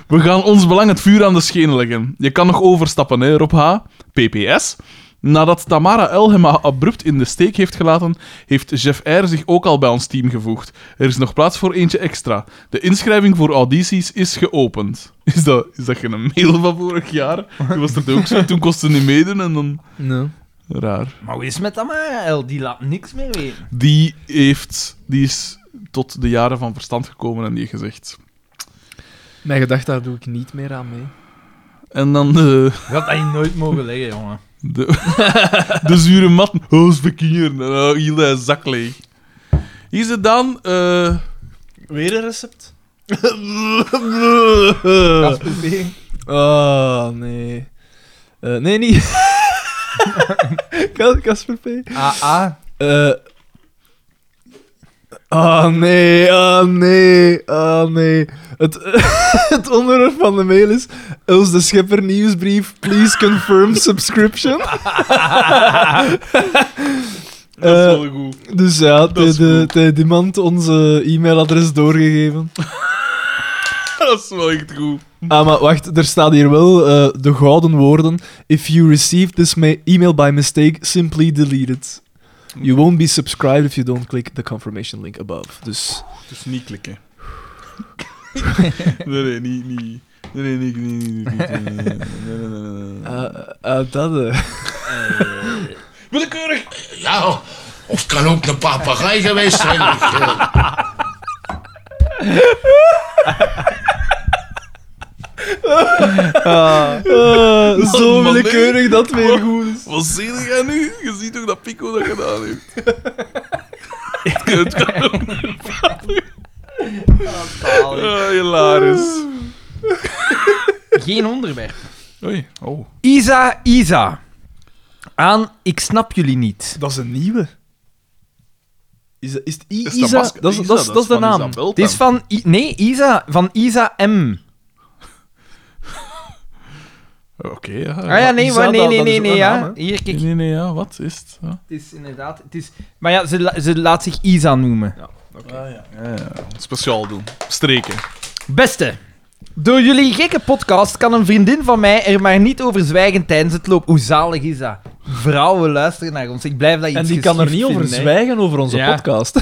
B: We gaan ons belang het vuur aan de schenen leggen. Je kan nog overstappen, hè, Rob H. PPS. Nadat Tamara L. hem abrupt in de steek heeft gelaten, heeft Jeff R. zich ook al bij ons team gevoegd. Er is nog plaats voor eentje extra. De inschrijving voor audities is geopend. Is dat, is dat geen mail van vorig jaar? Toen was dat ook zo. Toen kostte ze niet meedoen en dan...
C: No.
B: Raar.
A: Maar hoe is het met Tamara L? Die laat niks meer weten.
B: Die, heeft, die is tot de jaren van verstand gekomen en die heeft gezegd...
C: Mijn gedachte, daar doe ik niet meer aan mee.
B: En dan... eh,
A: Je had dat je nooit mogen leggen, jongen.
B: De, [LAUGHS] de zure matten. Oh, is verkeerd. Nou, heel de zak leeg. Hier zit dan... eh,
C: Weer een recept?
A: Eh. Afgeprobeerd.
C: Oh, nee. Eh, nee, niet. [LAUGHS] Kas- Kasper P.
A: Ah, ah.
C: Eh. Oh nee, oh nee, oh nee. Het, [LAUGHS] het onderwerp van de mail is Els de Schepper nieuwsbrief, please confirm
B: [LAUGHS]
C: subscription.
B: dat is
C: Eh,
B: wel goed. [LAUGHS]
C: dus ja, het
B: is
C: heeft de- het heeft iemand onze e-mailadres doorgegeven.
B: Dat is wel echt goed.
C: Ah, maar wacht, er staat hier wel eh, de gouden woorden. If you received this ma- email by mistake, simply delete it. You won't be subscribed if you don't click the confirmation link above. Dus...
B: Dus niet klikken. [LAUGHS] Nee, nee, niet. niet. Nee, nee, nee, nee, nee, nee, nee, nee, nee, nee, nee, nee.
C: dat,
B: [LAUGHS]
C: eh.
B: Willekeurig!
D: Ja, Nou, of het kan ook een papegaai geweest zijn. Ik, eh,
C: Ah, [LAUGHS] zo
B: Oh, Man, Ah. man,
C: willekeurig dat weer goed is.
B: Wat zie jij nu? Je ziet toch dat Pico dat gedaan heeft? [LAUGHS] Het kan- het kan ook niet. Ah, hilarisch.
A: Geen onderwerp.
B: Oei, oh.
A: Isa, Isa. Aan Ik snap jullie niet.
C: Dat is een nieuwe. Is, dat- is het I
B: Is dat
C: Isa? Dat,
B: masker-
C: is- dat
B: Isa,
C: is-
B: dat
C: dat
B: is
C: is de
B: van
C: naam.
B: Isabel.
A: Dit is van... I- nee, Isa. Van Isa M.
B: Oké, ja.
A: Ah ja, nee,
C: Isa,
A: maar, nee,
C: dat-
A: nee,
C: dat is
A: nee,
C: ook
A: nee,
C: een
A: ja.
C: naam, hè?
A: Hier, kijk.
B: Nee, nee, nee, ja, wat is het? Ja.
A: Het is inderdaad... Het is... Maar ja, ze, la- ze laat zich Isa noemen.
B: Speciaal doen. Streken.
A: Beste. Door jullie gekke podcast kan een vriendin van mij er maar niet over zwijgen tijdens het lopen. Hoe zalig is dat? Vrouwen luisteren naar ons. Ik blijf dat iets
C: En die kan er
A: geschift
C: niet over
A: vinden, hè.
C: zwijgen over onze
A: Ja.
C: podcast. [LAUGHS]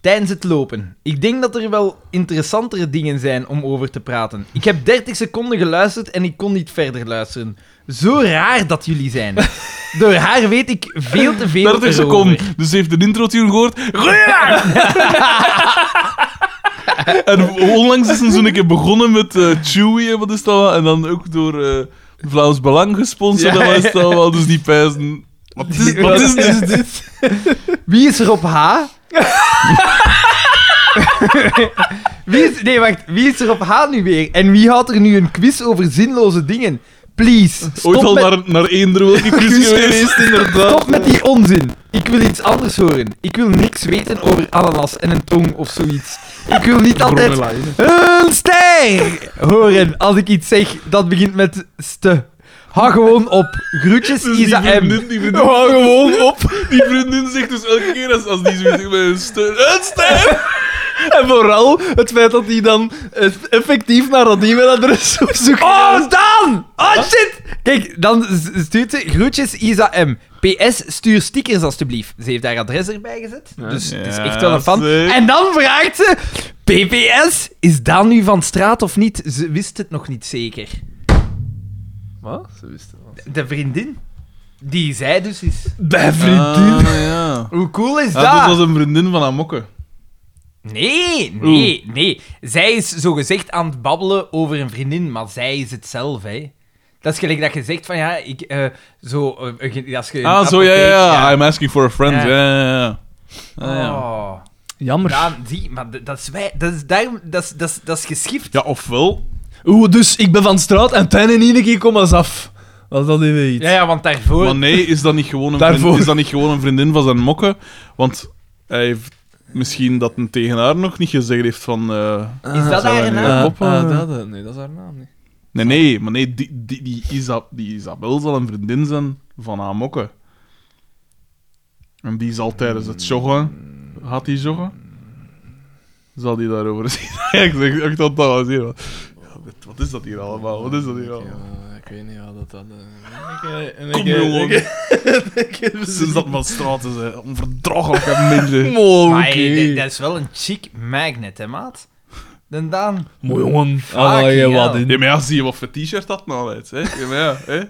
A: Tijdens het lopen. Ik denk dat er wel interessantere dingen zijn om over te praten. Ik heb 30 seconden geluisterd en ik kon niet verder luisteren. Zo raar dat jullie
C: [LAUGHS]
A: zijn. Door haar weet ik veel te veel
B: 30
A: erover.
B: seconden. Dus ze heeft een intro-tune gehoord. [LAUGHS] Goeiedag! en onlangs is ze zo'n keer begonnen met eh, Chewy en wat is dat? wel? En dan ook door eh, Vlaams Belang gesponsord.
A: Ja,
B: en wat is dat? wel? Dus die pijzen. Wat is, wat is dit?
C: dit?
A: [LAUGHS] Wie is er op H? [LAUGHS] wie is, nee, wacht. Wie is er op H nu weer? En wie houdt er nu een quiz over zinloze dingen? Please,
B: Ooit
A: stop
B: al
A: met,
B: naar, naar één droge
C: Kus
B: quiz geweest.
C: geweest, inderdaad.
A: stop met die onzin. Ik wil iets anders horen. Ik wil niks weten over ananas en een tong of zoiets. Ik wil niet altijd een ster horen als ik iets zeg dat begint met ste. Ha gewoon op. Groetjes,
B: Dus die
A: Isa M.
B: vriendin, die vriendin,
C: Hou gewoon op.
B: die vriendin zegt dus elke keer als, als die zoiets zegt bij een steun. Een steun!
C: En vooral het feit dat hij dan eff- effectief naar dat e-mailadres [LAUGHS] op zoek
A: Oh, Dan! Oh, shit! Kijk, dan s- stuurt ze groetjes Isa M. PS, stuur stickers alstublieft. Ze heeft haar adres erbij gezet, dus het is echt wel een fan.
B: Ja, zeg.
A: En dan vraagt ze... PPS, is Daan nu van straat of niet? Ze wist het nog niet zeker.
C: Wat? Ze wisten wel.
A: De vriendin? Die zij dus is.
C: Bij
B: Ah, ja.
A: Hoe cool is dat?
B: Ja, Ah, dat was een vriendin van Amokke.
A: Nee, nee, nee. Zij is zogezegd aan het babbelen over een vriendin, maar zij is het zelf, hè. Dat is gelijk dat je zegt van, ja, ik... eh, zo, eh, ge- als je in
B: Ah,
A: de
B: zo, ja, ja,
A: apotheek-
B: ja. I'm asking for a friend.
A: Ja.
B: Ja, ja, ja. Ah, ja.
A: Oh.
C: Jammer.
A: Daan, zie, maar d- dat is wij... Dat is, daarom, dat is, dat is, dat is geschift.
B: Ja, ofwel.
C: Oeh, dus ik ben van straat en Tijn en Ineke komen eens af. Was dat even iets?
A: Ja, ja, want daarvoor...
B: Maar nee, is dat niet gewoon
C: [LAUGHS]
B: een,
C: Daarvoor.
B: vriendin, is dat niet gewoon een vriendin van zijn mokken? Want hij heeft misschien dat een tegen haar nog niet gezegd heeft van... eh,
A: Is dat haar
B: zijn wij nu
A: naam?
B: aan het
C: Ah,
B: moppen?
C: dat, eh, nee, dat is haar naam niet.
B: Nee, nee, maar nee, die, die, die, Isa, die Isabel zal een vriendin zijn van haar mokken. En die zal tijdens het joggen... Gaat die joggen? Zal die daarover [LAUGHS] zien? Ja, ik zeg echt dat dat was hier. wat- Wat is dat hier allemaal? Wat is dat hier allemaal?
C: Ja, ik weet niet wat dat... eh, dat
B: Kom jongen.
C: [LAUGHS]
B: [LAUGHS] Sinds dat van straat is, hè. onverdraaglijke
A: [LAUGHS]
B: mensen.
A: Maar hey,
C: eh,
A: dat- dat is wel een chic magnet, hè, maat? Dan Daan...
C: Mooi jongen.
A: Fucking
C: je wat
A: hell.
C: in.
B: Ja, maar ja, zie je wat voor t-shirt dat nou uit, hè? Ja, maar ja, hè?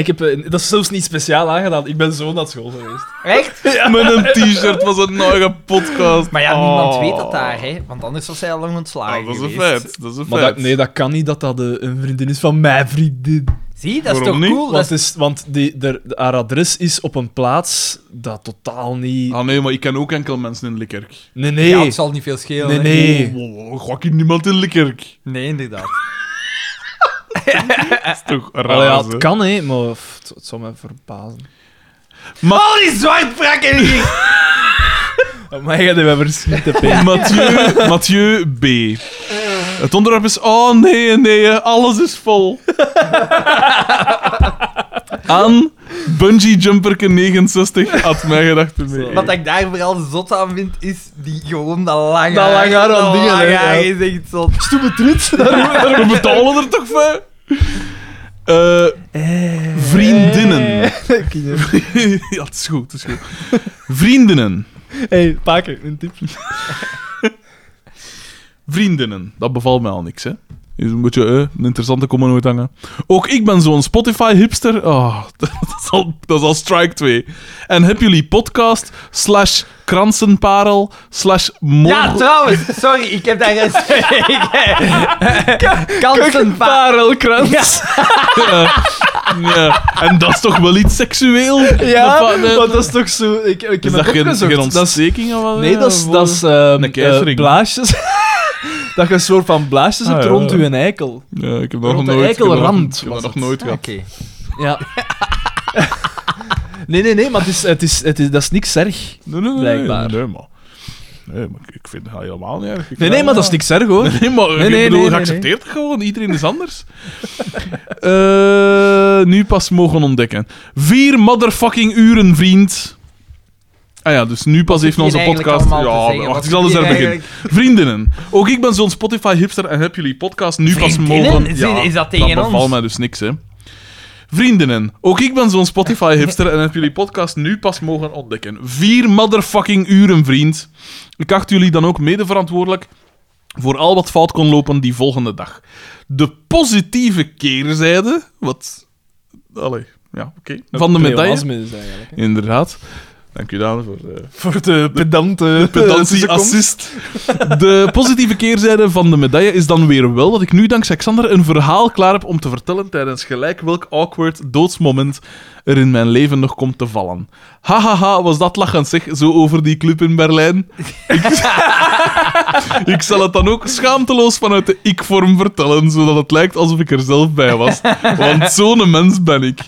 C: Ik heb, eh, dat is zelfs niet speciaal aangedaan. Ik ben zo naar school geweest.
A: Echt?
B: Met een t-shirt was nou een nieuwe podcast.
A: Maar ja,
B: Oh.
A: niemand weet dat daar, hè. Want anders was zij al lang ontslagen
B: Ah, dat is een
A: geweest.
B: feit, dat is een
C: Maar
B: feit.
C: dat, nee, dat kan niet dat dat eh, een vriendin is van mijn vriendin.
A: Zie, dat is
B: Waarom
A: toch
B: niet?
A: cool? Dat
C: Want,
A: is-
C: Oh, is, want die, der, de- haar adres is op een plaats dat totaal niet...
B: Ah nee, maar ik ken ook enkel mensen in Likkerk.
C: Nee, nee.
A: Ja, het zal niet veel schelen.
C: nee,
A: hè.
C: nee.
B: Oh, oh, Ga ik hier niemand in Likkerk?
A: Nee, inderdaad.
B: Dat is toch raar,
C: Allee, ja,
B: hè?
C: het kan, hè, maar pff, het, het zou mij verbazen.
A: Al die zwartprakken hier!
C: Maar jij hebt me verschieten,
B: Mathieu, Mathieu B. Het onderwerp is... Oh nee, nee, alles is vol. Aan bungeejumperke69 had mij gedacht mee.
A: Wat ik daar vooral zot aan vind, is die, gewoon dat lange
C: Dat lange haar aan
A: Dat
C: dingen,
A: lange
C: hè,
A: haar
C: ja.
A: is echt zot.
C: Stoeme trut. Daar-
B: We betalen er toch voor? Eh,
C: Eh.
B: vriendinnen. [LAUGHS] ja, het is goed, het is goed. Vriendinnen.
C: Hé, hey, pakken, een tip.
B: Vriendinnen, dat bevalt mij al niks, hè. Is een beetje eh, een interessante komen nooit hangen. Ook ik ben zo'n Spotify-hipster. Oh, [LAUGHS] dat, is al, dat is al strike 2. En heb jullie podcast slash kransenparel slash mor-
A: [LAUGHS] Ja, trouwens, sorry, ik heb daar eens. [LAUGHS] Kansenpaar.
C: Parelkrans.
B: Ja, En dat is toch wel iets seksueel?
C: Ja,
B: Dat va- eh,
C: want dat is toch zo... Ik, ik
B: is
C: heb
B: dat
C: dat
B: geen, geen
C: opgezocht. Dat is-
B: ontsteking of wat?
C: Nee, dat is,
B: Ja,
C: dat is ehm,
B: Een keizering.
C: eh, blaasjes. [LAUGHS] dat je een soort van blaasjes
B: Ah,
C: hebt
B: ja,
C: rond
B: ja.
C: je eikel.
B: Ja, ik heb dat nog
C: Rond de
B: nooit
C: eikelrand
B: Ik heb
C: was
B: dat nog
C: het.
B: nooit
A: Oké.
B: gehad.
C: Ja. [LAUGHS] nee, nee, nee, maar het is, het is, het is, dat is niks erg.
B: Nee, nee, nee,
C: Blijkbaar.
B: Nee, nee, maar. Nee, maar ik- ik vind het helemaal niet erg. Ik
C: Nee, nee, maar dat is niks erg, hoor.
B: Nee, maar
C: Nee, nee, nee,
B: ik bedoel,
C: nee,
B: geaccepteerd
C: nee.
B: gewoon. Iedereen is
A: [LAUGHS]
B: anders. Eh, nu pas mogen ontdekken. Vier motherfucking uren, vriend. Ah ja, dus nu pas heeft
A: zit
B: onze
A: hier eigenlijk
B: podcast...
A: allemaal te
B: Ja,
A: zeggen? Wat
B: wacht, ik
A: zit
B: zal eens
A: hier
B: daar beginnen.
A: eigenlijk-
B: Vriendinnen. Ook ik ben zo'n Spotify-hipster en heb jullie podcast nu pas
A: Vriendinnen?
B: mogen...
A: Is- is dat tegen
B: dat bevalt
A: ons?
B: mij dus niks, hè. Vriendinnen, ook ik ben zo'n Spotify-hipster en heb jullie podcast nu pas mogen ontdekken. Vier motherfucking uren, vriend. Ik acht jullie dan ook medeverantwoordelijk voor al wat fout kon lopen die volgende dag. De positieve keerzijde, wat... Allee, ja, oké. [LAUGHS] Van de medaille.
C: Pleonasme is eigenlijk.
B: Inderdaad. Dank u, eh. dames, voor de
C: Voor de pedante... [LAUGHS]
B: pedantie-assist. De positieve keerzijde van de medaille is dan weer wel dat ik nu dankzij Xander een verhaal klaar heb om te vertellen tijdens gelijk welk awkward doodsmoment er in mijn leven nog komt te vallen. Hahaha, was dat lachend zeg, zo over die club in Berlijn. Ik, [LAUGHS] ik zal het dan ook schaamteloos vanuit de ik-vorm vertellen, zodat het lijkt alsof ik er zelf bij was. Want zo'n mens ben ik.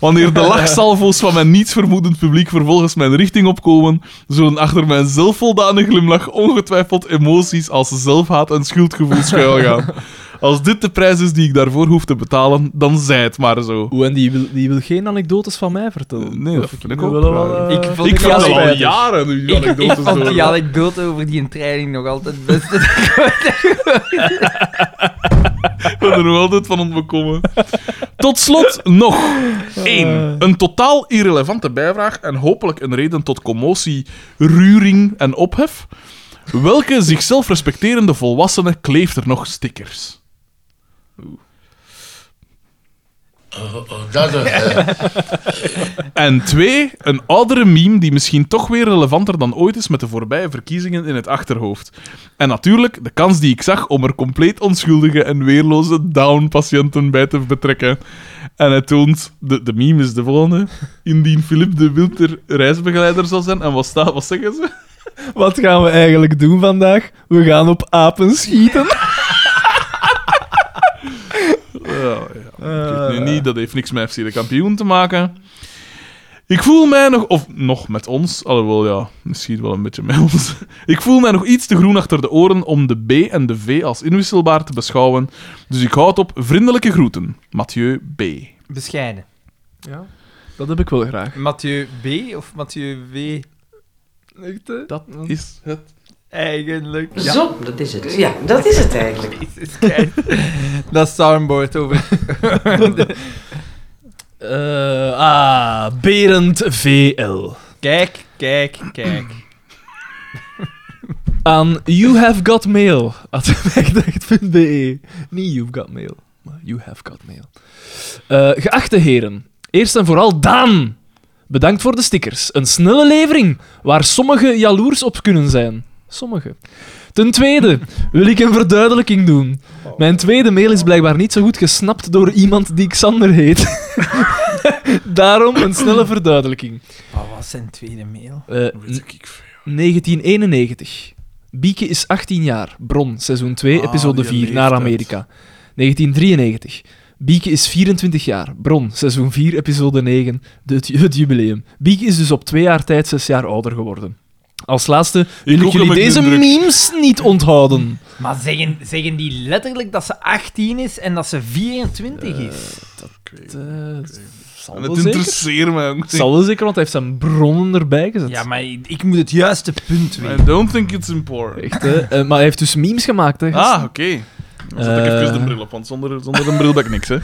B: Wanneer de lachsalvo's van mijn nietsvermoedend publiek vervolgens mijn richting opkomen, zullen achter mijn zelfvoldane glimlach ongetwijfeld emoties als zelfhaat en schuldgevoel schuilgaan. Als dit de prijs is die ik daarvoor hoef te betalen, dan zij het maar zo.
C: Oeh, en die wil, die wil geen anekdotes van mij vertellen.
B: Nee, dat
C: Of
B: vind ik
C: wil wel
B: ook raar.
C: wel, eh,
A: Ik vond
B: Ik
A: het
B: vertel
A: wel
B: al
C: spijtig.
B: jaren nu
A: Ik, ik
B: anekdotes
A: vond
B: door.
A: die anekdote over die training nog altijd [LAUGHS] het beste.
B: [LAUGHS] Ik ben er nog altijd van ontbekomen. Tot slot nog één. Een totaal irrelevante bijvraag en hopelijk een reden tot commotie, ruring en ophef. Welke zichzelf respecterende volwassene kleeft er nog stickers?
D: Dat, eh,
B: En twee, een oudere meme die misschien toch weer relevanter dan ooit is met de voorbije verkiezingen in het achterhoofd. En natuurlijk de kans die ik zag om er compleet onschuldige en weerloze down-patiënten bij te betrekken. En het toont, de, de meme is de volgende, indien Philip de Wilter reisbegeleider zal zijn. En wat, staat, wat zeggen ze?
C: Wat gaan we eigenlijk doen vandaag? We gaan op apen schieten.
B: Ja, ja. Ik weet nu niet, dat heeft niks met FC de kampioen te maken. Ik voel mij nog, of nog met ons, alhoewel ja, misschien wel een beetje met ons. [LAUGHS] Ik voel mij nog iets te groen achter de oren om de B en de V als inwisselbaar te beschouwen. Dus ik houd op vriendelijke groeten. Mathieu B.
A: Bescheiden.
C: Dat heb ik wel graag.
A: Mathieu B of Mathieu W?
B: Dat is het.
A: Eigenlijk.
F: Zo, dat is het. Ja, dat is het eigenlijk.
A: Jezus, kijk. [LAUGHS] Dat soundboard over.
C: ah, Berend VL.
A: Kijk, kijk, kijk.
C: Aan You Have Got Mail. [LAUGHS] Atwerkdacht.be. Niet You've Got Mail, maar You Have Got Mail. Eh, geachte heren, eerst en vooral Daan. Bedankt voor de stickers. Een snelle levering waar sommigen jaloers op kunnen zijn. Sommigen. Ten tweede wil ik een verduidelijking doen. Mijn tweede mail is blijkbaar niet zo goed gesnapt door iemand die Xander heet. [LAUGHS] Daarom een snelle verduidelijking.
A: Wat was zijn tweede mail?
C: Eh,
B: ik
C: 1991. Bieke is 18 jaar. Bron, seizoen 2,
B: Ah,
C: episode
B: die
C: 4, naar
B: leeftijd.
C: Amerika. 1993. Bieke is 24 jaar. Bron, seizoen 4, episode 9, de, het, het jubileum. Bieke is dus op twee jaar tijd zes jaar ouder geworden. Als laatste wil ik
B: ook, heb
C: jullie
B: ik de
C: deze
B: indruk.
C: memes niet
B: [LAUGHS]
C: onthouden.
A: Maar zeggen, zeggen die letterlijk dat ze 18 is en dat ze 24
C: Eh,
A: is?
C: Het, eh, zal
B: En
C: wel
B: het
C: zeker.
B: interesseert mij ook
C: Het
B: niet.
C: zal wel zeker, want hij heeft zijn bronnen erbij gezet.
A: Ja, maar ik, ik moet het juiste punt weten.
B: I don't think it's important.
C: Echt, hè? Eh, maar hij heeft dus memes gemaakt, hè? gast.
B: Ah, oké. Dan zet ik even
C: Eh.
B: de bril op, want zonder, zonder een bril ben ik niks, hè.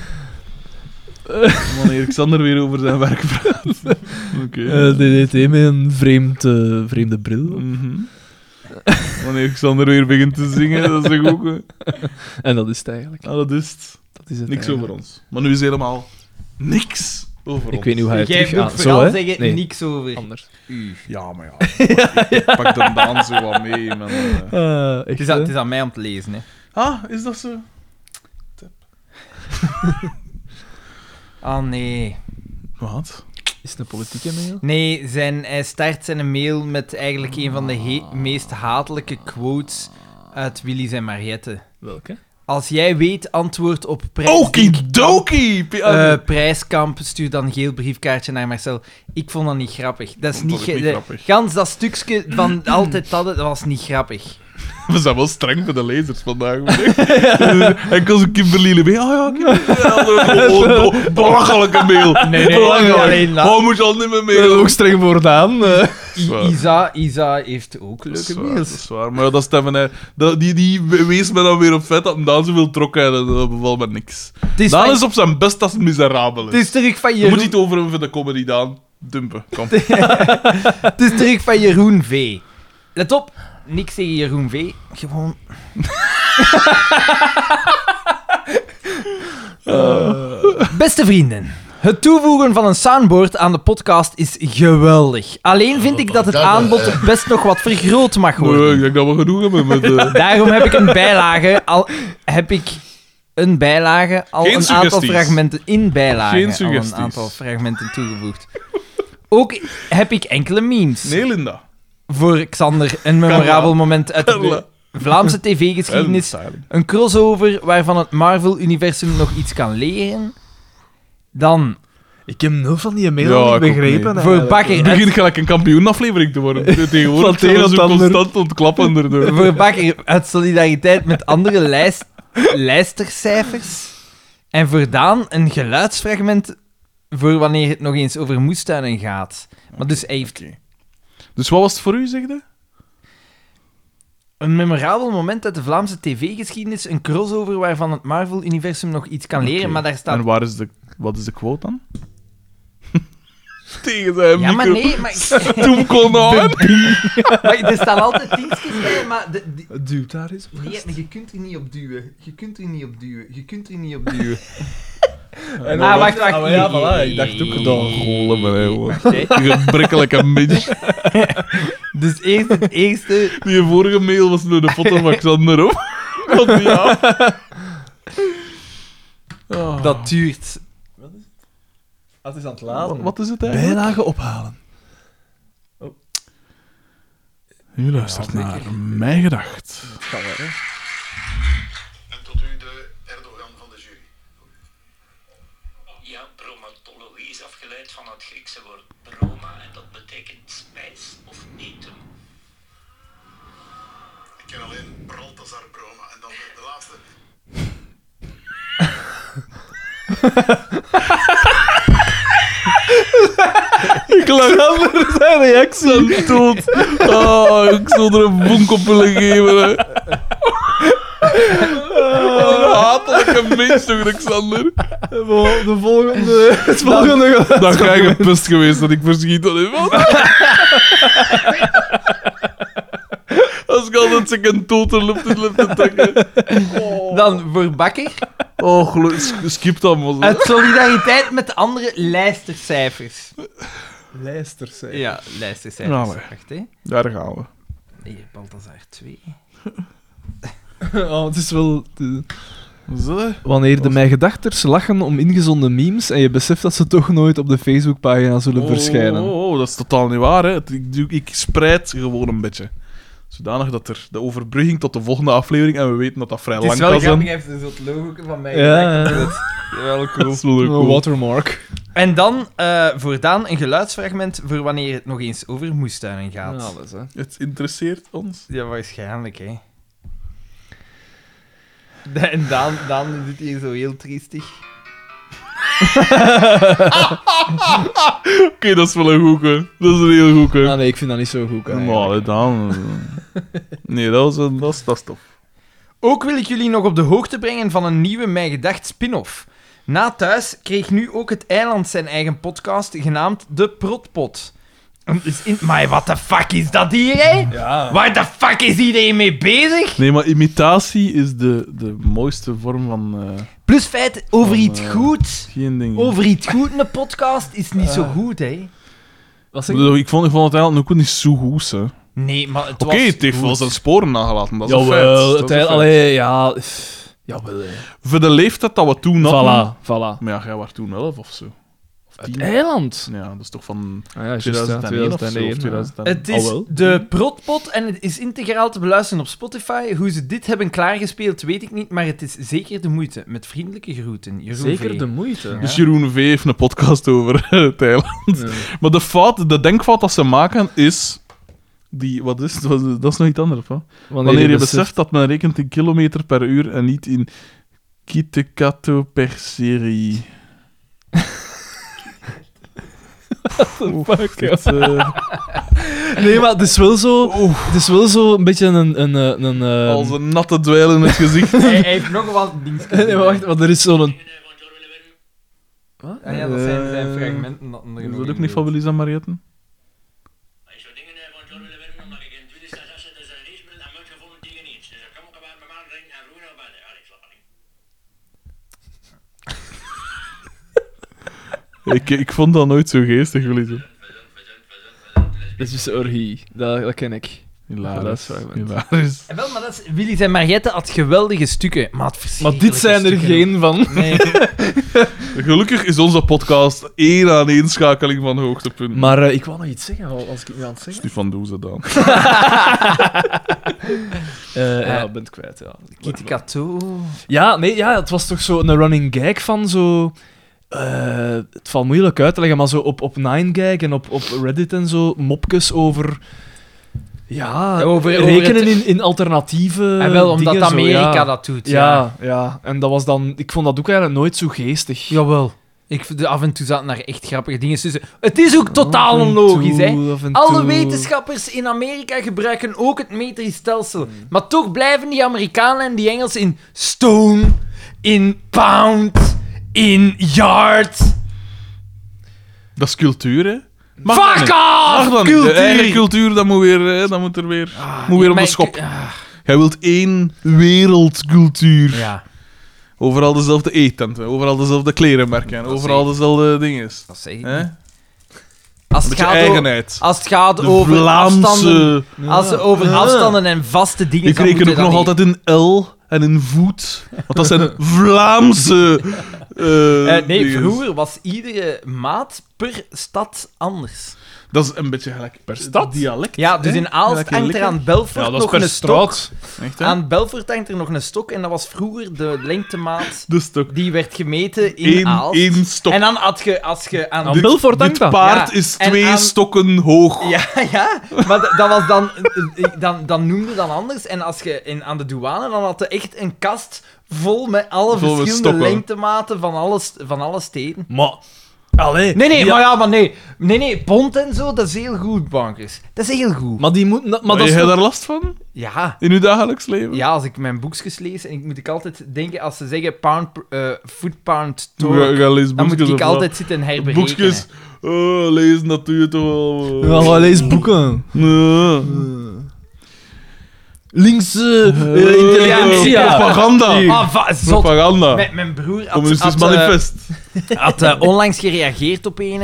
B: Wanneer Xander weer over zijn werk praat. [LAUGHS] Oké.
C: Eh, DDT met een vreemd, eh, vreemde bril.
B: Mhm. Wanneer Xander weer begint te zingen, dat is toch ook... hè?
C: En dat is het eigenlijk.
B: Ah, dat is het.
C: Dat is het
B: Niks
C: eigenlijk.
B: over ons. Maar nu is helemaal niks over
C: Ik
B: ons.
C: weet niet hoe hij het
A: Jij
C: Ah, terug
A: moet
C: aan-
A: vooral
C: hè?
A: zeggen,
C: Nee,
A: niks over
C: anders.
A: u.
B: Ja, maar ja. Ik pak, ik pak de Daan zo wat mee. Man. eh.
C: Eh, echt,
A: Het is, aan,
C: hè?
A: het is aan mij om te lezen, hè.
B: Ah, is dat zo?
A: Ah, nee.
B: Wat?
C: Is het een politieke mail?
A: Nee, zijn, hij start zijn mail met eigenlijk een van de he- meest hatelijke quotes uit Willy's en Mariette.
C: Welke?
A: Als jij weet, antwoord op prijs...
B: Okidoki! P- ah,
A: Eh, prijskamp, stuur dan een geel briefkaartje naar Marcel. Ik vond dat niet grappig. Dat is
B: vond
A: niet,
B: dat ook
A: ge-
B: niet
A: de-
B: grappig.
A: Gans dat stukje van altijd dat, dat was niet grappig.
B: We zijn wel streng voor de lezers vandaag. maar- [LAUGHS] en kan zo Kimberly Lebe. Ah ja, Kimberly. Ja, oh, oh, belachelijke mail.
A: nee, nee,
B: Belachelijk.
A: alleen dat.
B: Oh, moet je al niet meer
C: Ik
B: mailen.
C: ook streng voordaan. eh.
A: I-
B: waar.
A: Isa, Isa heeft ook
B: Dat is
A: leuke
B: waar,
A: mails.
B: Dat is waar. Maar ja, dat Stefan, hè. Dat- die, die wees me dan weer op vet dat hem daar zoveel trok had. en Dat bevalt me niks.
A: Het is,
B: Daan
A: van-
B: is op zijn best als het miserabel
A: het
B: is.
A: is terug van
B: Je
A: Jeroen,
B: moet niet over hem voor de comedy, Daan. Dumpen, kom.
A: het is terug van Jeroen V. Let op, niks tegen Jeroen V. Gewoon... Eh, Beste vrienden, het toevoegen van een soundboard aan de podcast is geweldig. Alleen vind ik dat het aanbod best nog wat vergroot mag
B: Maar,
A: worden.
B: eh, ik denk dat we genoeg hebben
A: [LAUGHS]
B: met... eh,
A: Daarom heb ik een bijlage. Al heb ik een bijlage al
B: Geen
A: een
B: suggesties.
A: aantal fragmenten in bijlage
B: Geen
A: al
B: suggesties.
A: een aantal fragmenten toegevoegd. Ook heb ik enkele memes
B: Nee, Linda.
A: voor Xander een memorabel
B: Carla.
A: moment uit de
B: Carla.
A: [LAUGHS] Vlaamse tv-geschiedenis. Een crossover waarvan het Marvel-universum nog iets kan leren. Dan
C: Ik heb nul van die
B: Ja,
C: mail
B: ik
C: niet
B: ook
C: begrepen.
B: niet.
A: voor
C: eigenlijk.
A: Bakker,
B: Het
A: uit,
B: begint gelijk een kampioenaflevering te
A: [LAUGHS]
B: worden.
C: Van
B: Tegenwoordig
C: het een
B: zijn we
C: op
B: zo
C: het ander.
B: constant ontklappen erdoor.
A: voor Bakker uit solidariteit met andere lijst, lijstercijfers. En voor Daan een geluidsfragment voor wanneer het nog eens over moestuinen gaat. Maar dus hij heeft
B: Dus wat was het voor u, zegde?
A: een memorabel moment uit de Vlaamse tv-geschiedenis. Een crossover waarvan het Marvel-universum nog iets kan leren.
B: Oké.
A: Maar daar staat
B: En waar is de, wat is de quote dan? [LAUGHS] Tegen zijn
A: Ja, maar
B: micro.
A: nee, maar, ik-
B: [LAUGHS] Toen
A: [LAUGHS]
B: kon nou, aan.
A: maar er staan altijd tientjes bij, maar... De, die-
C: Duw daar eens.
A: nee, maar je kunt er niet op duwen. Je kunt er niet op duwen. Je kunt er niet op duwen.
C: En
A: Ah, wacht, wacht.
C: Ah, ja, voilà, ik dacht ook
B: Dan
C: dat.
B: golen we, hè, jongen.
A: Wacht,
B: [LAUGHS]
A: hè.
B: Die gebrekkelijke bitch.
A: Dus eerst het eerste...
B: Die vorige mail was met een foto van [LAUGHS] Xander op. Wat die af.
C: Oh.
B: Ah.
A: Dat duurt.
C: Het is aan het
B: Wat-
C: laden.
B: Wat is het eigenlijk?
C: Bijlage ophalen.
B: U luistert naar Mijn Gedacht.
G: En tot u de Erdogan van de jury.
H: Ja, bromatologie is afgeleid van het Griekse woord broma en dat betekent spijs of eten.
G: Ik ken alleen Balthazar Broma en dan de, de laatste.
B: [LAUGHS] Ik lag aan zijn reactie. dood. Ah, ik zal er een bonk op willen geven. Hè. Wat een hatelijke mens toch, Alexander?
C: De volgende. Het volgende. geluid.
B: Dan ga je gepust geweest dat ik verschiet van hem. Als ik altijd zeg een toter loopt het loopt te trekken.
A: Dan voor Bakker.
B: Oh, gelu- s- skip dat, man.
A: Uit solidariteit met andere lijstercijfers.
C: Lijsters zijn.
A: Ja, lijstercijfers.
B: Ja, maar.
A: Wacht, hè.
B: Daar gaan we.
A: Hier, Balthazar 2.
C: Oh, het is wel.
B: Zo.
C: Wanneer de mijn gedachters lachen om ingezonde memes en je beseft dat ze toch nooit op de Facebookpagina zullen verschijnen.
B: Oh, oh, oh, dat is totaal niet waar. Hè. Het- Ik, doe- ik spreid gewoon een beetje. Zodanig dat er de overbrugging tot de volgende aflevering, en we weten dat dat vrij lang kan zijn.
A: heeft dus dat logo van mij
C: Ja,
A: gemaakt.
C: ja.
B: Wel cool. Dat is wel cool.
C: Een watermark.
A: En dan eh, voor Daan een geluidsfragment voor wanneer het nog eens over moestuinen gaat.
C: alles, hè.
B: Het interesseert ons.
A: Ja, waarschijnlijk, hè. Da- En Daan, Daan doet hier zo heel triestig.
B: Oké, dat is wel een goeke. Dat is een heel goeke.
C: Ah, nee, ik vind dat niet zo goed. eigenlijk.
B: Nou, dan. Nee, dat was een, dat is, dat is tof.
A: Ook wil ik jullie nog op de hoogte brengen van een nieuwe Mijn Gedacht spin-off. Na Thuis kreeg nu ook het eiland zijn eigen podcast, genaamd De Protpot. Is in- Maar wat de fuck is dat hier, hè?
C: Ja.
A: Waar de fuck is iedereen mee bezig?
B: Nee, maar imitatie is de, de mooiste vorm van eh,
A: Plus feit, over
B: Van,
A: iets
B: eh,
A: goed...
B: geen ding.
C: Oh,
A: Over iets goed in een podcast is niet zo goed, hè?
C: Wat
B: Ik
C: zeg je?
B: bedoel, Ik vond, ik vond het eigenlijk ook niet zo goed, hè. Oké,
A: Nee, maar het was...
B: het heeft wel zijn sporen nagelaten, dat is een feit.
C: Jawel,
B: Dat is een
C: uiteindelijk...
B: feit.
C: Allee, ja... Jawel, hè.
B: Voor de leeftijd dat we toen hadden...
C: Voilà, voilà.
B: Maar ja, jij was toen 11 of zo. Of 10.
C: Eiland.
B: Ja, dat is toch van
C: Ah ja,
B: 2001 of zo, of
C: 2001.
B: 2000
A: Het is
C: Al wel.
A: de protpot en het is integraal te beluisteren op Spotify. Hoe ze dit hebben klaargespeeld, weet ik niet, maar het is zeker de moeite. Met vriendelijke groeten, Jeroen
C: Zeker
A: V.
C: de moeite.
B: Dus Jeroen V heeft een podcast over [LAUGHS] het eiland.
C: Ja.
B: Maar de fout, de denkfout dat ze maken is... Die, wat is het? Wat is- Dat is nog iets anders, hè? Wanneer, je beseft, dat men rekent in kilometer per uur en niet in kitekato per [LAUGHS] serie.
C: Fuck, ja.
B: Het, eh,
C: Nee, maar het is wel zo... Het is wel zo een beetje een... een, een, een, eh,
B: als een natte dweil in het gezicht.
A: Hij, hij
B: [LAUGHS]
A: heeft nog wel [LAUGHS] dingen.
C: [LAUGHS] Nee, maar wacht, want er is zo'n...
A: Ah ja, dat zijn, zijn
B: Eh,
A: fragmenten. Dat, er
B: Is
A: nog
B: dat ook
A: in
B: niet van
A: zit.
B: Willis en Marietten?
H: Als je dingen eh, van John willen werken, omdat ik in 2006 dus een race ben, dan moet je volgende tegen niets. Dus dan kan ik een paar maanden drinken en roeren op de Allee, slaap niet.
B: [LAUGHS] Ik, ik vond dat nooit zo geestig, Willis.
C: Dat is een orgie. Dat, dat ken ik. Ja, dat is
B: Hilarisch.
C: waar, man.
B: Hilarisch.
A: En Eh, wel, maar dat is, Willy's en Mariette had geweldige stukken. Maar, het
C: Maar dit
A: verschrikkelijke
C: zijn er
A: stukken
C: geen van. [LAUGHS]
A: ook. Nee.
B: Gelukkig is onze podcast één aan één schakeling van hoogtepunten.
C: Maar eh, ik wou nog iets zeggen, al- als ik het niet aan het zeggen...
B: Die van doen ze dan.
C: Eh,
A: Eh.
C: ja, bent kwijt, ja.
A: Kitty Kato.
C: Ja, nee, ja, het was toch zo een running gag van zo... eh, het valt moeilijk uit te leggen, maar zo op, op 9gag en op, op Reddit en zo, mopjes over... Ja,
A: Over- over
C: rekenen
A: het-
C: in, in alternatieve
A: en Ah, wel omdat
C: dingen zo,
A: Amerika
C: ja.
A: dat doet. Eh, Ja.
C: Ja, ja, en dat was dan... Ik vond dat ook eigenlijk nooit zo geestig.
A: Jawel. Ik, vind- af en toe zaten daar echt grappige dingen tussen. Het is ook totaal onlogisch, hè. Alle wetenschappers in Amerika gebruiken ook het metrisch stelsel. Maar toch blijven die Amerikanen en die Engelsen in stone, in pound, in yard.
B: Dat is cultuur, hè? Mag dat
A: Fuck
B: niet?
A: off!
B: Mag dan niet.
A: cultuur!
B: De eigen cultuur, dat moet weer, hè, dat moet er weer, moet weer op de
A: Maar
B: schop.
A: ik- ah,
B: Jij wilt één wereldcultuur.
A: ja,
B: Overal dezelfde eetenten, overal dezelfde klerenmerken, overal dezelfde dingen.
A: dat zeg ik
B: Hè?
A: niet.
B: Een
A: Als het,
B: beetje
A: gaat over,
B: eigenheid.
A: als het gaat
B: De
A: over afstanden...
B: Vlaamse...
A: Als het over
B: Ja.
A: afstanden en vaste dingen...
B: Ik
A: dan
B: reken
A: moet
B: ook
A: je dat
B: nog
A: niet-
B: altijd in L en in voet. Want dat zijn
A: [LAUGHS]
B: Vlaamse... eh,
A: Eh, nee,
B: dinges.
A: vroeger was iedere maat per stad anders.
B: Dat is een beetje gelijk per stad. Dialect.
A: Ja, dus
B: hè?
A: in Aalst
B: Gelijk
A: hangt er
B: lekker.
A: aan Belfort
B: Ja, dat is
A: nog
B: per
A: een stok.
B: straat. Echt, hè?
A: Aan Belfort hangt er nog een stok en dat was vroeger de lengtemaat
B: De stok.
A: die werd gemeten in
B: Eén,
A: Aalst.
B: één stok.
A: En dan had je, als je aan...
C: Aan Belfort hangt
B: Dit
C: dat.
B: paard
A: Ja,
B: is
A: en
B: twee
A: aan-
B: stokken hoog.
A: Ja, ja, maar d- dat was dan, eh, dan, dan noemde dat anders. En als je in, aan de douane, dan had je echt een kast vol met alle
B: Vol met
A: verschillende
B: stokken.
A: lengtematen van alle, st- van alle steden.
C: Maar... Allee.
A: Nee, nee,
C: ja,
A: maar ja, maar nee. Nee, nee, pond en zo, dat is heel goed, bankers. Dat is heel goed.
C: Maar die moeten... dat- Maar
B: Maar
C: dat
B: heb
C: is
B: jij
C: toch-
B: daar last van?
A: Ja.
B: In uw dagelijks leven?
A: Ja, als ik mijn boekjes lees, en ik moet ik altijd denken, als ze zeggen pound, per- eh foot pound
B: Ga,
A: torque,
B: ga lees
A: dan moet
B: boekjes
A: ik
B: of
A: altijd zitten
B: wat?
A: herberekenen.
B: Boekjes. Oh, lezen, dat doe je toch wel.
C: Ja, maar lees boeken.
B: Nee.
C: Links... eh, eh,
B: Eh,
C: intelligentie, ja.
B: Propaganda.
A: Ah, va- zot.
B: Propaganda.
A: Mijn, mijn broer had,
B: Communistisch
A: had, eh,
B: manifest.
A: had, eh, onlangs gereageerd op een.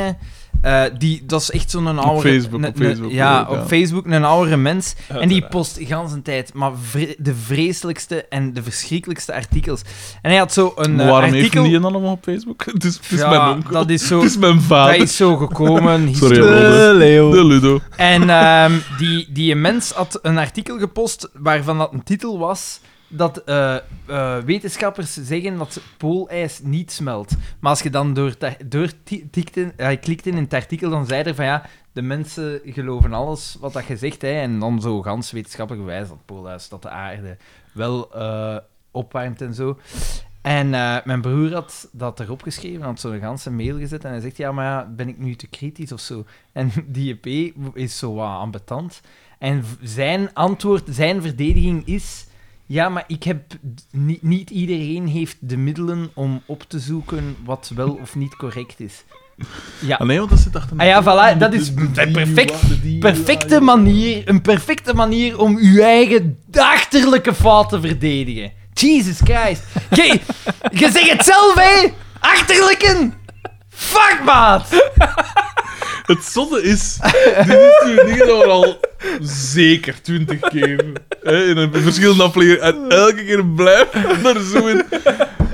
A: eh, die, dat is echt zo'n oude...
B: Facebook, op Facebook,
A: ja,
B: ja.
A: op Facebook, een oude mens. En die post gans een tijd, maar vre- de vreselijkste en de verschrikkelijkste artikels. En hij had zo een
B: Maar
A: eh,
B: waarom heeft
A: artikel...
B: die je allemaal op Facebook? Het is, het is
A: Ja,
B: mijn onkel.
A: dat is zo,
B: Het is mijn
A: dat
B: vader.
A: is zo gekomen.
B: [LAUGHS] Sorry,
A: historisch.
B: Robert.
C: Eh, Leo.
B: De Ludo.
A: En ehm, die, die mens had een artikel gepost waarvan dat een titel was dat eh, eh, wetenschappers zeggen dat poolijs niet smelt. Maar als je dan door, het ar- door ti- tikt in- eh, klikt in het artikel, dan zei er van ja, de mensen geloven alles wat dat je zegt. Hè, en dan zo gans wetenschappelijk bewijs dat poolijs, dat de aarde wel eh, opwarmt en zo. En eh, mijn broer had dat erop geschreven, had zo'n ganse mail gezet. En hij zegt, ja, maar ja, ben ik nu te kritisch of zo? En [LAUGHS] die EP is zo wat ambetant. En v- zijn antwoord, zijn verdediging is... Ja, maar ik heb... d- Niet, niet iedereen heeft de middelen om op te zoeken wat wel of niet correct is. Ja.
B: Ah, nee, want dat zit achter
A: Ah ja, voilà, dat is een perfect, perfecte manier, een perfecte manier om uw eigen achterlijke fout te verdedigen. Jesus [LAUGHS] Christ. Je, je zegt het zelf, hè? Achterlijken! Fuck, maat!
B: Het zotte is, dit is nu dingen dat we al zeker twintig keer hè, in een verschillende aflevering en elke keer blijven we er zo in.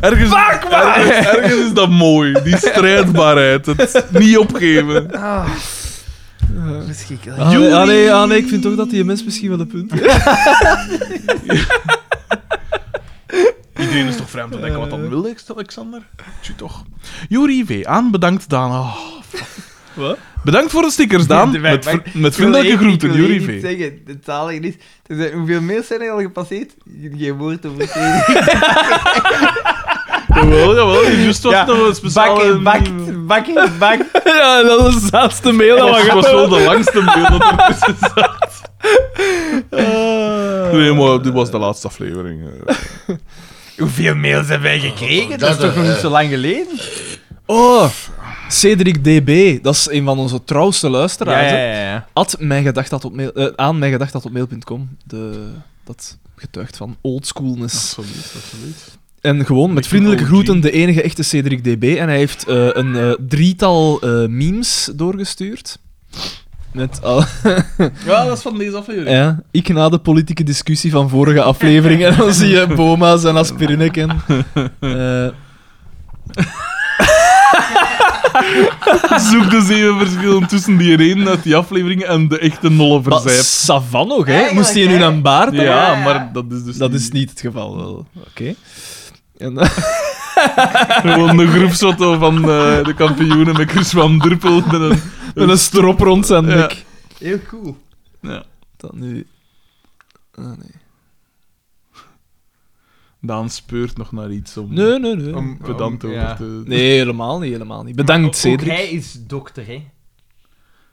B: Ergens, ergens, ergens is dat mooi, die strijdbaarheid, het niet opgeven.
A: Verschrikkelijk.
C: Ah, nee,
B: Joelie.
C: ah, nee, ah, nee, ik vind toch dat die mens misschien wel een punt heeft.
B: Iedereen is toch vrij om te denken wat
A: Eh.
B: dan wil, Alexander? Tje toch. Juri W. aan, bedankt Daan. Oh, fuck.
C: Wat?
B: Bedankt voor de stickers, Daan.
A: Nee,
B: Met,
A: maar-
B: vri- met
A: Ik wil
B: vriendelijke
A: echt-
B: groeten,
A: ik wil
B: Juri
A: echt
B: V.
A: niet zeggen, het zalige is... er zijn- hoeveel mails zijn er al gepasseerd? Geen woord over tegen.
B: [LAUGHS] Jawel, jawel. Just was
A: Ja,
B: nog een speciale...
A: Bakken, bakt, bakken, bakt.
C: ja, dat is de laatste mail dat
B: [LAUGHS] Dat
C: we
B: was,
C: gaan
B: was wel de langste mail dat er tussen zat.
A: [LAUGHS]
B: Nee, maar dit was de laatste aflevering. eh.
A: Hoeveel mails hebben wij gekregen? Dat is
D: Dat,
A: toch nog
D: eh,
A: niet zo lang geleden?
C: Oh, Cedric DB, dat is een van onze trouwste luisteraars. hè.
A: ja.
C: At mijn gedacht dat op mail, eh, aan mijn gedacht dat op mail.com. De, dat getuigt van oldschoolness.
B: Absoluut, absoluut.
C: En gewoon met vriendelijke
B: OG.
C: groeten de enige echte Cedric DB. En hij heeft eh, een eh, drietal eh, memes doorgestuurd. Met al, [LAUGHS]
B: Ja, dat is van deze aflevering.
C: ja, ik na de politieke discussie van vorige aflevering. En dan zie
B: [LAUGHS]
C: je Boma zijn aspirine en eh,
B: Zoek dus even verschillen tussen die reden uit die aflevering en de echte nolle
C: maar
B: verzijp.
C: Savan nog, hè?
F: Eigenlijk,
C: Moest hij nu
F: hè?
C: een baard hebben?
B: Ja, maar dat is dus
C: Dat is niet het geval, wel. Oké. En, eh,
B: [LAUGHS] Gewoon de groepsfoto van eh, de kampioenen met Chris van Druppel. Met een...
C: met een strop rond zijn
B: Ja.
C: nek.
A: Heel cool.
C: Dat nu... Ah, nee.
B: Daan speurt nog naar iets om
C: Nee, nee, nee.
A: Om-
B: pedant
A: om-
B: over
A: ja.
B: te...
C: Nee, helemaal niet, helemaal niet. Bedankt,
A: Ook
C: Cedric.
A: hij is dokter, hè?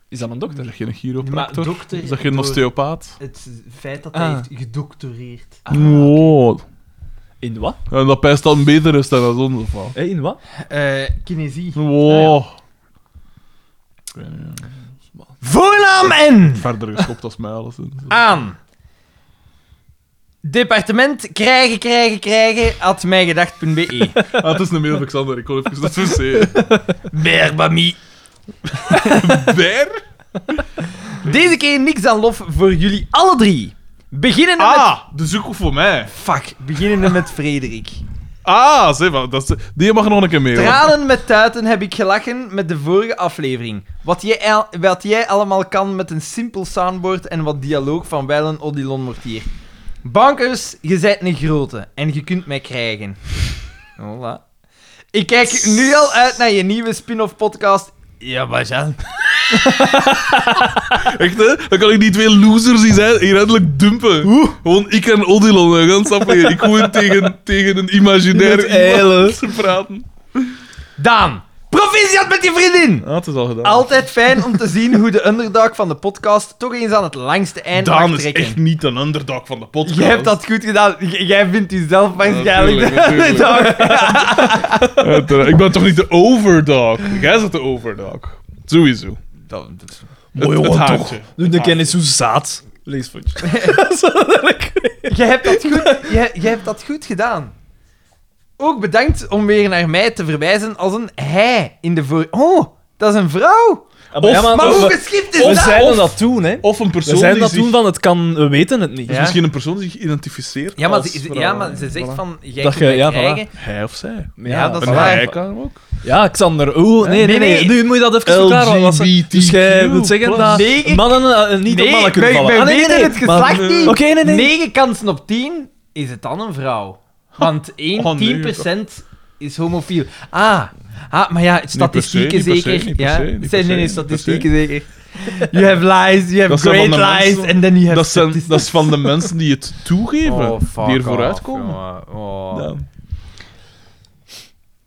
C: Is dat een
B: Is
C: dokter?
B: dat geen
A: Maar
B: chiropractor?
A: dokter...
B: Is dat geen
A: door
B: osteopaat?
A: Het feit dat hij
C: Ah.
A: heeft gedoctoreerd.
B: Wow.
C: In wat?
B: En dat pijst dan beter is dan als ons, of wat?
C: Hé, in wat?
A: Ah, eh, kinesie.
B: Wow. Ik weet niet, ja.
A: Voornaam en
B: Verder geschopt als mij alles.
A: aan. Departement krijgen, krijgen, krijgen at mijgedacht.be.
B: Ah, het is een mail van Xander, ik kon even dat verzekeren.
A: [LAUGHS] Berbami.
B: Ber?
A: Deze keer niks aan lof voor jullie alle drie. Beginnen met...
B: Ah, de zoek voor mij.
A: Fuck, beginnen met Frederik.
B: Ah, zeg maar, dat is, die mag nog een keer mee. hoor.
A: Tranen met tuiten heb ik gelachen met de vorige aflevering. Wat jij, al- wat jij allemaal kan met een simpel soundboard en wat dialoog van Wijlen Odilon Mortier. Bankers, je zijt een grote en je kunt mij krijgen. Voilà. Ik kijk nu al uit naar je nieuwe spin-off podcast. Ja, maar Jean.
B: Echt, hè? Dan kan ik die twee losers die zijn hier eindelijk dumpen. Gewoon ik en Odilon, een gans [LAUGHS] aflevering. Ik gewoon tegen, tegen een imaginair
C: Met eilen.
B: iemand te praten.
A: Daan, proficiat met je vriendin!
B: Ah, het is al gedaan.
A: Altijd fijn om te zien hoe de underdog van de podcast toch eens aan het langste eind
B: Daan
A: mag
B: is
A: trekken.
B: echt niet een underdog van de podcast.
A: Jij hebt dat goed gedaan. J- Jij vindt jezelf waarschijnlijk
B: Natuurlijk,
A: [LAUGHS]
B: natuurlijk. [LAUGHS] Uiteraard. Ik ben toch niet de overdog? Jij bent de overdog. Sowieso. Dat, is...
C: Mooi,
B: het
C: jongen, toch.
B: haantje.
C: Nu de kennis hoe zaad. Lees van je. [LAUGHS]
A: Jij hebt dat goed, jij, jij hebt dat goed gedaan. Ook bedankt om weer naar mij te verwijzen als een hij in de voor... Oh, dat is een vrouw!
C: Of, ja, Ah, maar,
A: Maar hoe
C: we,
A: geschikt
C: we
A: is dat?
C: zeiden dat toen, hè.
B: Of een
C: We
B: persoon
C: zeiden
B: die
C: dat
B: zich...
C: toen van, het kan, we weten het niet.
A: Ja.
B: Misschien een persoon die zich identificeert
A: Ja, maar
B: als
A: ze,
B: vrouw.
A: ja, maar ze zegt
C: Voilà.
A: van... Jij
C: Dat
A: kunt mij
C: je- ja, voilà.
A: krijgen.
B: Hij of zij.
C: Ja,
A: dat is
B: En
A: waar.
B: hij kan ook.
C: Ja, Xander. Oeh, nee,
A: Nee,
C: nee, nee.
A: nee.
C: Nu moet je dat even verklaren. want dat-
B: LGBTQ+.
C: Dus jij wilt zeggen dat
A: Nee, ik-
C: mannen eh, niet op
A: Nee,
C: mannen kunnen
A: wij-
C: vallen.
A: wij
C: Ah, nee,
A: weten
C: nee,
A: het
C: maar-
A: geslacht niet.
C: Oké, nee, nee.
A: 9 kansen op 10 is het dan een vrouw. Want 1,
B: Oh, nee,
A: 10% is homofiel. Ah, ah maar ja, statistieken
B: niet per se,
A: zeker.
B: niet per
A: ja,
B: se, niet per
A: zijn
B: se,
A: nee, nee,
B: niet per
A: statistieken zeker. You have lies, you have
B: Dat zijn
A: great
B: van de
A: lies,
B: mensen-
A: and then you have
B: Dat, zijn,
A: statistics.
B: dat is van de mensen die het
C: Oh,
B: toegeven. die er vooruit komen. Ja.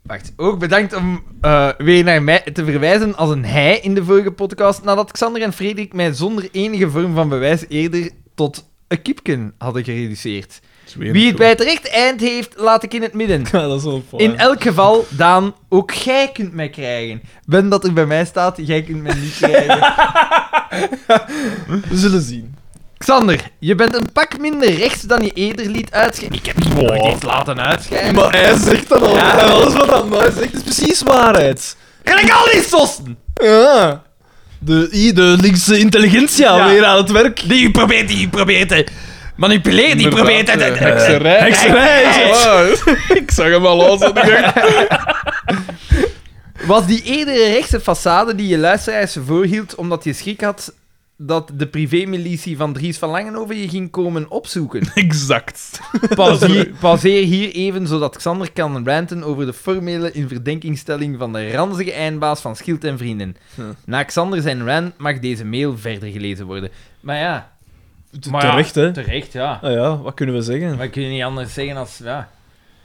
A: Wacht, ook bedankt om eh, weer naar mij te verwijzen als een hij in de vorige podcast, nadat Xander en Frederik mij zonder enige vorm van bewijs eerder tot een kiepken hadden gereduceerd. Wie het bij het recht eind heeft, laat ik in het midden.
C: Ja, dat is wel fijn.
A: In elk geval, Daan, ook jij kunt mij krijgen. Ben dat er bij mij staat, jij kunt mij niet krijgen.
C: We zullen zien.
A: Xander, je bent een pak minder rechts dan je eerder liet uitschrijven. Ik heb je nooit eens laten uitschrijven.
C: Maar hij zegt dat al. Alles wat dat nou zegt is precies waarheid.
A: Gelijk al die sossen!
C: Ja. De, i- de linkse intelligentie
A: Ja.
C: weer aan het werk.
A: Die probeert, die probeert te manipuleren, die probeert te...
B: Inderdaad, eh, hekserij.
C: Hekserij.
B: Ah, ik zag hem al aan. Ik dacht,
A: Was die eerdere rechtse façade die je luisteraars voorhield omdat je schrik had dat de privémilitie van Dries van Langenhoven je ging komen
C: [LAUGHS]
A: opzoeken?
B: exact.
A: Pauzeer, pauzeer hier even, zodat Xander kan ranten over de formele inverdenkingstelling van de ranzige eindbaas van Schild en Vrienden. Na Xander zijn rant mag deze mail verder gelezen worden. Maar ja... maar ja,
C: terecht, hè?
A: Terecht, ja.
C: Ah ja, wat kunnen we
A: [LAUGHS]
C: zeggen?
A: Maar kun je niet anders zeggen als... Ja.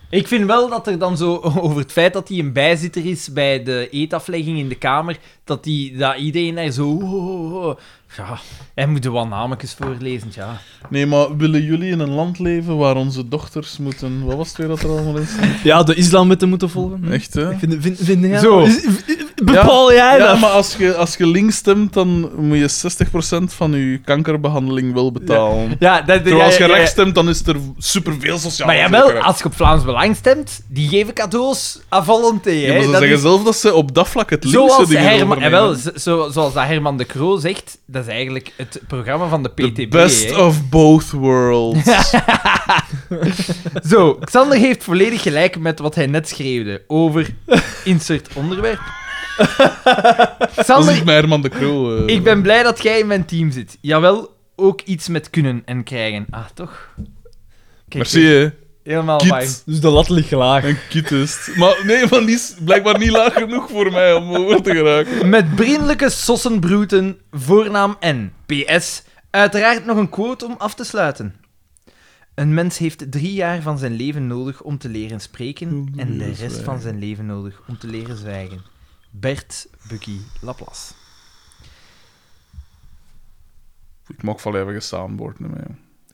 A: Ik vind wel dat er dan zo [LAUGHS] over het feit dat hij een bijzitter is bij de eetaflegging in de kamer, dat, die, dat iedereen daar zo... "Oh, oh, oh." Ja, hij moet er wat nametjes voorlezen, ja.
B: Nee, maar willen jullie in een land leven waar onze dochters moeten... Wat was het weer dat er allemaal is?
C: [LAUGHS] Ja, de islamwetten moeten volgen.
B: Echt, hè?
C: Vind, vind, vind jij
A: Zo.
C: Is- v- Bepaal jij
B: Ja,
C: dat?
B: maar als je, als je links stemt, dan moet je 60% van je kankerbehandeling wel betalen.
A: Ja, dat,
B: Terwijl als je
A: ja, ja, ja.
B: rechts stemt, dan is er superveel sociale
A: Maar ah, jawel,
B: zekerheid.
A: als je op Vlaams Belang stemt, die geven cadeaus à volonté.
B: Ja, maar
A: hè.
B: ze
A: Dat
B: zeggen
A: is
B: zelf dat ze op dat vlak het linkse
A: zoals,
B: dingen
A: Herman,
B: overnemen.
A: jawel, zo- zo- zoals dat Herman de Croo zegt, dat is eigenlijk het programma van de
B: The
A: PTB.
B: best
A: hè.
B: of both
A: [LAUGHS]
B: worlds.
A: Zo, [LAUGHS] Xander heeft volledig gelijk met wat hij net schreeuwde over insert
B: [LAUGHS]
A: onderwerp.
B: dat is
A: Xander,
B: niet mijn Herman de Croo. eh.
A: ik ben blij dat jij in mijn team zit. Jawel, ook iets met kunnen en krijgen. Ah, toch? Kijk,
B: Merci, hè.
A: Oh Helemaal fijn.
B: Kiet.
C: Dus de lat ligt laag.
B: Een kietest. Maar nee, maar die is blijkbaar niet laag genoeg voor mij om over te geraken.
A: Met vriendelijke sossenbroeten, voornaam N. PS. Uiteraard nog een quote om af te sluiten. Een mens heeft drie jaar van zijn leven nodig om te leren spreken en de rest van zijn leven nodig om te leren zwijgen. Bert Bucky Laplace.
B: Ik mag wel even gestaanboord met mij.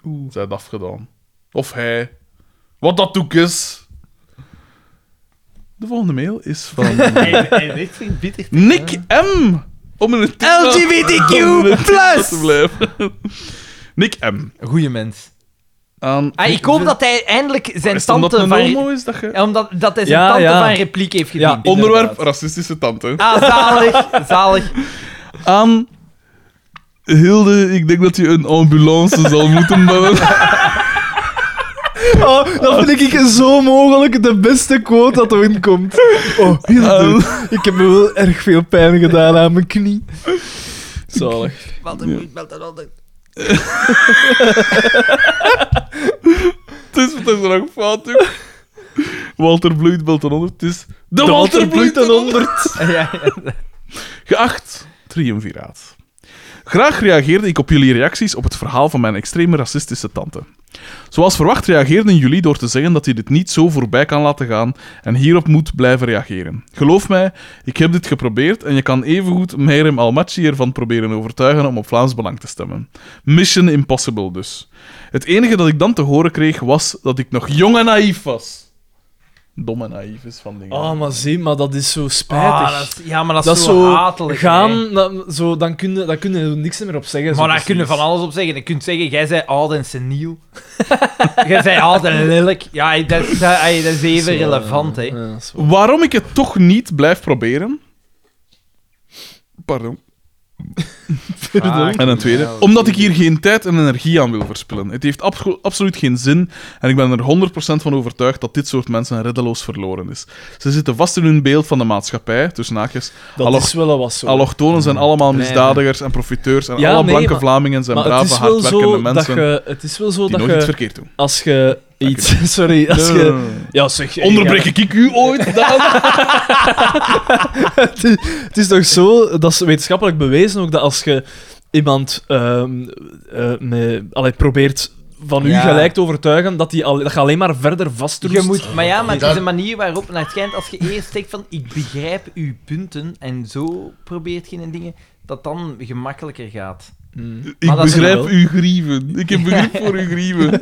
B: Oeh. Zij het afgedaan. Of hij. Wat dat ook is. De volgende mail is van Nick M. Om in het
A: [LAUGHS] LGBTQ+.
B: om in het thema te blijven. Nick M.
A: Goeie mens.
B: Aan...
A: Ah, ik hoop dat hij eindelijk zijn
B: Is het omdat
A: tante
B: een homo
A: van...
B: is dat je...
A: Ja, Omdat dat hij zijn
C: Ja,
A: tante
C: ja.
A: van repliek heeft gediend.
C: Ja.
B: Onderwerp
C: Inderdaad.
B: racistische tante.
A: Ah, zalig. Zalig.
B: Aan Hilde, ik denk dat je een ambulance zal moeten bellen.
C: Oh, dat vind ik zo mogelijk de beste quote dat erin komt. Oh, Hilde, ik heb me wel erg veel pijn gedaan aan mijn knie. Zalig.
A: Wat een goed, wat een ander.
B: Het is, het is er nog fout, joh. Walter Bloeit belt dan onder. Het is de Walter Bloeit dan onder.
C: 100.
B: [LAUGHS]
A: Ja, ja.
B: Geacht triumviraat. Graag reageerde ik op jullie reacties op het verhaal van mijn extreme racistische tante. Zoals verwacht reageerden jullie door te zeggen dat je dit niet zo voorbij kan laten gaan en hierop moet blijven reageren. Geloof mij, ik heb dit geprobeerd en je kan evengoed Meirem Almaci ervan proberen overtuigen om op Vlaams Belang te stemmen. Mission impossible dus. Het enige dat ik dan te horen kreeg was dat ik nog jong en naïef was. Dom en naïef is van dingen.
C: Oh, maar zie, maar dat is zo spijtig.
A: Ah, dat is- ja, maar dat is
C: dat is
A: zo
C: zo
A: hatelijk. hè.
C: gaan, dat, zo, dan kun je, daar kun je niks meer op zeggen.
A: Maar daar kunnen van alles op zeggen. Je kunt zeggen, jij bent oud en seniel. [LAUGHS] jij bent oud en lelijk. Ja, dat is, dat, ey, dat is even relevant,
C: eh,
A: hè.
B: Waarom ik het toch niet blijf proberen. Pardon.
A: Ah,
B: En een tweede. Omdat ik hier geen tijd en energie aan wil verspillen. Het heeft abso- absoluut geen zin. En ik ben er 100% van overtuigd dat dit soort mensen reddeloos verloren is. Ze zitten vast in hun beeld van de maatschappij. Tussen haakjes.
C: Dat
B: Allo-
C: is wel wat zo.
B: Allochtonen zijn allemaal misdadigers en profiteurs. En
C: Ja,
B: alle
C: nee,
B: blanke
C: maar-
B: Vlamingen zijn
C: maar het
B: brave,
C: is wel
B: hardwerkende
C: zo dat
B: mensen.
C: je, het is wel zo
B: Die
C: dat
B: nooit iets
C: je,
B: verkeerd doen.
C: als je iets, [LAUGHS] sorry, als
B: Nee, nee,
C: je,
B: nee, nee.
C: ja zeg, je-
B: Onderbreek ik u
C: [LAUGHS]
B: ooit? Daan?
C: het, is, het is toch zo, dat is wetenschappelijk bewezen ook, dat als je iemand ehm, eh, met- allee, probeert van u
A: Ja.
C: gelijk te overtuigen, dat, die al, dat je alleen maar verder vastroest.
A: Je moet, maar ja, maar het is
D: Dat-
A: een manier waarop naar het schijnt, als je eerst zegt van, ik begrijp uw punten, en zo probeert je in dingen, dat dan gemakkelijker gaat.
B: Ik
A: dat is
B: begrijp
A: wel.
B: uw grieven. Ik heb begrip voor uw
C: [LAUGHS]
B: grieven.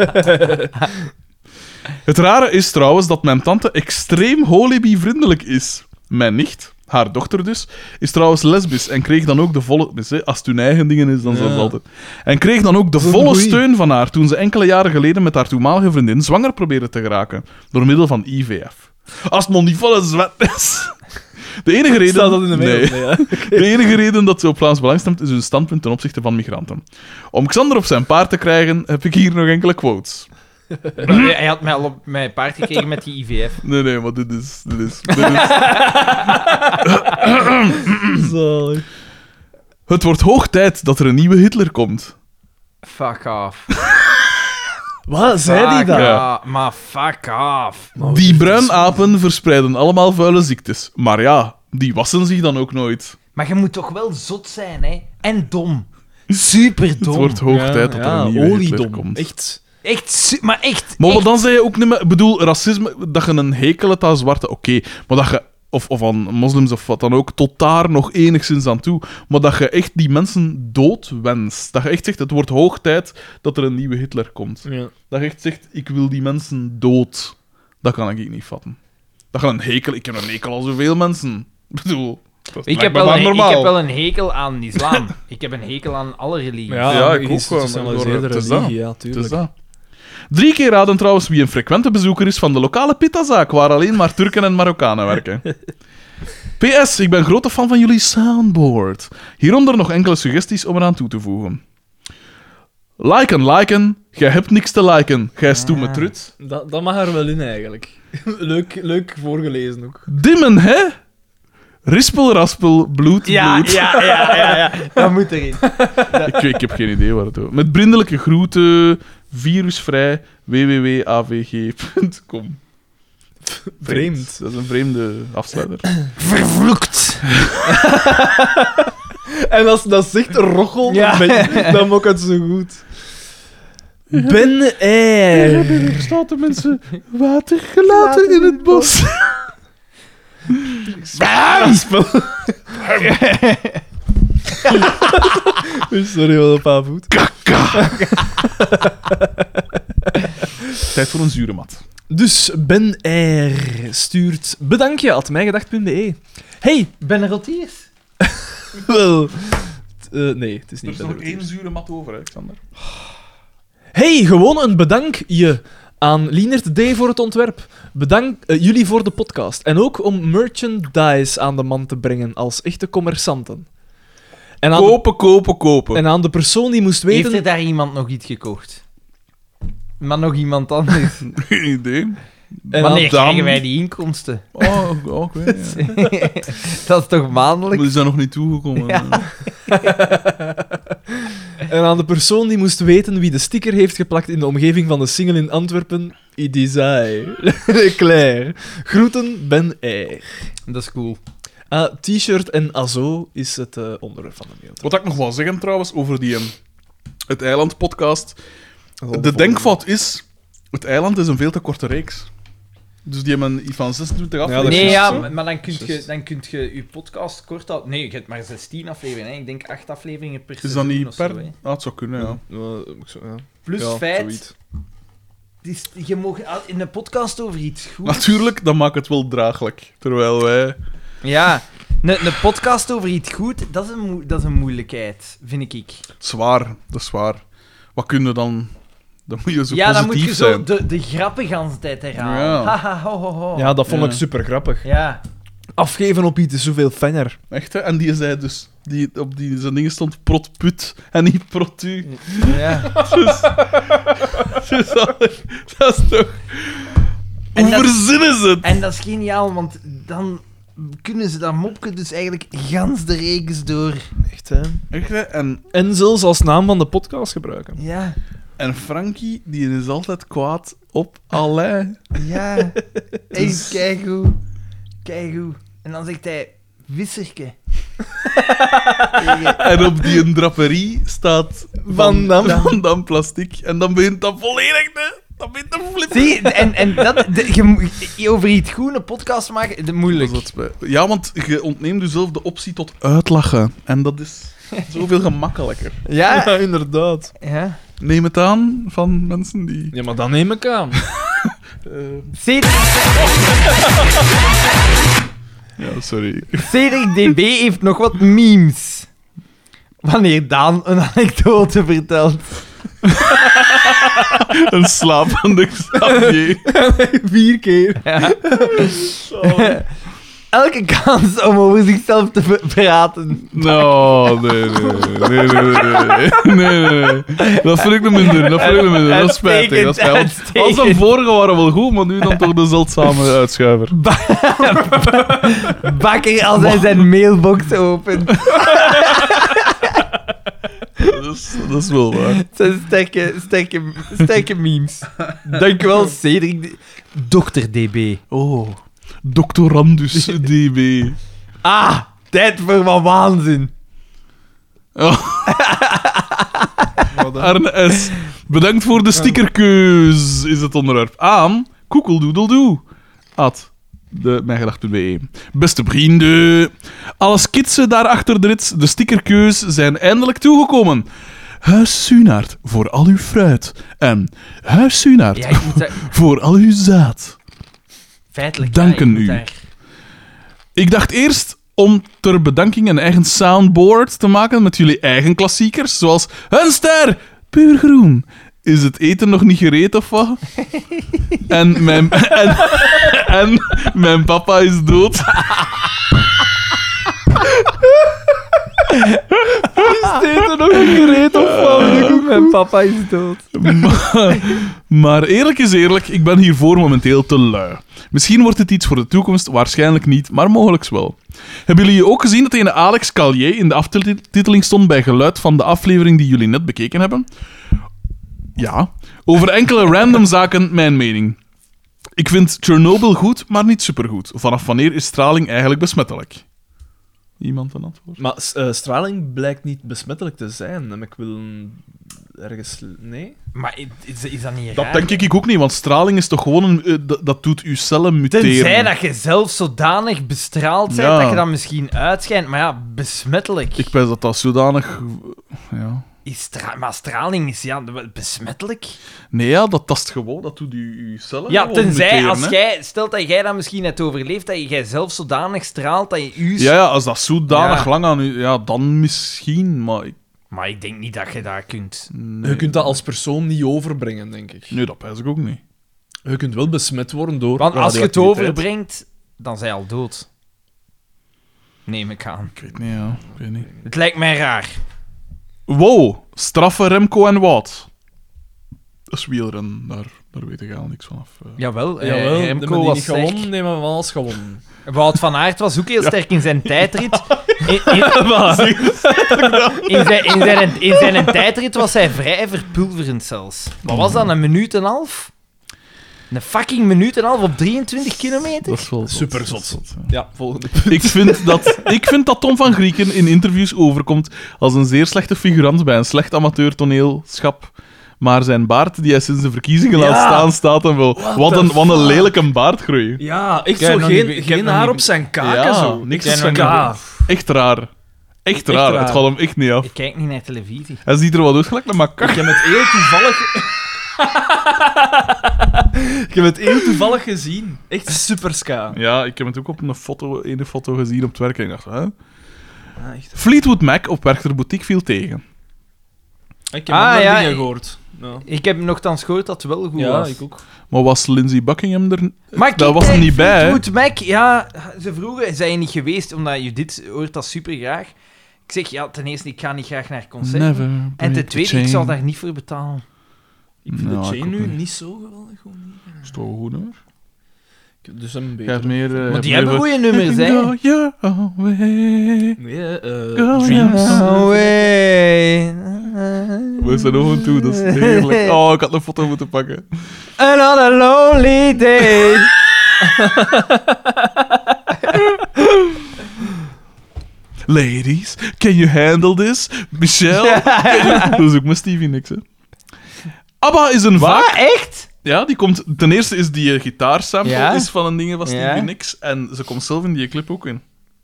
B: Het rare is trouwens dat mijn tante extreem holibi-vriendelijk is. Mijn nicht, haar dochter dus, is trouwens lesbisch en kreeg dan ook de volle... dus, hè, Als het hun eigen dingen is, dan zelfs altijd. En kreeg dan ook de
C: is een
B: volle
C: goeie.
B: steun van haar toen ze enkele jaren geleden met haar toenmalige vriendin zwanger probeerde te geraken. Door middel van IVF. Als het nog niet volle zwet is. [LAUGHS] De enige reden...
C: [LAUGHS] Staat dat in de mail?
B: Nee.
C: Nee, ja.
B: [LAUGHS] De enige reden dat ze op Vlaams Belang stemt, is hun standpunt ten opzichte van migranten. Om Xander op zijn paard te krijgen, heb ik hier nog enkele quotes.
A: Hij hij had mij al op mijn paard gekregen met die IVF.
B: Nee, nee, maar dit is... Dit is, dit is
C: Zalig.
B: het wordt hoog tijd dat er een nieuwe Hitler komt.
A: Fuck off.
C: Wat zei die
A: Fuck
C: dan?
A: off. Maar fuck off.
B: Die bruinapen verspreiden allemaal vuile ziektes. Maar ja, die wassen zich dan ook nooit.
A: Maar je moet toch wel zot zijn, hè? En dom. Super
B: Het
A: dom.
B: wordt hoog tijd dat er
C: ja,
B: een nieuwe Hitler
C: oliedom.
B: komt.
C: Echt.
A: Echt, su- maar echt.
B: Maar wat
A: echt.
B: dan zei je ook niet meer... Ik bedoel, racisme, dat je een hekel hebt aan zwarte, oké. Maar dat je... Of, of aan moslims of wat dan ook, tot daar nog enigszins aan toe. Maar dat je echt die mensen dood wenst. Dat je echt zegt, het wordt hoog tijd dat er een nieuwe Hitler komt.
C: Ja.
B: Dat je echt zegt, ik wil die mensen dood. Dat kan ik niet vatten. Dat je een hekel... Ik heb een hekel aan zoveel mensen. Ik bedoel... dat is
A: Ik heb,
B: blijkbaar
A: wel
B: maar
A: een, ik
B: normaal.
A: heb wel een hekel aan islam. [LAUGHS] ik heb een hekel aan alle religies.
C: Ja,
B: Ja,
C: maar
B: ik ook wel, maar
C: geïnstitutionaliseerde
B: het is dat.
C: religie, ja,
B: Het is
C: tuurlijk.
B: dat. Drie keer raden trouwens wie een frequente bezoeker is van de lokale pitazaak, waar alleen maar Turken en Marokkanen werken. PS, ik ben grote fan van jullie soundboard. Hieronder nog enkele suggesties om eraan toe te voegen. Liken, liken. Jij hebt niks te liken. Gij is toe met trut.
C: Dat, dat mag er wel in, eigenlijk. [LAUGHS] leuk, leuk voorgelezen ook.
B: Dimmen, hè? Rispel, raspel, bloed,
A: ja,
B: bloed.
A: ja, ja, ja, ja. [LAUGHS] Dat moet erin.
B: Ik, weet- ik heb geen idee waar het over Met vriendelijke groeten, virusvrij, www.avg.com.
C: Vreemd.
B: Dat is een vreemde afsluiter.
A: Vervloekt.
C: [LAUGHS] En als dat zegt rochel,
A: Ja.
C: dan, ben- dan mok het zo goed. Ben er.
B: Er staat de mensen water gelaten in het bos.
C: Ah, [LAUGHS] Dus Sorry, wel een paar voet.
B: [LAUGHS] Tijd voor een zure mat.
C: Dus Ben R stuurt bedankje at mijgedacht.be. E. Hey,
A: Ben Rotiers.
C: wel. t- eh, nee, het is niet Ben Rotiers.
B: zure mat over, Alexander.
C: Hey, gewoon een bedankje aan Lienert D voor het ontwerp. Bedankt eh, jullie voor de podcast. En ook om merchandise aan de man te brengen als echte commerçanten. En aan, de,
B: Kopen, kopen, kopen.
C: en aan de persoon die moest weten...
A: Heeft er daar iemand nog iets gekocht? Maar nog iemand anders.
B: Geen idee.
C: en
A: [LAUGHS]
C: aan-
A: Wanneer
B: dan-
A: krijgen wij die inkomsten?
B: Oh, oh, [LAUGHS] ik weet het, ja.
A: [LAUGHS] dat is toch
B: Maar
A: maandelijk?
B: die zijn nog niet toegekomen.
C: En aan de persoon die moest weten wie de sticker heeft geplakt in de omgeving van de single in Antwerpen, Idizai. [LAUGHS] Leclerc. Groeten, Ben R.
A: Dat is cool.
C: Ah, T-shirt en azo is het eh, onderwerp van de mail.
B: Wat ik nog wel zeggen trouwens over die ehm, Het Eiland podcast. De denkfout is: Het Eiland is een veel te korte reeks. Dus die hebben iets van 26
C: dat
B: afleveringen.
C: is
A: Nee,
C: juist,
A: ja,
C: hè?
A: maar maar dan kunt je,
C: Juist.
A: dan kunt je je podcast kort houden. Nee, je hebt maar 16 afleveringen. hè. Ik denk 8 afleveringen per
B: Is dat
A: seizoen
B: niet
A: of zo,
B: per...
A: hè.
B: ah, het zou kunnen, ja.
C: Eh,
A: Plus Dus feit, het is- je mag al- in een podcast over iets goeds...
B: Natuurlijk, dan maakt het wel draaglijk. Terwijl wij...
A: Ja, een, een podcast over iets goeds, dat is een, moe- dat is een moeilijkheid, vind ik.
B: Zwaar, dat is zwaar. Wat kun je dan... Dan moet je zo
A: ja, dan moet
B: positief
A: je zo
B: zijn.
A: de, de grappen gans de tijd herhalen.
B: Ja.
A: Haha, ho, ho, ho.
C: Ja, dat vond
B: Ja.
C: ik super grappig.
A: Ja.
C: Afgeven op iets is zoveel fijner.
B: Echt, hè? En die zei dus... Die, op die, zijn dingen stond protput en niet protu.
A: ja.
B: Dus [LAUGHS] dat, dat is toch...
A: En
B: Hoe
A: dat-
B: verzinnen ze het?
A: En dat is geniaal, want dan kunnen ze dat mopje dus eigenlijk gans de reeks door.
C: Echt, hè?
B: Echt, hè? En,
C: En zelfs als naam van de podcast gebruiken.
A: Ja,
B: en Frankie, die is altijd kwaad op Alain. [LAUGHS]
A: ja. Echt
B: Dus-
A: keigoed. Keigoed. En dan zegt hij, wisserke. Tegen-
B: En op die draperie staat
C: Van Dam.
B: [LAUGHS] Van Dam Plastic. En dan begint dat volledig te... Dat begint te flippen.
A: Zie, en, en dat, de, je moet- over iets goeds een podcast maken, dat is moeilijk.
B: [LAUGHS] Dat is wat spijt. Ja, want je ontneemt jezelf de optie tot uitlachen. En dat is... Zoveel gemakkelijker.
A: Ja,
B: [LAUGHS]
C: Ja, inderdaad.
A: ja.
B: Neem het aan van mensen die...
C: Ja, maar dan neem ik aan.
A: CD
B: Ja, sorry.
A: CDDB heeft nog wat memes. Wanneer Daan een anekdote
C: [LAUGHS]
A: vertelt.
B: Een [LAUGHS] slapende Xavier.
C: Vier keer.
A: Elke kans om over zichzelf te ver- praten.
B: No, nee, nee, nee, nee, nee, nee, nee, nee, nee. Dat vind ik de minder, dat vind ik de minder. Dat is spijtig, dat is spijtig. Want Als de vorige waren wel goed, maar nu dan toch de [LAUGHS] zeldzame uitschuiver.
A: Bakker als hij zijn mailbox opent.
B: Dat is, dat is wel waar.
A: Het zijn sterke, sterke, sterke memes. Dankjewel, Cedric. D- Dokter DB.
B: Oh, doctorandus DB.
A: Ah, tijd voor wat waanzin.
B: Oh. Arne S. Bedankt voor de stickerkeus, is het onderwerp. Aan koekeldoedeldoe. At de mijngedacht.be. Beste vrienden, alle skitsen daar achter de rits, de stickerkeus, zijn eindelijk toegekomen. Huis Sunaard voor al uw fruit. En Huis Sunaard
A: Ja, ik moet daar-
B: voor al uw zaad.
A: feitelijk.
B: Danken
A: ja, ik moet
B: u.
A: daar-
B: Ik dacht eerst om ter bedanking een eigen soundboard te maken met jullie eigen klassiekers, zoals Een ster, puur groen. Is het eten nog niet gereed of wat? en, mijn, en, en mijn papa is dood.
C: Deed er nog een gereed op van. [LAUGHS]
A: Mijn papa is dood.
B: maar, [LAUGHS] maar eerlijk is eerlijk, ik ben hiervoor momenteel te lui. Misschien wordt het iets voor de toekomst, waarschijnlijk niet, maar mogelijk wel. Hebben jullie ook gezien dat ene Alex Calier in de aftiteling stond bij geluid van de aflevering die jullie net bekeken hebben? Ja. Over enkele random zaken mijn mening. Ik vind Chernobyl goed, maar niet supergoed. Vanaf wanneer is straling eigenlijk besmettelijk? Iemand een antwoord?
C: Maar eh, straling blijkt niet besmettelijk te zijn. En ik wil ergens... Nee?
A: Maar is, is dat niet
B: Dat denk ik ook niet, want straling is toch gewoon een... eh, dat, dat doet uw cellen muteren.
A: Tenzij dat je zelf zodanig bestraald bent
B: Ja.
A: dat je dat misschien uitschijnt. Maar ja, besmettelijk.
B: Ik pens dat dat zodanig. Ja.
A: Is stra- maar straling is ja, wel besmettelijk.
B: Nee, ja, dat tast gewoon. Dat doet u, uw cellen.
A: Ja,
B: gewoon
A: tenzij
B: muteren,
A: als
B: hè.
A: jij, stelt dat jij dat misschien net overleeft, dat jij zelf zodanig straalt dat je u.
B: Ja, ja, als dat zodanig
A: Ja.
B: lang aan u. Ja, dan misschien. Maar ik,
A: Maar ik denk niet dat je daar kunt.
B: Nou,
C: Je kunt dat als persoon niet overbrengen, denk ik.
B: nee, dat pens ik ook niet.
C: Je kunt wel besmet worden door
A: Want als je het
C: radioactiviteit.
A: overbrengt, dan zijn je al dood. Neem ik aan.
B: Ik weet niet, ja. Ik weet niet.
A: Het lijkt mij raar.
B: Wow, straffen Remco en Wout. Dat is wielrennen, daar, daar weet ik al niks van af. eh.
A: Jawel, eh,
C: Jawel, de
A: Remco
C: men die
A: was
C: niet
A: sterk.
C: gewonnen, nemen we wel als gewonnen.
A: Wout van Aert was ook heel sterk in zijn
B: [LAUGHS]
A: tijdrit. In, in, [LAUGHS] in zijn, in, zijn, in zijn tijdrit was hij vrij verpulverend zelfs. Wat was dat, een minuut en een half? Een fucking minuut en een half op 23 kilometer?
B: Dat is wel zot.
C: Super
B: Dat is
C: zot.
B: ja.
C: Ja, volgende.
B: Ik vind, dat,
A: [LAUGHS]
B: ik vind dat Tom van Grieken in interviews overkomt als een zeer slechte figurant bij een slecht amateurtoneelschap. Maar zijn baard, die hij sinds de verkiezingen laat
C: Ja.
B: staan, staat hem wel. Wat een, wat een lelijke baardgroei.
C: Ja, echt
A: Ik heb
C: zo
A: nog
C: geen,
A: niet- ik heb
C: geen
A: nog
C: haar
A: niet-
C: op zijn kaken
B: Ja,
C: zo.
B: niks
C: Ik
B: op
C: ben
B: zijn
C: kaak.
B: Echt raar. Echt raar.
C: raar.
B: Het gaat hem echt niet af.
A: Ik kijk niet naar televisie.
B: Hij ziet er wel uit gelijk naar
C: Ik
B: makak.
C: heb het heel toevallig... [LAUGHS] ik heb het heel toevallig gezien. Echt super ska.
B: Ja, ik heb het ook op een foto, ene foto gezien op het werk en ik dacht, hè? Fleetwood Mac op Werchter Boutique viel tegen.
C: Ik heb
A: Ah,
C: andere
A: ja,
C: dingen
A: ik-
C: gehoord. Ja,
A: Ik heb nogthans gehoord dat het wel goed was.
C: ik ook.
B: Maar was Lindsay Buckingham er...
A: Maar
B: Daar
A: kijk,
B: was hij
A: eh,
B: niet bij, hè?
A: Fleetwood Mac, ja, ze vroegen, zijn je niet geweest, omdat je dit hoort dat super graag. Ik zeg, ja, ten eerste, ik ga niet graag naar concerten.
B: Never
A: En ten
B: break the
A: tweede, ik
B: chain.
A: zal daar niet voor betalen.
C: Ik vind
B: Nou,
C: de
B: ik
C: chain
B: ook
C: nu
B: niet.
C: niet zo geweldig. gewoon niet.
B: Is toch goed, hoor?
C: Ik heb Dus een
B: Jij
C: beetje...
B: hebt meer... eh,
A: Maar
B: hebt
A: die
B: meer
A: hebben
B: ver-
A: goede
B: [LAUGHS]
A: nummers, hè?
B: Go your own way.
C: Nee, eh,
B: Go
C: Dreams.
B: your own way.
A: Away.
B: We zijn nog een toe, dat is
A: [LAUGHS]
B: heerlijk. Oh, ik had een foto moeten pakken.
A: Another lonely
B: [LAUGHS]
A: day.
B: Ladies, can you handle this?
A: [LAUGHS]
B: Michelle? dat is ook mijn Stevie Nicks, hè. ABBA is een
A: Wat?
B: vaak...
A: Ah, Echt?
B: Ja, die komt... Ten eerste is die eh, gitaarsample
A: Ja?
B: is van een ding van Stevie
A: Ja?
B: Nicks. En ze komt zelf in die clip ook in.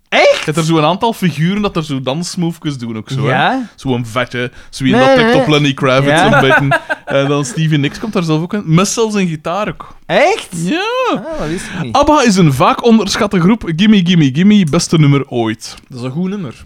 A: Echt?
B: Je hebt er zo'n aantal figuren dat er zo dansmovejes doen ook zo. hè.
A: Ja?
B: Zo'n vetje, zo in
A: Nee,
B: dat
A: nee,
B: trekt
A: nee.
B: op Lenny Kravitz
A: Ja.
B: een
A: [LAUGHS]
B: beetje. En dan Stevie Nicks komt daar zelf ook in. Met zelfs een gitaar ook.
A: Echt?
B: Ja!
A: Ah, dat wist ik niet.
B: ABBA is een vaak onderschatte groep. Gimme, gimme, gimme, beste nummer ooit.
C: Dat is een goed nummer.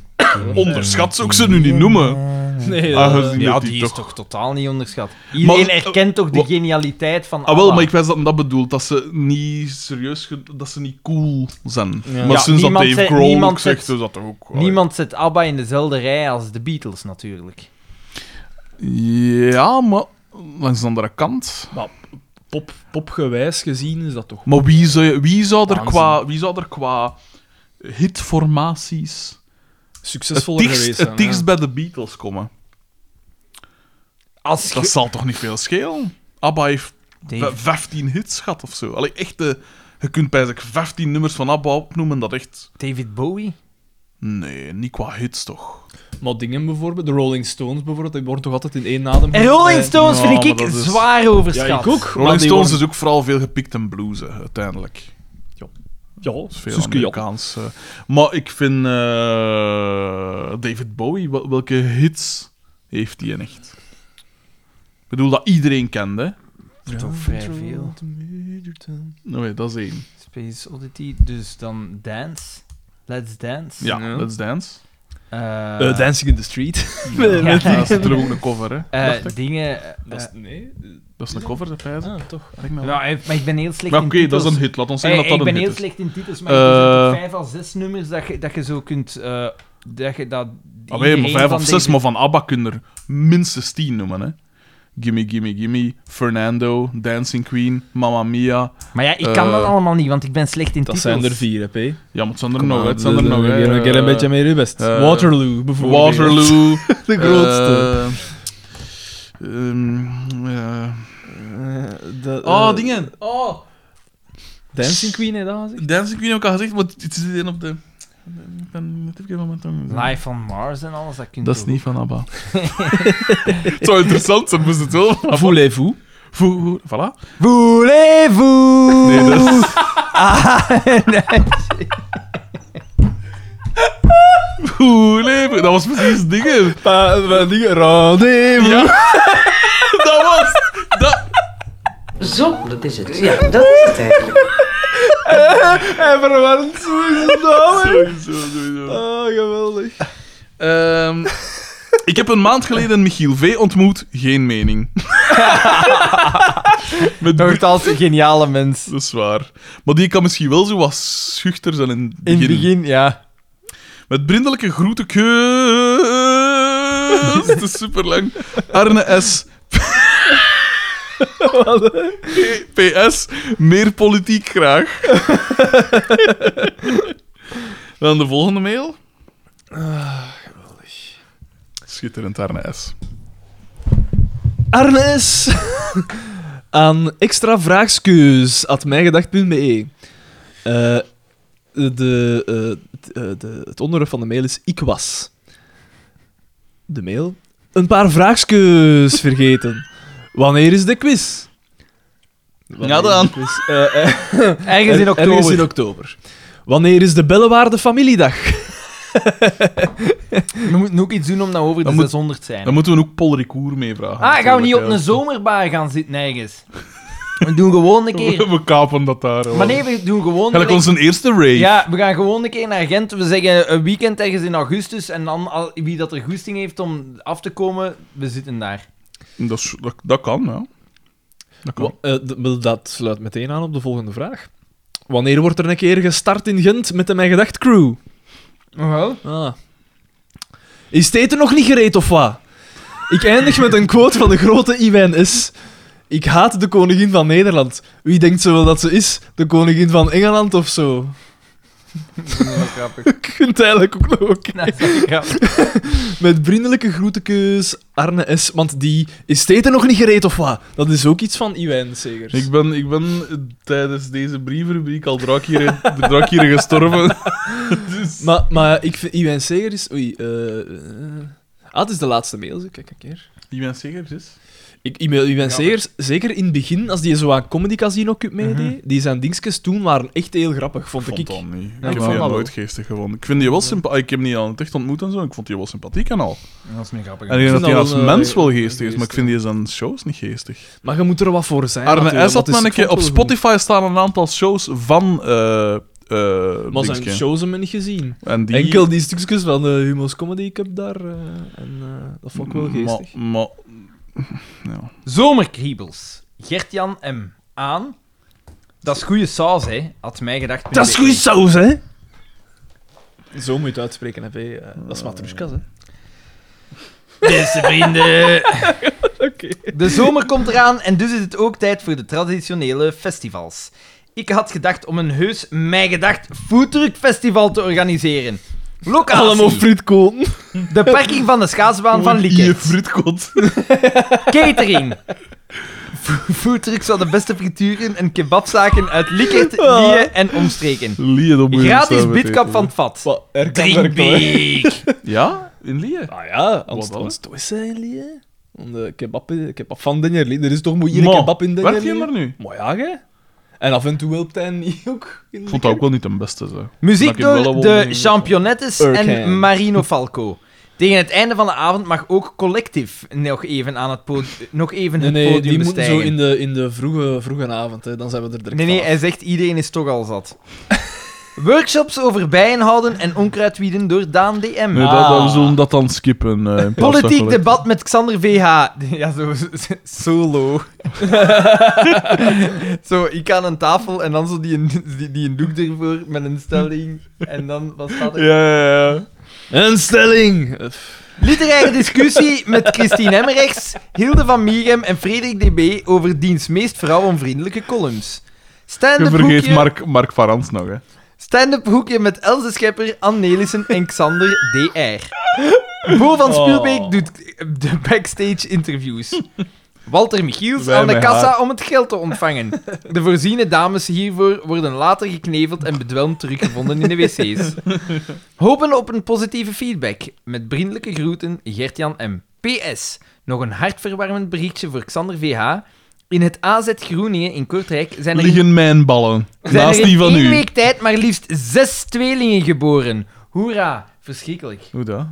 B: Onderschat zou ik ze nu niet noemen.
C: Nee, eh,
B: Aangezien dat
A: Ja, die is toch... totaal niet onderschat. Iedereen
B: Maar- eh,
A: erkent toch de
B: wa-
A: genialiteit van
B: Ah, wel,
A: ABBA.
B: maar ik wijs dat men dat bedoelt. Dat ze niet serieus... ge- Dat ze niet cool zijn.
C: Ja.
B: Maar
A: Ja,
B: sinds dat
A: niemand
B: Dave
A: zet-
B: Grohl
A: niemand
B: ook zegt,
A: zet-
B: is dat toch ook... allee.
A: Niemand zet ABBA in dezelfde rij als de Beatles, natuurlijk.
B: Ja, maar... Langs de andere kant...
C: Pop, popgewijs gezien is dat toch...
B: Maar wie zou, wie zou, er,
C: Waanzin.
B: qua, wie zou er qua hitformaties het
C: Succesvoller
B: dichtst,
C: geweest zijn,
B: het dichtst
C: ja.
B: bij de Beatles komen?
A: Als
B: Dat
A: je-
B: zal toch niet veel schelen? ABBA heeft
A: Dave.
B: v- 15 hits gehad of zo. Allee, echt, eh, je kunt bijna 15 nummers van ABBA opnoemen dat echt...
A: David Bowie?
B: Nee, niet qua hits toch.
C: Maar dingen bijvoorbeeld, de Rolling Stones bijvoorbeeld, die worden toch altijd in één adem...
A: En Rolling Stones
B: ja,
A: vind ik,
B: maar dat is-
A: zwaar
C: Ja,
A: overschat.
C: ik ook. maar
B: Rolling
C: die
B: Stones
C: worden-
B: is ook vooral veel gepikt en blues, hè, uiteindelijk.
C: Ja,
B: Veel
C: Suske Jan.
B: Amerikaans. eh. maar ik vind eh, David Bowie, wel- welke hits heeft hij in echt? Ik bedoel dat iedereen kende. hè?
A: Toch vrij veel.
B: Nee, dat is één.
A: Space Oddity, dus dan Dance. Let's Dance.
B: Ja,
C: Ja.
B: Let's Dance.
A: Eh,
C: Eh, Dancing in the Street.
B: Ja,
A: [LAUGHS] ja.
B: Dat is [LAUGHS] natuurlijk ook een cover, hè?
A: eh, dingen... eh,
C: Dat is- [LAUGHS] nee.
B: Dat is een cover, de prijs.
C: Ah, toch.
B: Denk nou.
A: ja, eh, maar ik ben heel slecht
B: Maar
A: in
B: oké, dat
A: titels.
B: is een hit. Laat ons
A: Eh,
B: zeggen dat
A: ik
B: dat
A: ben
B: een
A: heel
B: hit is.
A: slept in titels, maar er
B: Eh.
A: zijn vijf à zes nummers dat je, dat je zo kunt... eh, dat je dat...
B: Allee, maar
A: iedereen
B: Ah, vijf
A: van
B: of zes,
A: deze-
B: maar van ABBA kun je er minstens tien noemen, hè? Gimme, gimme, gimme, Fernando, Dancing Queen, Mamma Mia.
A: Maar ja, ik kan dat
B: Eh,
A: allemaal niet, want ik ben slecht in
C: Dat
A: titels.
C: zijn er vier, hè, P.
B: Ja, maar het zijn er
C: Kom
B: nog,
C: aan,
B: hè, nou, het zijn er
C: dus,
B: nog.
C: eh,
B: hè.
C: Een keer een beetje meer je best.
B: eh,
C: Waterloo, bijvoorbeeld.
B: Waterloo.
C: [LAUGHS]
B: [LAUGHS]
C: De grootste.
B: Eh, ehm, eh,
C: Eh, de,
B: oh,
C: eh,
B: dingen. Oh,
C: Dancing Queen, hè, dat gezegd?
B: Dancing Queen heb ik al gezegd, maar het zit in op de... Ik ben net even van mijn tong.
A: Live on Mars en alles, dat kun je
B: Dat is
A: toch
B: niet van ABBA. [LAUGHS] het zou interessant zijn, moest het wel.
C: Voulez-vous.
B: Voe- voe- Voilà.
A: ook- eh, Voulez-vous?
B: Nee, dat is... Voulez-vous. Dat was precies dingen.
C: Pa, pa, dingen. Rendez-vous.
B: [LAUGHS] Dat was... Dat...
F: Zo, dat is het. Ja, dat is het eigenlijk.
C: Hij verwarmt [LAUGHS] zijn naam.
B: Sowieso, sowieso.
C: Oh, geweldig.
B: Ehm, ik heb een maand geleden Michiel V. ontmoet. Geen mening. [LAUGHS] Met Bru-
A: Nogthans een geniale mens.
B: Dat is waar. Maar die kan misschien wel zo wat schuchter zijn in het
A: In
B: begin.
A: het begin, ja.
B: Met brindelijke groeten. kus. Het is super lang. Arne S. P- PS. Meer politiek graag. Dan de volgende mail. geweldig. Schitterend, Arne S.
C: Arnes [LAUGHS] aan extravraagskeus.mijgedacht.be. E. Eh de, eh, t- eh, de, het onderwerp van de mail is Ik was. De mail? Een paar vraagskeus vergeten. Wanneer is de quiz? Wanneer is de
B: dan.
C: [LAUGHS] quiz? Eh, eh,
A: Ergens in oktober.
C: Ergens in oktober. Wanneer is de Bellewaarde familiedag?
A: We moeten ook iets doen om dat over de
B: Dan moet-
A: 600 te zijn.
B: Dan moeten we ook Paul Ricoeur meevragen.
A: ah, gaan we niet op een
B: natuurlijk,
A: zomerbar gaan zitten ergens? We doen gewoon
B: [LAUGHS]
A: een
B: hè.
A: keer...
B: We kapen dat daar. hoor.
A: Maar nee, we doen gewoon...
B: Gelijk onze eerste rave.
A: Ja, we gaan gewoon een keer naar Gent. We zeggen een weekend ergens in augustus. En dan al- wie dat er goesting heeft om af te komen, we zitten daar.
B: Dat, is- dat, dat kan, ja. Dat kan.
C: Wa- eh, d- wel, dat sluit meteen aan op de volgende vraag. Wanneer wordt er een keer gestart in Gent met de Mijn Gedacht crew?
A: Oh, Wel?
C: Ah. Is het eten nog niet gereed of wat? Ik eindig met een quote van de grote Iwijn S. Ik haat de koningin van Nederland. Wie denkt ze wel dat ze is? De koningin van Engeland of zo?
A: grappig. [LAUGHS]
C: Je kunt eigenlijk ook nog. oké.
A: Dat is wel grappig.
C: Met vriendelijke groetekeus, Arne S. Want die is het eten nog niet gereed of wat? Dat is ook iets van Iwijn Segers.
B: Ik ben, ik ben eh, tijdens deze brievenrubriek al draakieren, draakieren
C: [LAUGHS]
B: gestorven. dus...
C: Maar, maar ik vind Iwijn Segers... Oei, eh, eh, Ah, het is de laatste mail. zeg. Kijk een keer.
B: Iemand zeker is?
C: Ik e-mail Ivan Segers, zeker in het begin, als die zo aan Comedy Casino Cup meedeed, die zijn dingetjes toen waren echt heel grappig, Mhm. vond,
B: vond
C: ik.
B: dat niet.
C: maar
B: ik heb
C: wel,
B: die
C: maar
B: nooit geestig gevonden. Ik vind die wel sympathiek. Ik heb hem niet aan het echt ontmoet en zo. en Ik vond die wel sympathiek en al.
A: Dat is meer grappig.
B: En ik denk
C: vind
B: dat hij
C: dat
B: als
C: wel, eh,
B: mens wel geestig is,
C: geestig.
B: maar ik vind die zijn shows niet geestig.
C: Maar je moet er wat voor zijn.
B: Arne
C: natuurlijk,
B: S
C: want
B: had me een
C: het is-
B: keer...
C: ik
B: Op
C: vond het wel
B: Spotify staan een aantal shows van... eh eh
C: goed. Maar
B: dingetje.
C: zijn shows hebben we niet gezien.
B: En die...
C: Enkel die stukjes van de Humo's Comedy Cup daar. eh, en eh, dat vond ik wel geestig.
B: Maar, maar- ja.
A: Zomerkriebels. Gert-Jan M. Aan. Dat is goede saus, hè? Had mij gedacht.
C: saus, hè? Zo moet je het uitspreken, hè. Vee. Eh, Dat is matroeskas, hè.
A: Beste vrienden.
C: Oké.
A: De zomer komt eraan en dus is het ook tijd voor de traditionele festivals. Ik had gedacht om een heus mij gedacht foodtruck festival te organiseren.
C: Allemaal
A: Locatie,
C: frietkoten.
A: de parking van de schaatsbaan van
B: Je
A: Lieke.
B: fritkot.
A: Catering. Fo- Foodtrucks van de beste frituren en kebabzaken uit Likert,
C: [LAUGHS] Ah.
A: Lieën en omstreken.
B: [LAUGHS] Lie, dat moet je
A: Gratis
B: zelf
A: bitkap
B: weten.
A: van het vat.
C: Wat nou- erg
A: Drinkbeek.
B: Ja? In Lie?
C: Ah ja,
B: Wat dan?
C: Anst zijn hè? Om de kebab, eh, kebab van Denjerli. Er is toch moeilijk
B: Maar,
C: kebab in Denjerli?
B: werkt die maar nu?
C: Maar ja, hè? En af en toe helpt hij niet ook. In
B: Ik vond dat ook wel niet de beste, zo. Dat
A: Muziek
B: ik wel
A: door
B: wel
A: de
B: dingen-
A: Championettes
C: Hurricane.
A: en Marino Falco. Tegen het einde van de avond mag ook Collective nog even, aan het, pod nog even
C: Nee,
A: het
C: nee,
A: podium
C: die moeten
A: bestijgen.
C: zo in de, in de vroege, vroege avond, hè. Dan zijn we er direct
A: Nee, nee,
C: vanaf.
A: hij zegt iedereen is toch al zat. [LAUGHS] Workshops over bijenhouden en onkruidwieden door Daan DM.
B: Nee, dat, dan, we zullen dat dan skippen. eh, in plaats van
A: Ah. Politiek
B: collect-
A: debat met Xander VH. [LAUGHS] Ja, zo s- solo. [LAUGHS] zo, ik aan een tafel en dan zo die, die, die een doek ervoor met een stelling. En dan, wat staat er?
B: Ja, ja, ja.
C: Een stelling! Eh, pff.
A: Literaire discussie met Christine Emmerichs, Hilde van Mierhem en Frederik DB over diens meest vrouwenvriendelijke columns.
B: Je
A: Stand-up
B: vergeet
A: hoekje,
B: Mark, Mark Varans nog, hè.
A: stand-up hoekje met Else Schepper, Ann Nelissen en Xander DR. Bo van Spielbeek doet de backstage interviews. Walter Michiels
B: Wij
A: aan de
B: met
A: kassa
B: haar.
A: om het geld te ontvangen. De voorziene dames hiervoor worden later gekneveld en bedwelmd teruggevonden in de wc's. Hopen op een positieve feedback. Met vriendelijke groeten, Gertjan M. PS. Nog een hartverwarmend berichtje voor Xander VH. In het AZ Groeningen in Kortrijk zijn er in
B: Liggen mijn ballen.
A: zijn
B: Naast
A: er in
B: die van
A: één
B: u.
A: week tijd maar liefst zes tweelingen geboren. Hoera, verschrikkelijk.
B: Hoe dat?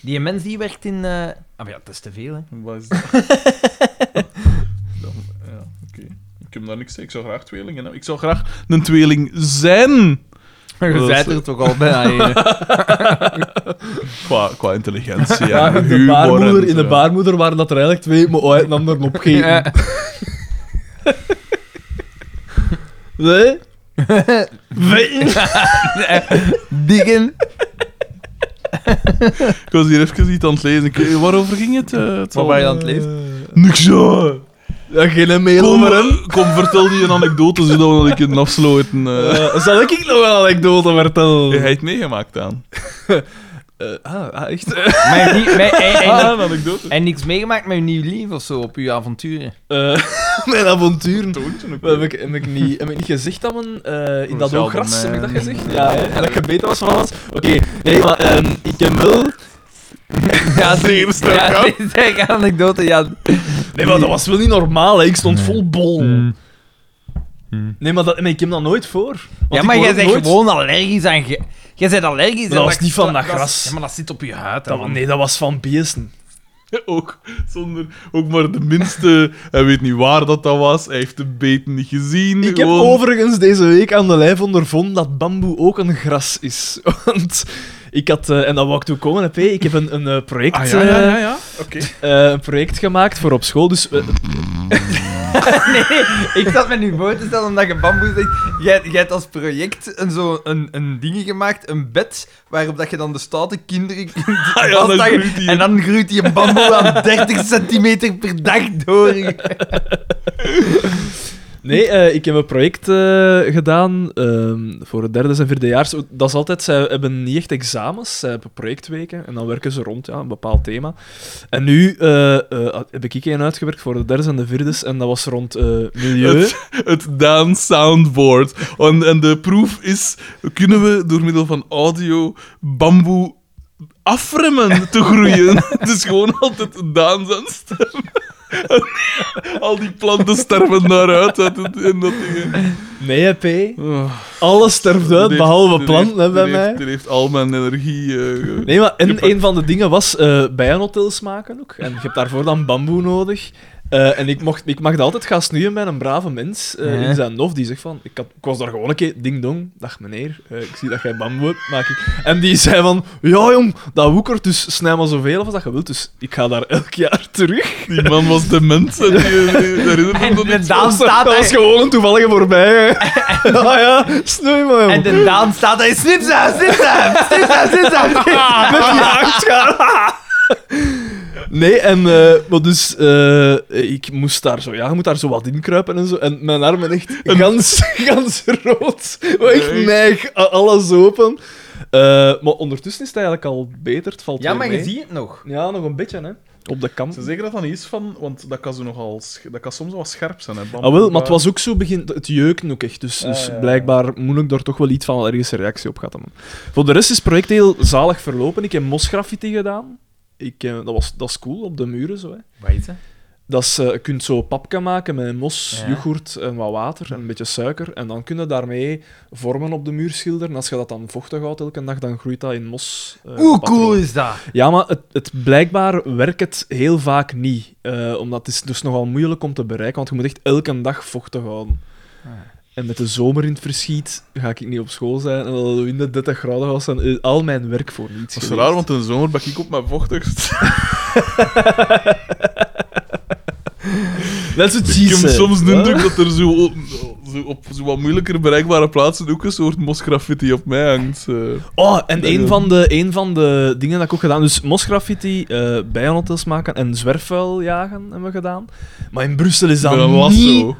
A: Die mens die werkt in... eh, Ah, maar ja, dat is te
B: [LAUGHS]
A: veel, hè.
B: Wat is dat?
A: [LAUGHS]
B: Dan- ja, oké. Ik heb daar niks tegen. Ik zou graag tweelingen hebben. Ik zou graag een tweeling zijn.
A: Maar
B: je zei
A: er toch al bijna [LAUGHS]
B: Qua, qua
A: [LAUGHS]
B: intelligentie
C: Ja,
B: en
C: in de
B: humor
C: baarmoeder,
B: en
C: in de
B: zo.
C: baarmoeder waren dat er eigenlijk twee, maar ooit nam er op geen.
B: [LAUGHS]
A: [LAUGHS]
C: Nee?
A: Diggen.
B: Ik was hier even iets aan het lezen. Ik- eh, waarover ging het? eh, het zal-
A: Wat ben je aan het lezen?
B: Niks, ja.
C: Ja, geen mail
B: Kom,
C: maar, hè.
B: kom, vertel die een anekdote, zodat we een keer afsluiten. eh.
C: Eh, zal ik nog een anekdote vertellen?
B: Jij hebt meegemaakt aan.
C: Eh, ah, ah, echt?
A: Maar die, maar, en, en-
B: Eh. Ah, een anekdote.
A: en niks meegemaakt met uw nieuw lief of zo op uw avonturen.
C: Eh, [LAUGHS] mijn avonturen.
B: Toontje ook
C: Wat Heb
B: weer.
C: ik, heb, ik niet, heb ik niet gezegd dat men eh, in dat
B: Zelden,
C: oogras, heb ik dat
B: eh,
C: gezegd? Ja, hè? en dat ik beter was van alles. Oké, nee, maar ehm, ik heb wel...
A: Ja,
B: Zeer sterk,
A: Ja, [LAUGHS]
B: hè?
A: dit is eigenlijk een anekdote, ja.
C: Nee, maar dat was wel niet normaal, hè. ik stond vol bol.
A: Mm.
C: Nee, maar, dat, maar ik heb dat nooit voor. Want
A: Ja,
C: ik
A: maar jij
C: word ook
A: bent
C: nooit-
A: gewoon allergisch aan... ge- Jij bent allergisch aan...
C: dat was niet van dat
A: is-
C: gras.
A: Ja, maar dat zit op je huid, hè,
C: Dat,
A: man.
C: nee, dat was van beesten.
B: Ook zonder ook maar de minste. Hij weet niet waar dat dat was. Hij heeft de beet niet gezien.
C: Ik heb
B: gewoon.
C: overigens deze week aan de lijf ondervonden dat bamboe ook een gras is. [LAUGHS] Want ik had, eh, en dat wou ik toe komen, heb, hé, ik heb een, een eh, project,
B: Ah, ja, ja,
C: eh,
B: ja. ja. Oké.
C: eh, een project gemaakt voor op school. Dus we-
A: Ik zat me nu voor te stellen omdat je bamboe zegt. Jij, jij hebt als project een, zo een, een ding gemaakt, een bed, waarop dat je dan de stoute kinderen [LAUGHS] kunt
B: dan
A: vasthangen.
B: groeit die.
A: En Ah, dan groeit die bamboe [LAUGHS] aan 30 centimeter per dag [LAUGHS] door.
C: Nee, eh, ik heb een project eh, gedaan ehm, voor het derde en vierdejaars. Dat is altijd, zij hebben niet echt examens, zij hebben projectweken en dan werken ze rond, ja, een bepaald thema. En nu eh, eh, heb ik één uitgewerkt voor de derde en de vierdes en dat was rond eh, milieu.
B: Het, het Daan Soundboard. En, en de proef is: kunnen we door middel van audio bamboe afremmen te
C: [LAUGHS]
B: groeien. Het is gewoon altijd Daan zijn stem. [LAUGHS] Al die planten sterven daaruit uit het, in dat ding.
C: Nee, P.
B: Oh,
C: Alles sterft uit,
B: die
C: behalve
B: heeft- die
C: planten hè,
B: heeft-
C: bij
B: die
C: mij.
B: Heeft, die heeft al mijn energie. eh, ge-
C: Nee, maar en
B: Kippen.
C: een van de dingen was eh bijenhotels maken ook. En je hebt daarvoor dan bamboe nodig. Eh, en ik, mocht, ik mag dat altijd gaan snoeien bij een brave mens eh,
A: Ja.
C: in zijn nof. Die zegt van, ik, had, ik was daar gewoon een keer, ding-dong, dag meneer, eh, ik zie dat jij bamboe hebt, maak ik. En die zei van, ja jong, dat woekert, dus snij maar zoveel af als dat je wilt. Dus ik ga daar elk jaar terug.
B: Die man was dement. En die,
C: [LAUGHS]
B: die, daar herinnert me
A: En
B: dat
A: de
B: niet.
A: Daan staat
C: dat was
A: daar...
C: gewoon een toevallige voorbij.
A: [LAUGHS]
C: hè. ah ja, snoei maar jong.
A: En de Daan staat daar... Snipsa, snipsa, snipsa, [LAUGHS] snipsa.
C: met die
B: [LAUGHS]
C: haakschaar. Nee, en eh, maar dus, eh, ik moest daar zo, ja, je moet daar zo wat in kruipen en zo. En mijn armen echt gans, [LAUGHS] gans rood. Maar Ik
B: Nee.
C: neig a- alles open. Eh, maar ondertussen is het eigenlijk al beter. Het valt
A: Ja,
C: weer
A: maar je
C: mee.
A: ziet het nog.
C: Ja, nog een beetje, hè. Op de kant.
B: Ze zeggen dat dan iets van, want dat kan, ze nogal, sch- dat kan soms wel scherp zijn. Hè, bam,
C: Ah, wel, maar het
B: bam.
C: was ook zo begin... Het jeuken ook echt, dus, dus
B: eh, ja, ja.
C: blijkbaar moet ik daar toch wel iets van ergens een reactie op gehad hebben. Voor de rest is het project heel zalig verlopen. Ik heb mosgraffiti gedaan. Ik, eh, dat, was, dat is cool, op de muren zo. Hè.
A: Weet je?
C: Dat is, eh, je kunt zo papka maken met mos,
A: Ja.
C: yoghurt en wat water en een beetje suiker. En dan kun je daarmee vormen op de muur schilderen. En als je dat dan vochtig houdt elke dag, dan groeit dat in mos. eh,
A: Hoe
C: patroon.
A: cool is dat?
C: Ja, maar het, het blijkbaar werkt het heel vaak niet. eh, omdat het is dus nogal moeilijk om te bereiken, want je moet echt elke dag vochtig houden.
A: Ah.
C: En met de zomer in het verschiet ga ik niet op school zijn en dat het in de 30 graden was en is al mijn werk voor niets
B: Dat is
C: geweest.
B: raar, want in de zomer ben ik op mijn vochtigst. [LAUGHS]
C: That's what she
B: Ik heb
C: said.
B: soms de
C: Huh?
B: indruk dat er zo, zo op zo wat moeilijker bereikbare plaatsen ook een soort mosgraffiti op mij hangt. eh.
C: Oh, en
B: Dat
C: een
B: wil-
C: van, de, een van de dingen dat ik ook gedaan dus mosgraffiti, eh bijenhotels maken en zwerfvuil jagen hebben we gedaan. Maar in Brussel is dat
B: Met een
C: Ah, niet
B: lasso.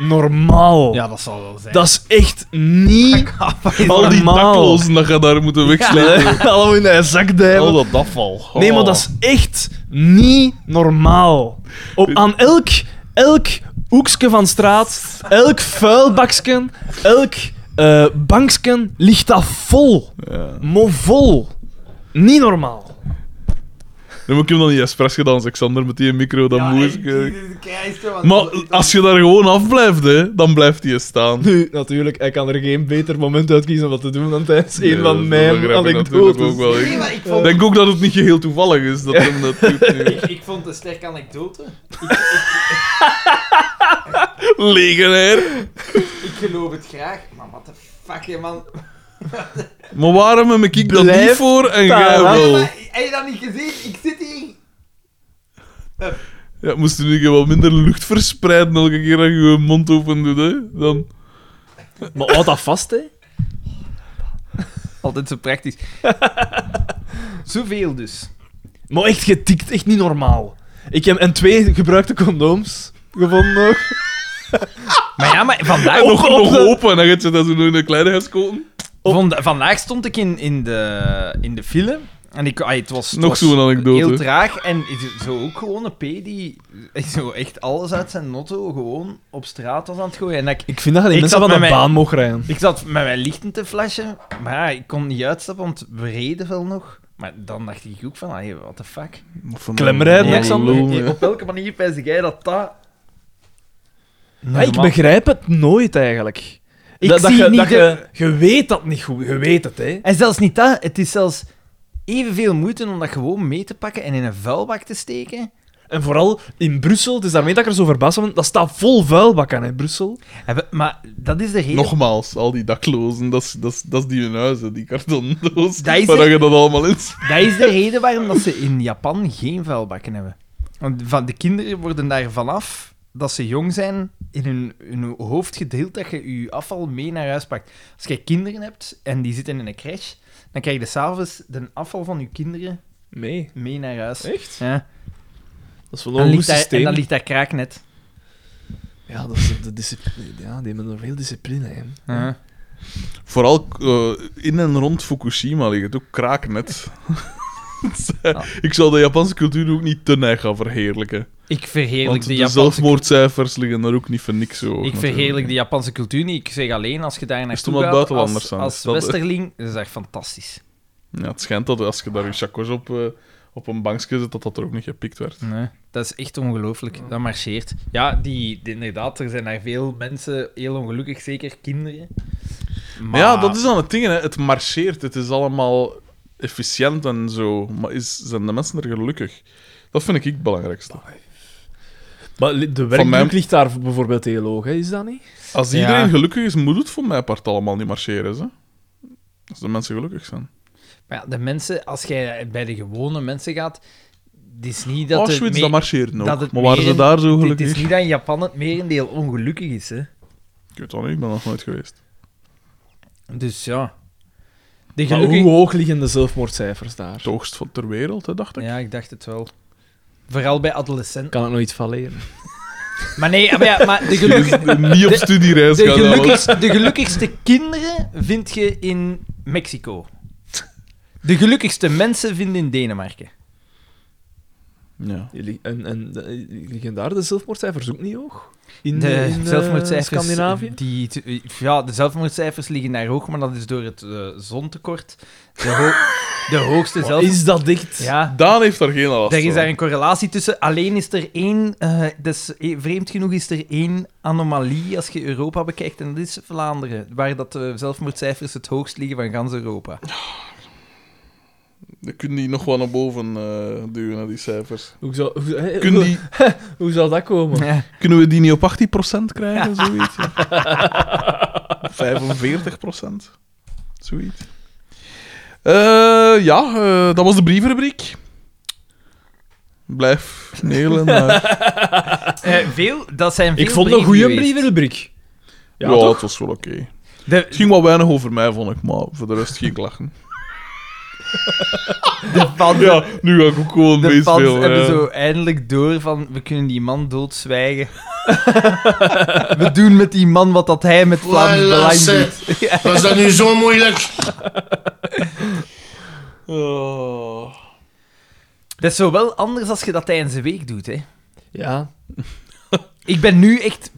C: normaal.
A: Ja, dat zal wel zijn.
C: Dat is echt
A: [LAUGHS]
C: niet
B: Al die
C: normaal.
B: daklozen dat je daar moeten wegslepen.
C: [LAUGHS] Allemaal in de zakdijl.
B: Al dat afval. Oh.
C: Nee, maar dat is echt niet normaal. Op, aan elk, elk hoekje van straat, elk vuilbaksken, elk eh banksken ligt dat vol.
B: Ja.
C: Maar vol. Niet normaal.
B: Dan moet ik hem dan niet expres gedaan als Alexander met die micro, dat moest ik. eh. Maar als je daar gewoon afblijft, hè, dan blijft hij staan.
C: Nu, natuurlijk, ik kan er geen beter moment uitkiezen om wat te doen dan tijdens
B: Nee,
C: een
B: dat-
C: van
B: dat
C: mijn
B: begrijp ik natuurlijk ook
C: anekdotes.
B: wel. Ik denk ook dat het niet geheel toevallig is dat hem dat doet. nu. [LAUGHS]
A: Ik vond het een sterke anekdote.
B: Legenair.
A: Ik geloof het graag. Maar what the fuck, man.
B: Maar waarom heb ik dat
C: Blijf
B: niet voor en jij
C: daar.
B: wel?
A: Heb je dat niet gezien? Ik zit hier.
B: Ja, moest je nu wat minder lucht verspreiden elke keer dat je je mond open doet, hè? Dan...
C: Maar houd dat vast, hè.
A: Altijd zo [LAUGHS] praktisch. Zoveel dus.
C: Maar echt getikt, echt niet normaal. Ik heb en twee gebruikte condooms gevonden nog.
A: Maar ja, maar vandaag,
B: En nog,
C: op
B: nog
C: de-
B: open, en dan gaat je dat zo nog in een kleine geskoten.
A: vanda- vandaag stond ik in, in, de, in de file. En ik, ah, het was, het
B: Nog
A: was
B: zo'n anekdote.
A: heel traag. En is- zo ook gewoon een P die zo echt alles uit zijn notto gewoon op straat was aan het gooien. En dat ik,
C: Ik vind dat je die
A: Ik
C: mensen
A: zat
C: van de
A: met mijn-
C: baan mogen rijden.
A: ik zat met mijn lichten te flashen. Maar ja, ik kon niet uitstappen, want we reden wel nog. Maar dan dacht ik ook van, allee, what the fuck.
C: Klemrijden,
A: Ja,
C: Alexander.
A: eh, eh, op welke manier pijs jij dat dat...
C: Ja, Ah, ik begrijp het nooit eigenlijk.
A: Ik
C: dat, dat
A: zie
C: je,
A: niet
C: dat
A: de-
C: je, je weet dat niet goed, je weet het, hè.
A: En zelfs niet dat, het is zelfs evenveel moeite om dat gewoon mee te pakken en in een vuilbak te steken.
C: En vooral in Brussel, het is daarmee dat ik er zo verbaasd ben, dat staat vol vuilbakken, hè, Brussel.
A: En we- Maar dat is de reden.
B: Nogmaals, al die daklozen, dat is- dat is- dat is die hun huizen, die kartondoos.
A: Dat is
B: Waar
A: het.
B: je dat allemaal in
A: Dat is de reden waarom dat ze in Japan geen vuilbakken hebben. Want van de kinderen worden daar vanaf dat ze jong zijn in hun, hun hoofd gedeeld dat je je afval mee naar huis pakt. Als je kinderen hebt en die zitten in een crash, dan krijg je s'avonds de afval van je kinderen
C: Nee,
A: mee naar huis.
C: echt?
A: Ja.
C: Dat is wel
A: Dan
C: een goed
A: ligt daar, en
C: systeem.
A: dan ligt daar kraaknet.
C: Ja, dat is de discipline. Ja, die hebben er veel discipline, hè.
A: Ja.
B: Vooral eh, in en rond Fukushima ligt het ook
A: [LAUGHS]
B: kraaknet. Ik zal de Japanse cultuur ook niet te neig gaan verheerlijken.
A: Ik verheerlijk
B: Want
A: de
B: de
A: Japanse
B: zelfmoordcijfers liggen daar ook niet voor niks zo. hoog,
A: Ik
B: natuurlijk.
A: verheerlijk de Japanse cultuur niet. Ik zeg alleen, als je daar naartoe
B: omdat
A: gaat,
B: buitenlanders
A: als,
B: zijn.
A: als
B: Dat-
A: westerling, dat is echt fantastisch.
B: Ja, het schijnt dat als je daar je chacos op, eh, op een bankje zet, dat dat er ook niet gepikt werd.
A: Nee, dat is echt ongelooflijk. Dat marcheert. Ja, die, die- inderdaad, er zijn daar veel mensen, heel ongelukkig, zeker kinderen. Maar
B: Ja, dat is dan het ding, hè. het marcheert, het is allemaal efficiënt en zo. Maar is, zijn de mensen er gelukkig? Dat vind ik het belangrijkste.
C: Maar li- de
B: Van
C: werkdruk
B: mijn-
C: ligt daar bijvoorbeeld heel hoog, hè? is dat niet?
B: Als
A: Ja.
B: iedereen gelukkig is, moet het voor mij part allemaal niet marcheren. Hè? Als de mensen gelukkig zijn.
A: Maar ja, de mensen, als jij bij de gewone mensen gaat, het is niet dat
B: Auschwitz,
A: het me-
B: dat marcheert nog.
A: dat het
B: maar waren ze
A: meren-
B: daar zo
A: Het
B: gelukkig?
A: is niet dat in Japan het merendeel ongelukkig is, hè.
B: Ik weet het niet, ik ben nog nooit geweest.
A: Dus ja. De
C: Maar
A: gelukkig...
C: hoe hoog liggen de zelfmoordcijfers daar?
B: Het hoogst van ter wereld, hè, dacht ik.
A: Ja, ik dacht het wel. Vooral bij adolescenten.
C: Kan ik nog iets van leren?
A: Maar
B: [LAUGHS]
A: nee, maar, ja, maar de,
B: Dus
A: gelukkig,
B: [LAUGHS] niet op
A: de-
B: studiereis
A: de,
B: gaan. dat was-
A: gelukkigst- de gelukkigste kinderen vind je in Mexico. De gelukkigste mensen vind je in Denemarken.
B: Ja.
C: Jullie- En, en de- liggen daar de zelfmoordcijfers ook niet hoog? In,
A: De
C: in, eh,
A: zelfmoordcijfers.
C: Scandinavië?
A: Die, ja, de zelfmoordcijfers liggen daar hoog, maar dat is door het eh, zontekort. De,
C: [LAUGHS]
A: ho- de hoogste zelf.
C: Is dat dicht?
A: Ja,
B: Daan heeft daar geen last
A: daar is
B: van.
A: daar een correlatie tussen. Alleen is er één, eh, dus, eh, vreemd genoeg is er één anomalie als je Europa bekijkt, en dat is Vlaanderen, waar dat de zelfmoordcijfers het hoogst liggen van gans
C: [LAUGHS]
A: Europa.
B: Dan kun je die nog wel naar boven eh, duwen, naar die cijfers.
C: Hoe zou, hoe, hè,
B: Kun
C: hoe-
B: die,
C: hoe zou dat komen?
A: Ja.
B: kunnen we die niet op 18% krijgen, zoiets?
A: [LAUGHS]
B: Ja. 45%? Zoiets. Eh, ja, eh, dat was de brievenrubriek. Blijf nelen. maar-
A: Eh, veel, dat zijn veel
C: Ik vond een
A: brieven
C: goede
A: geweest.
C: brievenrubriek.
B: Ja,
C: Ja, toch?
B: het was wel oké. Het
A: De,
B: ging wel weinig over mij, vond ik, maar voor de rest ging ik lachen.
A: de fans,
B: [LAUGHS] Ja, nu ga ik ook gewoon
A: de fans
B: meespelen.
A: hebben
B: ja.
A: zo eindelijk door van, we kunnen die man
C: [LAUGHS]
A: doodzwijgen. we doen met die man wat dat hij met Vlaams
D: Voilà,
A: Belang
D: zeg.
A: doet.
D: Was dat nu zo moeilijk?
B: Oh.
A: Dat is zo wel anders als je dat tijdens de week doet, hè.
C: Ja.
A: Ik ben nu echt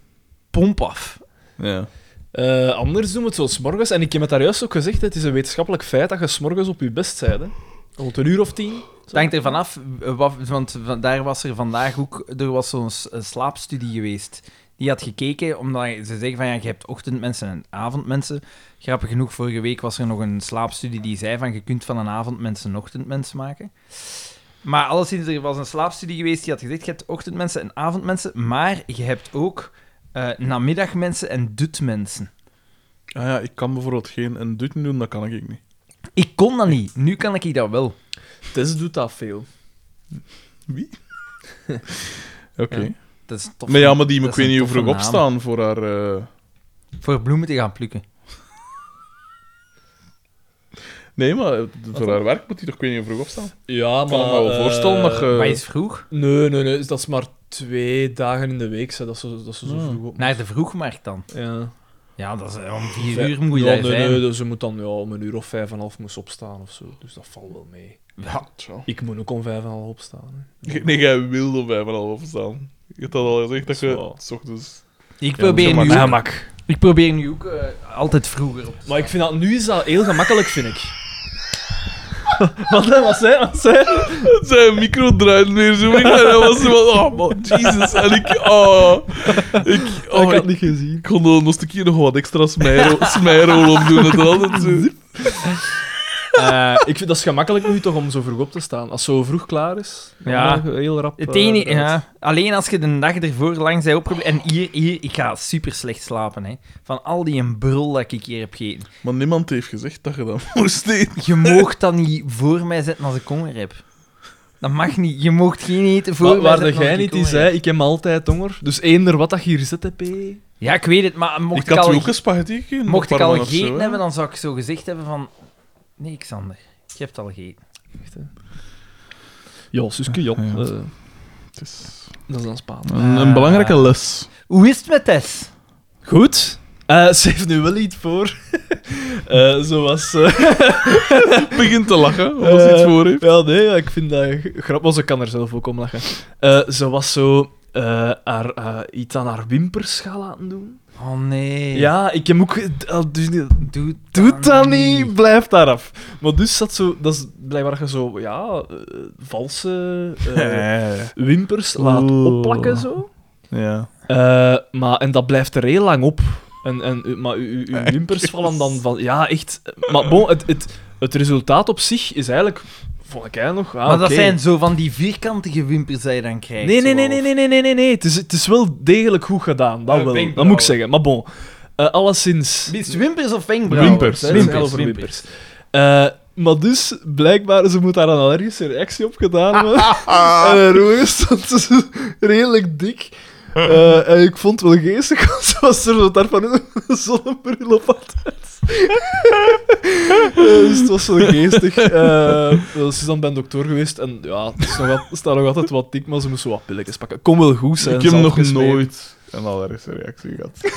A: pomp af.
B: Ja.
C: Eh, anders doen we het zo s'morgens. En ik heb het daar juist ook gezegd, hè, het is een wetenschappelijk feit dat je s'morgens op je best bent. Hè. Rond een uur of tien.
A: Het hangt er vanaf, eh, wat- want va- daar was er vandaag ook, er was zo'n s- een slaapstudie geweest. Die had gekeken, omdat ze zeggen van ja, je hebt ochtendmensen en avondmensen. Grappig genoeg, vorige week was er nog een slaapstudie die zei van je kunt van een avondmens een ochtendmens maken. Maar alleszins, er was een slaapstudie geweest die had gezegd, je hebt ochtendmensen en avondmensen, maar je hebt ook eh, namiddagmensen en dutmensen.
B: Ah ja, ik kan bijvoorbeeld geen een dutje doen, dat kan ik niet.
A: Ik kon dat niet, nu kan ik dat wel.
C: Tess doet dat veel.
B: [LAUGHS] Oké.
A: Dat is tof.
B: Maar ja, maar die,
A: Dat
B: ik
A: is
B: weet
A: een
B: niet hoe vroeg
A: toffe naam.
B: opstaan voor haar... eh,
A: Voor bloemen te gaan plukken.
B: Nee, maar eh, voor haar werk moet die toch, ik weet niet hoe vroeg opstaan.
C: Ja, eh,
B: Ik kan me wel voorstellen dat je...
A: maar is vroeg?
C: Nee, nee, nee. dus Dat is maar twee dagen in de week, hè, dat ze, dat ze zo
A: Hmm.
B: Ah.
C: vroeg op...
A: Naar de vroegmarkt dan.
C: Ja.
A: Ja, dat is, eh, om vier
C: Vijf-
A: uur moet je
C: ja,
A: daar
C: nee,
A: zijn.
C: Nee, dus ze moet dan ja, om een uur of vijf en half moest opstaan of zo. Dus dat valt wel mee.
B: Ja, tja.
C: Ik moet ook om vijf en half opstaan.
B: G- Nee, jij wilde om vijf en half opstaan. Je hebt dat al gezegd, dat
C: Dat is
B: je...
C: wel-
B: s ochtends...
A: Ik, probeer
B: maar
A: nu
B: na
A: ook, ik probeer nu ook eh, altijd vroeger op te
C: Maar ik vind dat nu is dat heel gemakkelijk, vind ik. [LAUGHS] wat, hè, wat zei wat zei
B: Zijn micro draait weer zo weg en hij was zo van... Oh, man, Jesus. En ik... Oh, ik, oh, ik,
C: niet gezien.
B: ik kon er nog een keer nog wat extra smijro- smijrol op doen. Het was altijd zo...
A: Eh,
C: [LAUGHS] ik vind dat is gemakkelijk nu toch om zo vroeg op te staan. Als zo vroeg klaar is, dan
A: Ja.
C: ben je heel rap.
A: Het
C: eh,
A: enige,
C: eruit.
A: ja, alleen als je de dag ervoor lang zij opgeprobeerd... En hier, hier, ik ga super slecht slapen, hè. Van al die een brul dat ik hier heb gegeten.
B: Maar niemand heeft gezegd dat je dat [LAUGHS] moest eten.
A: Je moogt dat niet voor mij zetten als ik honger heb. Dat mag niet. Je moogt geen eten voor
C: Waar,
A: mij
C: waar
A: zetten
C: de
A: als
C: jij
A: ik
C: niet die
A: honger
C: zei,
A: heb.
C: ik heb altijd honger. Dus eender wat dat je hier zit, hè, P.
A: Ja, ik weet het, maar mocht
B: Ik
A: ik,
B: had
A: al,
B: ook een spaghetti gegeten.
A: mocht ik
B: parma
A: al
B: of zo,
A: gegeten
B: hè.
A: hebben, dan zou ik zo gezegd hebben van... Nee, Xander, je hebt al gegeten.
C: Echt, hè. Ja, Suske, ja.
B: Ja.
C: eh,
B: Het is
C: dat is dan Spaans.
B: een, een belangrijke les.
A: Hoe is het met Tess?
C: Goed. Eh, ze heeft nu wel iets voor. [LAUGHS] Eh, zoals... eh,
B: begint te lachen als hij iets
C: Eh,
B: voor heeft.
C: Ja, nee, ja, ik vind dat g- grappig. Maar ze kan er zelf ook om lachen. Eh, ze was zo eh, haar, eh, iets aan haar wimpers gaan laten doen.
A: Oh nee.
C: Ja, ik heb ook... ah, dus niet-
A: Doe,
C: Doe dat niet, blijf daar af. Maar dus zat zo... Dat is blijkbaar dat je zo, ja, eh, valse
B: [LAUGHS]
C: eh, wimpers laat
B: Oeh.
C: opplakken, zo.
B: Ja.
C: Eh, maar, en dat blijft er heel lang op. En, en, maar u- u- uw wimpers vallen dan van... Ja, echt. Maar bon, het, het, het resultaat op zich is eigenlijk... Vond ik eigenlijk nog... ah,
A: maar dat
C: oké.
A: zijn zo van die vierkantige wimpers die je dan krijgt.
C: Nee, nee,
A: zo
C: nee,
A: wel.
C: nee, nee, nee, nee, nee, nee. Het is, het is wel degelijk goed gedaan, dat
A: Eh,
C: wel. Dat
A: wenkbrauwen.
C: moet ik zeggen. Maar bon, eh alleszins...
A: Is het wimpers of wenkbrauwen?
B: Wimpers,
A: Hè?
C: Wimpers,
A: Het zijn over
C: wimpers. Eh, maar dus, blijkbaar, ze moet daar een allergische reactie op gedaan
B: [LAUGHS]
C: hebben. en haar ogen stond dus redelijk dik. Eh, en ik vond het wel geestig, want ze was er zo daarvan in een zonnebril op had. Eh, dus het was wel geestig. Eh, wel, ze is dan bij een dokter geweest en ja, het is nog wat, staat nog altijd wat dik, maar ze moest zo wat pilletjes pakken. Kom wel goed zijn.
B: Ik heb
C: ze
B: nog
C: afgesmeerd.
B: nooit een allergische reactie gehad.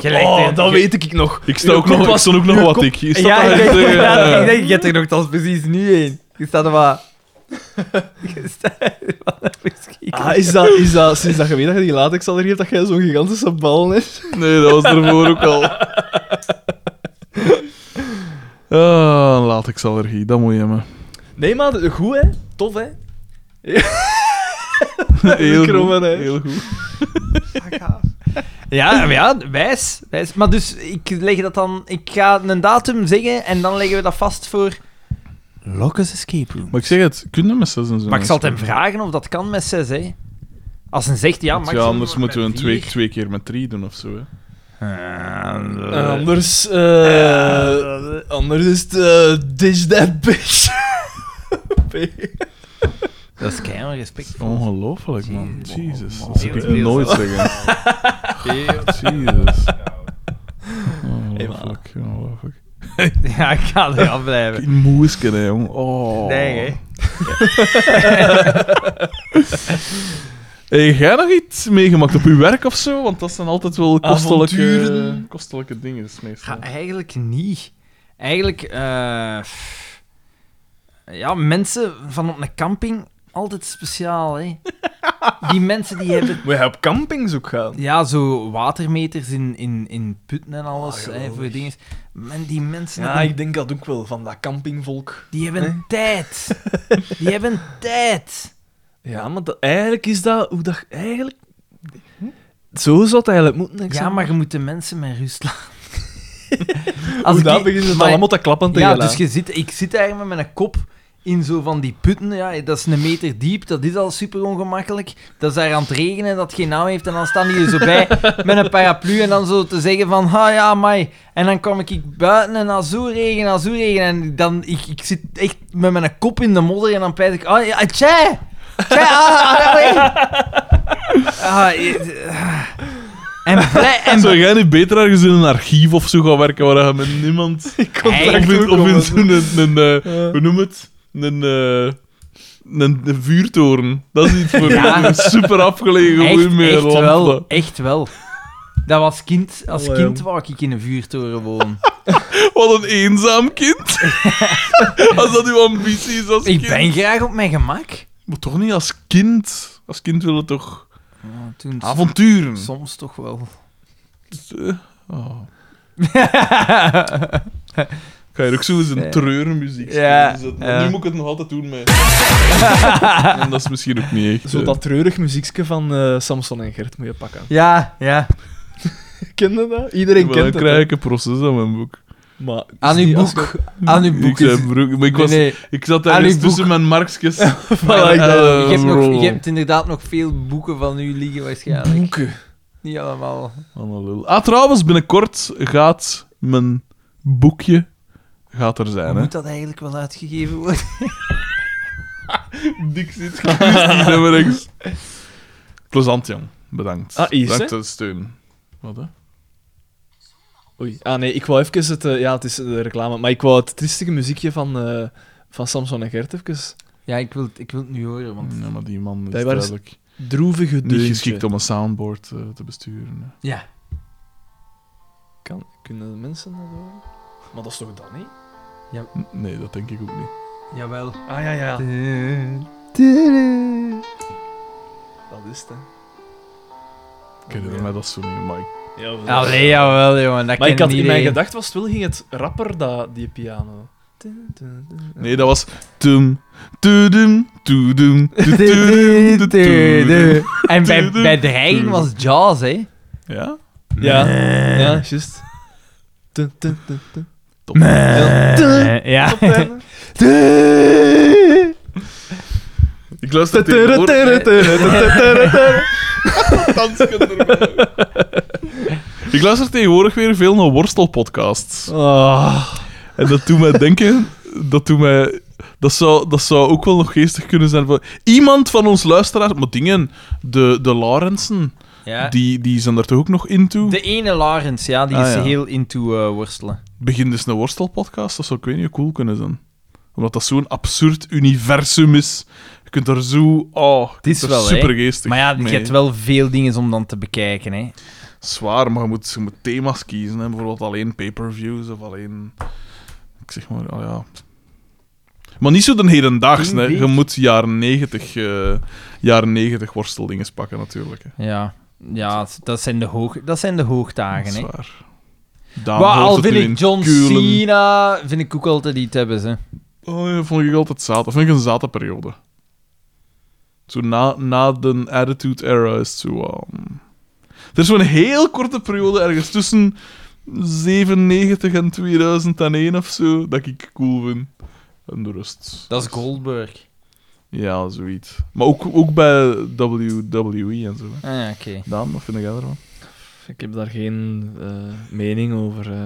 A: Gelijk,
C: Oh,
A: hè.
C: dat weet ik nog.
B: Ik sta ook
C: kop
B: nog, ik
C: was-
B: stond ook nog
C: uw
B: wat
C: kop-
B: dik. Je staat
A: Ja,
B: daar
A: ik denk,
B: echt, eh,
A: ja,
B: ja.
A: ik denk, je hebt er nog dat precies nu één. Je staat er maar... [LAUGHS] Je staat er maar misschien.
C: Ah, is dat, is dat sinds dat je weet dat je die latex al hebt, dat jij zo'n gigantische bal hebt?
B: Nee, dat was ervoor ook al. Ah, latexallergie, [LAUGHS] dat moet je me.
C: Nee, maar goed, hè? Tof, hè?
B: Heel
C: kromme
B: goed,
C: neus.
B: heel goed.
A: Ja, maar ja, wijs, wijs. Maar dus, ik leg dat dan... Ik ga een datum zeggen en dan leggen we dat vast voor... Locus Escape Room.
B: Maar ik zeg het, kunnen met zes en zo.
A: Maar ik zal het hem vragen of dat kan met zes, hè. Als hij zegt, ja,
B: Ja,
A: max.
B: anders moeten we een twee, twee keer met drie doen of zo. Hè.
C: anders, eh, anders is het eh, dish that bitch. [LAUGHS]
A: Dat is keihard respect.
B: Oh. Ongelooflijk, man. Jezus. Dat zou ik
A: Heel
B: nooit
A: zo.
B: zeggen. Jezus. Ongelooflijk, ongelooflijk.
A: [LAUGHS] Ja, ik ga er aan blijven.
B: Een moesken, hè, jong. Oh.
A: Nee, hè.
B: Hey, jij nog iets meegemaakt op uw werk of zo? Want dat zijn altijd wel kostelijke,
C: Avonturen.
B: kostelijke dingen, meestal.
A: Ja, eigenlijk niet. Eigenlijk, eh, pff. ja, mensen van op een camping, altijd speciaal, hè. Die mensen die hebben,
C: Moet je op campings ook gaan?
A: ja, zo watermeters in, in, in putten en alles,
B: Ah,
A: hè, voor dingen. Men, die mensen,
C: Ja,
A: hebben-
C: ik denk dat ook wel, van dat campingvolk.
A: die hebben tijd. Die hebben tijd.
C: Ja, maar dat, eigenlijk is dat hoe dat... Eigenlijk... Zo zou het eigenlijk moeten, ik
A: Ja,
C: zeg.
A: maar je moet de mensen met rust laten.
C: Hoe
A: ik-
C: dat beginnen ze
A: maar-
C: allemaal te klappen tegen
A: Ja,
C: elkaar.
A: dus je zit, ik zit eigenlijk met mijn kop in zo van die putten. Ja, dat is een meter diep, dat is al super ongemakkelijk. Dat is daar aan het regenen, dat het geen naam heeft. En dan staan die er zo bij met een paraplu en dan zo te zeggen van, ha ja, mai. En dan kwam ik buiten en dan zo regen, dan zo regen. En dan, ik, ik zit echt met mijn kop in de modder en dan pijt ik, ah, ja, tjai, tjai, ah, ah, ah, ah." Ah, eh, ah. en, blij, en
B: Zou jij niet beter ergens in een archief of zo gaan werken waar je
A: [LAUGHS]
B: met niemand...
A: Eigenlijk
B: of in, of in zo'n... Een, een, eh, Hoe noem het? Een... eh, een, een vuurtoren. Dat is iets voor
A: [LAUGHS] Ja.
B: een super afgelegen
A: echt,
B: hoe meer
A: echt
B: lampen.
A: wel, echt wel. Dat was kind, als
B: Oh,
C: Allee,
A: kind
C: jong.
A: wou ik in een vuurtoren [LAUGHS] wonen.
B: Wat een eenzaam kind. [LAUGHS] als dat uw ambitie is als
A: Ik
B: kind.
A: ben graag op mijn gemak.
B: Maar toch niet als kind. Als kind willen toch
A: Ja, toen
B: avonturen.
A: soms toch wel.
B: Eh, oh. Ik Ga je ook zo eens een treurmuziek
A: Ja,
B: spelen, zetten. Maar
A: ja.
B: Nu moet ik het nog altijd
A: [LAUGHS]
B: doen met... en dat is misschien ook niet echt...
C: Zo
B: eh.
C: dat treurig muziekje van eh, Samson en Gert moet je pakken.
A: [LAUGHS] Ja, ja.
C: Ken je dat? Iedereen
B: Maar
C: kent
B: dan
C: het,
B: krijg
C: hè.
B: ik een proces aan mijn boek.
C: Maar is
A: Aan uw
C: niet als-
A: boek. [LAUGHS] Aan uw boek.
B: Ik,
A: is-
B: zei broek, maar ik, was, [LAUGHS]
A: Nee, eh, nee.
B: ik zat
A: Aan
B: ergens
A: uw boek.
B: tussen mijn markjes.
A: [LAUGHS]
B: Ah,
C: ik
A: Je, hebt nog, je hebt inderdaad nog veel boeken van u liggen waarschijnlijk. [LAUGHS]
C: Boeken.
A: Niet allemaal.
B: Ah, trouwens, binnenkort gaat mijn boekje gaat er zijn. Hè?
A: [LAUGHS] Moet dat eigenlijk wel uitgegeven [LAUGHS] worden?
B: Dik zit geweest. Plezant, jong. Bedankt.
C: Ah, Yves,
B: Bedankt
C: hè?
B: voor de steun. Wat, hè?
C: Oei. Ah nee, ik wou even het... eh, ja, het is de reclame. Maar ik wou het tristige muziekje van, eh, van Samson en Gert even...
A: Ja, ik wil, het- ik wil het nu horen, want...
B: Nee, maar die man is
C: Blijkbaar is-
B: duidelijk
C: Droevige
B: niet
C: deuntje.
B: geschikt om een soundboard eh, te besturen. hè.
A: Ja.
C: Kan, kunnen de mensen dat horen? Maar dat is toch dat niet?
B: N- Nee, dat denk ik ook niet.
A: Jawel.
C: Ah ja, ja.
A: Tudu.
C: Dat is het, hè.
B: Ik herinner mij dat zo niet, maar ik-
A: Allee, jawel, jongen. Dat
C: Maar
A: ken
C: ik had in
A: iedereen.
C: mijn gedachten was het wel ging het rapper dat die piano. Dun, dun, dun.
B: Nee, dat was... Tum, tudum, tudum, tudum, tudum.
A: En bij, bij dreiging was het Jaws, hè?
B: Ja?
C: Ja, ja, juist. Dun, dun, dun, dun.
A: Eh, Ja.
B: Ik luister tegenwoordig... Dansken erbij. Ik luister tegenwoordig weer veel naar worstelpodcasts.
C: Ah.
B: En dat doet [LAUGHS] mij denken... Dat doet mij... Dat zou, dat zou ook wel nog geestig kunnen zijn. voor- Iemand van ons luisteraars... Maar dingen... De, de Laurensen...
A: [LAUGHS] ja.
B: Die, die zijn daar toch ook nog into?
A: De ene Larens, ja, die
B: Ah,
A: is
B: ja.
A: heel into eh, worstelen.
B: Begin dus een worstelpodcast, dat zou ik weet niet hoe cool kunnen zijn. Omdat dat zo'n absurd universum is. Je kunt er zo... Oh, het
A: is wel, hè.
B: supergeestig
A: Maar ja, je
B: mee.
A: hebt wel veel dingen om dan te bekijken, hè.
B: Zwaar, maar je moet, je moet thema's kiezen. Hè. Bijvoorbeeld alleen pay-per-views of alleen... Ik zeg maar, oh ja... Maar niet zo de hedendaags, hè. Je moet jaren 90, eh jaren 90 worsteldinges pakken, natuurlijk. Hè.
A: Ja, ja dat, zijn de hoog, dat zijn de hoogdagen,
B: Dat
A: hè.
B: is waar. Daan
A: Maar
B: hoort
A: al
B: het
A: vind
B: nu
A: ik
B: in
A: John
B: Kulen.
A: Cena, vind ik ook altijd iets hebben, ze.
B: Oh, ja, vond ik altijd zaten. Vind ik een zate periode. Zo na, na de Attitude Era is het zo... ehm, Er is zo'n heel korte periode ergens tussen 97 en 2001 of zo, dat ik cool vind. En de rest...
A: Dat is Goldberg.
B: Ja, zoiets. Maar ook, ook bij WWE en zo. hè.
A: Ah, ja, oké.
B: Daan, wat vind jij daarvan?
C: Ik heb daar geen eh, mening over. eh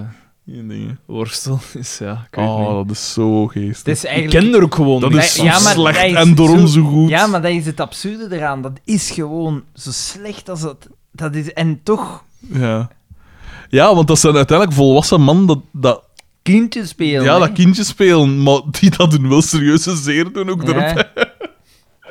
B: Die dingen.
C: worstel [LAUGHS] is, ja, ik weet
B: Oh,
C: niet.
B: dat is zo
A: Het
B: geestig.
A: is
C: Ik
A: eigenlijk...
C: ken er ook gewoon
B: Dat
C: niet.
B: is
A: Nee, ja,
B: zo
A: maar
B: slecht
A: dat is
B: en daarom
A: zo-
B: zo goed.
A: Ja, maar dat is het absurde eraan. Dat is gewoon zo slecht als dat... dat is... En toch
B: Ja. ja, want dat zijn uiteindelijk volwassen man dat, dat
A: kindjes spelen,
B: Ja,
A: hè.
B: dat kindjes spelen, maar die dat doen wel serieuze zeer doen ook erop.
A: Ja. [LAUGHS]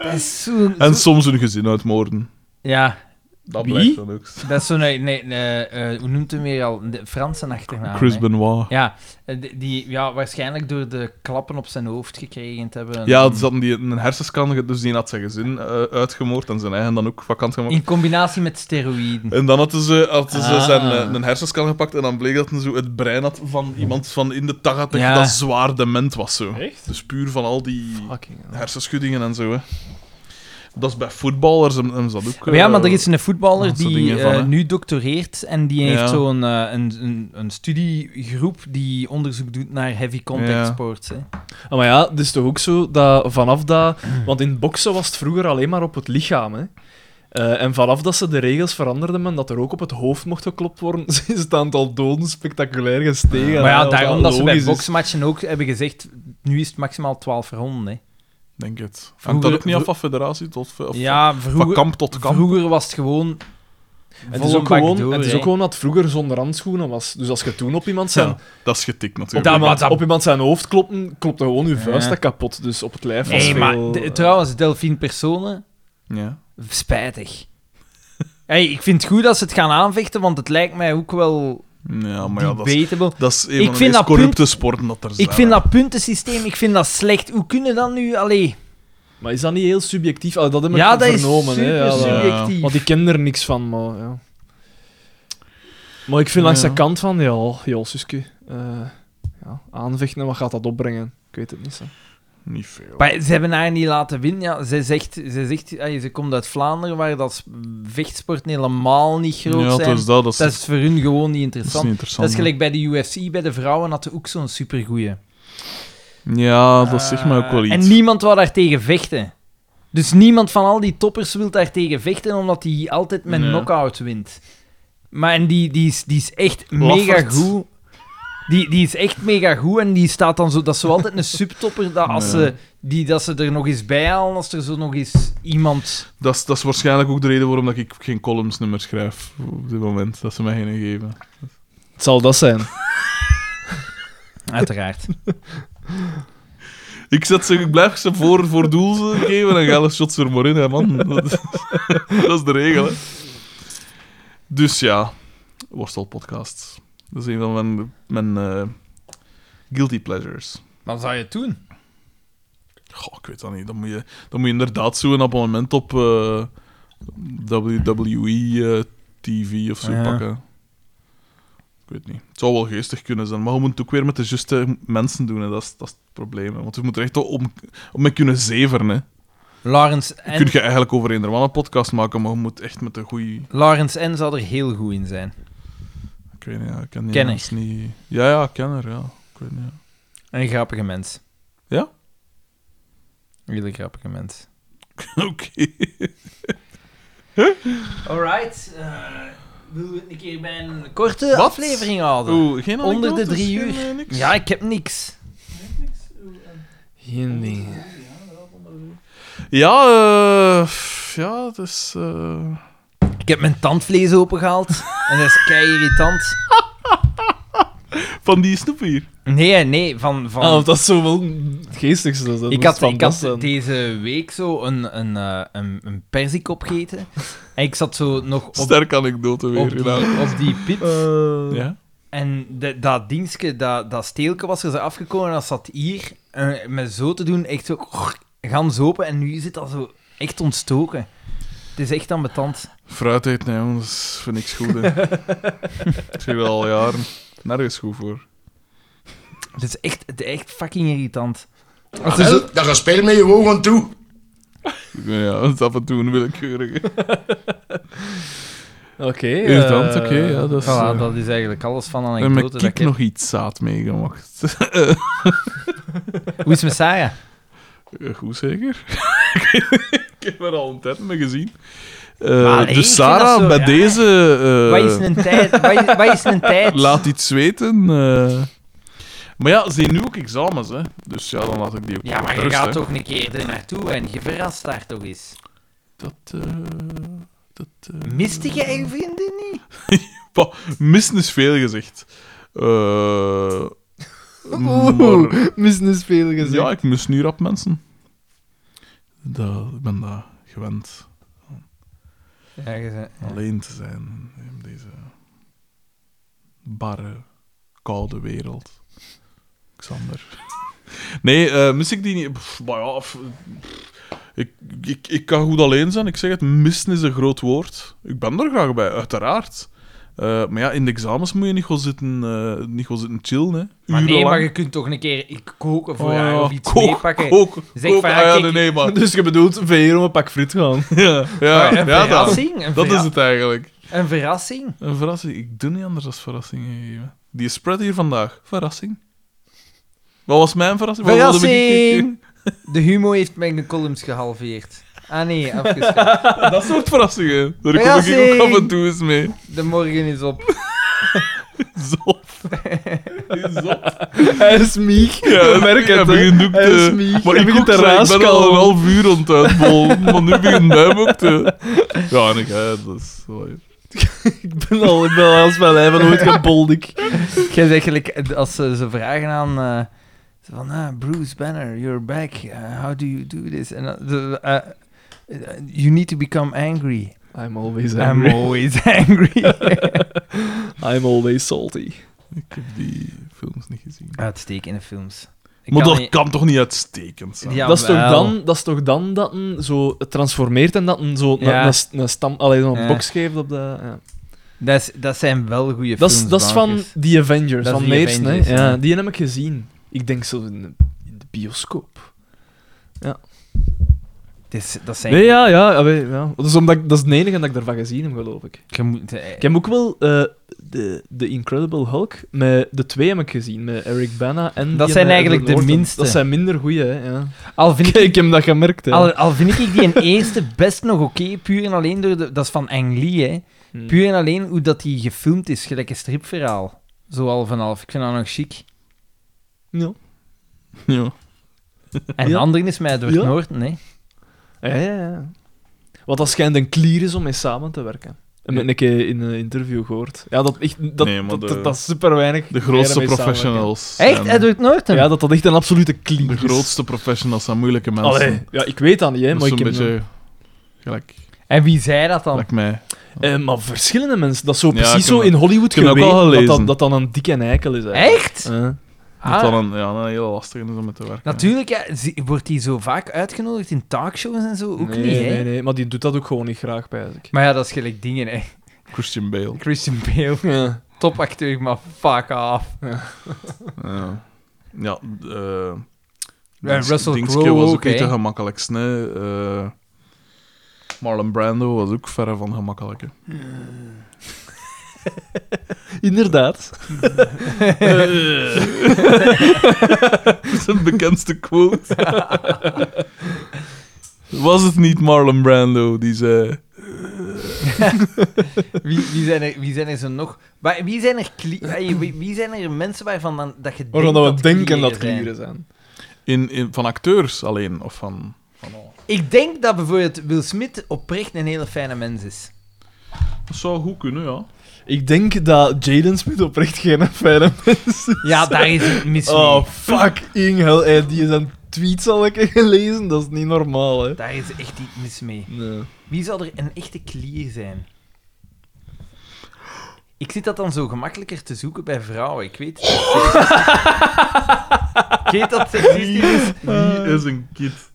A: Dat is zo...
B: En
A: zo-
B: soms hun gezin uitmoorden.
A: Ja,
B: Dat
C: Wie?
B: blijft dan ook.
A: dat is zo'n... Nee, nee, eh, eh, hoe noemt hem weer al? De Franse achternaam,
B: Chris
A: hè.
B: Benoit.
A: Ja, eh, die- die ja, waarschijnlijk door de klappen op zijn hoofd gekregen te hebben.
B: Ja, ze hadden die een hersenscan, dus die had zijn gezin eh, uitgemoord en zijn eigen dan ook vakant gemaakt.
A: In combinatie met steroïden.
B: En dan hadden ze, hadden ze
C: Ah.
B: zijn eh, een hersenscan gepakt en dan bleek dat hij zo het brein had van iemand van in de 80
A: Ja.
B: dat zwaar dement was. Zo.
C: Echt?
B: Dus puur van al die
C: Fucking hell.
B: hersenschuddingen en zo. Hè. Dat is bij voetballers en, en dat ook.
A: ja,
B: eh,
A: maar er is een voetballer
B: dat soort
A: die
B: dingen van,
A: eh,
B: hè.
A: nu doctoreert en die
B: Ja.
A: heeft zo'n eh, een, een, een studiegroep die onderzoek doet naar heavy contact
B: Ja.
A: sports. Hè.
C: Ah, maar ja, het is toch ook zo dat vanaf dat...
A: [CLEARS THROAT] Mm.
C: Want in boksen was het vroeger alleen maar op het lichaam, hè. Eh, en vanaf dat ze de regels veranderden en dat er ook op het hoofd mocht geklopt worden, [LAUGHS] is het aantal doden spectaculair gestegen.
A: maar ja,
C: Wat
A: daarom dat ze bij
C: logisch is.
A: boksmatchen ook hebben gezegd, nu is het maximaal 12 ronden. Hè.
B: Denk het. Hangt dat
A: Vroeger-
B: ook niet af van federatie tot... Of,
A: ja,
B: Van
A: vroeger,
B: kamp tot kamp.
A: vroeger was het gewoon...
C: Het is,
A: volle
C: ook
A: bak
C: gewoon,
A: door,
C: het is
A: hè.
C: ook gewoon dat het vroeger zonder handschoenen was. Dus als je toen op iemand zijn,
B: Ja, dat is getikt
C: op,
B: natuurlijk.
A: dat- maar
C: iemand, op iemand zijn hoofd klopte, klopte gewoon je vuist
A: Ja.
C: dat kapot. Dus op het lijf was
A: Hey,
C: veel,
A: maar de-
C: eh,
A: trouwens, Delphine Personen,
B: Ja.
C: [LAUGHS]
A: spijtig. Hey, ik vind het goed dat ze het gaan aanvechten, want het lijkt mij ook wel
B: ja, maar ja, dat is,
A: debatable.
B: dat is een
A: Ik
B: van de
A: vind
B: meest
A: dat
B: corrupte sporten dat er zijn.
A: Ik vind dat puntensysteem, ik vind dat slecht. Hoe kunnen dat nu? Allee,
C: Maar is dat niet heel subjectief? Ah, dat heb ik
A: ja, dat is
C: vernomen. hè.
A: super
C: Ja, dat-
A: subjectief.
C: Want ik ken er niks van, maar ja. Maar ik vind langs de kant van, ja, joh, Suske. eh, ja, aanvechten, wat gaat dat opbrengen? Ik weet het niet. Zo.
B: Niet veel.
A: Maar ze hebben haar niet laten winnen. Ja, ze zegt, ze, zegt allee, ze komt uit Vlaanderen, waar dat s- vechtsporten helemaal niet groot
B: ja,
A: zijn.
B: dat is dat. Dat is,
A: dat is voor hun gewoon niet
B: dat is
A: interessant.
B: niet
A: Dat is,
B: interessant.
A: gelijk bij de UFC, bij de vrouwen hadden ook zo'n supergoeie.
B: Ja, dat zegt mij ook wel
A: Eh,
B: iets.
A: En niemand wou daar tegen vechten. Dus niemand van al die toppers wil daar tegen vechten, omdat die altijd met
B: Nee.
A: knockout wint. Maar en die, die, is, die is echt
B: Laffert.
A: mega goed. Die, die is echt mega goed en die staat dan zo... Dat is zo altijd een subtopper dat als
B: Nee.
A: ze, die, dat ze er nog eens bij halen, als er zo nog eens iemand...
B: Dat, is, dat is waarschijnlijk ook de reden waarom dat ik geen columns nummer schrijf op dit moment. Dat ze mij geen geven.
C: Het zal dat zijn.
A: Uiteraard.
B: Ik, zet ze, ik blijf ze voor, voor doel ze geven en ga alle shots er maar in, hè, man. Dat [LAUGHS] is, dat is de regel, hè. Dus ja, worstelpodcasts. Dat is een van mijn, mijn eh, guilty pleasures.
A: [LAUGHS] Wat zou je het doen?
B: Goh, ik weet dat niet. Dan moet je, dan moet je inderdaad zo'n abonnement op eh, WWE eh, TV of zo
A: Ja.
B: pakken. Ik weet niet. Het zou wel geestig kunnen zijn, maar we moeten het ook weer met de juiste mensen doen. Hè. Dat, is, dat is het probleem. Hè. Want we moeten er echt om, om mee kunnen zeveren. Hè.
A: Lawrence
B: En... Kun
A: N.
B: je eigenlijk over een een podcast maken, maar je moet echt met de goede.
A: Lawrence N. zal er heel goed in zijn.
B: Ik weet niet, ja, ik ken die
A: Kenner.
B: mensen niet. Ja, ja, kenner, ja. Ik weet niet, ja.
A: Een grappige mens.
B: Ja?
A: Een hele grappige mens.
B: Oké.
A: Alright. willen we het een keer bij een korte aflevering houden?
B: [LAUGHS] Oeh, geen
A: Onder de
B: anekdotes,
A: drie
B: geen,
A: uur.
B: eh, niks?
A: Ja, ik heb niks.
C: Geen ding.
B: Ja, eh, pff, ja, het is. eh,
A: Ik heb mijn tandvlees opengehaald. en dat is kei irritant.
B: Van die snoep hier.
A: Nee, nee, van... van...
C: Ah, want dat is zo wel het geestigste. Dat
A: ik
C: was
A: had, ik had
C: fantastisch.
A: deze week zo een, een, eh, een, een perzik opgegeten. en ik zat zo nog op, op,
B: Sterke anekdote
A: die,
B: weer. inderdaad.
A: op die pit.
C: Eh.
B: ja.
A: En de- dat dienstje, dat, dat steelke was er zo afgekomen en dat zat hier. eh, met zo te doen, echt zo... Gans open en nu zit dat zo echt ontstoken. Het is echt ambetant.
B: Fruit eten, nee, jongen, dat is voor niks goed. Hè.
A: [LAUGHS]
B: [LAUGHS] ik zeg dat al jaren. Nergens goed voor.
A: Het is echt, het is echt fucking irritant.
D: Ah,
C: dus-
D: wel, dan ga spelen met je ogen toe.
B: Ja, dat is af en toe een willekeurige.
C: Oké. eh,
B: Irritant, oké, ja, dat is.
A: Voilà,
B: eh,
A: dat is eigenlijk alles van
B: en met
A: anekdote. dat
B: kik
A: ik heb.
B: nog iets zaad meegemaakt.
A: Hoe is het met Saya?
B: Eh, Goed zeker. [LAUGHS] ik heb er al een tijd mee gezien. Eh,
A: Allee, ik vind
B: dus Sarah,
A: dat zo
B: bij
A: raar.
B: deze. eh,
A: Wat is een tijd? Wat is, wat is een tijd?
B: Laat iets weten. eh. Maar ja, ze zijn nu ook examens, hè? Dus ja, dan laat ik die ook.
A: Ja, maar je
B: rust,
A: gaat
B: hè.
A: toch een keer er naartoe en je verrast daar toch eens.
B: Dat. eh, dat eh,
A: Miste jij je vrienden niet?
B: pa, missen is veel gezegd.
A: [LAUGHS]
B: Eh, maar-
I: Missen is veel gezegd.
B: ja, ik mis nu rap mensen. Dat, ik ben daar gewend.
A: Ja, je zei-
B: alleen te zijn in deze barre, koude wereld. Xander. [LAUGHS] Nee, eh, mis ik die niet? Pff, maar ja, pff, ik, ik, ik kan goed alleen zijn. Ik zeg het, missen is een groot woord. Ik ben er graag bij, uiteraard. Eh, maar ja, in de examens moet je niet gewoon zitten, eh, niet gewoon zitten chillen. Hè.
A: Maar nee,
B: Urenlang.
A: maar je kunt toch een keer ik- koken voor
B: Oh,
A: haar
B: ja,
A: of iets
B: kook,
A: meepakken.
B: kook,
A: Zeg
B: kook.
A: van,
B: Ah,
A: ja,
B: ja,
A: kijk,
B: nee, nee,
A: [LAUGHS]
B: maar...
C: Dus je bedoelt veer om een pak friet gaan.
B: Ja, ja,
A: Maar eh,
B: ja,
A: een
B: dat,
A: verrassing? een,
B: dat
A: verra-
B: is het eigenlijk.
A: een verrassing?
B: Een verrassing. Ik doe niet anders dan verrassingen geven. Die spread hier vandaag. Verrassing. Wat was mijn verrassing? Wat wilde ik-
A: Verrassing! De humo heeft mijn columns gehalveerd. Ah nee,
B: [LAUGHS]
A: afgeschaft.
B: Dat soort verrassingen. Daar kom ik
A: Verrassing!
B: ook af en toe eens mee.
A: De morgen is op.
B: Zot. Zot.
I: Hij is mieg.
B: [LAUGHS] Ja,
I: We merken
B: ik
I: het, hè.
B: begin ook
I: Hij is
B: te...
I: mieg.
B: Maar
I: Hij
B: ik,
I: begint
B: ook,
I: te
B: zo, ik ben al
I: raaskallen.
B: een half uur aan het uitbollen, maar nu begint mij ook te... Ja, en ik... hè, Dat is...
C: [LAUGHS]
I: Ik ben
C: Nou,
I: al, ik ben al als mijn lijf nooit geboldik.
A: Jij zegt eigenlijk, als ze, ze vragen aan... eh, zo van, ah, Bruce Banner, you're back. Uh, how do you do this? En dan- de- eh, eh, you need to become angry.
C: I'm always
A: I'm
C: angry.
A: always [LAUGHS] angry.
C: [LAUGHS] I'm always salty.
B: Ik heb die films niet gezien.
A: Uitstekende films. Ik
B: maar
A: kan
B: dat
A: niet-
B: kan toch niet uitstekend zijn?
A: Ja,
C: dat, is toch
A: wel.
C: dan, dat is toch dan dat een zo het transformeert en dat een zo
A: Ja.
C: een- een st- een stam, allee, zo'n
A: Ja.
C: box geeft op de. Ja.
A: Dat, is- dat zijn wel goede
C: Dat,
A: films.
C: is, dat is van
A: bankers.
C: The Avengers,
A: Dat is
C: van
A: The
C: de eerste,
A: Avengers,
C: hè? Ja,
A: ja.
C: Die heb ik gezien. Ik denk zo in de, in de bioscoop.
A: Het is- dat zijn...
C: Nee, ja, ja, ja, weet- ja. Dat, is omdat ik, dat is het enige dat ik ervan gezien heb, geloof ik.
A: Je moet, eh,
C: Ik heb ook wel eh, de, de Incredible Hulk met de twee heb ik gezien, met Eric Bana en.
A: Dat
C: die
A: zijn
C: met
A: eigenlijk
C: Edward
A: de
C: Norton.
A: minste.
C: Dat zijn minder goeie, hè? Ja.
A: al, vind
C: Ik,
A: ik,
C: ik heb dat gemerkt, hè?
A: al, al vind ik die een [LAUGHS] eerste best nog oké, puur en alleen door de... Dat is van Ang Lee, hè.
C: Hmm.
A: Puur en alleen hoe dat die gefilmd is, gelijk een stripverhaal. Zo half en half. Ik vind dat nog chic.
C: Ja.
B: Ja.
A: En de
C: Ja.
A: andere is mij door
C: Ja.
A: Noorden, hè.
C: Ja, ja, ja. Want dat schijnt een klier is om mee samen te werken. En met een keer in een interview gehoord. Ja, dat, echt, dat,
B: Nee, maar
C: dat,
B: de-
C: dat, dat super weinig.
B: De grootste
C: mee samenwerken.
B: professionals.
A: Echt?
B: zijn-
A: Edward Norton?
C: Ja, dat dat echt een absolute klier
B: De
C: is.
B: grootste professionals zijn moeilijke mensen.
C: Allee, ja, ik weet dat niet, hè,
B: dat
C: maar
B: is
C: ik
B: een
C: heb...
B: beetje gelijk,
A: En wie zei dat dan?
B: gelijk mij.
C: Eh, maar verschillende mensen, dat is zo
B: Ja, ik
C: precies
B: heb
C: zo
B: dat-
C: in Hollywood
B: ik heb dat ook
C: geweten,
B: al
C: dat,
B: gelezen.
C: dat, dat dan een dikke eikel is. Eigenlijk.
A: Echt?
C: Eh.
B: Dat
A: Ah.
B: dan een, ja, een heel lastige is om mee te werken.
A: Natuurlijk, ja, zie- wordt die zo vaak uitgenodigd in talkshows en zo? Ook
C: nee,
A: niet, hè? [LAUGHS]
C: nee, nee, maar die doet dat ook gewoon niet graag, bij ik.
A: Maar ja, dat is gelijk dingen, hè.
B: Christian Bale.
A: Christian Bale.
C: Ja.
A: Topacteur, maar fuck af.
B: Ja, ja eh,
A: Ja,
B: Dings-
A: Russell
B: Dingske
A: Crowe
B: was ook
A: ook,
B: niet
A: hè.
B: de gemakkelijkste. hè. Eh, Marlon Brando was ook verre van gemakkelijk. hè. [LAUGHS]
C: Inderdaad.
B: Zijn bekendste quote. [LAUGHS] was het niet Marlon Brando die zei...
A: Wie, wie, zijn er, wie zijn er zo nog? Wa- Wie zijn er, kli- eh, wie, wie zijn er mensen waarvan dan, dat je denkt
C: Waarvan dat we denken
A: klieren
C: dat
A: zijn?
C: klieren zijn.
B: In, in, van acteurs alleen, of van...
A: Ik denk dat bijvoorbeeld Will Smith oprecht een hele fijne mens is.
B: Dat zou goed kunnen, ja.
C: Ik denk dat Jaden Smith oprecht geen fijne mens is.
A: Ja, daar is het mis mee.
C: Oh, fucking hell. Hey, die zijn tweets al een keer gelezen. Dat is niet normaal, hè.
A: Daar is echt iets mis mee.
C: Nee.
A: Wie zou er een echte klier zijn? Ik zit dat dan zo gemakkelijker te zoeken bij vrouwen. Ik weet... ik weet dat seksistisch is.
B: [LAUGHS]
C: Ah.
B: Die is een kid.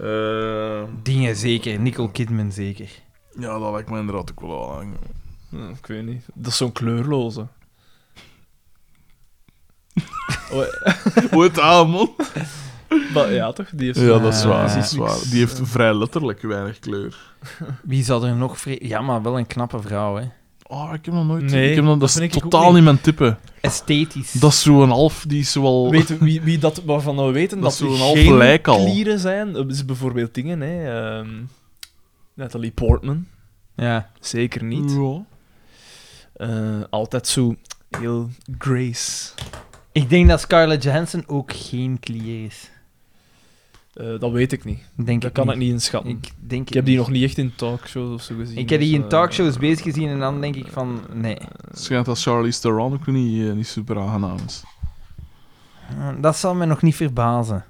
B: Eh,
A: Dingen zeker. Nicole Kidman zeker.
B: ja, dat lijkt me inderdaad ook wel aan.
C: Hm, Ik weet niet. Dat is zo'n kleurloze.
B: Hoe het aan, man?
C: Maar ja, toch? Die heeft
B: Ja, dat is waar.
A: Ah.
B: dat is waar. Die heeft vrij letterlijk weinig kleur.
A: Wie zou er nog... vre- Ja, maar wel een knappe vrouw, hè.
B: Oh, ik heb nog nooit...
C: Nee,
B: ik heb nog, dat
C: vind
B: is
C: ik ook
B: totaal
C: niet.
B: niet mijn type.
A: Esthetisch.
B: Dat is zo'n half, die is wel...
C: Weet, wie, wie dat, waarvan we weten
B: Dat
C: dat,
B: is
C: er
B: zo'n half
C: geen
B: lijk al.
C: klieren zijn, eh, is bijvoorbeeld dingen, hè. ehm, Natalie Portman,
A: Ja.
C: zeker niet.
B: Ja.
C: Eh, altijd zo heel grace.
A: Ik denk dat Scarlett Johansson ook geen klier is.
C: Eh, dat weet ik niet.
A: Denk
C: Dat
A: ik
C: kan ik niet inschatten. Ik,
A: Ik denk
C: heb die nog niet echt in talkshows of zo gezien.
A: Ik heb die
C: dus,
A: in
C: eh,
A: talkshows bezig gezien en dan denk ik van... Nee.
B: Schijnt dat Charlize Theron ook niet, eh, niet super aangenaam is.
A: Eh, Dat zal me nog niet verbazen.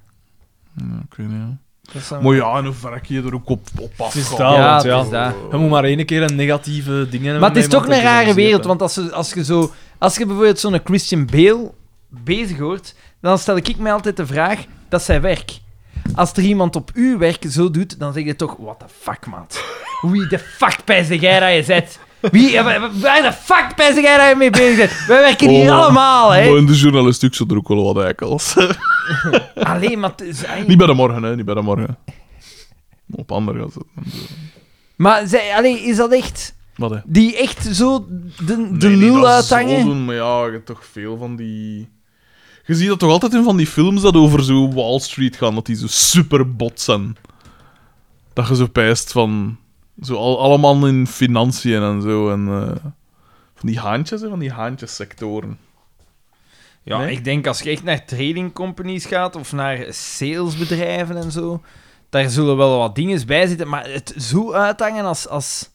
B: Ja, ik weet niet, ja.
A: Dat zal me-
B: Maar ja, en hoe ver ik je er ook op, op
C: Ah. Het is
B: afga.
C: daar,
A: Ja,
C: want
A: het
C: ja.
A: is daar.
C: Je moet maar één keer een negatieve dingen hebben.
A: Maar het is toch een rare wereld,
C: want
A: want als, ze- als je zo... Als je bijvoorbeeld zo'n Christian Bale bezig hoort, dan stel ik mij altijd de vraag, dat is zijn werk. Als er iemand op uw werk zo doet, dan zeg je toch, what the fuck, maat. Wie de fuck pijzig jij dat je zet? Wie, eh, waar de fuck pijzig jij dat je mee bezig bent? Wij werken hier
B: Oh.
A: allemaal,
B: Maar
A: hè.
B: in de journalistiek zat er ook wel wat eikels. [LAUGHS]
A: Alleen, maar... het is-
B: niet bij de morgen, hè. Niet bij de morgen. Op andere gaat het.
A: Maar zij, allee, is dat echt...
B: Wat, hè?
A: Die echt zo de, de
B: Nee, niet
A: nul
B: dat ze
A: uithangen?
B: Zo doen, maar ja, je hebt toch veel van die... Je ziet dat toch altijd in van die films dat over zo Wall Street gaan, dat die zo super bot zijn. Dat je zo pijst van... Zo al, allemaal in financiën en zo. En, eh, van die haantjes, hè, van die haantjessectoren.
A: Ja,
B: Nee?
A: ik denk als je echt naar trading companies gaat of naar salesbedrijven en zo, daar zullen wel wat dingen bij zitten, maar het zo uithangen als. als...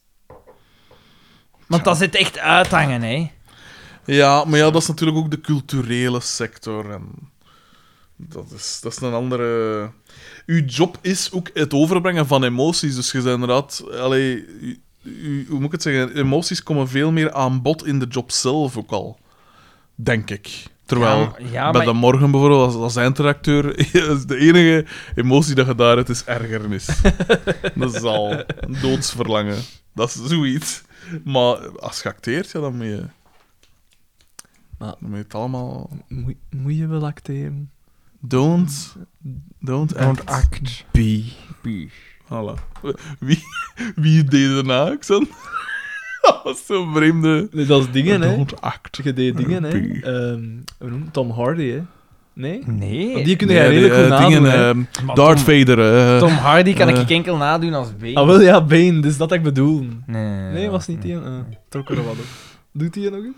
A: Want dat zit echt uithangen, hè?
B: Ja, maar ja, dat is natuurlijk ook de culturele sector. En dat, is, dat is een andere. Uw job is ook het overbrengen van emoties. Dus je bent inderdaad. Allee, u- u- hoe moet ik het zeggen? Emoties komen veel meer aan bod in de job zelf ook al. Denk ik. Terwijl
A: Ja, maar- ja,
B: bij
A: maar-
B: de morgen bijvoorbeeld, als, als eindredacteur, [LAUGHS] is de enige emotie dat je daar hebt, is
A: [LAUGHS]
B: ergernis. dat is al een doodsverlangen. Dat is zoiets. Maar als je acteert, ja, dan moet je...
C: Maar-
B: Ah. Dan moet je het allemaal...
C: Moet, moet je wel acteren?
B: Don't... Don't,
A: Don't
B: act.
A: act.
C: Bi.
B: Voilà. Wie, wie deed daarna, Xan? [LAUGHS] Dat was zo'n vreemde...
C: Nee, dat is dingen, hè.
B: Don't act.
C: Je deed dingen, hè.
B: Bi.
C: Ehm, hoe noem je het? Tom Hardy, hè. Nee?
A: Nee.
C: Want die kun je
B: Nee,
C: redelijk
B: die,
C: goed
B: eh,
C: nadoen,
B: dingen,
C: hè.
B: ehm,
A: Maar Tom-
B: Darth Vader. eh,
A: Tom Hardy kan
B: eh.
A: ik enkel nadoen als B.
C: Ah, wel ja, Bane, dus dat ik bedoel.
A: Nee, nee, nee.
C: Nee, was niet die. eh trok er [LAUGHS] wat op. Doet hij nog eens?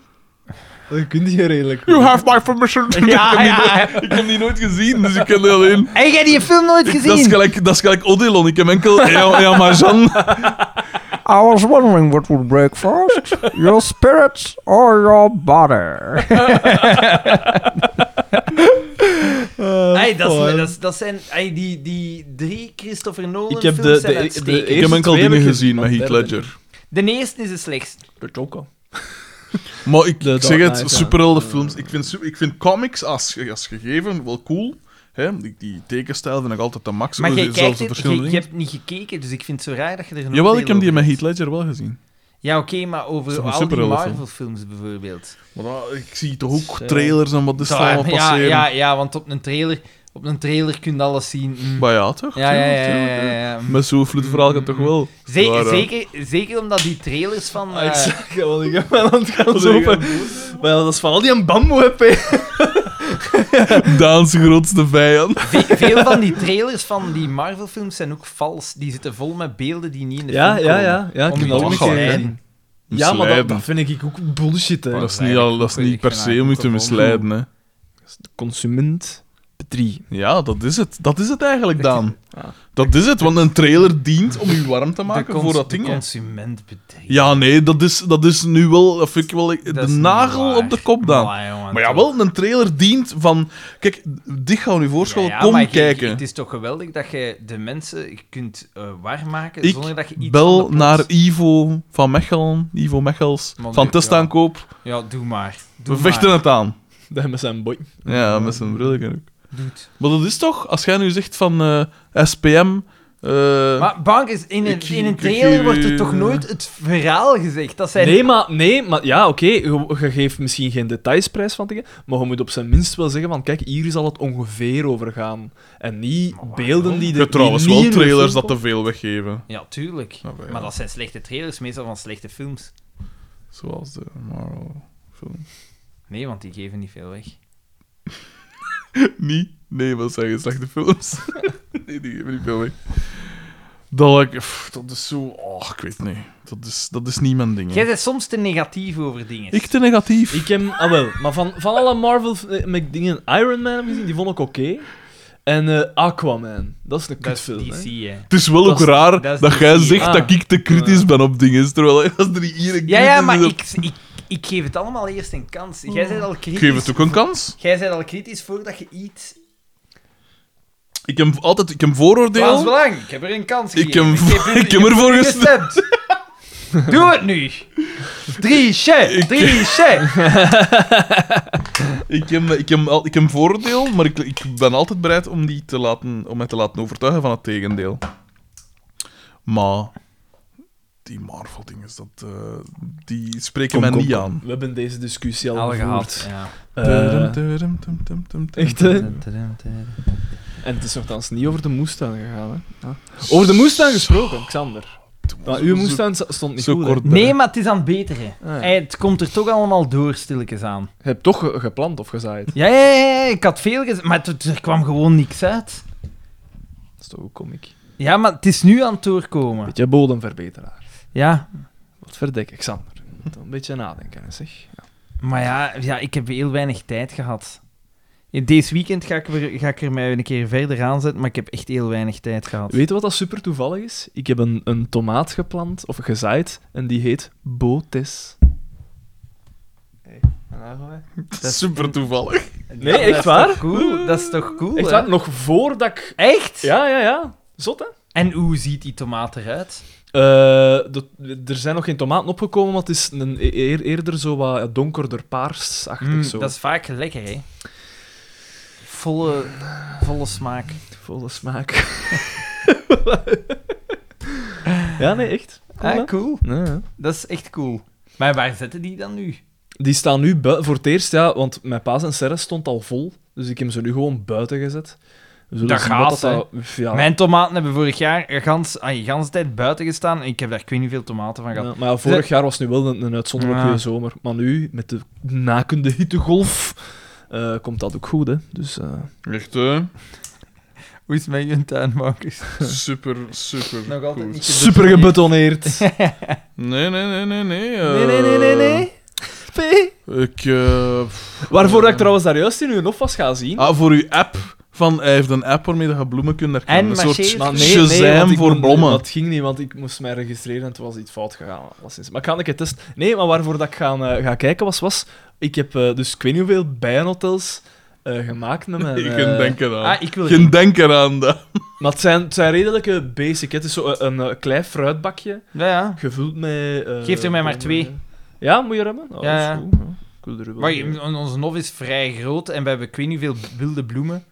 C: Dat kun je redelijk.
B: You have my permission.
A: [LAUGHS] Ja, ja, ja.
B: [LAUGHS] Ik heb die nooit gezien, dus ik ken die
C: [LAUGHS]
B: alleen...
A: Heb jij die film nooit
B: Dat is
A: gezien?
B: gelijk, dat is gelijk Odilon. Ik
C: [LAUGHS]
B: heb enkel ja, ja, maar Jean.
A: I was wondering what would break first. Your spirit or your body?
C: Eh,
A: Hey, dat,
C: Oh,
A: is, dat, is- dat zijn hey, die, die drie Christopher Nolan
C: Ik heb
A: films
C: de,
A: zijn
C: de, de,
A: uitstekend.
B: Ik heb
C: eerste
B: enkel
C: twee
B: dingen
C: heb ik
B: gezien met
C: maar
B: Heath
C: derde
B: Ledger.
A: De eerste is de slechtste.
C: niet. De Joker.
B: Maar ik,
C: De
B: ik
C: Dark
B: zeg het,
C: Knight, ja.
B: superheldenfilms. Ik vind, su- ik vind comics als, ge- als gegeven wel cool. Hè? Die, die tekenstijl vind ik altijd de max.
A: Maar
B: Er
A: jij
B: zijn
A: kijkt
B: zelfs
A: dit,
B: verschillende
A: jij- je
B: dingen.
A: hebt niet gekeken, dus ik vind het zo raar dat je er een
B: Jawel,
A: oordeel
B: ik heb die
A: over
B: met
A: hebt.
B: Heath Ledger wel gezien.
A: Ja, oké, maar over
B: Zo'n
A: al die
B: superhelden.
A: Marvel-films bijvoorbeeld.
B: Maar ah, ik zie toch ook
A: Dus, eh,
B: trailers en wat is daar
A: ja,
B: allemaal
A: ja,
B: passeren.
A: ja, ja, want op een trailer, op een trailer kun je alles zien. Mm.
B: Maar ja, toch?
A: Ja, ja,
B: tuurlijk,
A: ja,
B: tuurlijk,
A: ja,
B: hè.
A: ja, ja.
B: Met zo'n vloedverhaal kan toch wel.
A: Ze-
B: Waar, eh, Ah,
A: zeker, zeker omdat die trailers van... eh,
C: Ja, want Ah, ik heb mijn hand gaan zopen. Maar ja, dat is van al die bamboe heb hè.
B: Daan's grootste vijand.
A: ve- veel van die trailers van die Marvel-films zijn ook vals. Die zitten vol met beelden die niet in de
C: Ja,
A: film
C: ja,
A: komen.
C: ja. ja ik
A: Om
C: heb
A: je
C: dat
A: te
C: ook een keer
A: misleiden.
C: gezien. Ja, maar dat, dat vind ik ook bullshit, hè.
B: dat is niet, al, dat is
A: Weet
B: niet
A: ik
B: per
A: geen
B: se
A: enkel
B: om je te
A: gevoel.
B: misleiden, hè.
C: Consument bedrie.
B: Ja, dat is het. Dat is het eigenlijk, Daan. Dat is het, want een trailer dient om je warm te
A: De
B: maken
A: cons-
B: voor dat
A: de
B: ding. hè.
A: consument bedrijf.
B: Ja, nee, dat is, dat is nu wel... Dat vind ik wel de nagel op de kop, Daan. Maar ja, wel, een trailer dient van... Kijk, dit gaan we nu voorschotelen.
A: Ja,
B: Kom
A: maar je-
B: kijken.
A: het is toch geweldig dat je de mensen kunt eh, warm maken
B: Ik
A: zonder dat je iets van de
B: Bel
A: plot-
B: naar Ivo van Mechelen, Ivo Mechels,
A: Maar
B: van
A: nu-
B: Testaankoop.
A: Ja, doe maar. Doe
B: We vechten
A: maar.
B: het aan.
C: Dat met zijn boy.
B: Ja, met zijn bril ook.
A: Doe het.
B: Maar dat is toch, als jij nu zegt van eh, SPM... eh,
A: Maar Bank is in een,
B: Ik-
A: in een
B: ik-
A: trailer
B: ik-
A: wordt er toch nooit het verhaal gezegd. Dat zijn
C: Nee, maar, nee, maar ja, oké, je, je geeft misschien geen detailsprijs van dingen, maar je moet op zijn minst wel zeggen van, kijk, hier zal het ongeveer over gaan. En niet beelden die...
B: je
C: de-
B: hebt trouwens
C: die niet
B: wel
C: in de
B: trailers
C: film
B: dat te veel weggeven.
A: Ja, tuurlijk.
B: Ja, maar Ah, ja.
A: Maar dat zijn slechte trailers, meestal van slechte films.
B: Zoals de Marvel [LAUGHS] film.
A: Nee, want die geven niet veel weg.
B: Nee, nee, wat zijn slechte films?
A: [LAUGHS]
B: nee, die geven niet veel weg. Dat, ik, pff, dat is zo... Oh, ik weet niet. Dat is, dat is niet mijn ding. hè.
A: Jij bent soms te negatief over dingen.
B: Ik te negatief.
C: Ik heb, ah wel, maar van, van alle Marvel eh, met dingen, Iron Man heb ik gezien, die vond ik oké. En eh, Aquaman, dat is een
A: dat is
C: kutfilm.
A: DC,
C: hè.
A: hè.
B: Het is wel
C: Dat
B: ook
C: is-
B: raar
A: dat is
B: dat,
A: niet
B: jij
A: zien.
B: zegt
C: Ah.
B: dat ik te kritisch ben op dingen, terwijl als er hier een
A: Ja, ja, maar
B: kritisch
A: ik,
B: is
A: ik, ik geef het allemaal eerst een kans. Jij bent al
B: op-
A: kritisch.
B: Oh. Geef het ook een kans.
A: Jij bent al kritisch voordat je iets...
B: Ik heb altijd ik heb
A: Dat is
B: vooroordeel.
A: belangrijk. Ik heb er een kans
B: Ik
A: gegeven.
B: heb,
A: heb
B: [LAUGHS] ik heb ervoor gestemd.
A: gestemd. Doe het nu. Drie, chef. Drie, chef.
B: [LAUGHS] Ik heb, ik, heb, al- ik heb vooroordeel, maar ik, ik ben altijd bereid om, die te laten, om mij te laten overtuigen van het tegendeel. Maar die Marvel-dingen, dat, eh, die spreken mij niet aan.
C: We hebben deze discussie al,
A: Al
C: gevoerd.
A: gehad. Ja.
C: Eh,
B: Tudum, tudum, tudum, tudum, tudum.
C: echt, hè? En het is nogthans niet over de moestuin gegaan, hè. Ja. Over de moestuin gesproken, Xander. Maar uw moestuin sta- stond niet
B: Zo
C: goed, hè.
B: kort bij.
A: Nee, maar het is aan het beteren.
C: Ah, ja.
A: Hey, het komt er toch allemaal door, stilletjes aan.
C: Je hebt toch ge- geplant of gezaaid.
A: Ja, ja, ja, ja, ik had veel gezegd, maar het- er kwam gewoon niks uit.
C: Dat is toch ook komiek.
A: Ja, maar het is nu aan het doorkomen.
C: Beetje bodemverbeteraar.
A: Ja,
C: Wat verdikken, Xander. Moet Een beetje nadenken, hè, zeg. Ja.
A: maar ja, ja ik heb heel weinig tijd gehad. Deze weekend ga ik, er, ga ik er mij een keer verder aan zetten, maar ik heb echt heel weinig tijd gehad.
C: Weet je wat dat super toevallig is? Ik heb een, een tomaat geplant, of gezaaid, en die heet Botes.
A: [LAUGHS]
B: Super toevallig.
C: Nee, echt waar?
A: Toch cool? Dat is toch cool?
C: Echt
A: hè?
C: waar? Nog voordat ik...
A: Echt?
C: Ja, ja, ja. Zot, hè?
A: En hoe ziet die tomaat eruit?
C: Eh, dat- er zijn nog geen tomaten opgekomen, maar het is een, e- eer- eerder zo wat donkerder paarsachtig.
A: Mm,
C: zo.
A: dat is vaak lekker, hè? Volle, volle smaak.
C: Volle smaak. [LAUGHS] ja, nee, echt. Cool, hè?
A: Ah, cool.
C: Ja, ja.
A: Dat is echt cool. Maar waar zetten die dan nu?
C: Die staan nu bui- voor het eerst, ja, want mijn paas en serre stond al vol. Dus ik heb ze nu gewoon buiten gezet. We zullen
A: Dat
C: zien wat
A: gaat,
C: dat- ja.
A: Mijn tomaten hebben vorig jaar een gans, ah, een ganse tijd buiten gestaan. en Ik heb daar ik weet niet veel tomaten van
C: Ja,
A: gehad.
C: maar ja, vorig jaar was nu wel een, een uitzonderlijk
A: Ja.
C: goede zomer. Maar nu, met de nakende hittegolf, eh, komt dat ook goed, hè. Dus, eh,
B: Echt, hè?
A: Hoe is het met je tuinbankers?
B: Super, super.
A: [LAUGHS] dus Nog altijd niet
C: super gebetoneerd.
B: Nee, nee, nee, nee, nee. eh,
C: Nee, nee, nee, nee, nee. P.
B: Ik, eh, pff,
C: Waarvoor dat
B: eh,
C: ik trouwens daar juist in uw hof was gaan zien.
B: Ah, voor uw app. Van, hij heeft een app waarmee dat je bloemen kunt herkennen.
A: En
B: een soort
A: marcheert.
C: Maar nee,
B: Shazam
C: nee, want ik
B: voor
C: moet-
B: blommen.
C: Dat ging niet, want ik moest mij registreren en toen was iets fout gegaan. alleszins. Maar ik ga een keer testen. Nee, maar waarvoor dat ik gaan, eh, ga kijken was, was... Ik heb eh, dus ik weet niet hoeveel bijenhotels eh, gemaakt met mijn...
B: [LAUGHS] Ik
C: eh,
B: geen denken aan.
A: Ah, ik wil
B: geen denken aan dat.
C: Maar het zijn, het zijn redelijke basic. hè. Het is zo een, een, eh, klein fruitbakje,
A: Ja, ja.
C: gevuld met... eh,
A: Geef er mij maar
C: blommen.
A: twee.
C: Ja, moet je er hebben? Oh,
A: Ja,
C: dat
A: ja.
C: is goed, ja. Ik wil er wel
A: Maar
C: twee.
A: je- on- onze nof is vrij groot en we hebben ik weet niet veel wilde bloemen.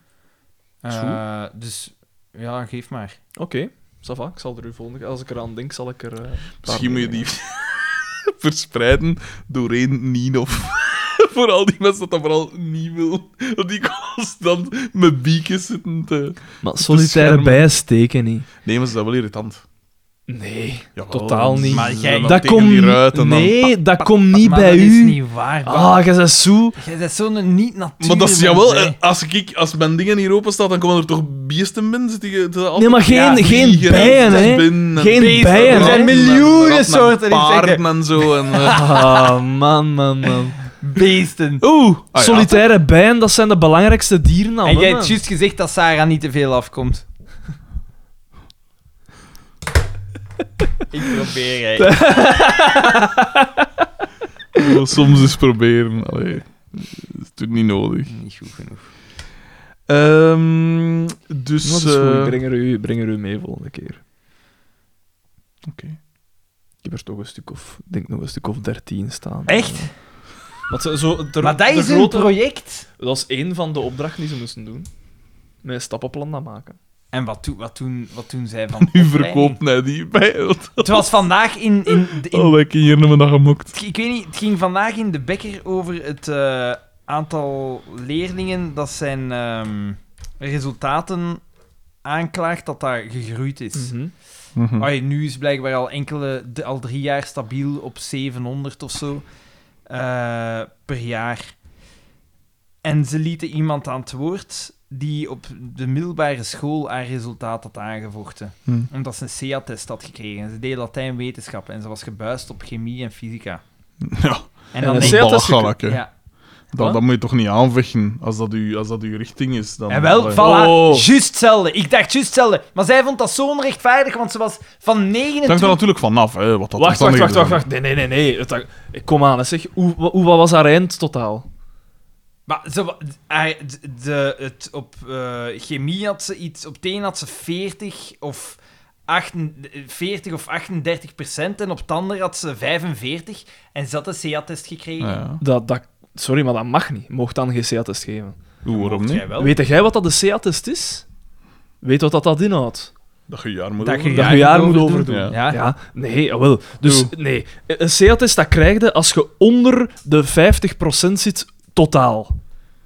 C: Is
A: Eh, dus ja, geef maar.
C: Oké, ça va, ik zal er u volgende keer- Als ik eraan denk, zal ik er... eh, een paar
B: [LAUGHS] Misschien moet je die...
C: nemen.
B: [LAUGHS] verspreiden doorheen Nino. [LAUGHS] Voor al die mensen dat dat vooral niet wil. Dat die constant met biekjes zitten te...
C: Maar solitaire bijen steken niet.
B: Nee, maar ze zijn wel irritant.
C: Nee,
B: Jawel,
C: totaal niet.
A: Maar jij-
B: dan
C: dat
B: tegen
C: komt
B: die ruit en dan-
C: nee, dat komt niet
A: maar
C: bij
A: dat
C: u.
A: is niet waar. Bart.
C: Ah, je bent zo.
A: Jij bent zo'n niet-natuurlijk.
B: Maar dat is jawel, eh, als, ik, als mijn dingen hier open staat, dan komen er toch biesten binnen? Zit die, zitten altijd
C: Nee, maar geen,
A: Ja,
C: geen
B: vliegen en
C: bijen, hè?
B: spinnen en
C: Geen
B: beesten en
C: bijen, hè. Er zijn
B: ratten en
A: miljoenen
B: ratten en
A: soorten
B: Paarden
A: insecten.
B: en zo. En, eh,
C: Ah, man, man, man.
A: [LAUGHS] Beesten.
C: [LAUGHS] Oeh,
B: Ah, ja.
C: solitaire bijen, dat zijn de belangrijkste dieren al.
A: en
B: Oh,
C: hè,
A: jij
C: man.
A: hebt juist gezegd dat Sarah niet te veel afkomt. ik probeer, hè.
B: Ik wil [LAUGHS] soms eens proberen. Allee, dat is natuurlijk niet nodig.
A: Niet goed genoeg.
B: Ehm, dus.
C: Dat is goed,
B: eh,
C: ik breng er, u, ik breng er u mee volgende keer.
B: Oké.
C: Ik heb er toch een stuk of, ik denk nog een stuk of dertien staan.
A: Echt?
C: Want ze- zo, ter-
A: maar dat
C: de
A: is een
C: grote-
A: project.
C: Dat is één van de opdrachten die ze moesten doen. Met een stappenplan dat maken.
A: En wat, doen- wat, doen, wat doen zij
B: [LAUGHS]
A: van
B: nu
A: opleiding?
B: verkoopt hij die bij.
C: [LAUGHS]
B: Wat-
A: Het was vandaag in...
B: [LAUGHS]
A: in, de- in
B: Oh, ik heb hier nog een dag gemokt.
A: het- ik weet niet, het ging vandaag in de bekker over het eh, aantal leerlingen dat zijn ehm, resultaten aanklaagt dat daar gegroeid is.
B: Mhm.
C: Mhm.
B: Hm.
A: Allee, nu is blijkbaar al enkele, d- al drie jaar stabiel op 700 of zo eh, per jaar. En ze lieten iemand aan het woord die op de middelbare school haar resultaat had aangevochten.
B: Hmm.
A: Omdat ze een CA-test had gekregen. Ze deed Latijn wetenschap en ze was gebuist op chemie en fysica. En
B: Ja,
A: dan
C: een
B: dat
A: denk
B: is
C: CA-test
B: belachelijk. hè.
A: ja.
B: Dat, dat moet je toch niet aanvechten als dat, u, als dat uw richting is. Dan,
A: En wel,
B: Allee.
A: voilà,
C: Oh.
A: juist hetzelfde. Ik dacht juist hetzelfde. Maar zij vond dat zo onrechtvaardig, want ze was van
B: Het
A: 29...
B: hangt er natuurlijk vanaf, hè, wat dat
C: Wacht, wacht, wacht, wacht,
B: omstandigheden
C: wacht. Nee, nee, nee, nee. Het hangt- Ik kom aan, hè, zeg. Hoe, wa- hoe wat was haar eind totaal?
A: Maar ze, wa- haar- de, de- het, op eh, chemie had ze iets, op het een had ze 40 of, 8, 40 of 38 procent en op het ander had ze 45 en ze had een CA-test gekregen.
B: zijn. Ja.
C: Dat, dat, sorry, maar dat mag niet. Je Mocht dan geen CA-test geven.
B: Hoe, waarom
A: Jij
B: niet?
A: wel?
C: Weet jij wat dat de CA-test is? Weet wat dat, dat inhoudt?
B: Dat je jaar moet
A: Dat
B: over-
A: je
C: Dat
A: Ja,
C: je
A: ik
C: jaar
A: moet
C: moet
A: overdoen.
C: overdoen.
B: Ja.
A: Ja.
C: Ja, nee, jawel. Dus nee, een CA-test dat krijg je als je onder de 50% zit totaal.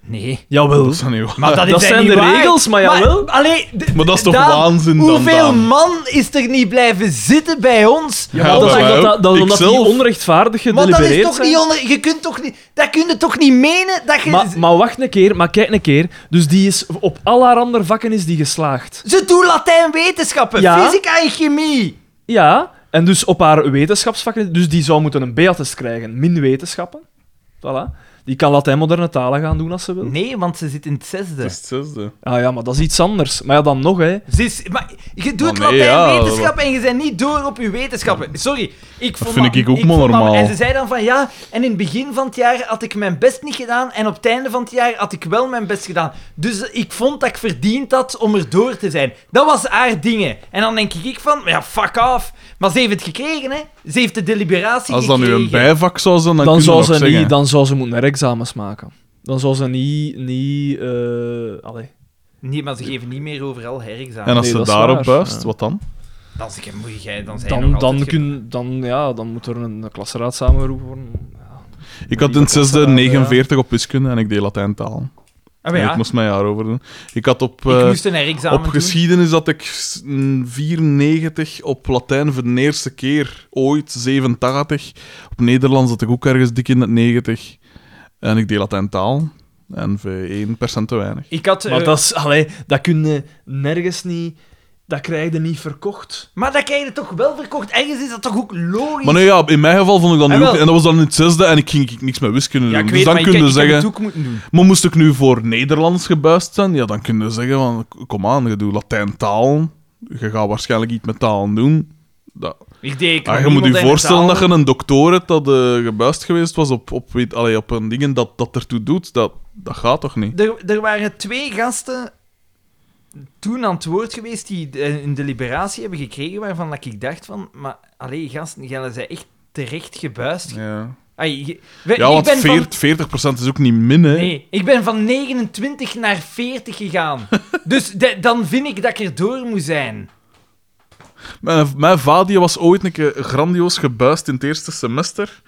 A: Nee.
C: Jawel.
B: Dat is dan niet waar.
A: Maar dat, is
C: dat
A: echt
C: zijn
A: niet
C: de
A: waar.
C: regels, maar jawel.
A: allee, d-
B: Maar dat is toch
A: Daan,
B: waanzin dan,
A: Hoeveel
B: Daan?
A: man is er niet blijven zitten bij ons?
B: Ja,
C: dat
B: bij
C: is
B: mij
C: omdat, dat,
B: ook.
C: dat is omdat die
B: Ikzelf.
C: onrechtvaardig
A: Maar dat is
C: gedelibereerd
A: toch
C: zijn.
A: niet onder... Je kunt toch niet... Dat kun je toch niet menen? Dat je...
C: Maar, maar wacht een keer, maar kijk een keer. Dus die is, op al haar andere vakken is die geslaagd.
A: Ze doen Latijn wetenschappen,
C: Ja.
A: fysica en chemie.
C: Ja, en dus op haar wetenschapsvakken, dus die zou moeten een BA-test krijgen, min wetenschappen. Voilà. Die kan Latijn moderne talen gaan doen als ze wil.
A: Nee, want ze zit in het zesde.
B: Dat is het zesde.
C: Ah ja, maar dat is iets anders. Maar ja, dan nog, hè.
A: Ze is- maar je doet
B: Maar Oh, nee,
A: Latijn
B: ja,
A: wetenschap en je bent niet door op je wetenschappen. Sorry. Ik vond
B: vind ik ook
A: vond
B: maar
A: dat-
B: normaal.
A: En ze zei dan van ja, en in het begin van het jaar had ik mijn best niet gedaan en op het einde van het jaar had ik wel mijn best gedaan. Dus ik vond dat ik verdiend had om er door te zijn. Dat was haar dingen. En dan denk ik van, ja, fuck off. Maar ze heeft het gekregen, hè. Ze heeft de deliberatie
B: Als dat
A: gekregen.
B: nu een bijvak zou zijn, dan,
C: Dan
B: kun je
C: zou,
B: nog
C: ze
B: zeggen.
C: niet, dan zou ze moeten herexamens maken. Dan zou ze niet... niet eh, allee.
A: Nee, maar ze geven niet meer overal herexamen.
B: En als
C: Nee,
B: ze
C: dat is
B: daarop
C: waar,
B: buist,
C: ja.
B: wat dan?
A: Dan zeg ik, moet jij, dan zijn
C: Dan, dan, kun, dan, ja, dan moet er een klasraad samengeroepen worden. Ja.
B: Ik had in het zesde 49 op wiskunde en ik deed Latijntaal.
C: Ah,
B: En Ik moest mijn jaar over doen. Ik had op,
A: Ah, ik
B: eh,
A: moest een herexamen
B: op
A: doen.
B: geschiedenis had ik s- mm, 94 op Latijn voor de eerste keer ooit, 87. Op Nederlands had ik ook ergens dik in het 90. En ik deed Latijntaal. En V1% te weinig.
A: Ik had, eh,
C: Maar dat is... Allee, dat kun je nergens niet... Dat krijg je niet verkocht.
A: Maar dat krijg je toch wel verkocht? Ergens is dat toch ook logisch?
B: Maar nee, ja, in mijn geval vond ik dat
A: Ah,
B: nu ook.
A: wel.
B: En dat was dan in het zesde en ik ging ik niks met wiskunde
A: ja,
B: doen.
A: ik
B: dus
A: weet,
B: dan
A: maar ik,
B: kun je
A: ik heb
B: zeggen...
A: het ook moeten doen.
B: Maar moest ik nu voor Nederlands gebuist zijn, ja, dan kun je zeggen van, k- kom aan, je doet Latijn taal, je gaat waarschijnlijk iets met talen doen. Dat.
A: Ik deed
B: Ah, je moet je voorstellen dat je een doctor hebt dat eh, gebuist geweest was op, op, weet, allee, op een ding dat, dat ertoe doet, dat, dat gaat toch niet?
A: Er, er waren twee gasten toen aan het woord geweest die eh, een deliberatie hebben gekregen waarvan dat ik dacht van... Maar, allee, gasten, jij zijn echt terecht gebuist.
B: Ja,
A: Ai, je- we-
B: ja want
A: ik ben van-
B: 40, 40% is ook niet min, hè.
A: Nee, ik ben van 29
B: [LAUGHS]
A: naar 40 gegaan. dus de- dan vind ik dat ik er door moet zijn.
B: Mijn, mijn vader die was ooit een keer grandioos gebuist in het eerste semester.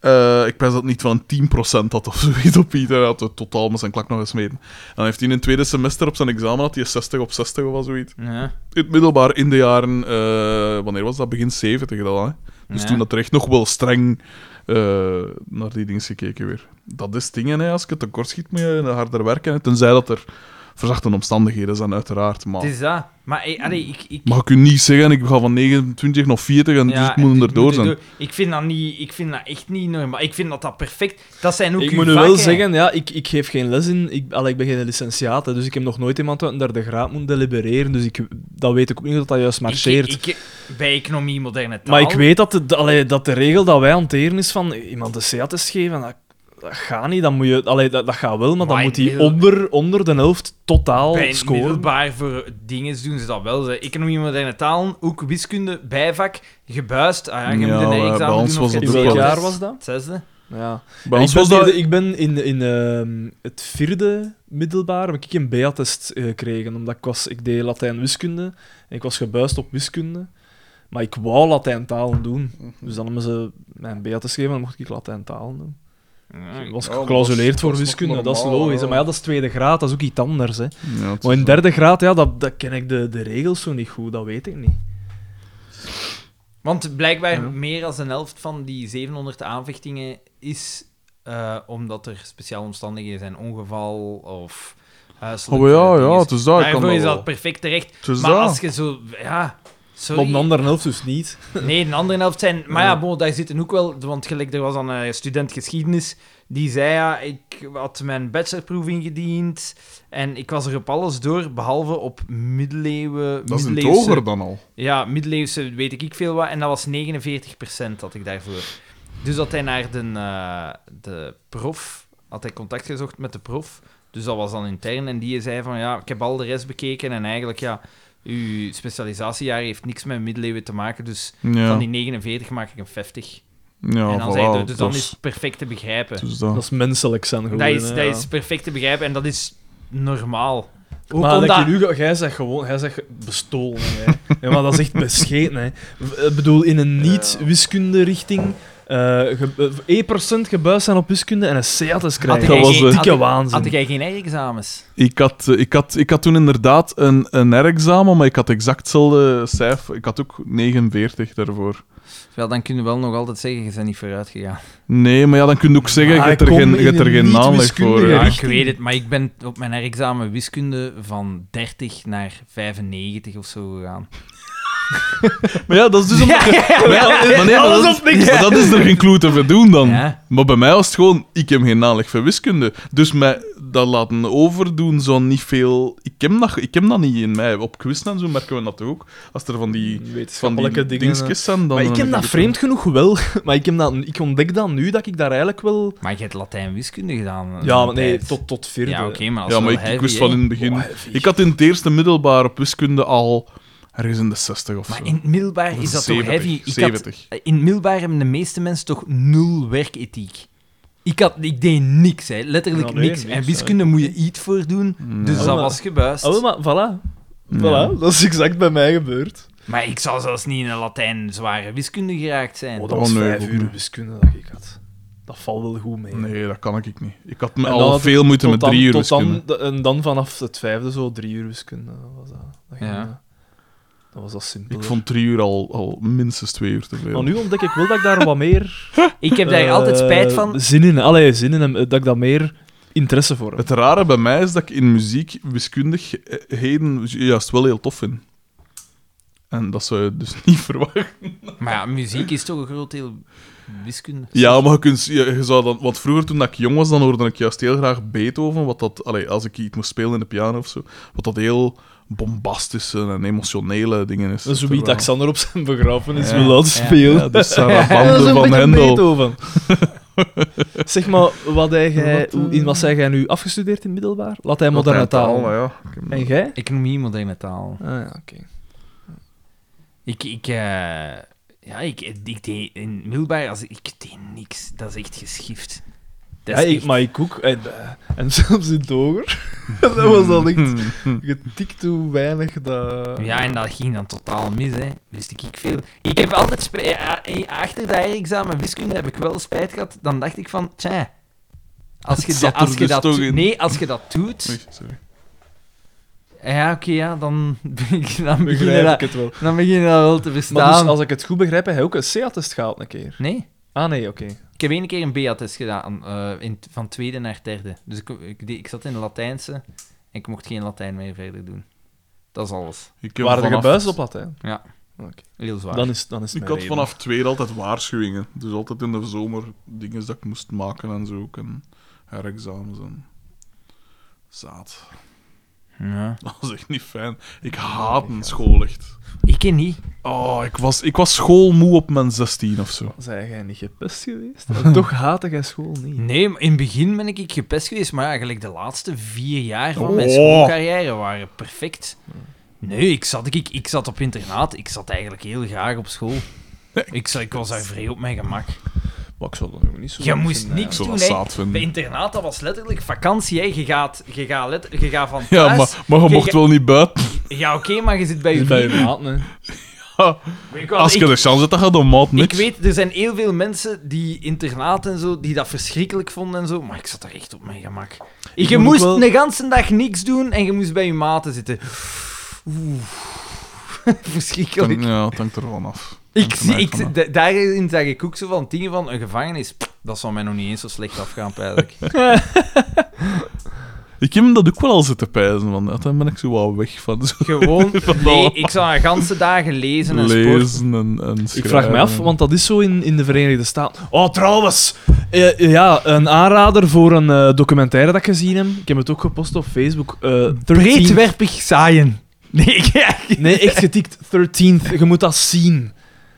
B: Eh, ik pens dat het niet van een 10% had of [LAUGHS] zoiets op ieder. Hij had het totaal met zijn klak nog gesmeten. En dan heeft hij in het tweede semester op zijn examen had hij 60 op 60 of zoiets.
A: Ja.
B: In het middelbaar in de jaren... eh, wanneer was dat? Begin 70 dan, hè? Dus
A: Ja.
B: toen dat er echt nog wel streng eh, naar die dingen gekeken weer. Dat is dingen, hè. Als je tekort schiet, moet je harder werken. hè. Tenzij dat er verzachte omstandigheden zijn, uiteraard. Maar...
A: Het is dat. Maar eh, allee, ik, ik,
B: Mag ik u niet zeggen, ik ga van 29 naar 40 en dus ik
A: en
B: moet
A: ik
B: erdoor zijn.
A: er door. Ik vind dat niet, ik vind dat echt niet normaal. Ik vind dat dat perfect. Dat zijn ook
C: Ik
A: uw
C: moet nu
A: vakken.
C: wel zeggen, ja, ik, ik geef geen les in. Ik, allee, ik ben geen licentiaat, hè, dus ik heb nog nooit iemand uit een derde graad moeten delibereren. Dus ik, dat weet ik ook niet dat dat juist marcheert.
A: Ik, ik- bij economie moderne taal.
C: maar ik weet dat de, de- allee, dat de regel dat wij hanteren is van iemand een CA-test geven. Dat, dat gaat niet, dan moet je, allee, dat, dat gaat wel, maar dan
A: Maar
C: moet
A: in
C: hij
A: middel-
C: onder, onder de helft totaal
A: bij het
C: scoren.
A: middelbaar voor dingen doen ze dat wel. Ze. Economie moderne taal, ook wiskunde, bijvak, gebuist. Ah ja, je
B: Ja,
A: moet een
B: bij
A: examen doen
B: ons
A: of
B: was
A: je
B: dat
A: hebt
B: ook
A: geen test.
C: Welk
B: wel.
C: jaar was dat?
A: Het zesde.
C: Ja.
B: Bij ons
C: ik, ben
B: was dat...
C: hier- ik ben in, in ehm, het vierde middelbaar heb ik een BA-test eh, gekregen, omdat ik, was, ik deed Latijn-wiskunde en ik was gebuist op wiskunde. Maar ik wou Latijn-talen doen.
B: Mhm.
C: Dus dan hebben ze mij een BA-test gegeven en dan mocht ik Latijn-talen doen. Dus Ik was
B: ja, maar
C: geclausuleerd
B: dat is-
C: voor
B: dat is nog
C: wiskunde, dat is
B: normaal,
C: logisch.
B: ja.
C: Maar ja, dat is tweede graad, dat is ook iets anders. Hè.
B: Ja, het
C: Maar
B: is-
C: in derde graad, ja, dat, dat ken ik de, de regels zo niet goed, dat weet ik niet.
A: Want blijkbaar
C: Ja.
A: meer dan een helft van die 700 aanvechtingen is eh, omdat er speciale omstandigheden zijn. Ongeval of huiselijk...
B: Oh ja,
A: eh,
B: ja,
A: dinges.
B: het is dat. Ik kan
A: Daarvoor is
B: dat
A: dat
B: wel.
A: perfect terecht.
B: Het is
A: maar
B: dat.
A: als je zo... Ja,
C: Maar op de
A: sorry.
C: andere helft dus niet.
A: Nee, de andere helft zijn... Maar ja, bon, daar zitten ook wel... Want gelijk, er was dan een student geschiedenis die zei... Ja, ik had mijn bachelorproef ingediend en ik was er op alles door, behalve op middeleeuwen...
B: Dat is in het
A: middeleeuwse-
B: hoger dan al.
A: ja, middeleeuwse weet ik ik veel wat. En dat was 49% had ik daarvoor. Dus had hij naar de, eh, de prof, had hij contact gezocht met de prof. Dus dat was dan intern. En die zei van, ja, ik heb al de rest bekeken. En eigenlijk, ja, uw specialisatiejaar heeft niks met middeleeuwen te maken. Dus
B: Ja,
A: van die 49 maak ik een 50.
B: ja
A: en dan
B: voilà,
A: zei hij, dus dan
B: dat
A: is het perfect te begrijpen.
B: dus dat.
C: Dat is menselijk zijn gewoon.
A: Dat is,
C: hè,
A: dat
C: ja.
A: is perfect te begrijpen en dat is normaal. Ook
C: maar dat
A: omdat...
C: je nu, ga- jij zegt gewoon, jij zegt bestolen. Hè. ja, maar dat is echt bescheten. Hè. W- Ik bedoel, in een niet-wiskunde richting. eh ge- eh, 1% gebuist zijn op wiskunde en een C hadden
A: Had
C: krijgen.
B: Dat
A: jij
B: was
A: geen-
B: een
A: had-
C: dikke waanzin.
A: Had jij geen examens?
B: Ik had, eh, ik, had, ik had toen inderdaad een, een R-examen, maar ik had exact hetzelfde cijfer. Ik had ook 49 daarvoor.
A: Wel, dan kunnen we wel nog altijd zeggen, je bent niet vooruit gegaan.
B: Nee, maar ja, dan kun je ook zeggen, je
C: Maar
B: hebt er
C: kom
B: geen,
C: in
B: je hebt er
C: een
B: geen aanleg
C: niet-wiskundige
B: voor.
A: Ja,
B: Ja.
C: richting.
A: ik weet het, maar ik ben op mijn herexamen wiskunde van 30 naar 95 of zo gegaan.
B: Maar ja, dat is dus... omdat je- Maar ja, maar nee, maar
C: Alles
B: dat is-
C: of niks.
B: maar dat is er geen clue te verdoen dan.
A: Ja.
B: Maar bij mij was het gewoon, ik heb geen aanleg voor wiskunde. Dus mij dat laten overdoen, zo niet veel... Ik heb dat, ik heb dat niet in mij. Op quiz en zo merken we dat ook. Als er van die, van
C: Wetenschappelijke
B: die
C: dingen. hè.
B: dingetjes zijn, dan...
C: Maar ik heb dat vreemd genoeg wel. [LAUGHS] Maar ik, heb dat, ik ontdek dat nu, dat ik daar eigenlijk wel...
A: Maar je hebt Latijn wiskunde gedaan. eh,
C: Ja,
A: een
C: maar nee,
A: tijd.
C: tot, tot vierde. Ah,
A: Ja, oké, maar als
B: Ja, maar ik, ik wist van in het begin... ik had in het eerste middelbaar op wiskunde al ergens in de 60 of
A: Maar
B: zo.
A: in het middelbaar is dat
B: 70,
A: toch heavy? Ik had,
B: 70.
A: in het middelbaar hebben de meeste mensen toch nul werkethiek. Ik, had, ik deed niks, hè. letterlijk
C: Ja, nee,
A: niks.
C: niks,
A: En wiskunde moet je iets voor doen, dus
C: Ja.
A: dat was gebuist.
C: Oh, maar voilà. Voilà,
B: Ja.
C: dat is exact bij mij gebeurd.
A: Maar ik zou zelfs niet in een Latijn zware wiskunde geraakt zijn.
C: Oh, dat
B: dat
C: was
B: was nee,
C: vijf
B: ook
C: uur
B: niet.
C: wiskunde dat ik had. Dat valt wel goed mee.
B: Nee, dat kan ik niet. Ik had me
C: En dan
B: al
C: had
B: veel moeite
C: Tot
B: met
C: dan-
B: drie uur
C: tot
B: wiskunde.
C: dan, de- en dan vanaf het vijfde zo drie uur wiskunde was dat. Dat, ging,
A: Ja.
C: eh, dat was dat simpel.
B: Ik vond drie uur al, al minstens twee uur te veel.
C: Maar nu ontdek ik wel dat ik daar wat [LAUGHS] meer...
A: Ik heb daar
C: eh,
A: altijd spijt van.
C: Zin in, allee, zin in, en, eh, dat ik daar meer interesse voor heb.
B: Het rare bij mij is dat ik in muziek wiskundigheden ju- juist wel heel tof vind. En dat zou je dus [LAUGHS] niet verwachten.
A: Maar ja, muziek is toch een groot deel wiskunde.
B: Ja, maar je, kunt, je, je zou dan... Want vroeger, toen ik jong was, dan hoorde ik juist heel graag Beethoven. Wat dat, allee, als ik iets moest spelen in de piano of zo. Wat dat heel bombastische en emotionele dingen is.
C: Dat is hoe
B: Terwijl-
C: Alexander op zijn begrafenis
B: Ja.
C: wil laten
A: Ja.
C: spelen.
B: Ja,
C: [LAUGHS]
B: de
C: Dat is
B: Sarabande
C: een
B: van
C: beetje
B: Hendel. [LAUGHS]
C: Beethoven. zeg maar, wat heb jij,
B: Wat, eh,
C: hoe- in wat zijn jij nu afgestudeerd in het middelbaar? Laat hij moderne taal.
B: Ja, ja.
C: En jij?
A: Economie, moderne taal.
C: Ah, ja, oké.
A: Ik, ik, eh, ja, ik, ik deed in het middelbaar, als, ik deed niks. Dat is echt geschift. Dat
C: Ja,
A: is
C: ik-
A: echt-
C: maar ik ook. En, eh, en [LAUGHS] zelfs in Doger. [LAUGHS] dat was al [LAUGHS] echt getikt hoe weinig dat...
A: Ja, en dat ging dan totaal mis, hè. Wist ik ik veel. Ik heb altijd... spijt- ja, eh, Achter dat examen wiskunde heb ik wel spijt gehad. Dan dacht ik van, tja... Als
C: [LAUGHS]
A: je, da-
B: Het zat er
A: als je
B: dus
A: dat
B: toch
A: doet-
B: in.
A: Nee, als je dat doet...
B: Oei, sorry.
A: Ja, oké, ja, dan, [LAUGHS] begin- dan, begin je
C: begrijp
A: dat,
C: ik het wel.
A: dan begin je dat wel te
C: Maar
A: verstaan.
C: dus, als ik het goed begrijp, heb hij ook een C-attest gehaald een keer.
A: Nee,
C: Ah, nee, oké.
A: ik heb één keer een B-attest gedaan, eh, in, van tweede naar derde. Dus ik, ik, deed- ik zat in Latijnse en ik mocht geen Latijn meer verder doen. Dat is alles.
B: Ik heb
C: Waren er
B: vanaf-
C: gebuizen op Latijn?
A: Heel zwaar.
C: Dan is, dan is het
B: Ik
C: mijn
B: had
C: reden.
B: vanaf tweede altijd waarschuwingen. Dus altijd in de zomer dingen dat ik moest maken en zo. ook, En herexamens en... Zaad. [LAUGHS]
A: Ja.
B: Dat was echt niet fijn. Ik haat een school echt.
A: Ik ken niet.
B: Oh, ik was, ik was schoolmoe op mijn 16 of zo.
C: Zijn jij niet gepest geweest? [LAUGHS] En toch haatte jij school niet.
A: Nee, maar in het begin ben ik gepest geweest, maar eigenlijk de laatste vier jaar van mijn
B: Oh.
A: schoolcarrière waren perfect. Nee, ik zat, ik, ik zat op internaat. Ik zat eigenlijk heel graag op school. Ik, zat- ik was daar vrij op mijn gemak.
C: Maar ik zou dat ook niet zo
A: Je
C: leuk
A: moest
C: vinden,
A: niks
B: zou
A: doen,
B: dat
A: hè.
B: zaad vinden.
A: Bij internaat, dat was letterlijk vakantie, hè. Je gaat, je gaat, let- je gaat van thuis...
B: Ja, maar, maar je mocht wel niet buiten.
A: Ja, oké, maar je zit bij je
C: eigenlijk. Bij je
A: vrienden.
C: maat, hè.
A: Ik, wel,
B: Als je
A: ik-
B: de chance hebt, dan gaat de maat
A: ik
B: niks.
A: weet, er zijn heel veel mensen die internaat en zo, die dat verschrikkelijk vonden en zo, maar ik zat daar echt op mijn gemak. je
C: moet ook
A: moest
C: wel-
A: de ganse dag niks doen en je moest bij je maten zitten. Oeh. [LAUGHS]
B: Dan- eh,
A: Verschrikkelijk.
B: ja, het hangt er van af.
A: Ik,
B: Hangt er
A: zie-
B: mij
A: ik,
B: van af.
A: da- daarin zag ik ook zo van dingen van een gevangenis. pff, Dat zou mij nog niet eens zo slecht afgaan, eigenlijk.
B: Ik heb hem dat ook wel al zitten pijzen. Van, ja, dan ben ik zo wat weg van zo
A: Gewoon,
B: Van
A: nee,
B: allemaal.
A: ik zou een ganse dagen lezen en sporten.
B: lezen en, en
C: Ik
B: schrijven.
C: vraag me
A: Ehm.
C: af, want dat is zo in, in de Verenigde Staten. Oh, trouwens! Eh, ja, een aanrader voor een eh, documentaire dat ik gezien heb. Ik heb het ook gepost op Facebook. eh 13
A: Breedwerpig zaaien. Nee, ik-
C: Nee, echt getikt. 13th. Je moet dat zien.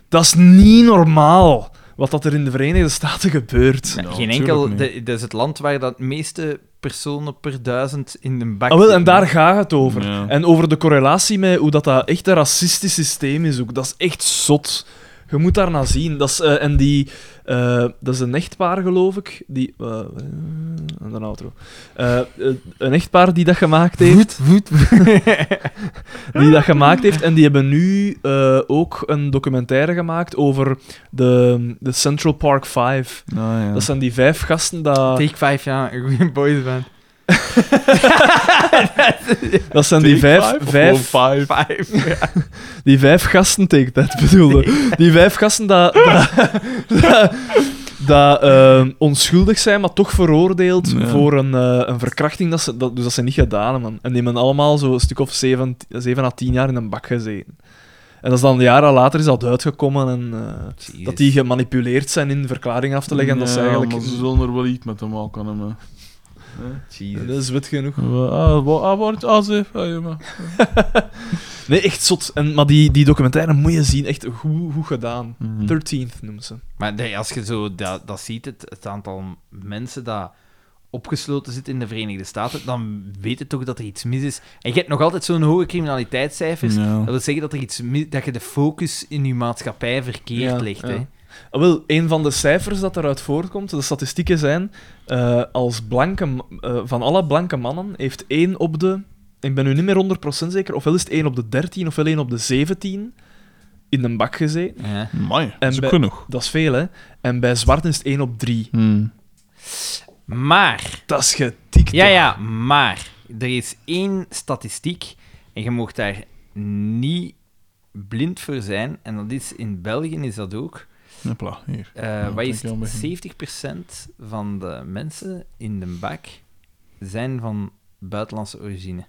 C: Dat is niet normaal. Wat dat er in de Verenigde Staten gebeurt.
A: Nee,
B: Nou,
A: geen enkel.
B: tuurlijk niet.
A: de- Dat is het land waar dat meeste personen per duizend in de bak
C: Ah, wel, en
A: zitten.
C: daar gaat het over. Eh,
B: Ja.
C: En over de correlatie met hoe dat, dat echt een racistisch systeem is ook. Dat is echt zot. Je moet daar naar zien. Dat is, eh, en die, eh, dat is een echtpaar, geloof ik. Die, eh, eh, en dan outro. Eh, eh, een echtpaar die dat gemaakt heeft.
A: [LAUGHS]
C: die dat gemaakt heeft. En die hebben nu eh, ook een documentaire gemaakt over de, de Central Park 5.
B: Ah, ja.
C: Dat zijn die vijf gasten dat...
A: Take 5, ja, een goede boys band.
C: Dat zijn die
B: Take
C: vijf,
B: five of
C: vijf,
B: gewoon five?
C: Die vijf gasten, take that
B: [LAUGHS]
C: bedoelde. Die vijf gasten dat, dat, dat, dat, eh, onschuldig zijn, maar toch veroordeeld
B: Ja.
C: voor een, eh, een verkrachting dat ze, dat, dus dat ze niet gedaan hebben. En die hebben allemaal zo'n stuk of zeven, zeven à tien jaar in een bak gezeten. En dat is dan jaren later is dat uitgekomen en eh, dat die gemanipuleerd zijn in verklaring af te leggen. dat is
B: Ja,
C: eigenlijk...
B: maar ze zullen er wel iets mee te maken hebben.
C: Dat is wit genoeg.
B: Ah, wa- ah, wordt ah, ze. Ah, ja, maar.
C: Nee, echt zot. En, maar die, die documentaire moet je zien. Echt goed, goed gedaan.
B: Hm. Mm.
C: 13th noemen ze.
A: Maar nee, als je zo dat, dat ziet, het, het aantal mensen dat opgesloten zit in de Verenigde Staten, dan weet je toch dat er iets mis is. En je hebt nog altijd zo'n hoge criminaliteitscijfers.
B: Ja.
A: Dat wil zeggen dat, er iets mi- dat je de focus in je maatschappij verkeerd
C: Ja,
A: legt.
C: ja.
A: Hè.
C: Ah, Wel, een van de cijfers dat eruit voortkomt, de statistieken zijn, eh, als blanke, m- eh, van alle blanke mannen heeft één op de, ik ben nu niet meer 100% zeker, ofwel is het één op de 13 ofwel één op de 17 in een bak gezeten.
A: Ja.
B: Amai, dat is
C: En
B: ook
C: bij-
B: genoeg.
C: Dat is veel, hè? En bij zwarten is het één op drie.
A: Maar
C: Dat is getikt.
A: Ja,
C: toch?
A: ja, maar er is één statistiek en je mocht daar niet blind voor zijn. En dat is in België is dat ook.
B: Hopla, hier.
A: Eh,
B: dat
A: wat
B: denk
A: is
B: ik wel een beetje.
A: het? 70% van de mensen in de bak zijn van buitenlandse origine.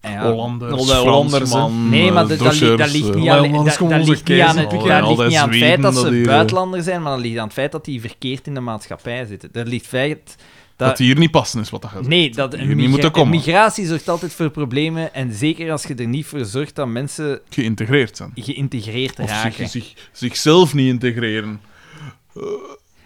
A: En ja,
B: Hollanders,
C: Al die Hollanders, hè.
B: Fransman,
A: Nee, maar
B: eh,
A: dat- dat, li- dat
B: Duitsers,
A: ligt niet
B: eh,
A: aan, dat,
B: Hollanders, Oh,
A: dat
B: kom onze
A: ligt niet aan het,
B: keizer.
A: dat
B: Al
A: ligt
B: die
A: niet aan het feit
B: Zweden
A: dat ze
B: hier, eh,
A: buitenlander zijn, maar dat ligt aan het feit dat die verkeerd in de maatschappij zitten. Dat ligt feit
B: Dat, die hier niet passen is wat dat gaat.
A: Nee, dat
B: Hier niet
A: migra-
B: moeten komen.
A: migratie zorgt altijd voor problemen. En zeker als je er niet voor zorgt dat mensen
B: Geïntegreerd zijn.
A: geïntegreerd
B: Of zich,
A: raken.
B: zich- zichzelf niet integreren.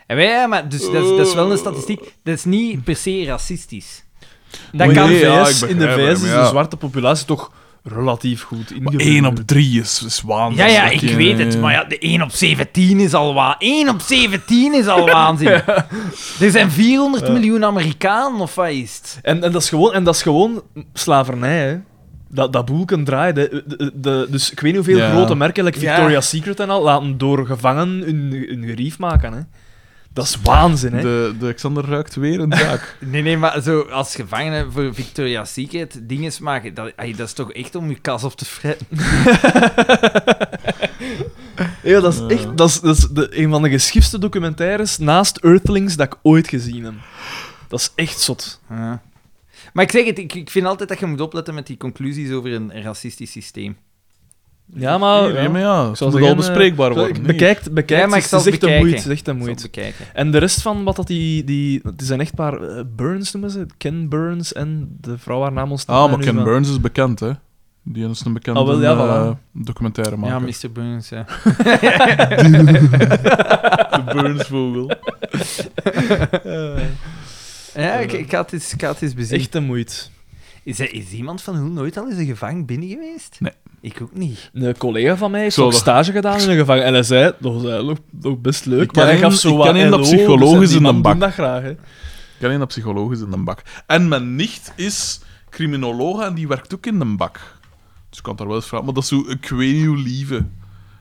A: En wij- ja, maar dus, dat, is, dat is wel een statistiek. Dat is niet per se racistisch. Dat
C: Maar
A: kan
C: in de
B: ja,
C: VS,
B: ik
C: in de
B: begrijp
C: VS
B: hem,
C: is
B: ja.
C: de zwarte populatie toch relatief goed
B: Maar
C: ingebeurd.
B: 1 op 3 is, is waanzinnig.
A: Ja, ja, ik weet het. Maar ja, de 1 op 17 is al wa 1 op 17 is [LAUGHS] al waanzin. Er zijn 400 miljoen Amerikanen, of wat is het?
C: En, en, dat is gewoon, en dat is gewoon slavernij, hè. Dat, dat boelken draait. hè. De, de, de- dus ik weet niet hoeveel
B: Ja.
C: grote merken, like
A: Ja.
C: Victoria's Secret en al, laten door gevangen hun, hun gerief maken. Hè. Dat is waanzin, hè. [LAUGHS]
B: De, de Alexander ruikt weer een zaak.
A: Nee, nee, maar zo als gevangene voor Victoria's Secret dingen maken, dat, ay, dat is toch echt om je kas op te fretten.
C: Ja, dat is echt dat is, dat is de, een van de geschiftste documentaires naast Earthlings dat ik ooit gezien heb. Dat is echt zot.
A: Ja. Maar ik zeg het, ik, ik vind altijd dat je moet opletten met die conclusies over een racistisch systeem.
C: Ja, maar...
B: Oh, ja, maar ja, het
C: Zoals
B: moet
C: ik
B: al
C: hem, eh,
B: bespreekbaar
C: zo-
B: worden. niet?
C: Bekijkt, bekijkt,
A: Ja, maar ik
C: het
A: zal
C: is echt een
A: bekijken.
C: moeite. Het is echt een
A: Moet je
C: moeite.
A: bekijken.
C: En de rest van wat dat die, die... Het zijn echt maar... eh, Burns noemen ze? Ken Burns en de vrouw haar naam ons
B: Ah, maar Ken Burns is bekend, hè? Die is een bekende eh,
C: Ah, wel, ja, voilà.
B: documentaire
A: Ja,
B: maken.
A: Mr. Burns, ja.
B: de [LAUGHS] Burns-vogel.
A: Ja, ik, ik had het eens, ik had het eens bezien.
C: Eh, Echt een moeite.
A: Is, er- is iemand van hun nooit al eens een gevangen binnen geweest?
B: Nee.
A: Ik ook niet.
C: Een collega van mij heeft
B: Zou
C: ook
B: dat-
C: stage gedaan in een gevangenis. En hij zei, dat was eigenlijk nog best leuk.
B: Ik ken
C: maar hij
B: een-
C: gaf zo
B: ik
C: wat
B: ken een dat
C: LO,
B: psycholoog
C: dus
B: is in
C: die
B: een
C: man
B: bak.
C: doet dat graag, hè.
B: Ik alleen dat psycholoog is in een bak. En mijn nicht is criminoloog en die werkt ook in een bak. Dus ik kan daar wel eens vragen, maar dat is zo, ik weet niet hoe lieve.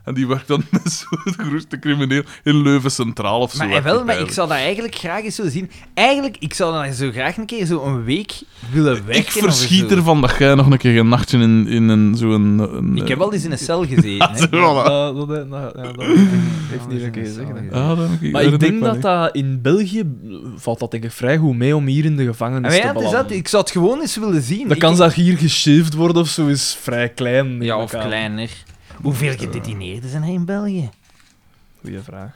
B: En die werkt dan [LAUGHS] met zo'n grootste crimineel in Leuven Centraal of zo.
A: Maar, eh,
B: werkt
A: wel,
B: het
A: maar ik zou
B: eigenlijk.
A: dat eigenlijk graag eens zo zien. Eigenlijk, ik zou dan zo graag een keer zo een week willen werken.
B: Ik
A: of
B: verschiet
A: zo.
B: ervan dat jij nog een keer een nachtje in, in een, zo'n... Een, eh,
A: Ik heb al eens in een cel
B: [LAUGHS]
A: gezeten. hè.
B: Zo, voilà.
C: Dat, dat, dat, dat, dat, dat heeft niet
A: is
C: veel keer
A: een
C: zeggen. hè.
A: zalige.
B: Ah, dat heb ik-
C: Maar
B: dat
C: ik
B: heb
C: denk
B: wel
C: dat
B: niet.
C: dat in België valt dat denk ik vrij goed mee om hier in de
A: Ah,
C: gevangenis
A: maar
C: te
A: ja, het is
C: belanden.
A: dat. Ik zou het gewoon eens willen zien.
C: De
A: Ik-
C: kans dat je hier geshaved wordt of zo is vrij klein. neem
A: Ja,
C: ik
A: of
C: aan.
A: kleiner. Hoeveel gedetineerden zijn er in België?
C: Goeie vraag.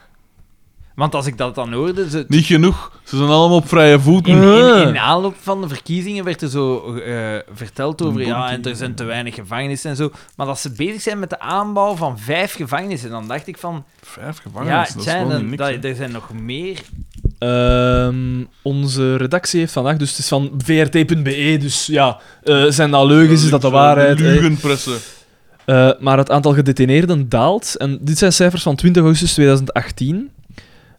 A: Want als ik dat dan hoorde... Ze,
B: Niet genoeg. Ze zijn allemaal op vrije voet.
A: in,
C: Ah.
A: in,
B: Ah.
A: in aanloop van de verkiezingen werd er zo eh, verteld over...
B: Een
A: Ja,
B: bounty.
A: en er zijn te weinig gevangenissen en zo. Maar dat ze bezig zijn met de aanbouw van vijf gevangenissen. Dan dacht ik van...
B: Vijf
A: ja,
B: gevangenissen,
A: het
B: dat is
A: zijn
B: wel
A: er-
B: niet niks.
A: dat-
B: hè.
A: er zijn nog meer.
C: Ehm, onze redactie heeft vandaag, dus het is van vrt.be, dus ja, eh, zijn dat leugens, is dat de
B: Zo,
C: waarheid? hè?
B: Leugenpressen.
C: Eh, maar het aantal gedetineerden daalt. En dit zijn cijfers van 20 augustus 2018.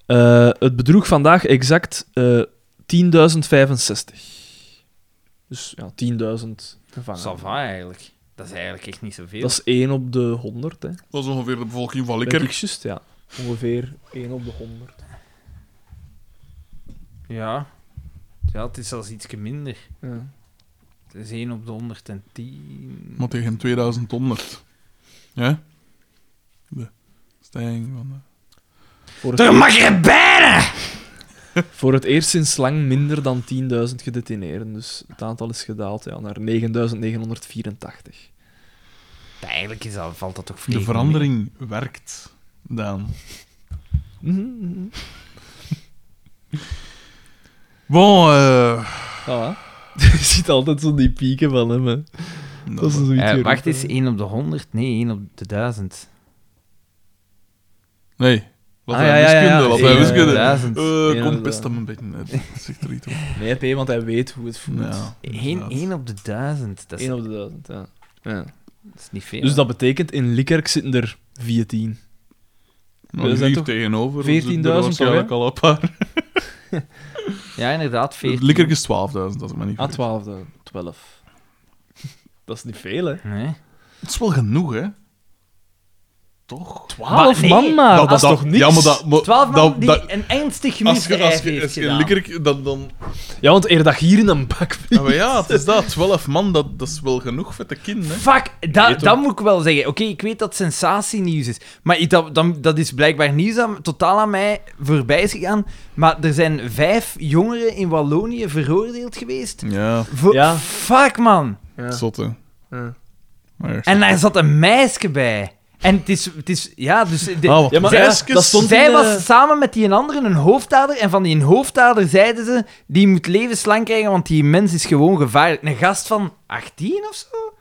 C: Eh, het bedroeg vandaag exact eh 10.065. Dus ja, 10.000 gevangenen.
A: Sava eigenlijk. Dat is eigenlijk echt niet zoveel.
C: Dat is 1 op de 100, hè.
B: Dat is ongeveer de bevolking van
C: Denk ik
B: Likkerk.
C: juist, ja. Ongeveer 1 op de 100.
A: Ja. Ja, het is zelfs iets minder.
C: Ja.
A: Het is 1 op de 110.
B: Maar tegen 2100. Ja? De stijging van... de-
C: Voor, het,
A: mag er bijna!
C: voor het eerst sinds lang minder dan 10.000 gedetineerden. Dus het aantal is gedaald ja, naar 9.984.
A: Eigenlijk is dat, valt dat toch
B: De verandering werkt, Daan.
C: Mhm, mhm.
B: Bon, eh...
C: Ah. [LAUGHS] Je ziet altijd zo die pieken van hem, hè.
B: Nou,
C: Dat
B: eh,
C: is zoiets weer-
A: Eh, wacht eens, 1 op de 100? Nee, 1 op de 1000.
B: Nee. Wat
C: Ah,
B: hij
C: ja, ja, ja,
B: wiskunde,
C: ja.
B: wat
C: Ja,
B: hij
C: ja,
B: wiskunde.
A: ja, duizend.
B: Eh,
C: Ja,
B: kom,
C: dat-
B: pest hem een beetje. uit. Dat zegt er
C: [LAUGHS]
B: iets om.
C: Nee, P, want hij weet hoe het voelt.
B: Ja,
A: 1,
B: inderdaad.
A: op de 1000. Dat is,
C: 1 op de 1000, ja.
A: dat is niet veel.
C: Dus
A: hè.
C: dat betekent, in Likkerk zitten er 14.
B: Maar
C: We zijn
B: hier
C: toch
B: tegenover. dus
C: 14.000
B: zitten er waarschijnlijk
C: toch,
B: al een paar.
A: Ja, inderdaad, 14.
B: Likkerk is 12.000, als ik me niet
C: Ah,
B: vergis.
C: 12, 12. [LAUGHS] Dat is niet veel, hè.
A: Nee.
B: Het is wel genoeg, hè? Toch?
C: 12
A: nee,
C: man maar, Ah, dat, is toch niks?
B: Ja, maar dat... maar
A: 12 man
B: dat-
A: die
B: dat-
A: een ernstig
B: Als je, als
A: misdrijf
B: je,
A: heeft
B: als je
A: gedaan.
B: Likkerk, dan... dan
C: Ja, want eer dat je hier in een bak vliegt...
B: Ah, maar ja, het is dat. [LAUGHS] 12 man, dat, dat is wel genoeg voor de kind, hè?
A: Fuck, da, dat moet ik wel zeggen. Oké, ik weet dat sensatienieuws is. Maar ik- dat, dan- dat is blijkbaar nieuws dat totaal aan mij voorbij is gegaan. Maar er zijn vijf jongeren in Wallonië veroordeeld geweest.
B: Ja,
A: Voor-
C: Ja.
A: Fuck, man.
C: Ja.
B: zotte.
C: Ja.
B: Maar eerst-
A: En daar zat een meisje bij. En het is... Het is ja, dus... de-
B: Ah, wat
C: Ja, maar
B: zij-
C: ja, dat stond
A: Zij
C: in, eh,
A: was samen met die andere een hoofdader. En van die hoofdader zeiden ze... Die moet levenslang krijgen, want die mens is gewoon gevaarlijk. Een gast van 18 of zo?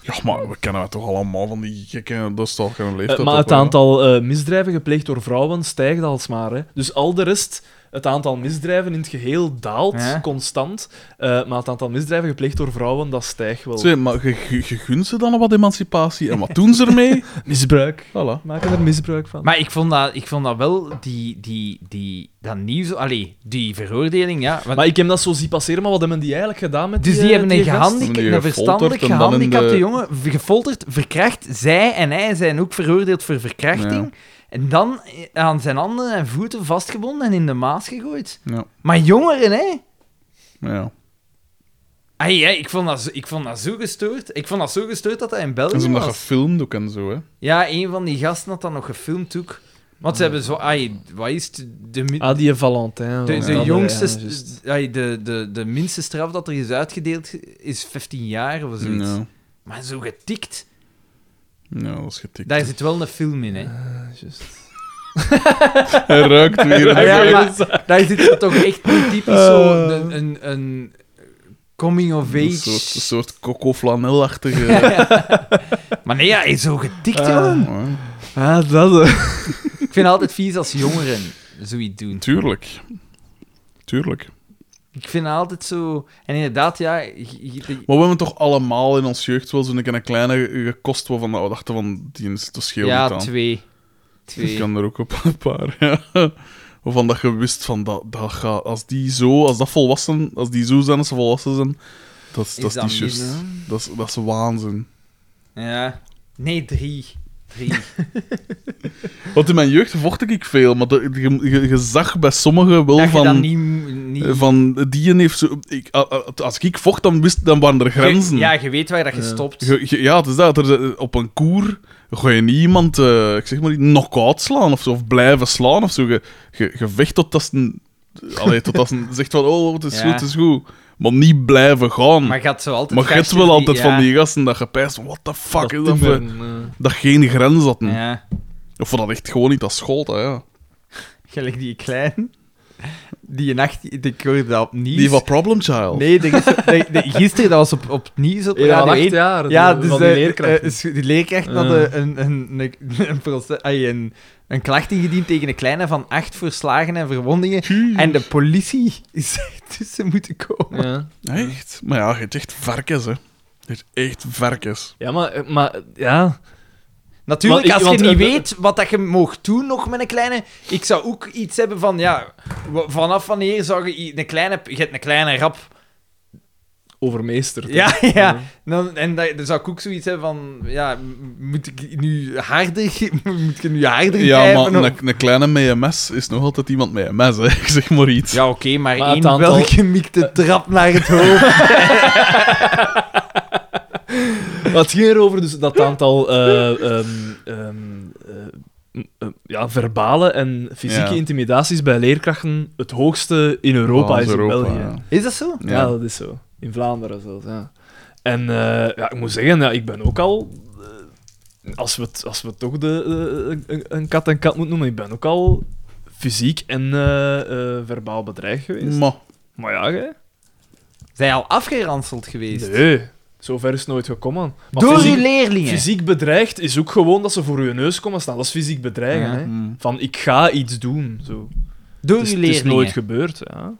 B: Ja, maar we kennen het toch allemaal van die gekke... Dat is toch geen
C: Eh,
B: leeftijd
C: maar
B: op,
C: het
B: hè?
C: aantal eh, misdrijven gepleegd door vrouwen stijgt alsmaar, hè. Dus al de rest het aantal misdrijven in het geheel daalt
A: Ja.
C: constant, eh, maar het aantal misdrijven gepleegd door vrouwen, dat stijgt wel.
B: Zeg, maar je, je, je gunt ze dan wat emancipatie en wat doen ze [LAUGHS] ermee?
C: Misbruik.
B: Voilà.
C: Maken er misbruik van.
A: Maar ik vond dat, ik vond dat wel, die, die, die, dat nieuws... Allee, die veroordeling, ja. want-
C: Maar ik heb dat zo zien passeren, maar wat hebben die eigenlijk gedaan met
A: dus
C: die
A: die hebben een,
C: gehand.
A: gehandic-
B: Die
A: een
B: gefolterd
A: verstandelijk
B: en dan in
A: gehandicapte
B: de-
A: jongen v- gefolterd, verkracht. Zij en hij zijn ook veroordeeld voor verkrachting. En dan eh, aan zijn handen en voeten vastgebonden en in de maas gegooid.
B: Ja.
A: Maar jongeren, hè?
B: Ja.
A: Ai, ai, ik, vond dat zo, ik vond dat zo gestoord. Ik vond dat zo gestoord dat dat in België
B: En ze hebben dat
A: was.
B: gefilmd ook en zo, hè.
A: Ja, een van die gasten had dat nog gefilmd ook. Want ze hebben zo... Ai, wat is het? De, mi-
C: Ah, die Valentin.
A: de,
C: Ja,
A: de
C: dat-
A: jongste...
C: ja, juist.
A: st- ai, de, de, de minste straf dat er is uitgedeeld is 15 jaar of zoiets.
B: Ja.
A: Maar zo getikt.
B: ja, dat is getikt.
A: Daar zit wel een film in, hè.
B: Hij ruikt [LAUGHS] weer.
A: Ah, Ja, maar daar zit toch echt niet typisch
B: Ah.
A: zo een, een, een
B: Een
A: coming-of-age...
B: soort, een soort [LAUGHS] coco-flanelachtige... Ja.
A: Maar nee, ja, hij is zo getikt, jongen.
C: Ah, dat. eh.
A: Ik vind het altijd vies als jongeren zoiets doen.
B: Tuurlijk. Tuurlijk.
A: Ik vind het altijd zo... En inderdaad, ja... je- je-
B: Maar we hebben toch allemaal in ons jeugd wel zo'n keer een kleine gekost waarvan we dachten van, die is te scheel
A: ja,
B: niet aan.
A: twee.
B: [LAUGHS] Ik
A: Twee.
B: kan er ook op een paar, ja. Waarvan dat je wist van, dat, dat gaat, als die zo, als dat volwassen, als die zo zijn als ze volwassen zijn, dat, is- dat is
A: dat
B: niet juist.
A: minder?
B: Dat is, dat is waanzin.
A: Ja. Nee, drie. Drie.
B: Want in mijn jeugd vocht ik veel, maar dat, je, je, je zag bij sommigen wel
A: dat je
B: van...
A: dan niet... niet...
B: Eh, Van die heeft zo. Ik, a- a- als ik vocht, dan, wist, dan waren er grenzen.
A: Ja, je weet waar dat je stopt.
B: Je- je- ja, het is dat. Er, zijn- op een koer ga je niet iemand, eh, ik zeg maar, niet knock-out slaan of, zo, of blijven slaan of zo. Je, je, je vecht totdat ze, een- allee, totdat ze [LAUGHS] zegt van, oh, het is
A: Ja.
B: goed, het is goed. Maar niet blijven gaan.
A: Maar
B: Maar,
A: gaat zo altijd...
B: je hebt
A: gastjes
B: wel
A: die-
B: altijd
A: ja.
B: van die gasten dat je pijst, what the fuck is dat voor-
C: timmeren, eh.
B: Dat geen grens hadden.
A: Ja.
B: Of dat echt gewoon niet als school, dat, ja.
A: Gelijk die klein. Die nacht... Ik hoorde dat opnieuw.
B: Die van Problem Child.
A: Nee, de gister- de- de- gisteren dat was op, op het nieuws op
C: Ja,
A: Radio
C: acht
A: 1.
C: jaar.
A: Ja,
C: de-
A: dus
C: van
A: de,
C: die leerkracht.
A: eh, is- die leerkracht had
C: Ja.
A: eh, een, een, een, een, proces- ai, een, een klacht ingediend tegen een kleine van acht verslagen en verwondingen. En de politie is er tussen moeten komen.
C: ja.
B: Echt? Maar ja, je hebt echt varkens, hè. Je hebt echt varkens.
C: ja, maar, eh, maar ja.
A: Natuurlijk,
C: Maar ik-
A: als je
C: want,
A: niet
C: eh,
A: weet wat dat je mocht doen nog met een kleine... Ik zou ook iets hebben van, ja... wa- Vanaf wanneer zou je i- een kleine... Je hebt een kleine rap.
C: Overmeesterd. hè.
A: Ja, ja. Dan, en dat, dan zou ik ook zoiets hebben van... Ja, m- moet ik nu harder... [LAUGHS] Moet ik nu harder
B: Ja, maar
A: grijpen of-
B: een, een kleine met een mes is nog altijd iemand met een mes, hè. [LAUGHS] Ik zeg maar iets.
A: Ja, oké, maar,
C: Maar
A: één
C: het aantal-
A: welgemikte trap naar het hoofd.
C: Maar het ging erover dus dat het aantal eh, ehm, ehm, eh, m- eh, ja, verbale en fysieke
B: Ja.
C: intimidaties bij leerkrachten het hoogste in Europa
B: Ah,
C: is in
B: Europa,
C: België.
B: ja.
C: Ja.
A: [LAUGHS] Is dat zo?
B: Ja.
C: dat is zo. In Vlaanderen zelfs, ja. En eh, ja, ik moet zeggen, ja, ik ben ook al... eh, als, we het, als we het toch de, eh, een, een kat en kat moeten noemen, ik ben ook al fysiek en eh, eh, verbaal bedreigd geweest.
B: Maar,
C: maar ja, hè?
A: Zijn al afgeranseld geweest?
C: Nee, zover is het nooit gekomen. Maar
A: Door
C: fysiek-
A: uw leerlingen?
C: Fysiek bedreigd is ook gewoon dat ze voor je neus komen staan. Dat is fysiek bedreigen.
A: Ja.
C: Hè?
B: Mm.
C: Van ik ga iets doen. Zo.
A: Door
C: Het, is,
A: uw
C: het is
A: leerlingen?
C: nooit gebeurd. Ja.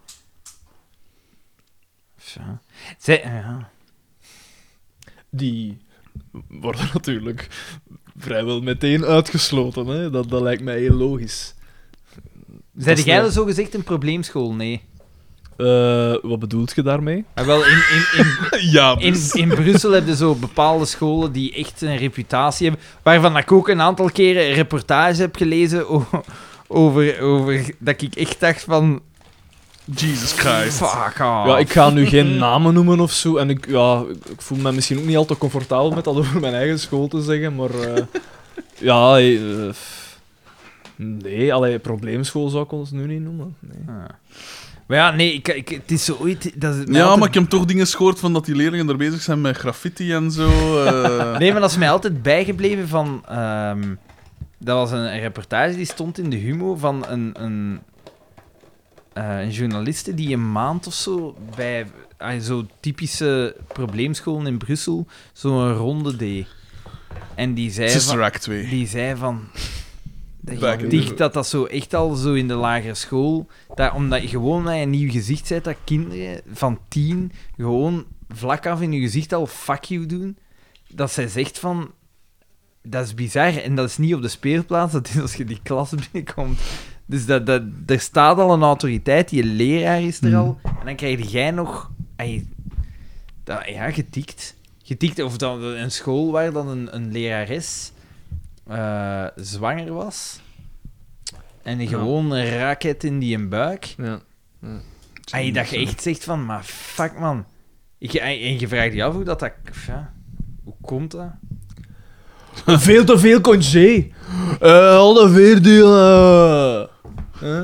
A: Ja. Zij- ja.
C: Die worden [LAUGHS] natuurlijk vrijwel meteen uitgesloten. Hè? Dat, dat lijkt mij heel logisch.
A: Zijn
C: is
A: jij
C: de-
A: dan zo gezegd een probleemschool? Nee.
C: Eh, wat bedoelt je daarmee?
A: Maar wel, in, in, in,
B: ja, dus
A: in, in Brussel heb je zo bepaalde scholen die echt een reputatie hebben. Waarvan ik ook een aantal keren een reportage heb gelezen o- over, over dat ik echt dacht van...
B: Jesus Christ.
A: Fuck off.
C: Ja, ik ga nu geen [LAUGHS] namen noemen of zo. En ik, ja, ik- ik voel me misschien ook niet al te comfortabel met dat [LAUGHS] over mijn eigen school te zeggen. Maar eh, ja, eh, f- nee, allee, probleemschool zou ik ons nu niet noemen. Nee.
A: Maar ja, nee, ik, ik, het is zo ooit... Dat is mij
B: Ja,
A: altijd
B: maar ik heb toch dingen gehoord van dat die leerlingen er bezig zijn met graffiti en
A: [LAUGHS]
B: zo. eh.
A: Nee, maar dat is mij altijd bijgebleven van... ehm, dat was een, een reportage die stond in de Humo van een, een, eh, een journaliste die een maand of zo bij ah, zo'n typische probleemscholen in Brussel zo'n ronde deed. En die zei, van,
B: Sister Act 2.
A: die zei van...
B: Back in
A: Dat,
B: the
A: die,
B: day.
A: dat dat zo echt al zo in de lagere school, dat, omdat je gewoon naar een nieuw gezicht zet, dat kinderen van tien gewoon vlak af in je gezicht al fuck you doen, dat zij zegt van, dat is bizar en dat is niet op de speelplaats, dat is als je die klas [LAUGHS] binnenkomt. Dus dat, dat, er staat al een autoriteit, die leraar is er al, en dan krijg jij nog, ey, dat, ja, getikt. Getikt of dan een school waar dan een, een lerares eh, zwanger was. En gewoon een raket in die een buik.
C: Ja.
A: En je dat je echt zegt van, maar fuck man. Ik, en en je vraagt je af hoe dat... dat ja, hoe komt dat?
J: Veel te veel congé. Eh al de veerdelen. Huh?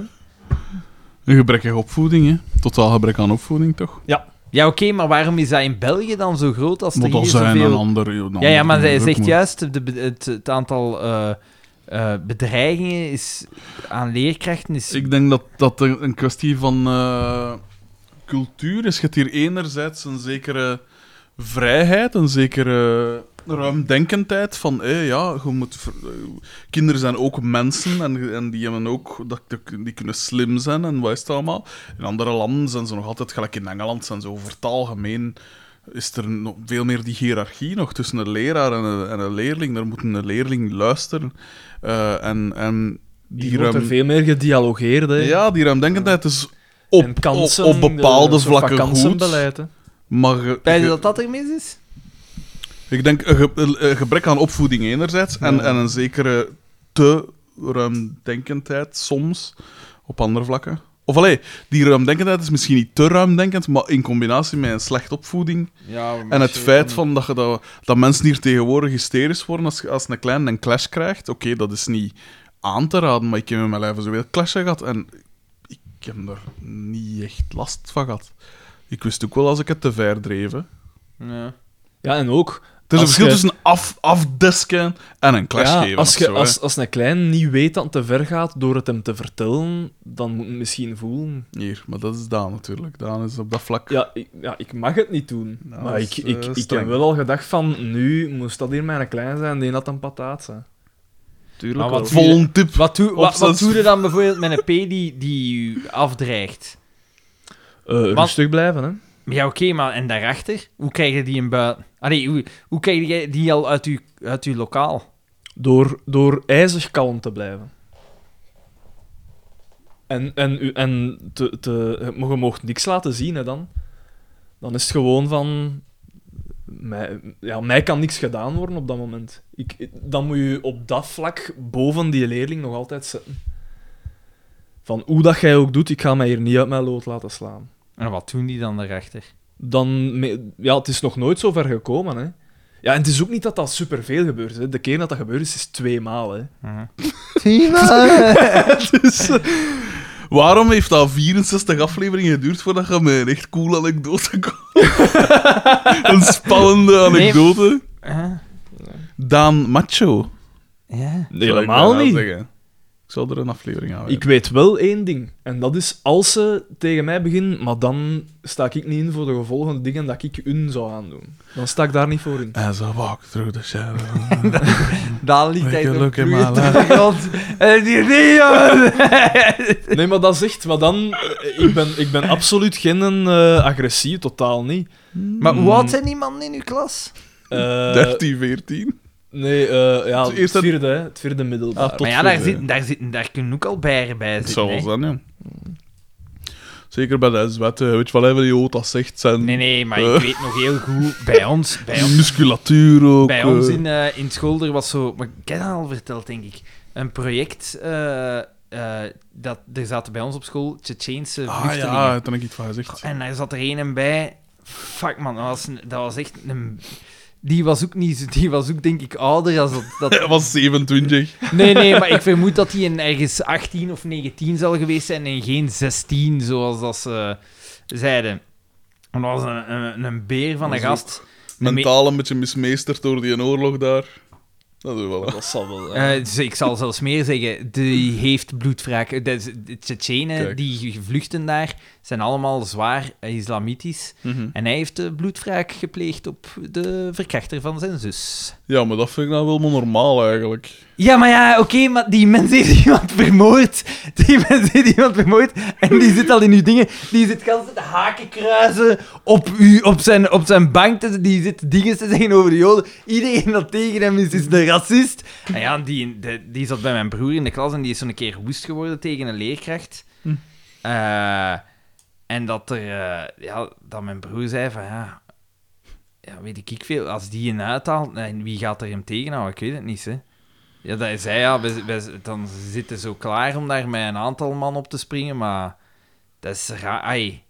B: Een gebrekkige opvoeding, hè? Totaal gebrek aan opvoeding, toch?
A: Ja, oké, maar waarom is dat in België dan zo groot als er
B: Moet al
A: hier
B: zijn een
A: zoveel...
B: ander. een
A: Ja,
B: ander
A: ja, maar zij
B: druk
A: zegt
B: moet-
A: juist, de, be- het, het aantal eh, eh, bedreigingen is, aan leerkrachten is...
B: Dus Ik denk dat dat een een kwestie van eh, cultuur is. Je hebt hier enerzijds een zekere vrijheid, een zekere ruimdenkendheid van hé, ja, je moet ver- eh, kinderen zijn ook mensen en, en die hebben ook dat, die kunnen slim zijn en wat is het allemaal. In andere landen zijn ze nog altijd gelijk in Engeland zijn ze over het algemeen is er nog veel meer die hiërarchie nog tussen een leraar en een, en een leerling. Daar moet een leerling luisteren. Eh, en, en die
C: Die wordt er
B: ruim-
C: veel meer gedialogeerd, hè.
B: ja, die ruimdenkendheid is op,
C: en kansen,
B: op, op bepaalde
C: een soort van
B: vlakken goed.
C: kansenbeleid, hè.
B: Maar ge-
A: Weet je
B: ge-
A: dat dat er mis is?
B: ik denk een, ge- een- een gebrek aan opvoeding enerzijds en, en een zekere te ruimdenkendheid soms op andere vlakken. Of allee, die ruimdenkendheid is misschien niet te ruimdenkend, maar in combinatie met een slechte opvoeding
A: Ja,
B: en het feit van dat, je dat, dat mensen hier tegenwoordig hysterisch worden als, je- als een klein een clash krijgt. Oké, dat is niet aan te raden, maar ik heb in mijn leven zoveel clashen gehad en ik heb er niet echt last van gehad. Ik wist ook wel als ik het te ver dreef. hè.
A: Ja.
C: Ja, en ook...
B: Er is een
C: Als
B: verschil
C: je-
B: tussen af, afdesken en een clash
C: ja,
B: geven.
C: als,
B: of
C: je,
B: zo, hè.
C: als, als een klein niet weet dat het te ver gaat door het hem te vertellen, dan moet hij het misschien voelen.
B: Hier, maar dat is Daan natuurlijk. Daan is op dat vlak.
C: Ja, ik, ja, ik mag het niet doen.
B: Nou,
C: maar
B: dat
C: ik,
B: is, eh,
C: ik, ik
B: streng.
C: heb wel al gedacht van, nu moest dat hier mijn klein zijn, die had een pataat.
B: Eh,
C: Hè.
B: Tuurlijk
A: maar
B: wel.
A: wat-
B: Vol een tip.
A: Wat doe,
B: Op
A: wat,
B: zijn-
A: wat doe je dan bijvoorbeeld met een P die, die u afdreigt?
C: Eh, Rustig blijven, hè.
A: Ja, oké, maar en daarachter? Hoe krijg je die in buiten? Allee, hoe, hoe krijg je die al uit je, uit uw lokaal?
C: Door, door ijzig kalm te blijven. En, en, u- en te, te, maar je mocht niks laten zien, hè, dan. Dan is het gewoon van... Mij, ja, mij kan niks gedaan worden op dat moment. Ik, ik- dan moet je op dat vlak boven die leerling nog altijd zitten. Van hoe dat jij ook doet, ik ga mij hier niet uit mijn lood laten slaan.
A: En wat doen die dan daarachter?
C: Dan, me- ja, het is nog nooit zo ver gekomen, hè. Ja, en het is ook niet dat dat superveel gebeurt, hè. De keer dat dat gebeurt is, is twee maal, hè.
B: Mhm. Dus, eh, Waarom heeft dat 64 afleveringen geduurd voordat je met een echt cool
A: [LAUGHS]
B: anekdote kwam? een spannende anekdote.
A: Huh?
B: Daan Macho.
A: Eh, Ja.
C: Nee,
B: zou ik
C: helemaal
B: bijna
C: niet.
B: zeggen. Ik zal er een aflevering aan
C: Ik weet wel één ding. En dat is als ze tegen mij beginnen, maar dan sta ik niet in voor de gevolgen dingen dat ik hun zou aandoen. Dan sta ik daar niet voor
B: [LAUGHS]
C: in.
B: As I walk through the shadow.
A: [LAUGHS] Daar ligt hij
B: Take a
A: nog
B: look in
A: bloeiend
B: my
A: op de grond. En die nee, jongen.
C: Nee, maar dat is echt. Maar dan, eh, ik ben, ik ben absoluut geen eh, agressie, totaal niet.
A: Maar hoe oud zijn die mannen in uw klas?
B: [LAUGHS]
C: Eh,
B: 13, 14.
C: Nee, eh, ja,
B: Het eerste- Ah,
C: het vierde, hè, het vierde middelbaar.
B: tot
A: maar ja, daar,
B: zover.
A: zitten, daar, zitten, daar kunnen ook al bijen bij
B: Het
A: zitten.
B: zou wel
A: hè.
B: zijn, ja. Zeker bij de zwet, weet je wel even die Jota zegt, zijn
A: Nee, nee,
B: [LAUGHS]
A: maar
B: Eh.
A: ik weet nog heel goed, bij ons, bij ons
B: musculatuur ook.
A: Bij ons
B: eh.
A: in, eh, in school er was zo, maar ik heb dat al verteld, denk ik. Een project eh, eh, dat er zaten bij ons op school Tsjetsjeense
B: Ah
A: vluchtelingen.
B: ja, daar heb ik iets van gezegd.
A: En daar zat er een en bij. Fuck man, dat was, een- dat was echt een. Die was ook niet, zo- die was ook denk ik ouder als dat. dat...
B: Hij [LAUGHS] was 27.
A: Nee, nee, maar ik vermoed dat die een ergens 18 of 19 zal geweest zijn en geen 16, zoals dat ze zeiden. En dat was een, een, een beer van een
B: Dat is
A: gast. Een me-
B: Mentaal een beetje mismeesterd door die oorlog daar. Dat is wel. hè.
C: Dat zal wel. hè.
A: Eh, dus ik zal zelfs meer zeggen, die heeft bloedwraak. De, de Tsjetsjenen
B: Kijk.
A: die vluchten daar zijn allemaal zwaar eh, islamitisch.
B: Mhm.
A: En hij heeft eh, bloedwraak gepleegd op de verkrachter van zijn zus.
B: Ja, maar dat vind ik nou wel maar normaal eigenlijk.
A: Ja, maar ja, oké, maar die mens heeft iemand vermoord. Die mens heeft iemand vermoord en die zit al in uw dingen. Die zit gans te haken kruisen op, u, op, zijn, op zijn bank. te- Die zit dingen te zeggen over de joden. Iedereen dat tegen hem is, is een racist. En ja, die, de- die zat bij mijn broer in de klas en die is zo'n keer woest geworden tegen een leerkracht. Eh, en dat, er, eh, ja, dat mijn broer zei van ja... Ja, weet ik veel. Als die een uithaalt, en wie gaat er hem tegenhouden? Ik weet het niet, hè. Ja, dat is hij, ja. We, we- dan zitten ze zo klaar om daar met een aantal man op te springen, maar dat is raar. ai.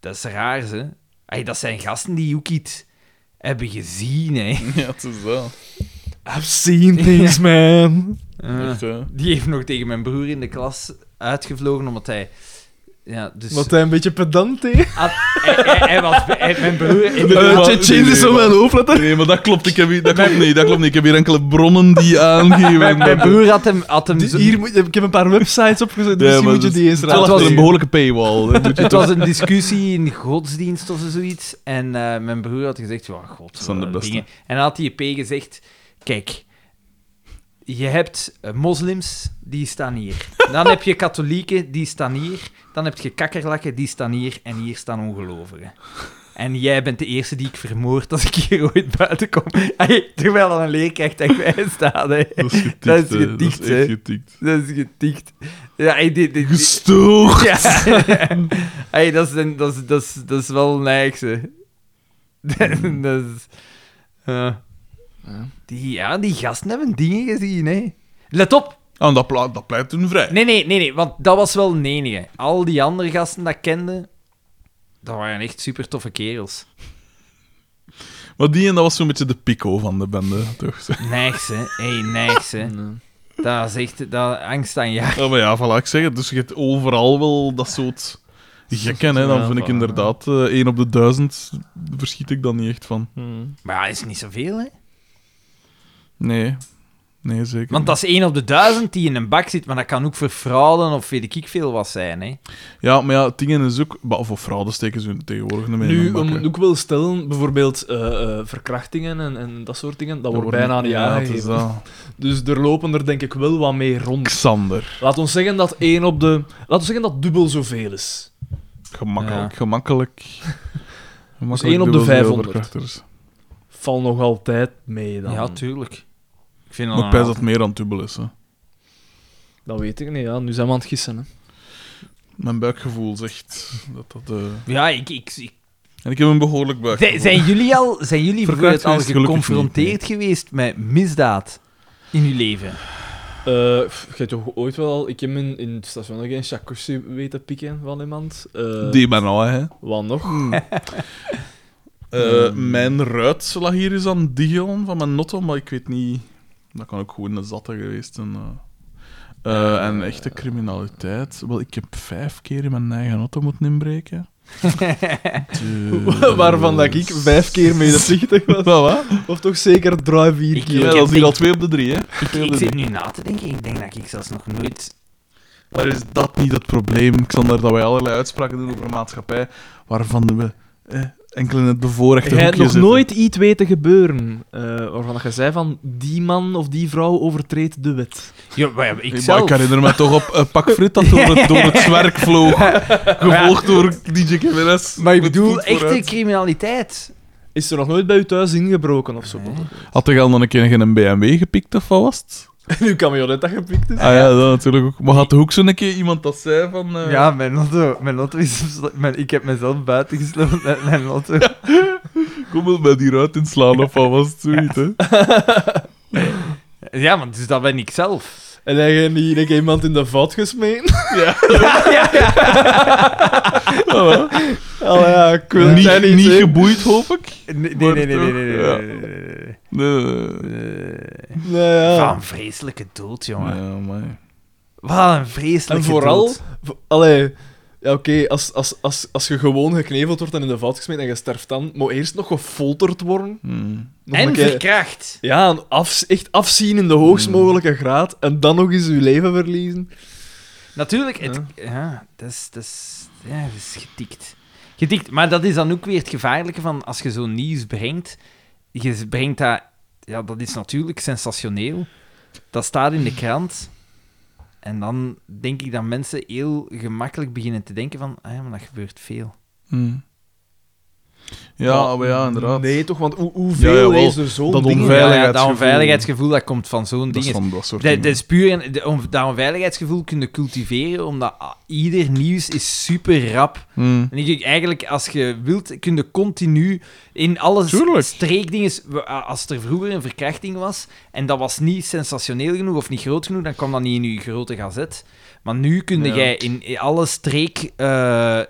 A: dat is raar, ze. Ai, dat zijn gasten die Joekiet hebben gezien, hè.
B: [LAUGHS] Ja, het is dat.
K: I've seen
B: [LAUGHS]
K: things, man.
B: Echt, hè.
A: [LAUGHS] Die heeft nog tegen mijn broer in de klas uitgevlogen, omdat hij... Ja, dus...
C: Wat hij een beetje pedant is.
A: Had- hij, hij- hij was... hij- mijn broer...
B: [LAUGHS] Nee, maar-
C: Chechen is
B: nee,
C: zo
B: maar-
C: mijn hoofdletter.
B: Nee, maar dat klopt. Ik heb hier, dat klopt niet. Dat klopt niet. Ik heb hier enkele bronnen
A: [LAUGHS]
B: die aangeven.
A: mijn, mijn broer had hem... Had hem
C: Dus
A: zo-
C: hier moet, je- ik heb een paar websites opgezet, dus
B: Ja,
C: hier
B: maar
C: moet je
B: dat-
C: die eens
B: Het was
A: was-
B: achter een
C: raden.
B: behoorlijke paywall. Dat doet je
A: Het
B: toch.
A: was een discussie in godsdienst of zoiets. En eh, mijn broer had gezegd: Ja, god.
B: zijn de
A: eh,
B: beste."
A: En dan had die P gezegd: Kijk, je hebt eh, moslims, die staan hier. Dan heb je katholieken, die staan hier. Dan heb je kakkerlakken, die staan hier. En hier staan ongelovigen. En jij bent de eerste die ik vermoord als ik hier ooit buiten kom. Hey, terwijl al een leerkracht en wij staan. hè.
B: Dat is getikt.
A: Dat is getikt,
B: hè.
A: hè.
B: Dat is echt getikt.
A: Dat is getikt. Ja, hey, die- die- die-
B: Gestoord.
A: ja. [LAUGHS] hey, dat, is een, dat, is, dat, is, dat is wel een eikse. [LAUGHS] dat is... ja. Die, Hmm. ja, die gasten hebben dingen gezien, hè. Let op!
B: Ah, en dat, pla- dat pleit toen vrij.
A: Nee, nee, nee, nee, want dat was wel een enige. Al die andere gasten dat ik kende, dat waren echt super toffe kerels.
B: Maar die en dat was zo'n beetje de pico van de bende, toch?
A: Nijgs, hè. Hé, nijgs, hè. Dat is echt... Dat, angst aan ja.
B: Ja, maar ja, voilà, ik zeg het. Dus je hebt overal wel dat soort gekken, hè. Dan
K: Ja,
B: vind ik
K: voilà.
B: inderdaad, eh, één op de duizend verschiet ik dan niet echt van.
C: Hmm.
A: Maar ja, dat is niet zoveel, hè.
B: Nee. Nee, zeker
A: Want
B: niet.
A: dat is één op de duizend die in een bak zit, maar dat kan ook voor fraude of weet ik veel wat zijn, hè.
B: Ja, maar ja, dingen is ook... bah, Voor fraude steken ze hun tegenwoordig niet meer in
K: Nu,
B: hun bak,
K: om
B: hè.
K: het ook wel stellen, bijvoorbeeld eh, eh, verkrachtingen en, en dat soort dingen, dat,
B: Dat
K: wordt bijna niet
B: Ja, het is
K: aangegeven.
B: dat.
K: Dus er lopen er denk ik wel wat mee rond.
B: Xander.
K: Laat ons zeggen dat één op de... Laat ons zeggen dat dubbel zoveel is.
B: Gemakkelijk,
A: Ja.
K: [LAUGHS]
B: gemakkelijk. Gemakkelijk
K: Dus één op de
B: dubbel zoveel
K: 500.
B: verkrachters.
K: Val nog altijd mee dan.
A: Ja, tuurlijk. Ik vind
K: Ah.
B: Maar ik pijs dat het meer aan het dubbel is, hè.
K: dat weet ik niet, ja. Nu zijn we aan het gissen, hè.
B: Mijn buikgevoel zegt dat dat... eh,
A: Ja, ik... ik, ik-
B: En ik heb een behoorlijk buikgevoel.
A: Zijn, zijn jullie al, zijn jullie voor
B: Verkracht
A: het al
B: is gelukkig
A: geconfronteerd geweest met misdaad in uw leven?
K: Eh, pff, je hebt toch ooit wel al... Ik heb in, in het station nog geen jacuzzi weten pikken van iemand. Eh,
B: Die ben al, hè.
K: Wat nog?
B: Eh,
C: Ehm.
K: Hmm.
B: Mijn ruit lag hier eens aan Dion van mijn notto, maar ik weet niet. Dat kan ook gewoon een zatte geweest zijn. eh. Eh, en echte criminaliteit. Wel, ik heb vijf keer in mijn eigen auto moeten
C: [LAUGHS]
B: inbreken. Dus-
C: Waarvan dat ik vijf keer medeplichtig was.
B: Wel, wat?
C: Of toch zeker drie, vier
A: Ik-
C: keer.
B: Ja,
A: heb
B: dat is hier
A: denk-
B: al twee op de drie, hè?
A: Ik, ik zit nu na te denken. Ik denk dat ik zelfs nog nooit...
B: Maar is dat niet het probleem, Xander, dat wij allerlei uitspraken doen over een maatschappij waarvan we eh, enkel in het bevoorrechte
K: Jij hebt
B: hoekje
K: nog
B: zitten?
K: nooit iets weten gebeuren eh, waarvan je zei van die man of die vrouw overtreedt de wet.
A: Ja, maar ja, maar ik
B: Ik, maar
A: zelf...
B: ik herinner me toch op een pak
A: [LAUGHS]
B: frit dat door het, door het zwerk vloog. Gevolgd door DJ Kevin S.
A: Maar ik
B: Met
A: bedoel,
B: voet vooruit.
A: echte criminaliteit.
K: Is er nog nooit bij u thuis ingebroken of zo?
C: [LAUGHS]
B: Had hij al dan een keer geen BMW gepikt of wat was het?
K: En uw camionet dat gepikt is?
B: Ah ja, dat natuurlijk ook. Maar had ook zo'n keer iemand dat zei van... eh,
A: mijn lotto, mijn lotto is... ik heb mezelf buiten gesloten met mijn lotto.
B: Kom wel bij die ruit inslaan of wat was het? Zoiets, hè?
A: Ja, want dus dat ben ik zelf.
C: En hij heeft niet like, iemand in de vat gesmeten. [LAUGHS]
A: [LAUGHS]
C: Oh ja, ik wil het zijn
B: niet
C: niet
B: niet
C: zeggen.
B: geboeid, hoop ik.
A: Nee, nee,
B: Maar
A: nee, nee, nee,
B: toch,
A: nee, nee,
B: ja.
A: nee, nee, nee, Eh. nee.
B: Nee, nee, nee.
C: Nou ja.
A: Wat een vreselijke dood, jongen.
B: Ja, maar...
A: Wat een vreselijke
C: En vooral,
A: dood.
C: v- allee, ja, oké, als, als, als, als je gewoon gekneveld wordt en in de vat gesmeten en je sterft dan, moet eerst nog gefolterd worden.
B: Hmm.
C: Nog een
A: En
C: keer-
A: verkracht.
C: ja, een afs- echt afzien in de
K: Mm.
C: hoogst mogelijke graad en dan nog eens je leven verliezen.
A: Natuurlijk, het, ja. dat, is, dat, is, ja, dat is getikt. Getikt, maar dat is dan ook weer het gevaarlijke van als je zo'n nieuws brengt. Je brengt dat, ja, dat is natuurlijk sensationeel. Dat staat in de krant. En dan denk ik dat mensen heel gemakkelijk beginnen te denken van, ah ja, maar dat gebeurt veel.
B: Hm. Ja, maar ja, inderdaad.
K: Nee, toch? Want hoe, hoeveel
B: Ja, jawel.
K: is er zo'n
B: Dat
K: ding?
A: Ja,
B: onveilig-
A: ja, dat
B: Veiligheidsgevoel.
A: onveiligheidsgevoel, dat komt van zo'n
B: dat
A: ding.
B: is van dat soort
A: Dat,
B: dingen.
A: dat is puur een, de- om- dat onveiligheidsgevoel kunnen cultiveren, omdat ah, ieder nieuws is super rap.
B: Hm.
A: En ik denk eigenlijk, als je wilt, kun je continu in alle s-
B: Tuurlijk.
A: streekdingen... we- a- Als er vroeger een verkrachting was, en dat was niet sensationeel genoeg of niet groot genoeg, dan kwam dat niet in je grote gazet. Maar nu kun
B: Ja.
A: jij in, in alle streek... eh, eh,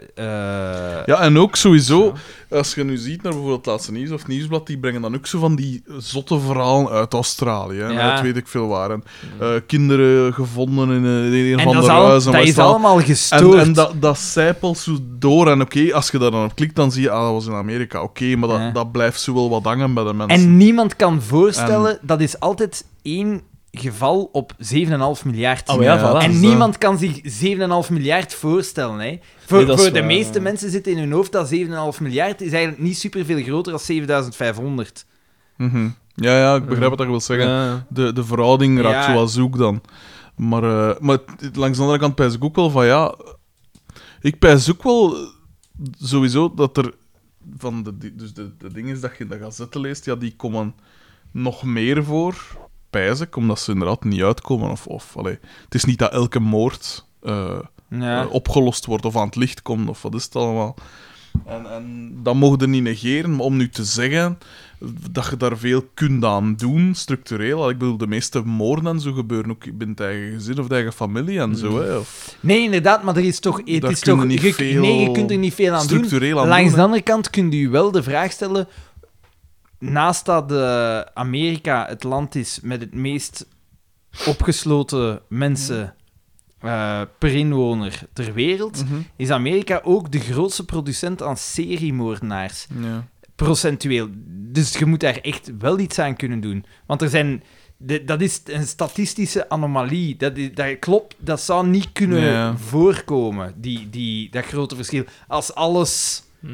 B: Ja, en ook sowieso, als je nu ziet naar bijvoorbeeld het laatste nieuws of nieuwsblad, die brengen dan ook zo van die zotte verhalen uit Australië. hè, en
A: Ja. Mm.
B: Uit weet ik veel waar. En, eh, kinderen gevonden in, eh, in een
A: En
B: van
A: dat
B: de
A: is, al-
B: huizen.
A: dat is allemaal gestoord.
B: En, en dat, dat zijpelt zo door. En oké, als je daar dan op klikt, dan zie je, ah, dat was in Amerika. Oké, maar dat,
A: Ja.
B: dat blijft zo wel wat hangen bij de mensen.
A: En niemand kan voorstellen,
K: Ehm.
A: dat is altijd één geval op 7,5 miljard.
K: Oh ja, voilà.
A: en
B: dus, eh,
A: niemand kan zich 7,5 miljard voorstellen. Hè. Voor,
K: Nee, dat is
A: voor de
K: waar,
A: meeste
K: ja.
A: mensen zit in hun hoofd dat 7,5 miljard is eigenlijk niet superveel groter dan 7500.
B: Mhm. Ja, ja, ik begrijp wat je wil zeggen.
K: Ja.
B: De, de verhouding raakt
A: Ja.
B: zoals zoek dan. Maar, eh, maar het- het- langs de andere kant pijs ik ook wel van ja. Ik pijs ook wel eh, sowieso dat er. Van de, di- dus de, de ding is dat je in de gazetten leest, ja, die komen nog meer voor. Pijs ik, omdat ze inderdaad niet uitkomen. Of, of, allee. Het is niet dat elke moord eh,
A: Ja.
B: eh, opgelost wordt of aan het licht komt of wat is het allemaal. En, en dat mogen we niet negeren, maar om nu te zeggen dat je daar veel kunt aan doen, structureel. Ik bedoel, de meeste moorden en zo gebeuren ook binnen het eigen gezin of de eigen familie en
A: Mm.
B: zo. Hè. Of
A: Nee, inderdaad, maar er is toch... Het
B: Daar
A: is
B: kun je
A: toch
B: niet
A: je-
B: veel-
A: nee, je kunt er niet veel aan doen.
B: structureel aan
A: Langs
B: doen.
A: de andere kant kun je je wel de vraag stellen... Naast dat eh, Amerika het land is met het meest opgesloten mensen eh, per inwoner ter wereld,
B: Mhm.
A: is Amerika ook de grootste producent aan seriemoordenaars.
B: hè. Ja.
A: Procentueel. Dus je moet daar echt wel iets aan kunnen doen. Want er zijn... de- dat is een statistische anomalie. Dat, i- dat klopt, dat zou niet kunnen
B: Ja.
A: voorkomen, die, die, dat grote verschil. Als alles...
K: Hm.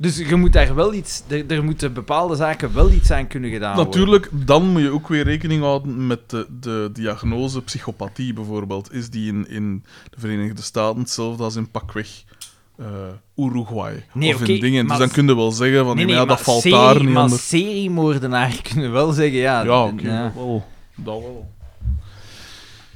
A: Dus je moet daar wel iets... Er, er moeten bepaalde zaken wel iets aan kunnen gedaan worden.
B: Natuurlijk, dan moet je ook weer rekening houden met de, de diagnose psychopathie bijvoorbeeld. Is die in, in de Verenigde Staten hetzelfde als in pakweg eh, Uruguay
A: Nee,
B: of
A: oké,
B: in dingen.
A: maar-
B: dus dan kun je wel zeggen van,
A: Nee, nee,
B: ja,
A: maar
B: dat valt
A: serie-
B: daar niet
A: maar
B: onder.
A: seriemoordenaar [LAUGHS] kunnen wel zeggen, ja.
B: Ja,
A: d-
B: oké.
A: ja.
B: wel. Dat wel.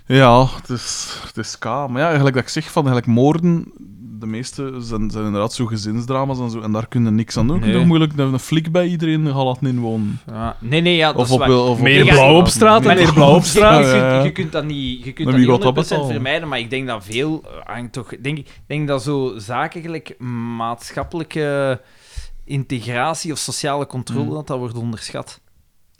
B: Ja, het is, het is ka. Maar ja, eigenlijk dat ik zeg van eigenlijk moorden, de meeste zijn, zijn inderdaad zo gezinsdrama's en zo, en daar kun je niks aan doen. Je kunt
A: Nee.
B: toch moeilijk een, een flik bij iedereen gaat laten inwonen.
A: Ja. Nee, nee, ja, dat
B: Of
A: is
B: op,
A: waar.
B: wel- of op-
K: Meer
A: Ja,
K: blauw op straat en
A: Maar
K: meer
A: nee,
K: blauw op straat.
A: Je,
B: Ja, ja.
A: kunt, je kunt dat niet, je kunt
B: Maar
A: dat
B: wie
A: niet
B: gaat dat
A: 100%
B: betalen?
A: vermijden, maar ik denk dat veel eh, hangt toch... Denk, ik denk dat zo zaken gelijk maatschappelijke integratie of sociale controle, dat dat wordt onderschat.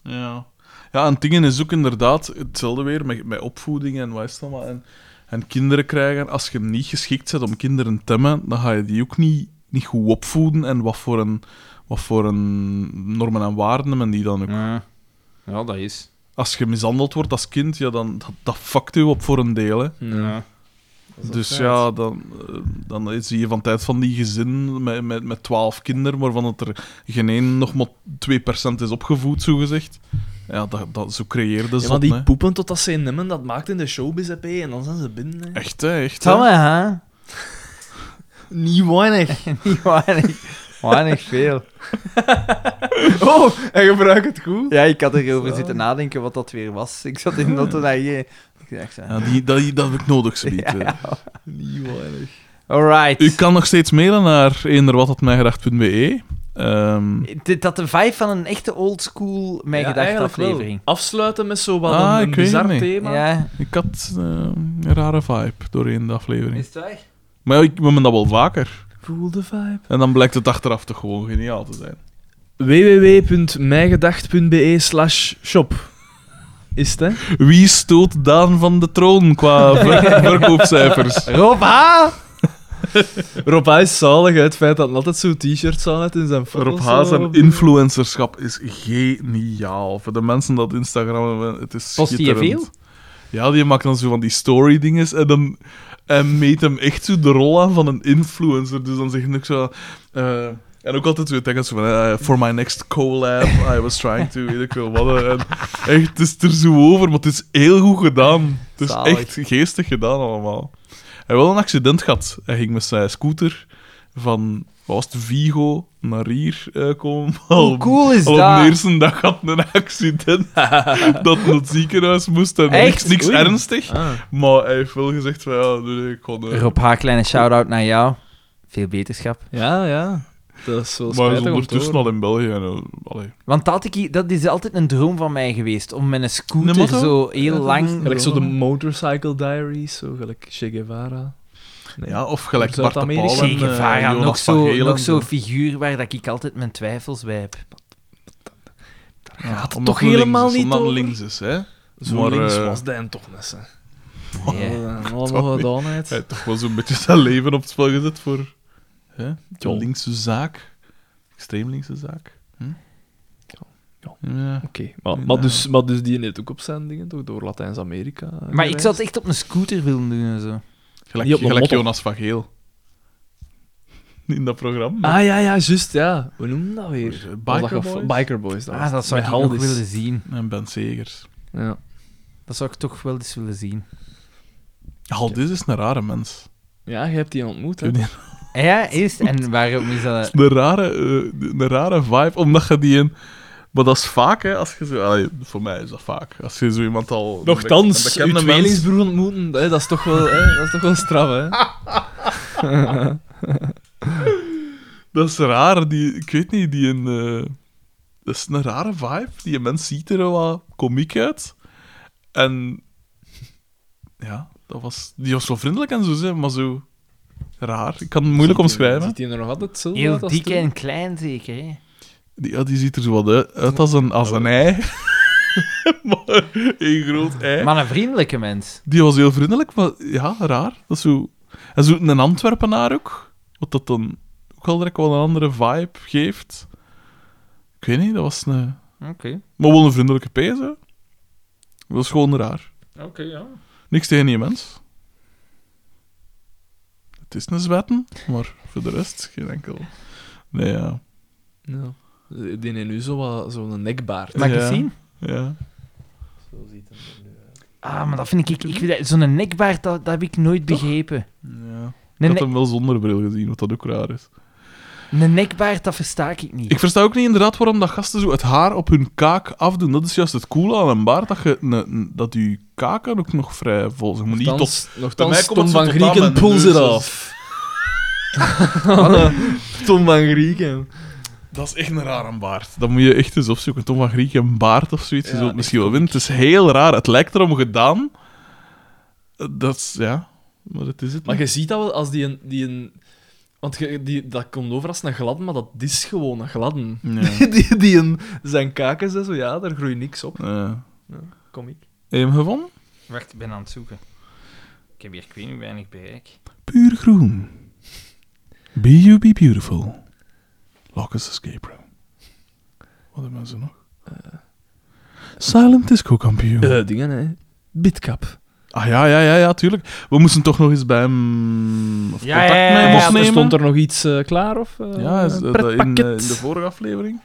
B: Ja. Ja, en dingen is ook inderdaad hetzelfde weer met, met opvoeding en wat is dat maar. En, en kinderen krijgen, als je niet geschikt bent om kinderen te temmen, dan ga je die ook niet, niet goed opvoeden. En wat voor, een, wat voor een normen en waarden men die dan ook
A: Ja, ja dat is.
B: als je mishandeld wordt als kind, ja, dan dat, dat fuckt u op voor een deel. Hè.
K: Hm.
A: Ja.
B: Dus ja, dan, eh, dan zie je van tijd van die gezin met, met, met 12 kinderen, waarvan het er geen één nog maar 2% is opgevoed, zogezot. Ja, dat, dat, zo creëerde
K: Ja,
B: ze
K: maar
B: dat.
K: die poepen totdat ze in nimmen, dat maakt in de showbiz EP en dan zijn ze binnen. hè.
B: Echt, hè? Echt, hè?
A: Tamme, hè? [LAUGHS]
K: Niet weinig.
A: Niet weinig. Weinig veel.
K: Oh, [LAUGHS] en gebruik het goed.
A: Ja, ik had erover zitten nadenken wat dat weer was. Ik zat in de auto naar hier. Ik dacht, zo.
B: Ja, die, dat, die- dat heb ik nodig, ze niet.
K: Niet weinig.
A: alright.
B: U kan nog steeds mailen naar eenderwatatmijgedacht.be. Ehm
A: Dit- Dat de vibe van een echte oldschool mijgedacht aflevering.
K: Afsluiten met zo wat
B: Ah,
K: een,
B: ik
K: een
B: weet het
K: bizar
B: niet.
K: thema.
A: Ja.
B: ik had eh, een rare vibe doorheen de aflevering.
A: het waar?
B: Maar ja, ik we doen dat wel vaker.
K: Voel de vibe.
B: En dan blijkt het achteraf toch gewoon geniaal te zijn.
K: www.mijgedacht.be slash shop. Is het, hè?
B: Wie stoot Daan van de troon qua ver- verkoopcijfers?
A: Rob H!
K: Rob H. is zalig, hè, het feit dat hij altijd zo'n t-shirts aan heeft in zijn foto's.
B: Rob Haas
K: zo.
B: en influencerschap is geniaal. Voor de mensen dat Instagram hebben, het is
A: Post die je
B: schitterend. Ja, die maakt dan zo van die story-dinges en dan en meet hem echt zo de rol aan van een influencer. Dus dan zeg ik ook zo... eh, En ook altijd weer tekens van, eh, for my next collab, I was trying to, weet ik veel wat. eh. En echt, het is er zo over, maar het is heel goed gedaan. Het is
A: Zalig.
B: echt geestig gedaan allemaal. Hij had wel een accident gehad. Hij ging met zijn scooter van, wat was het, Vigo naar hier eh,
A: [LAUGHS]
B: komen. Hoe
A: cool is
B: al Op
A: dat?
B: de eerste dag had hij een accident
A: [LAUGHS]
B: dat hij naar het ziekenhuis moest. En niks,
A: Echt?
B: niks
A: Oei.
B: ernstig.
A: Ah.
B: Maar hij heeft wel gezegd van, ja, nee, nee, ik kon... eh,
A: Rob Haar, kleine shout-out naar jou. Veel beterschap.
C: Ja, ja. Dat is wel
B: maar hij
C: spijtig
B: is
C: om te
B: ondertussen
C: horen.
B: al in België. En, eh, allee.
A: Want dat, had ik, dat is altijd een droom van mij geweest. Om met een scooter
B: Een motto?
A: zo heel lang...
C: Gelijk zo de Motorcycle Diaries, zo gelijk Che Guevara. Nee.
B: Ja, of gelijk Bart de Pauw
C: Zuid-Amerika.
B: en,
A: Che
B: eh,
A: Guevara,
B: Jonas
A: nog
B: van
A: zo-
B: Gelen.
A: nog zo'n figuur waar dat ik altijd mijn twijfels bij heb.
B: Ja,
C: gaat het
B: omdat
C: toch
B: links
C: helemaal
B: is,
C: niet
B: omdat
C: over?
B: links is, hè?
C: Zo
B: Maar,
C: links
B: eh,
C: was Dan toch net, hè.
A: Nee.
C: Allemaal gedaan, hè.
B: Hij heeft toch wel zo'n beetje [LAUGHS] zijn leven op het spel gezet voor hè? de
C: Jol.
B: linkse zaak. Extreem linkse zaak. Hm?
C: Jol.
B: Ja.
C: Oké, maar, maar, dus, maar dus die net ook op zijn dingen, toch? Door Latijns-Amerika. eh,
A: Maar ik
C: gereisd.
A: zou het echt op een scooter willen doen en zo.
B: Gelijk,
C: Niet op een
B: gelijk
C: motto.
B: Jonas van Geel. [LAUGHS] In dat programma.
C: Ah ja, ja, juist, ja. Hoe noemen dat weer?
B: Eh,
C: Was dat
B: Biker
C: gef-
B: Boys?
C: Biker Boys. Dat was
A: Ah, dat
C: het.
A: zou ik
C: Met
A: nog
C: Haldis.
A: willen zien.
B: En Ben Segers.
C: Ja.
A: Dat zou ik toch wel eens willen zien.
B: Al dit is een rare mens.
C: ja, je hebt die ontmoet, hè.
B: Ik weet
A: Ah Ja, eerst. En waarom is dat...
B: Een rare, eh, een rare vibe, omdat je die een... Maar dat is vaak, hè, als je zo... allee, voor mij is dat vaak. Als je zo iemand al... een bek-
C: Nochtans, uw
B: een bekende mens-
C: tweelingsbroer ontmoeten, hè, dat, is toch wel, hè, dat is toch wel straf, hè.
B: Dat is raar, die, ik weet niet, die een... eh, dat is een rare vibe. Die mens ziet er wat komiek uit. En... Ja, dat was, die was zo vriendelijk en zo, zeg, maar zo... Raar. Ik kan het moeilijk omschrijven.
C: Ziet hij er nog altijd zo
A: Heel
C: uit als
A: dik
C: toen?
A: en klein zeker, hè?
B: Die, ja, die ziet er zo wat uit, uit als een, als een ei. [LAUGHS] maar een groot ei.
A: Maar een vriendelijke mens.
B: Die was heel vriendelijk, maar ja, raar. Dat is zo... En zo een Antwerpenaar ook. Wat dat dan ook al direct wel een andere vibe geeft. Ik weet niet, dat was een...
A: Oké.
B: Maar wel een vriendelijke pees, hè. Dat is gewoon raar.
A: Oké, ja.
B: Niks tegen die mens. Het is een zwetten, maar voor de rest geen enkel... Nee, ja.
C: Ja. Die heeft nu zo wat- zo'n nekbaard.
A: Mag ik het
B: Ja.
A: zien?
B: Ja.
A: Ah, maar dat vind ik... ik, ik vind dat- Zo'n nekbaard, dat, dat heb ik nooit begrepen.
B: ja.
A: Een,
B: Ik had
A: ne-
B: hem wel zonder bril gezien, wat dat ook raar is.
A: een nekbaard, dat versta ik niet.
B: Ik versta ook niet inderdaad waarom dat gasten zo het haar op hun kaak afdoen. Dat is juist het coole aan een baard, dat je, ne- n- dat je kaken ook nog vrij vol zijn. Maar niet tot...
C: Nochtans, nochtans
B: komt
C: Tom
B: het
C: van
B: tot aan
C: Grieken
B: mijn
C: pulls
B: neus,
C: it off. Tom van Grieken.
B: Dat is echt een rare baard. Dan moet je echt eens opzoeken. Tom van Grieken, een baard of zoiets. je
C: Ja,
B: zult het
C: echt
B: misschien wel winnen. Het is heel raar. Het lijkt erom gedaan. Eh, Dat is... Ja. Maar het is het
C: Maar
B: niet.
C: je ziet dat wel als die een... Die een want je- die, dat komt over als een gladden, maar dat is gewoon een gladden. [LAUGHS]
B: Ja.
C: die, die een, zijn kaken zijn zo, ja, daar groeit niks op.
B: Eh,
C: Kom ik.
B: Eén gevonden?
A: Wacht, ik ben aan het zoeken. Ik heb hier, ik weet niet, weinig bereik.
B: Puur groen. Be you be beautiful. Lock us escape room. Wat hebben ze nog? Silent Disco kampioen.
C: Eh, dingen, hè. Bitcap.
B: ah ja, ja, ja, ja, tuurlijk. We moesten toch nog eens bij hem eh, of
A: Ja,
B: contact
A: ja, ja,
B: met hem
A: ja,
C: Moest-
B: opnemen.
C: Stond er nog iets eh, klaar, of... eh,
B: Ja, is-
C: een
B: dat- in, eh, in
C: pretpakket?
B: de vorige aflevering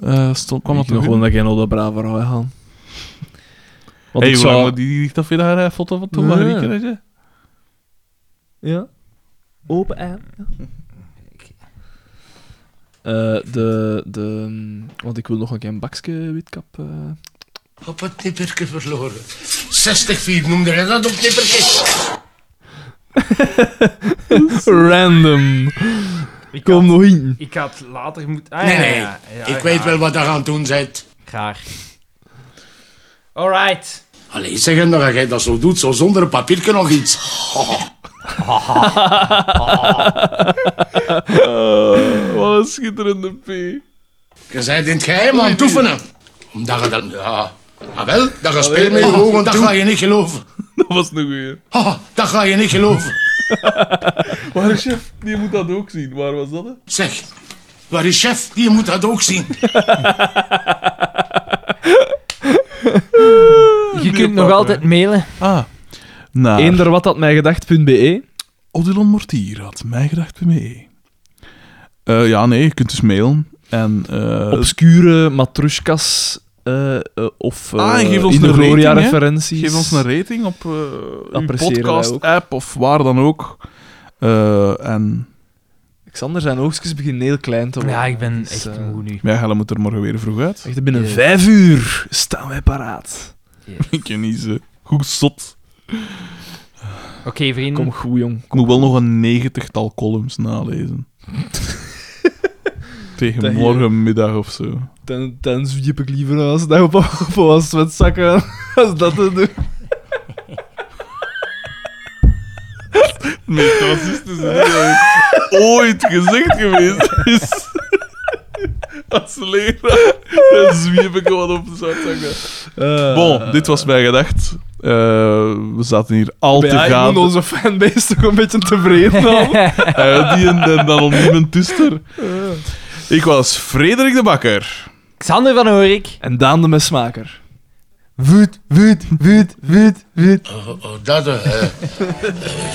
B: Eh, stond, kwam
C: Ik
B: dat
C: nog
B: nog
C: gewoon
B: in.
C: dat geen Oda Brava gaan. gaan. Want
B: Hey,
C: ik
B: hoe
C: zou...
B: lang moet die die ligt dat weer daar, eh, foto van Tom
C: Ja.
B: Marieke, weet je?
C: Ja. Open aan. Eh, de, de, want ik wil nog een keer een bakje witkap. eh.
D: Op het nipperke verloren. 60 vier noemde hij dat op nipperke.
C: [LAUGHS] Random.
A: Ik
C: Kom nog in.
A: Ik had later Ah, moeten...
D: Nee, nee. Ik weet wel wat je aan het doen bent.
A: Graag. Alright.
D: Allee, zeg hem dat jij dat zo doet, zo zonder een papiertje nog iets.
B: Eh, Ah, wat een schitterende P.
D: Je bent in het geheim aan het oefenen. Omdat je dat... Ja. Ah wel, dat je speelt met je ogen Dat ga je niet geloven.
B: [LAUGHS] Dat was nog weer.
D: Ha, Ah, dat ga je niet geloven.
B: [LAUGHS] Maar chef, die moet dat ook zien. Waar was dat? Hè?
D: Zeg, waar is chef? Die moet dat ook zien.
A: Je kunt nog altijd mailen.
B: Ah. Naar
C: [LAUGHS] Eender E, wat had mij gedacht.be.
B: Odilon Mortier had mij gedacht bij mij. Eh, ja, nee, je kunt dus mailen. En, eh,
C: Obscure matrushkas eh, eh, of eh
B: Ah, en geef ons
C: in
B: een rating, hè?
C: referenties.
B: Geef ons een rating op eh uw
C: Appreciëren wij
B: podcast-app of waar dan ook. Eh, en
C: Xander, zijn oogstjes beginnen heel klein te worden.
A: Ja, ik ben
C: Dus,
A: echt
C: eh,
A: moe nu.
B: ja, Helle moet er morgen weer vroeg uit.
C: Echt binnen
A: Ja.
C: vijf uur staan wij paraat.
B: Ik ken niet ze. Goed zot.
A: Oké, vrienden.
C: Kom goed, jong.
B: Ik moet wel nog een negentigtal columns [LAUGHS] nalezen. Tegen
C: Tegen-
B: morgenmiddag of zo.
C: Dan, dan zwiep ik liever een als dag op, op een zwetzakken als dat te doen.
B: Het meest racistische ding dat ik ooit gezegd geweest is. Als leraar, dan zwiep ik gewoon op de zaterdag.
C: Eh,
B: Bon, dit was mijn gedacht. Eh, we zaten hier al te
C: Ja, ik
B: gaan.
C: moet onze fanbase toch een beetje tevreden houden.
B: Eh, die en, en dan om niemand tuster. Ik was Frederik de Bakker.
A: Xander van Horik.
C: en Daan de Mesmaker.
A: Woed, woed, woed, woed, woed.
D: Oh, oh, dat, eh.